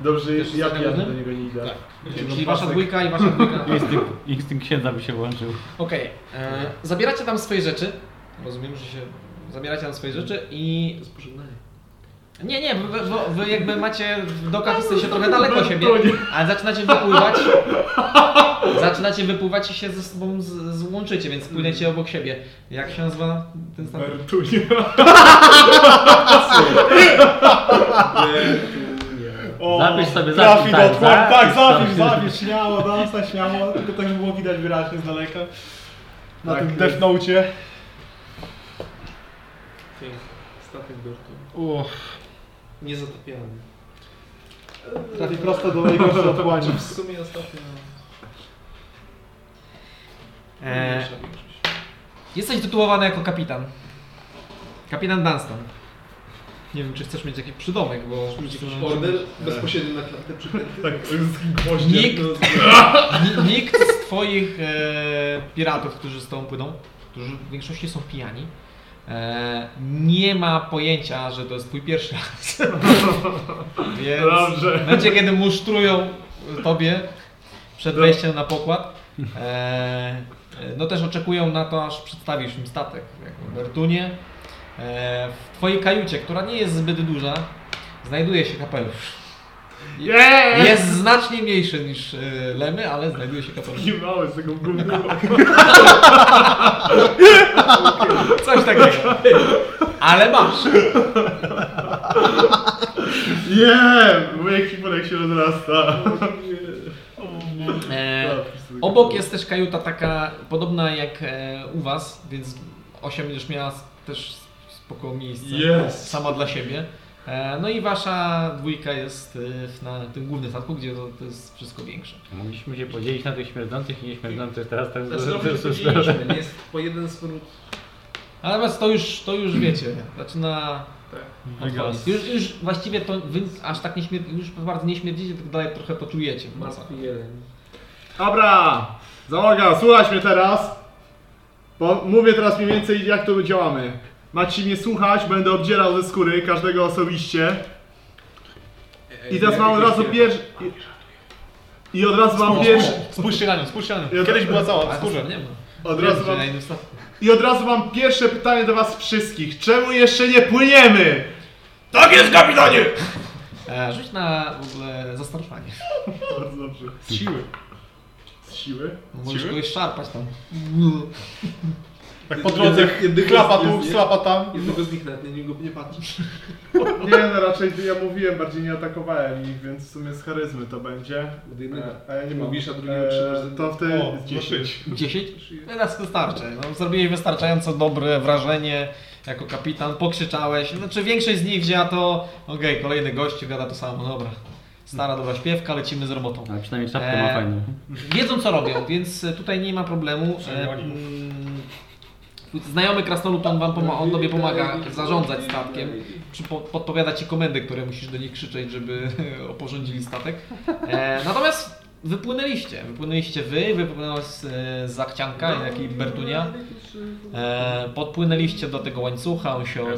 Dobrze,
Też
jeśli ja
jestem
ja do
jednym?
niego nie idę.
Tak.
No,
Czyli wasza dwójka i wasza dwójka.
Instynkt, instynkt księdza mi się włączył.
Okej, e, zabieracie tam swoje rzeczy. Rozumiem, że się... Zabieracie tam swoje rzeczy i...
Spożegnanie.
Nie, nie, wy, wy, wy jakby macie w dokach jesteście trochę daleko siebie, ale zaczynacie wypływać. Zaczynacie wypływać i się ze sobą z, złączycie, więc płyniecie obok siebie. Jak się nazywa ten statek?
Bertunia.
O,
Zapisz sobie,
trafi
zapisz, tak,
do tak, tak,
zapisz
zapisz,
sobie.
zapisz, śmiało, dansa, śmiało, tylko tak żeby było widać wyraźnie z daleka. Na
Tak
tym
jest.
Death Note'cie.
Pięknie. Statek Bertu.
Uff,
Niezatopialny.
Trafi prosto do najgorszego otchłani.
W sumie ostatnio...
E, jesteś tytułowany jako kapitan. Kapitan Dunstan. Nie wiem, czy chcesz mieć jakiś przydomek, bo...
Order bezpośrednio na klatę przykręty.
Tak, z kim gwoździem.
Nikt,
No,
ni- nikt z twoich e, piratów, którzy z tą płyną, którzy w większości są pijani, e, nie ma pojęcia, że to jest twój pierwszy raz. Więc
Dobrze.
będzie kiedy musztrują tobie przed wejściem na pokład. E, e, no też oczekują na to, aż przedstawisz im statek jak w Bertunie. E, w twojej kajucie, która nie jest zbyt duża, znajduje się kapelusz. Jest znacznie mniejszy niż e, Lemy, ale znajduje się kapelusz.
Taki mały z tego gówna.
Coś takiego. Ale masz.
Nie! Mój ekwipunek się rozrasta.
E,
Tak, wszyscy tak
obok jest też kajuta taka podobna jak e, u was, więc 8 będziesz miała s- też spoko miejsce.
Yes.
Sama dla siebie. E, no i wasza dwójka jest e, na tym głównym statku, gdzie to, to jest wszystko większe.
Mogliśmy się podzielić na tych śmierdzących i nieśmierdzących, teraz tak
Znaczy, no,
z- z- z-
podzieliliśmy, nie jest po jeden smród.
Natomiast to już, to już wiecie, Znaczy zaczyna
Mhm.
odchodzić. Już, już właściwie to wy aż tak nie śmier- już bardzo nie śmierdzicie, tylko dalej trochę to czujecie w nosach.
Martwi jeden.
Dobra! Załoga, słuchaj mnie teraz! Bo mówię teraz mniej więcej jak to działamy. Macie mnie słuchać, będę obdzierał ze skóry każdego osobiście. I teraz mam od razu pierwszy... I od razu mam pierwszy...
Spójrzcie na nią, spójrzcie na nią.
I od,
Kiedyś była cała,
No, Ale to
skórze.
nie ma.
od razu mam...
Na innym statku.
I od razu mam pierwsze pytanie do was wszystkich. Czemu jeszcze nie płyniemy?
Tak jest, kapitanie!
E, rzuć na w ogóle zastraszanie.
Bardzo dobrze.
Z siły.
Z siły?
Możesz
Siły?
kogoś szarpać tam.
Tak po drodze klapa tu, slapa tam.
Jednego z nich nawet na niego nie patrzysz.
Nie, no raczej ja mówiłem, bardziej nie atakowałem ich, więc w sumie z charyzmy to będzie.
Od jednego.
E, A ja nie mam.
Mówisz, a drugiego trzymasz
e,
za-
To wtedy
O,
jest 10.
10? Teraz wystarczy. No, zrobiłeś wystarczająco dobre wrażenie jako kapitan, pokrzyczałeś. Znaczy większość z nich wzięła to, okej, kolejny gościu gada to samo, No dobra. Stara dobra śpiewka, lecimy z robotą.
Ale przynajmniej czapkę
Eee.
ma fajną.
Wiedzą co robią, więc e, tutaj nie ma problemu. E, mm, Znajomy krasnolud tam wam pomaga, on tobie pomaga zarządzać statkiem. Czy po, podpowiada ci komendy, które musisz do nich krzyczeć, żeby oporządzili statek. E, natomiast wypłynęliście. Wypłynęliście wy, wypłynęłaś z, e, z Zachcianka, jak i Bertunia. E, podpłynęliście do tego łańcucha, on się e,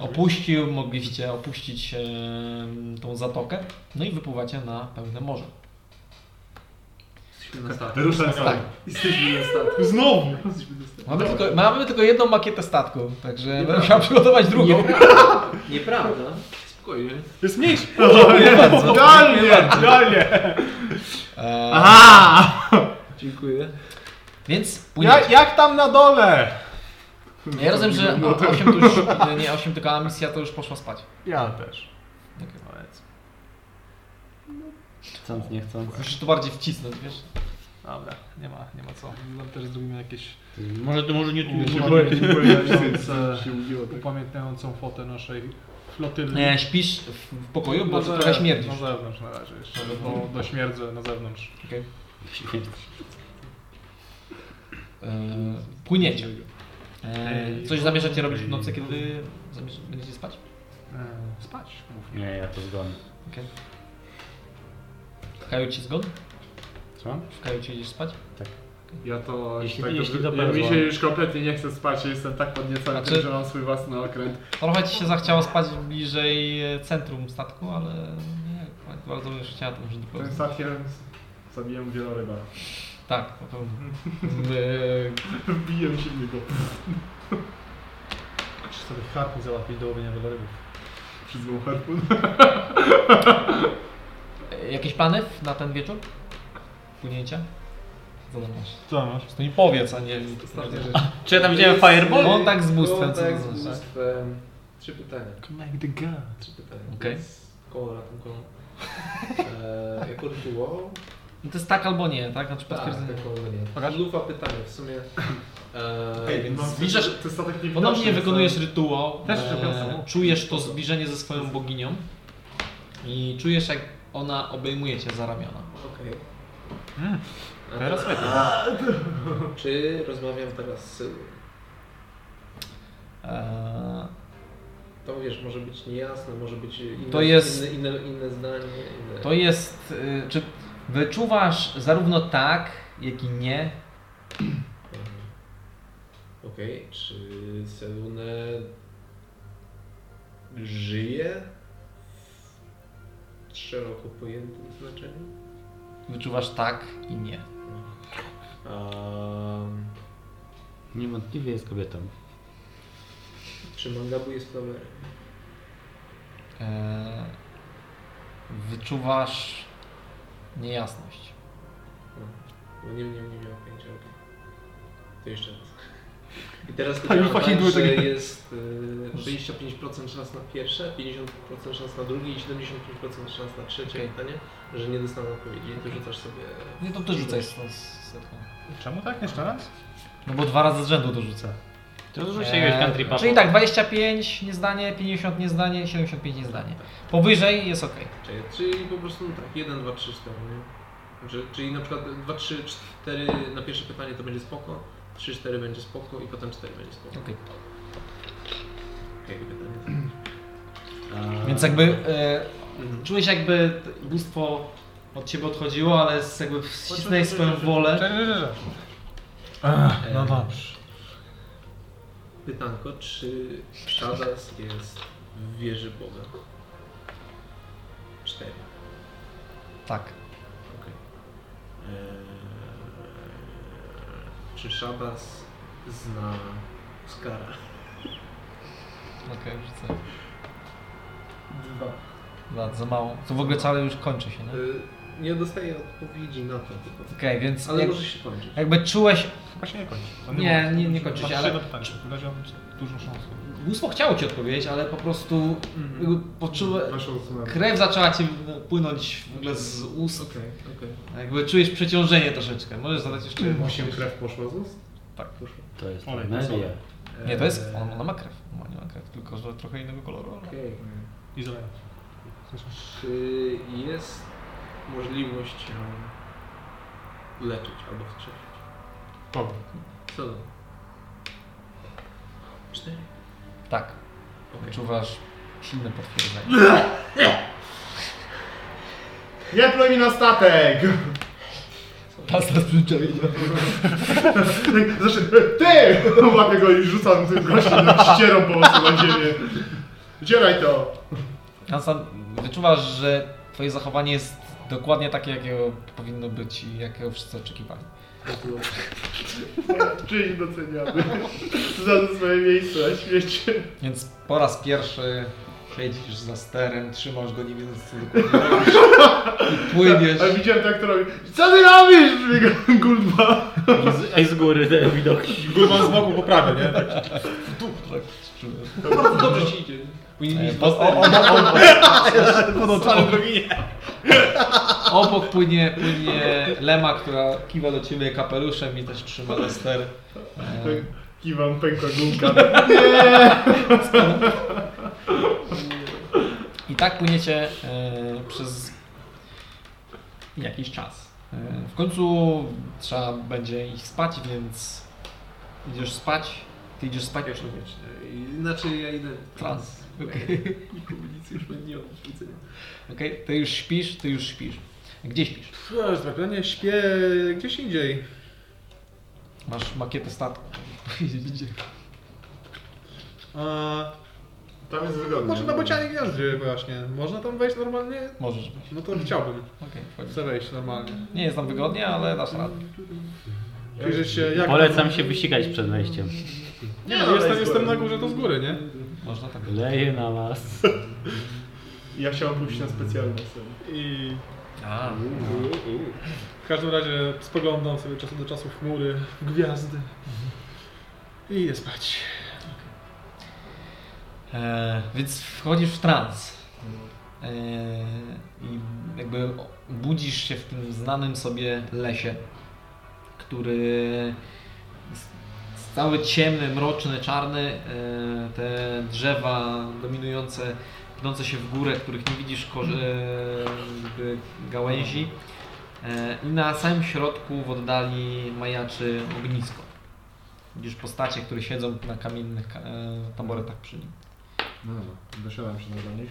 opuścił, mogliście opuścić e, tą zatokę. No i wypływacie na pełne morze.
Jesteśmy na statku.
Ruszam
Tak.
Jesteśmy na statku.
Znowu!
Jesteśmy na statku.
Mamy tylko, mamy tylko jedną makietę statku, także będę musiał przygotować drugą.
Nieprawda. Spokojnie.
Jest mniejszy! Idealnie! Idealnie!
E,
Aha!
Dziękuję.
więc
Ja,
płyniecie.
jak tam na dole?
Ja, rozumiem, że 8 to już, nie 8 tylko a misja to już poszła spać.
Ja też.
Okay.
Chcąc, nie chcąc.
Musisz to bardziej wcisnąć, wiesz?
Dobra, nie ma, nie ma co. Tam też zrobimy jakieś...
Może to może nie tu-
upamiętniające-
Się boję- się boję,
upamiętniające-
się ubiło, tak.
Upamiętniającą fotę naszej flotyli.
Nie, śpisz w- w pokoju, bo
Na
trochę
zewnątrz,
śmierdzisz.
Na zewnątrz na razie jeszcze, bo dośmierdzę na zewnątrz.
Okej. E, Płyniecie. E, Coś zamierzacie robić w nocy, kiedy zamierz- będziecie spać?
E, Spać, mów.
Nie, ja to zgon.
Okej. W kajucie zgon?
Co?
W kajucie idziesz spać?
Ja to
Jeśli-
tak
jeśli
dobrze,
to
ja mi
bardzo-
się już kompletnie nie chce spać, ja jestem tak podniecony,
Znaczy-
tym, że mam swój własny okręt.
Trochę ci się zachciało spać bliżej e, centrum statku, ale nie, bardzo bym chciała tam, że
Tym statkiem zabiłem wieloryba.
Tak, na pewno.
Wbiję silnego.
Czy sobie harpun załatwić do łowienia wielorybów?
Przez złą harpun.
E, Jakieś plany na ten wieczór? Płynięcia? Co tam masz?
Co masz?
To mi powiedz, a nie...
Ostatnia rzecz.
Czy ja tam widziałem fireball?
Kontakt z bóstwem, co
Kontakt
to
z
znaczy?
bóstwem. Trzy pytania.
Connect the gun.
Trzy pytania.
Okej.
Koło ratunkowo. Eee, jako rytuał.
No to jest tak albo nie, tak? Znaczy
Tak,
potwierdzenie.
jako nie.
Pokaż.
Lufa pytanie w sumie. Eee,
Ej, więc
mam-
zbliżasz-
No, To statek nie
Ponownie wykonujesz rytuał.
Też
e,
przepiął samo.
czujesz to zbliżenie ze swoją boginią. I czujesz, jak ona obejmuje cię za ramiona.
Okej.
Hmm.
Mm,
A
teraz
teraz-
lepiej.
Czy rozmawiam teraz z Sylwią?
E,
To wiesz, może być niejasne, może być inne,
To jest-
inne, inne, inne zdanie, inne...
To jest. y, Czy wyczuwasz zarówno tak, jak i nie?
Mhm. Okej, czy Selune żyje w szeroko pojętym znaczeniu?
Wyczuwasz tak i nie.
Um,
Niewątpliwie jest kobietą.
czy Mangabu jest problemem?
E, Wyczuwasz niejasność.
Bo No nie, nie, nie miałem pojęcia, okej. To jeszcze raz. I teraz to
Ale
działa
fucking
tak,
były
że
takie-
jest y, 25% szans na pierwsze, 50% szans na drugie i 75% szans na trzecie
Okej.
pytanie, że nie dostanę odpowiedzi. I ty rzucasz sobie...
Nie, No to ty rzucaj z z setką.
Czemu tak? Jeszcze raz?
No bo dwa razy z rzędu to rzucę.
To dużo się jakiegoś country pubu.
Czyli tak, 25 niezdanie, 50 niezdanie, 75 niezdanie. Powyżej jest ok.
Czyli, czyli po prostu no tak, 1, 2, 3, 4, nie? Znaczy, czyli na przykład 2, 3, 4 na pierwsze pytanie to będzie spoko, 3, 4 będzie spoko i potem 4 będzie spoko.
Okej.
Jakie pytanie? Mhm.
Więc jakby e, czułeś jakby t- bóstwo od ciebie odchodziło, ale z- jakby wcisnęłeś swoją wolę.
Czerwony. Ach, no
Em.
dobrze.
E, Pytanko, czy Shadas jest w wieży Boga? 4.
Tak.
Okej. Eee, Czy Shadas zna Skara?
Okej, rzucę.
Dwa.
Dwa, za mało. To w ogóle całe już kończy się, nie? Okej,
Eee, Nie dostaję odpowiedzi na to. tylko-
więc
Ale
jak,
może się kończyć.
jakby czułeś...
Chyba się nie kończy.
Nie, nie- nie kończy się, ale-
Wyraziłam dużą szansę.
Bóstwo chciało ci odpowiedzieć, ale po prostu jakby poczułeś...
Proszę odsunąć.
Krew zaczęła ci płynąć w ogóle z ust.
Okej, okej.
Jakby czujesz przeciążenie troszeczkę. Możesz zadać jeszcze jedno.
Osiem krew poszło z ust?
Tak.
To jest
Olej,
media.
olej.
Mhm. Nie, to jest.
Eee,
Ona, ona ma krew. Ona nie ma krew, tylko że trochę innego koloru. ale-
Okej.
I zalewa.
Czy jest możliwość em, leczyć albo wstrzymać?
Kogo?
Co? Cztery.
Tak.
Okej.
Czuwasz silne potwierdzenie.
Nie pluj mi na statek!
Pasta przyzwyczajenia.
Znaczy, ty! Łapię go i rzucam tym gościem, ścierą po prostu na ziemię. Wycieraj to!
Hansan, wyczuwasz, że twoje zachowanie jest dokładnie takie, jakiego powinno być i jakiego wszyscy oczekiwali.
Czyli doceniamy. Za swoje miejsce na świecie.
Więc po raz pierwszy siedzisz za sterem, trzymasz go, nie wiedząc co dokładnie robisz. I
Ale
płyniesz.
widziałem tak, to robi. Co ty robisz? Biega Gulba.
I z- A i z góry te widoki.
Górman z boku po prawej, nie? Tak.
Tak, czujesz.
Dobrze ci idzie.
Powinien
E,
mieć
po-
dwa stery.
o- o- o- o-
Pod
całą
droginie. Obok płynie, płynie Lema, która kiwa do ciebie kapeluszem i też trzyma za ster. E,
Kiwam pękła gumka.
I tak płyniecie e, przez jakiś czas. E, w końcu trzeba będzie ich spać, więc idziesz spać. Ty idziesz spać już
Inaczej E, znaczy, ja idę
Trans.
Nikomu nic już nie odrzucenia.
Okej, ty już śpisz, ty już śpisz. Gdzie śpisz?
Słuchaj, zwykle śpię gdzieś indziej.
Masz makietę statku.
A,
Tam jest wygodnie.
może na bocianie gwiazdzie właśnie. Można tam wejść normalnie?
Możesz być.
No to chciałbym.
Okej, wchodzisz.
Chcę wejść normalnie.
Nie jest nam wygodnie, ale dasz radę.
Przyjrzeć się jak...
Polecam się wysikać przed wejściem.
Nie no, jestem, jestem na górze, to z góry, nie?
Można tak.
Leję na was.
Ja chciałem pójść na specjalny sen.
I
A,
w każdym razie spoglądam sobie czasu do czasu w chmury, w gwiazdy. I idę spać.
E, więc wchodzisz w trans. E, I jakby budzisz się w tym znanym sobie lesie, który jest cały ciemny, mroczny, czarny. E, te drzewa dominujące, pnące się w górę, których nie widzisz korze- e, jakby gałęzi. E, I na samym środku w oddali majaczy ognisko. Widzisz postacie, które siedzą na kamiennych ka- e, taboretach przy nim.
No dobra, dosiadam się do nich.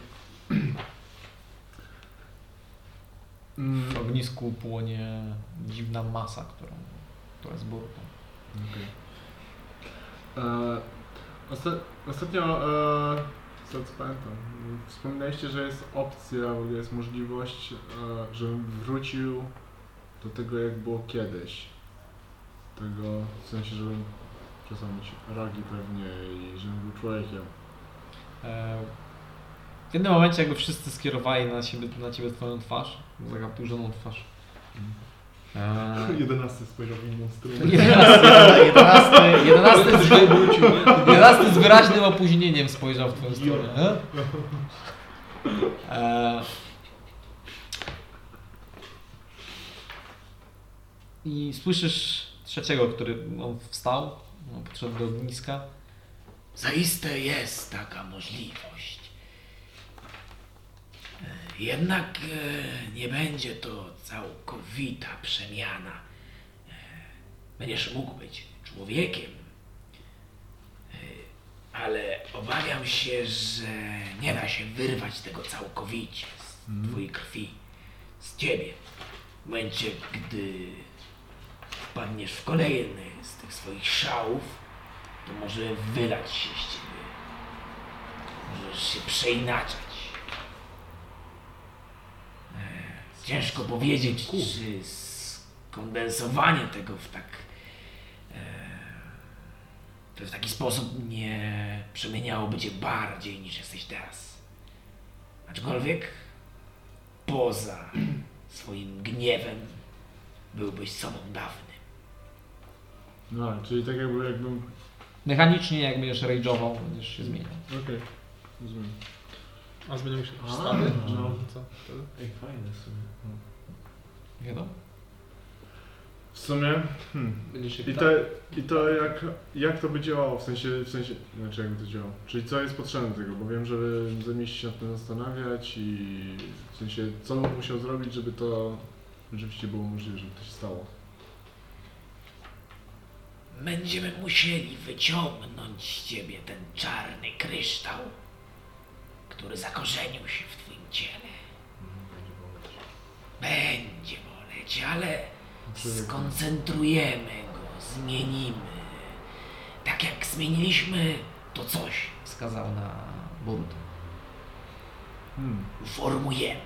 Mm,
W ognisku płonie dziwna masa, którą, która jest burtą.
okej. E, osta ostatnio, e, co co pamiętam, wspominaliście, że jest opcja, w ogóle jest możliwość, e, żebym wrócił do tego, jak było kiedyś. Tego, w sensie, żebym przestał mieć ragi pewnie i żebym był człowiekiem.
E, W jednym momencie jakby wszyscy skierowali na, siebie, na ciebie twoją twarz, taką burzoną twarz.
E,
Eee,
Jedenasty spojrzał w inną stronę.
jedenasty, jedenasty, jedenasty, z, wy- jedenasty z wyraźnym opóźnieniem spojrzał w twoją stronę. E, I słyszysz trzeciego, który on wstał, on podszedł do ogniska.
Zaiste jest taka możliwość. E, Jednak e, nie będzie to całkowita przemiana. E, Będziesz mógł być człowiekiem, E, ale obawiam się, że nie da się wyrwać tego całkowicie z twojej krwi, z ciebie. W momencie, gdy wpadniesz w kolejny z tych swoich szałów, to może wylać się z ciebie. Możesz się przeinaczać. Eee, Ciężko powiedzieć, czy skondensowanie tego w tak. eee, to w taki sposób nie przemieniałoby cię bardziej niż jesteś teraz. Aczkolwiek poza swoim gniewem byłbyś sobą dawnym.
No, czyli tak jakby, jakbym
Mechanicznie jak będziesz rage'ował, będziesz się zmieniał.
Okej, rozumiem.
A zmienił się
A,
wstany?
no.
Co? wtedy?
Ej, fajne w sumie.
Wiadomo.
W sumie, hmm.
Będziesz się
I to, i to jak, jak to by działało, w sensie, w sensie, znaczy jakby to działało, czyli co jest potrzebne do tego, bo wiem, że zamiast się nad tym zastanawiać i w sensie, co bym musiał zrobić, żeby to rzeczywiście było możliwe, żeby to się stało.
Będziemy musieli wyciągnąć z ciebie ten czarny kryształ, który zakorzenił się w twoim ciele. Będzie boleć, ale
Znaczy,
skoncentrujemy go, zmienimy. Tak jak zmieniliśmy to coś,
Wskazał na burtę.
Hmm,
formujemy.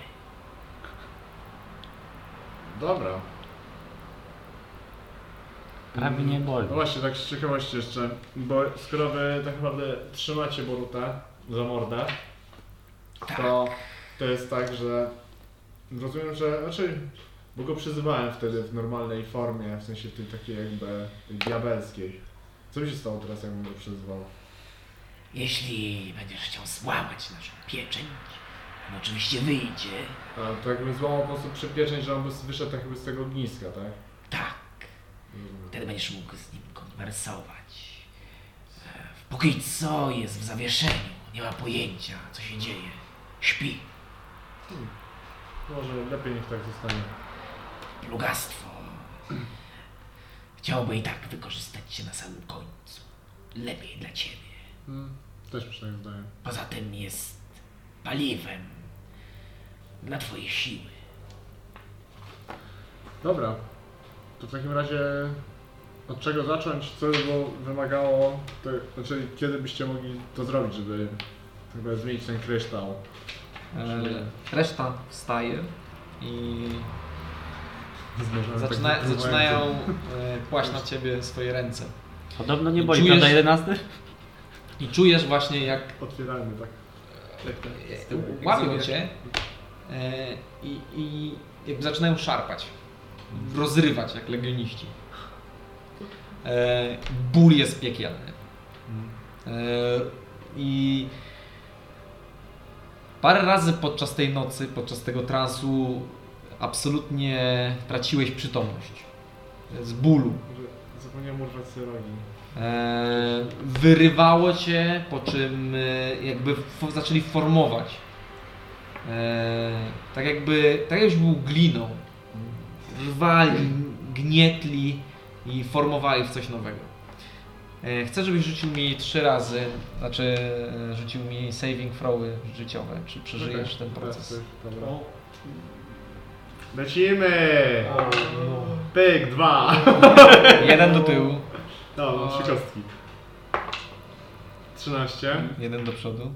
dobra.
Prawie nie boli.
No właśnie, tak z ciekawości jeszcze, bo skoro wy tak naprawdę trzymacie Boruta za mordę, to, to jest tak, że rozumiem, że raczej, bo go przyzywałem wtedy w normalnej formie, w sensie w tej takiej jakby diabelskiej. Co by się stało teraz, jakbym go przyzwał?
Jeśli będziesz chciał złamać naszą pieczeń, no oczywiście wyjdzie.
A tak bym złamał po prostu przypieczeń, że on by wyszedł tak jakby z tego ogniska, tak?
Tak. Wtedy będziesz mógł z nim konwersować. E, Póki co jest w zawieszeniu, nie ma pojęcia, co się dzieje. Śpi.
Może lepiej niech tak zostanie.
plugastwo. Chciałby i tak wykorzystać się na samym końcu. Lepiej dla ciebie.
Hmm. Też mi się tak zdaje.
Poza tym jest paliwem dla twojej siły.
Dobra. To w takim razie od czego zacząć? Co by było wymagało? To, znaczy, kiedy byście mogli to zrobić, żeby chyba zmienić ten kryształ?
E, Reszta wstaje i
Zmarzamy
zaczyna,
tak
zaczynają e, płaść na ciebie swoje ręce.
Podobno nie
I
boli,
czujesz-
prawda, 11?
I czujesz właśnie jak
Otwieramy, tak.
e, łapią cię e, i, i jakby zaczynają szarpać, rozrywać jak legioniści. E, Ból jest piekielny. E, I parę razy podczas tej nocy, podczas tego transu absolutnie traciłeś przytomność. Z bólu.
Że Zapomniałem urwać sobie rogi.
E, wyrywało cię, po czym e, jakby fo- zaczęli formować. E, tak jakby, tak jakbyś był gliną. Rwali, gnietli i formowali w coś nowego. E, chcę, żebyś rzucił mi trzy razy, znaczy e, rzucił mi saving throwy życiowe, czy przeżyjesz ten proces.
Dobra. Lecimy! Pyk, dwa!
Jeden do tyłu,
No, mam trzy kostki. 13,
jeden do przodu,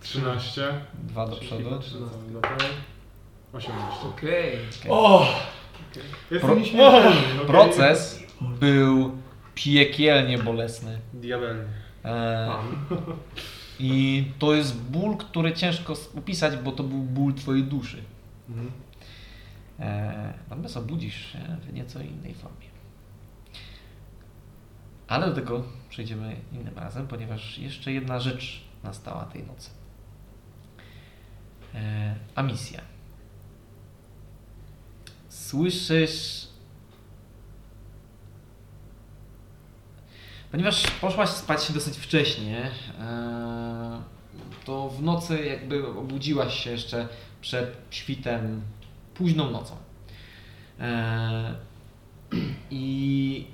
13,
dwa do przodu.
18.
Okej.
O!
Pro-
Jestem nieśmiertelny, okej?
Proces był piekielnie bolesny.
Diabelnie.
E, I to jest ból, który ciężko s- opisać, bo to był ból twojej duszy. E, Natomiast obudzisz się w nieco innej formie. Ale do tego przejdziemy innym razem, ponieważ jeszcze jedna rzecz nastała tej nocy. E, A misja. Słyszysz Ponieważ poszłaś spać dosyć wcześnie, e, to w nocy jakby obudziłaś się jeszcze przed świtem, późną nocą. E, I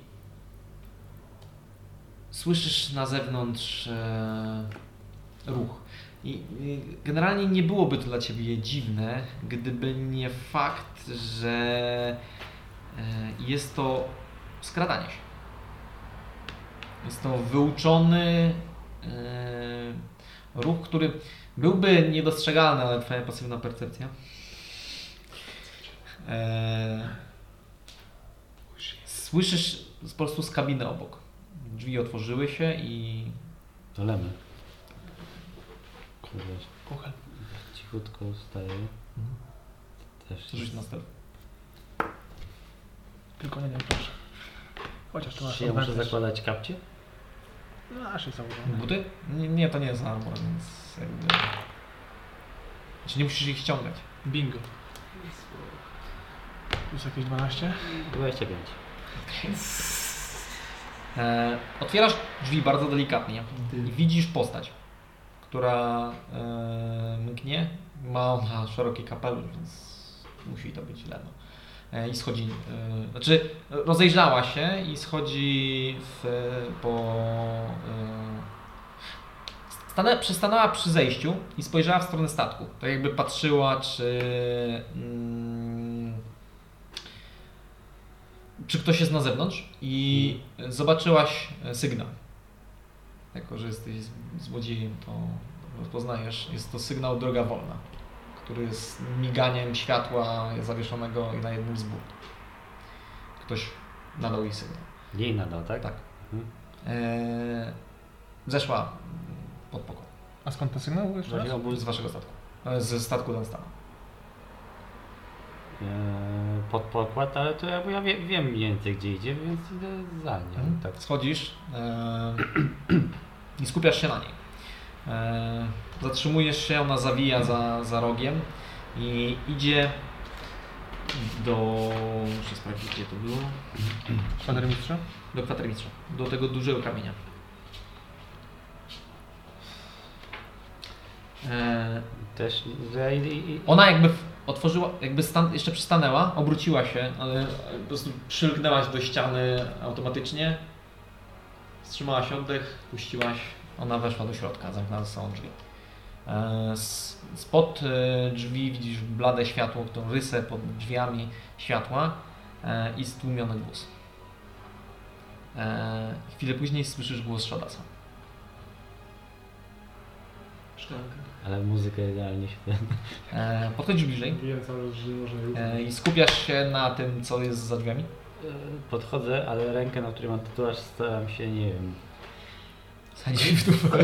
słyszysz na zewnątrz e, ruch. I i generalnie nie byłoby to dla ciebie dziwne, gdyby nie fakt, że e, jest to skradanie się. Jest to wyuczony e, ruch, który byłby niedostrzegalny, ale twoja pasywna percepcja. E, słyszysz po prostu z kabiny obok. Drzwi otworzyły się i
To lemy. Kurde. Cichutko wstaję. Też
rzuć na stealth.
Tylko nie wiem, proszę. Chociaż to masz
Czy ja muszę
advantage.
zakładać kapcie?
No, Nasze są
Mhm.
Buty? Nie, nie to nie jest armor, więc jakby... Znaczy nie musisz ich ściągać.
No.
Bingo. Plus jakieś 12?
25.
E, otwierasz drzwi bardzo delikatnie i widzisz postać, która e, mknie. Ma ona szeroki kapelusz, więc musi to być leno. E, I schodzi, e, znaczy rozejrzała się i schodzi w, po. E, stanę, przystanęła przy zejściu i spojrzała w stronę statku. Tak jakby patrzyła, czy. Mm, czy ktoś jest na zewnątrz i zobaczyłaś e, sygnał. Jako, że jesteś z- złodziejem, to rozpoznajesz. Jest to sygnał droga wolna, który jest miganiem światła zawieszonego na jednym z bud. Ktoś nadał jej sygnał.
Jej nadal, tak?
Tak.
Mhm.
Eee, zeszła pod pokój
A skąd ten sygnał był jeszcze raz?
Właśnie obóz-
z waszego statku. E, Ze statku Dunstana.
Eee, pod pokład, ale to ja, bo ja wie,
E,
Mhm. Tak, wiem mniej więcej gdzie idzie, więc idę za nią.
Mhm.
Tak.
Schodzisz. E, tak, i skupiasz się na niej. E, Zatrzymujesz się, ona zawija za, za rogiem i idzie do... muszę sprawdzić gdzie to było.
Kwatermistrza?
Do kwatermistrza, do tego dużego kamienia. E,
Też że i, i, i
Ona jakby w- otworzyła, jakby stan, jeszcze przystanęła, obróciła się, ale po prostu przylgnęłaś do ściany automatycznie. Wstrzymałaś oddech, puściłaś, ona weszła do środka, zamknęła za sobą drzwi. E, s- Spod e, drzwi widzisz blade światło, tą rysę pod drzwiami światła e, i stłumiony głos. E, Chwilę później słyszysz głos Shadasa.
Szklanka.
Ale muzyka idealnie się
E, Podchodzisz bliżej
Wiem cały czas, że nie można jej
e,
użyć.
i skupiasz się na tym, co jest za drzwiami.
E, Podchodzę, ale rękę, na której mam tatuaż, staram się, nie wiem.
Sadzić w dół.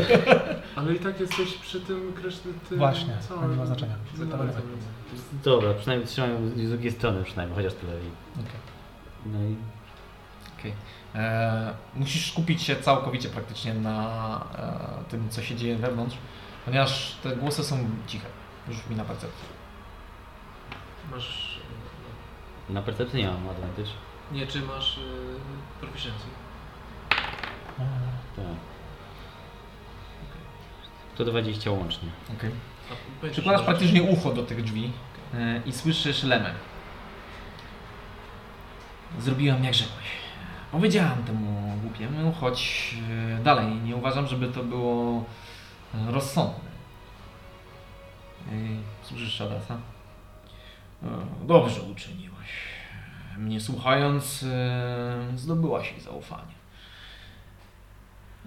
Ale i tak jesteś przy tym kreśle tym
Właśnie,
całym-
to nie ma znaczenia.
No,
To będzie.
Dobra, przynajmniej trzymam ją z drugiej strony, przynajmniej, chociaż tyle. I,
Okej.
no i
Okej. E, Musisz skupić się całkowicie praktycznie na e, tym, co się dzieje wewnątrz, ponieważ te głosy są ciche. Już mi na percepcję.
Masz...
na percepcji nie mam advantage.
e,
Nie, czy masz y, proficiency?
Tak. To 20 łącznie.
Okej.
A powiedz,
Przykładasz
że-
praktycznie ucho do tych drzwi e, i słyszysz lemę. Zrobiłam jak rzekłeś. Powiedziałam temu głupiemu, choć e, dalej nie uważam, żeby to było e, rozsądne. E, Słyszysz Shadasa?
E, Dobrze uczyniłaś.
Mnie słuchając, e, zdobyłaś ich zaufanie.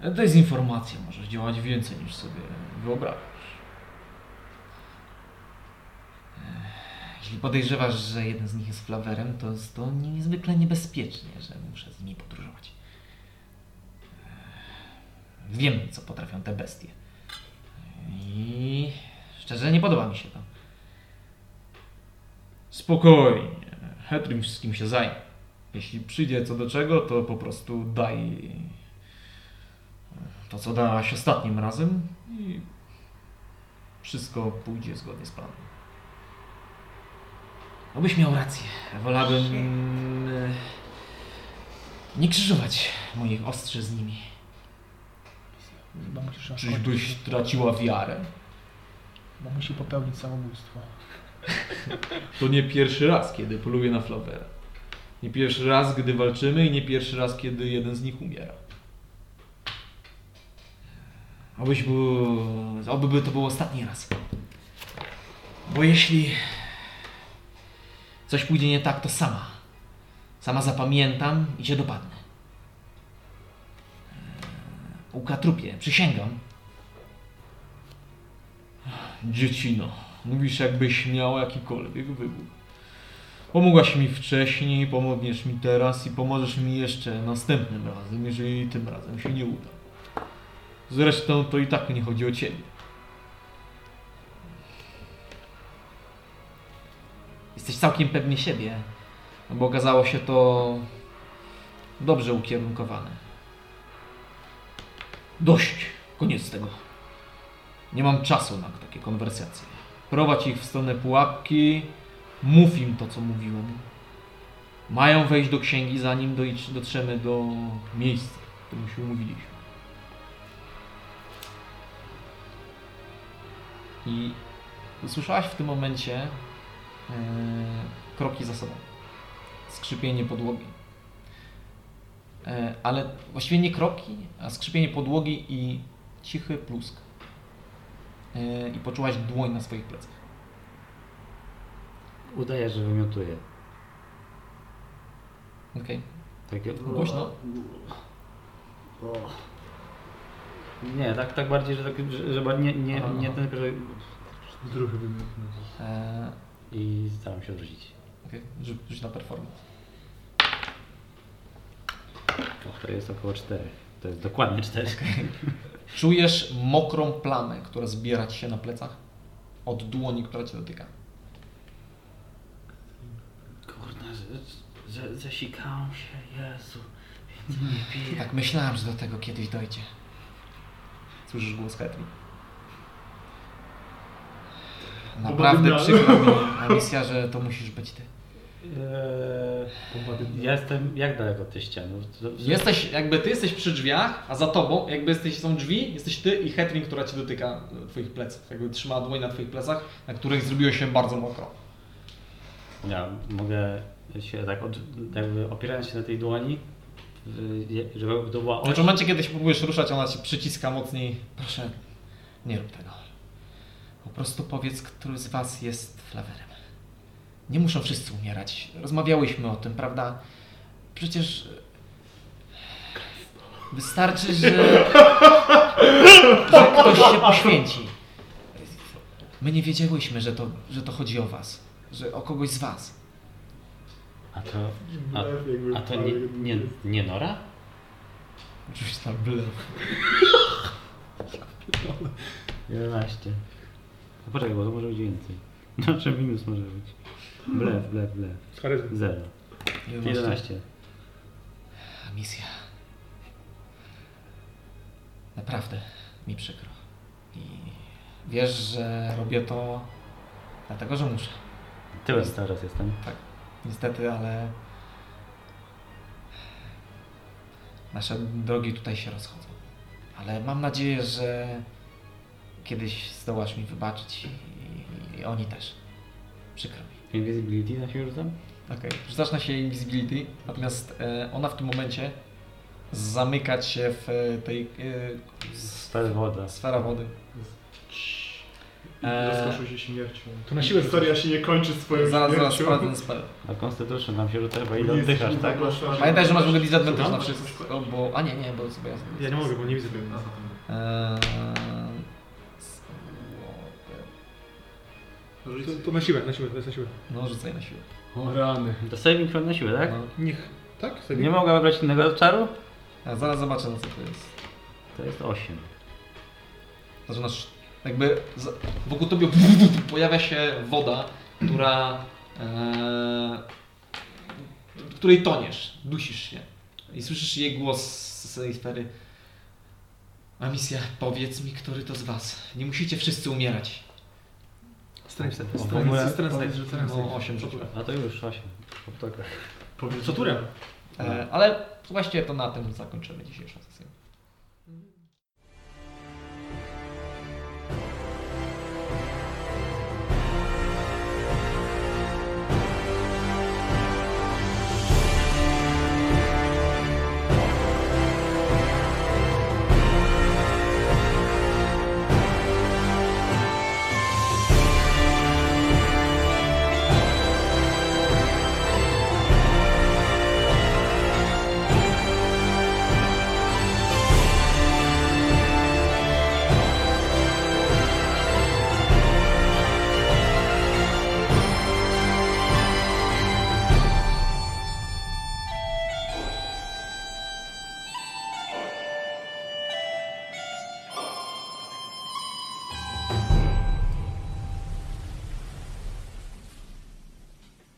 E, Dezinformacja może działać więcej niż sobie wyobrażasz. E, Jeśli podejrzewasz, że jeden z nich jest flawerem, to jest to niezwykle niebezpiecznie, że muszę z nimi podróżować. E, Wiem, co potrafią te bestie. I szczerze nie podoba mi się to. Spokojnie. Hetrim wszystkim się zajmie. Jeśli przyjdzie co do czego, to po prostu daj to, co dałaś ostatnim razem i wszystko pójdzie zgodnie z planem. Obyś miał rację. Wolałbym e, nie krzyżować moich ostrzy z nimi.
Chyba musisz raz
Czyżbyś
skończyć.
traciła wiarę?
Bo musi popełnić samobójstwo.
To nie pierwszy raz, kiedy poluję na flawera. Nie pierwszy raz, gdy walczymy i nie pierwszy raz, kiedy jeden z nich umiera. Obyś był, oby to był ostatni raz. Bo jeśli coś pójdzie nie tak, to sama. Sama zapamiętam i cię dopadnę. Eee, Ukatrupie, przysięgam. Dziecino, mówisz jakbyś miała jakikolwiek wybór. Pomogłaś mi wcześniej, pomogniesz mi teraz i pomożesz mi jeszcze następnym razem, jeżeli tym razem się nie uda. Zresztą to i tak nie chodzi o ciebie. Jesteś całkiem pewny siebie, no bo okazało się to dobrze ukierunkowane. Dość, koniec tego. Nie mam czasu na takie konwersacje. Prowadź ich w stronę pułapki, mów im to, co mówiłem. Mają wejść do księgi, zanim doj- dotrzemy do miejsca, w którym się umówiliśmy. I usłyszałaś w tym momencie e, kroki za sobą. Skrzypienie podłogi. E, ale właściwie nie kroki, a skrzypienie podłogi i cichy plusk e, i poczułaś dłoń na swoich plecach.
udaję, że wymiotuję.
Okej.
Takie...
Głośno?
Nie, tak, tak bardziej, że, tak, że, że ba- nie, nie,
Aha,
nie
aha.
ten, że...
Drugi wymiotny.
E,
I staram się odrzucić.
Okej, rzuć, rzuć na performance.
To jest około 4. To jest dokładnie 4.
Czujesz mokrą plamę, która zbiera ci się na plecach od dłoni, która cię dotyka.
Kurde, że, że, zasikałem się, Jezu. Więcej nie piję.
Tak myślałem, że do tego kiedyś dojdzie. Słyszysz głos Hetli.
Bo
Naprawdę
będę miał.
przykro mi, Amicia, że to musisz być ty.
Eee, ja jestem jak daleko od tej ściany? To- to-
Jesteś, jakby ty jesteś przy drzwiach, a za tobą, jakby jesteś, są drzwi, jesteś ty i Hetling, która ci dotyka e, twoich pleców. Jakby trzyma dłoń na twoich plecach, na których zrobiło się bardzo mokro.
Ja mogę się tak od, jakby opierając się na tej dłoni, y, je- żeby to była
W
oś.
momencie, kiedy się próbujesz ruszać, ona ci przyciska mocniej. Proszę, nie rób tego. Po prostu powiedz, który z was jest flawerem. Nie muszą wszyscy umierać. Rozmawiałyśmy o tym, prawda? Przecież... e, Wystarczy, że, że ktoś się poświęci. My nie wiedziałyśmy, że to, że to chodzi o was. Że o kogoś z was.
A to, a, a to nie, nie, nie Nora?
Oczywiście na blef.
11. No poczekaj, bo to może być więcej. Znaczy minus może być. Blef, blef, blef.
Charyzmy.
Zero.
Ile masz tu?
11.
Misja. Naprawdę mi przykro. I wiesz, że robię to dlatego, że muszę.
Tyłem teraz jestem.
Tak. Niestety, ale. Nasze drogi tutaj się rozchodzą. Ale mam nadzieję, że kiedyś zdołasz mi wybaczyć i, i oni też. Przykro mi.
Invisibility na siebie rzucam?
Okej, rzucasz na siebie invisibility, natomiast e, ona w tym momencie zamyka cię w e, tej e,
Sferę woda.
sfera wody.
Eee.
Eee.
E,
Rozkoszuj się śmiercią.
To na siłę
Historia się nie kończy swoją
Zaraz,
śmiercią.
zaraz sprawdzę ten spell.
A Constitution tam się rzuca chyba ile
Nie jesteś
oddychasz, tak?
inna klasa.
Pamiętaj, że masz w ogóle disadvantage
Słucham?
na wszystko, bo... A nie, nie, bo sobie ja sobie...
Ja nie mogę, bo nie widzę tego.
Aha.
Eee,
To, to na siłę, na siłę, to jest na siłę.
no, rzucaj na siłę.
O rany.
To saving throw na siłę, tak?
No.
Niech. Tak? Sobie.
Nie mogę wybrać innego czaru?
A zaraz zobaczę, na co to jest.
To jest 8.
Zaczynasz jakby z, wokół tobie pojawia się woda, która e, w której toniesz, dusisz się i słyszysz jej głos z tej sfery. A misja, powiedz mi, który to z was. Nie musicie wszyscy umierać.
Strength save.
w ogóle-
Strength strength save. strength
No,
save.
8 rzuciłem.
A to już 8. Po ptokach.
Co turem?
E, ale właściwie to na tym zakończymy dzisiejszą sesję.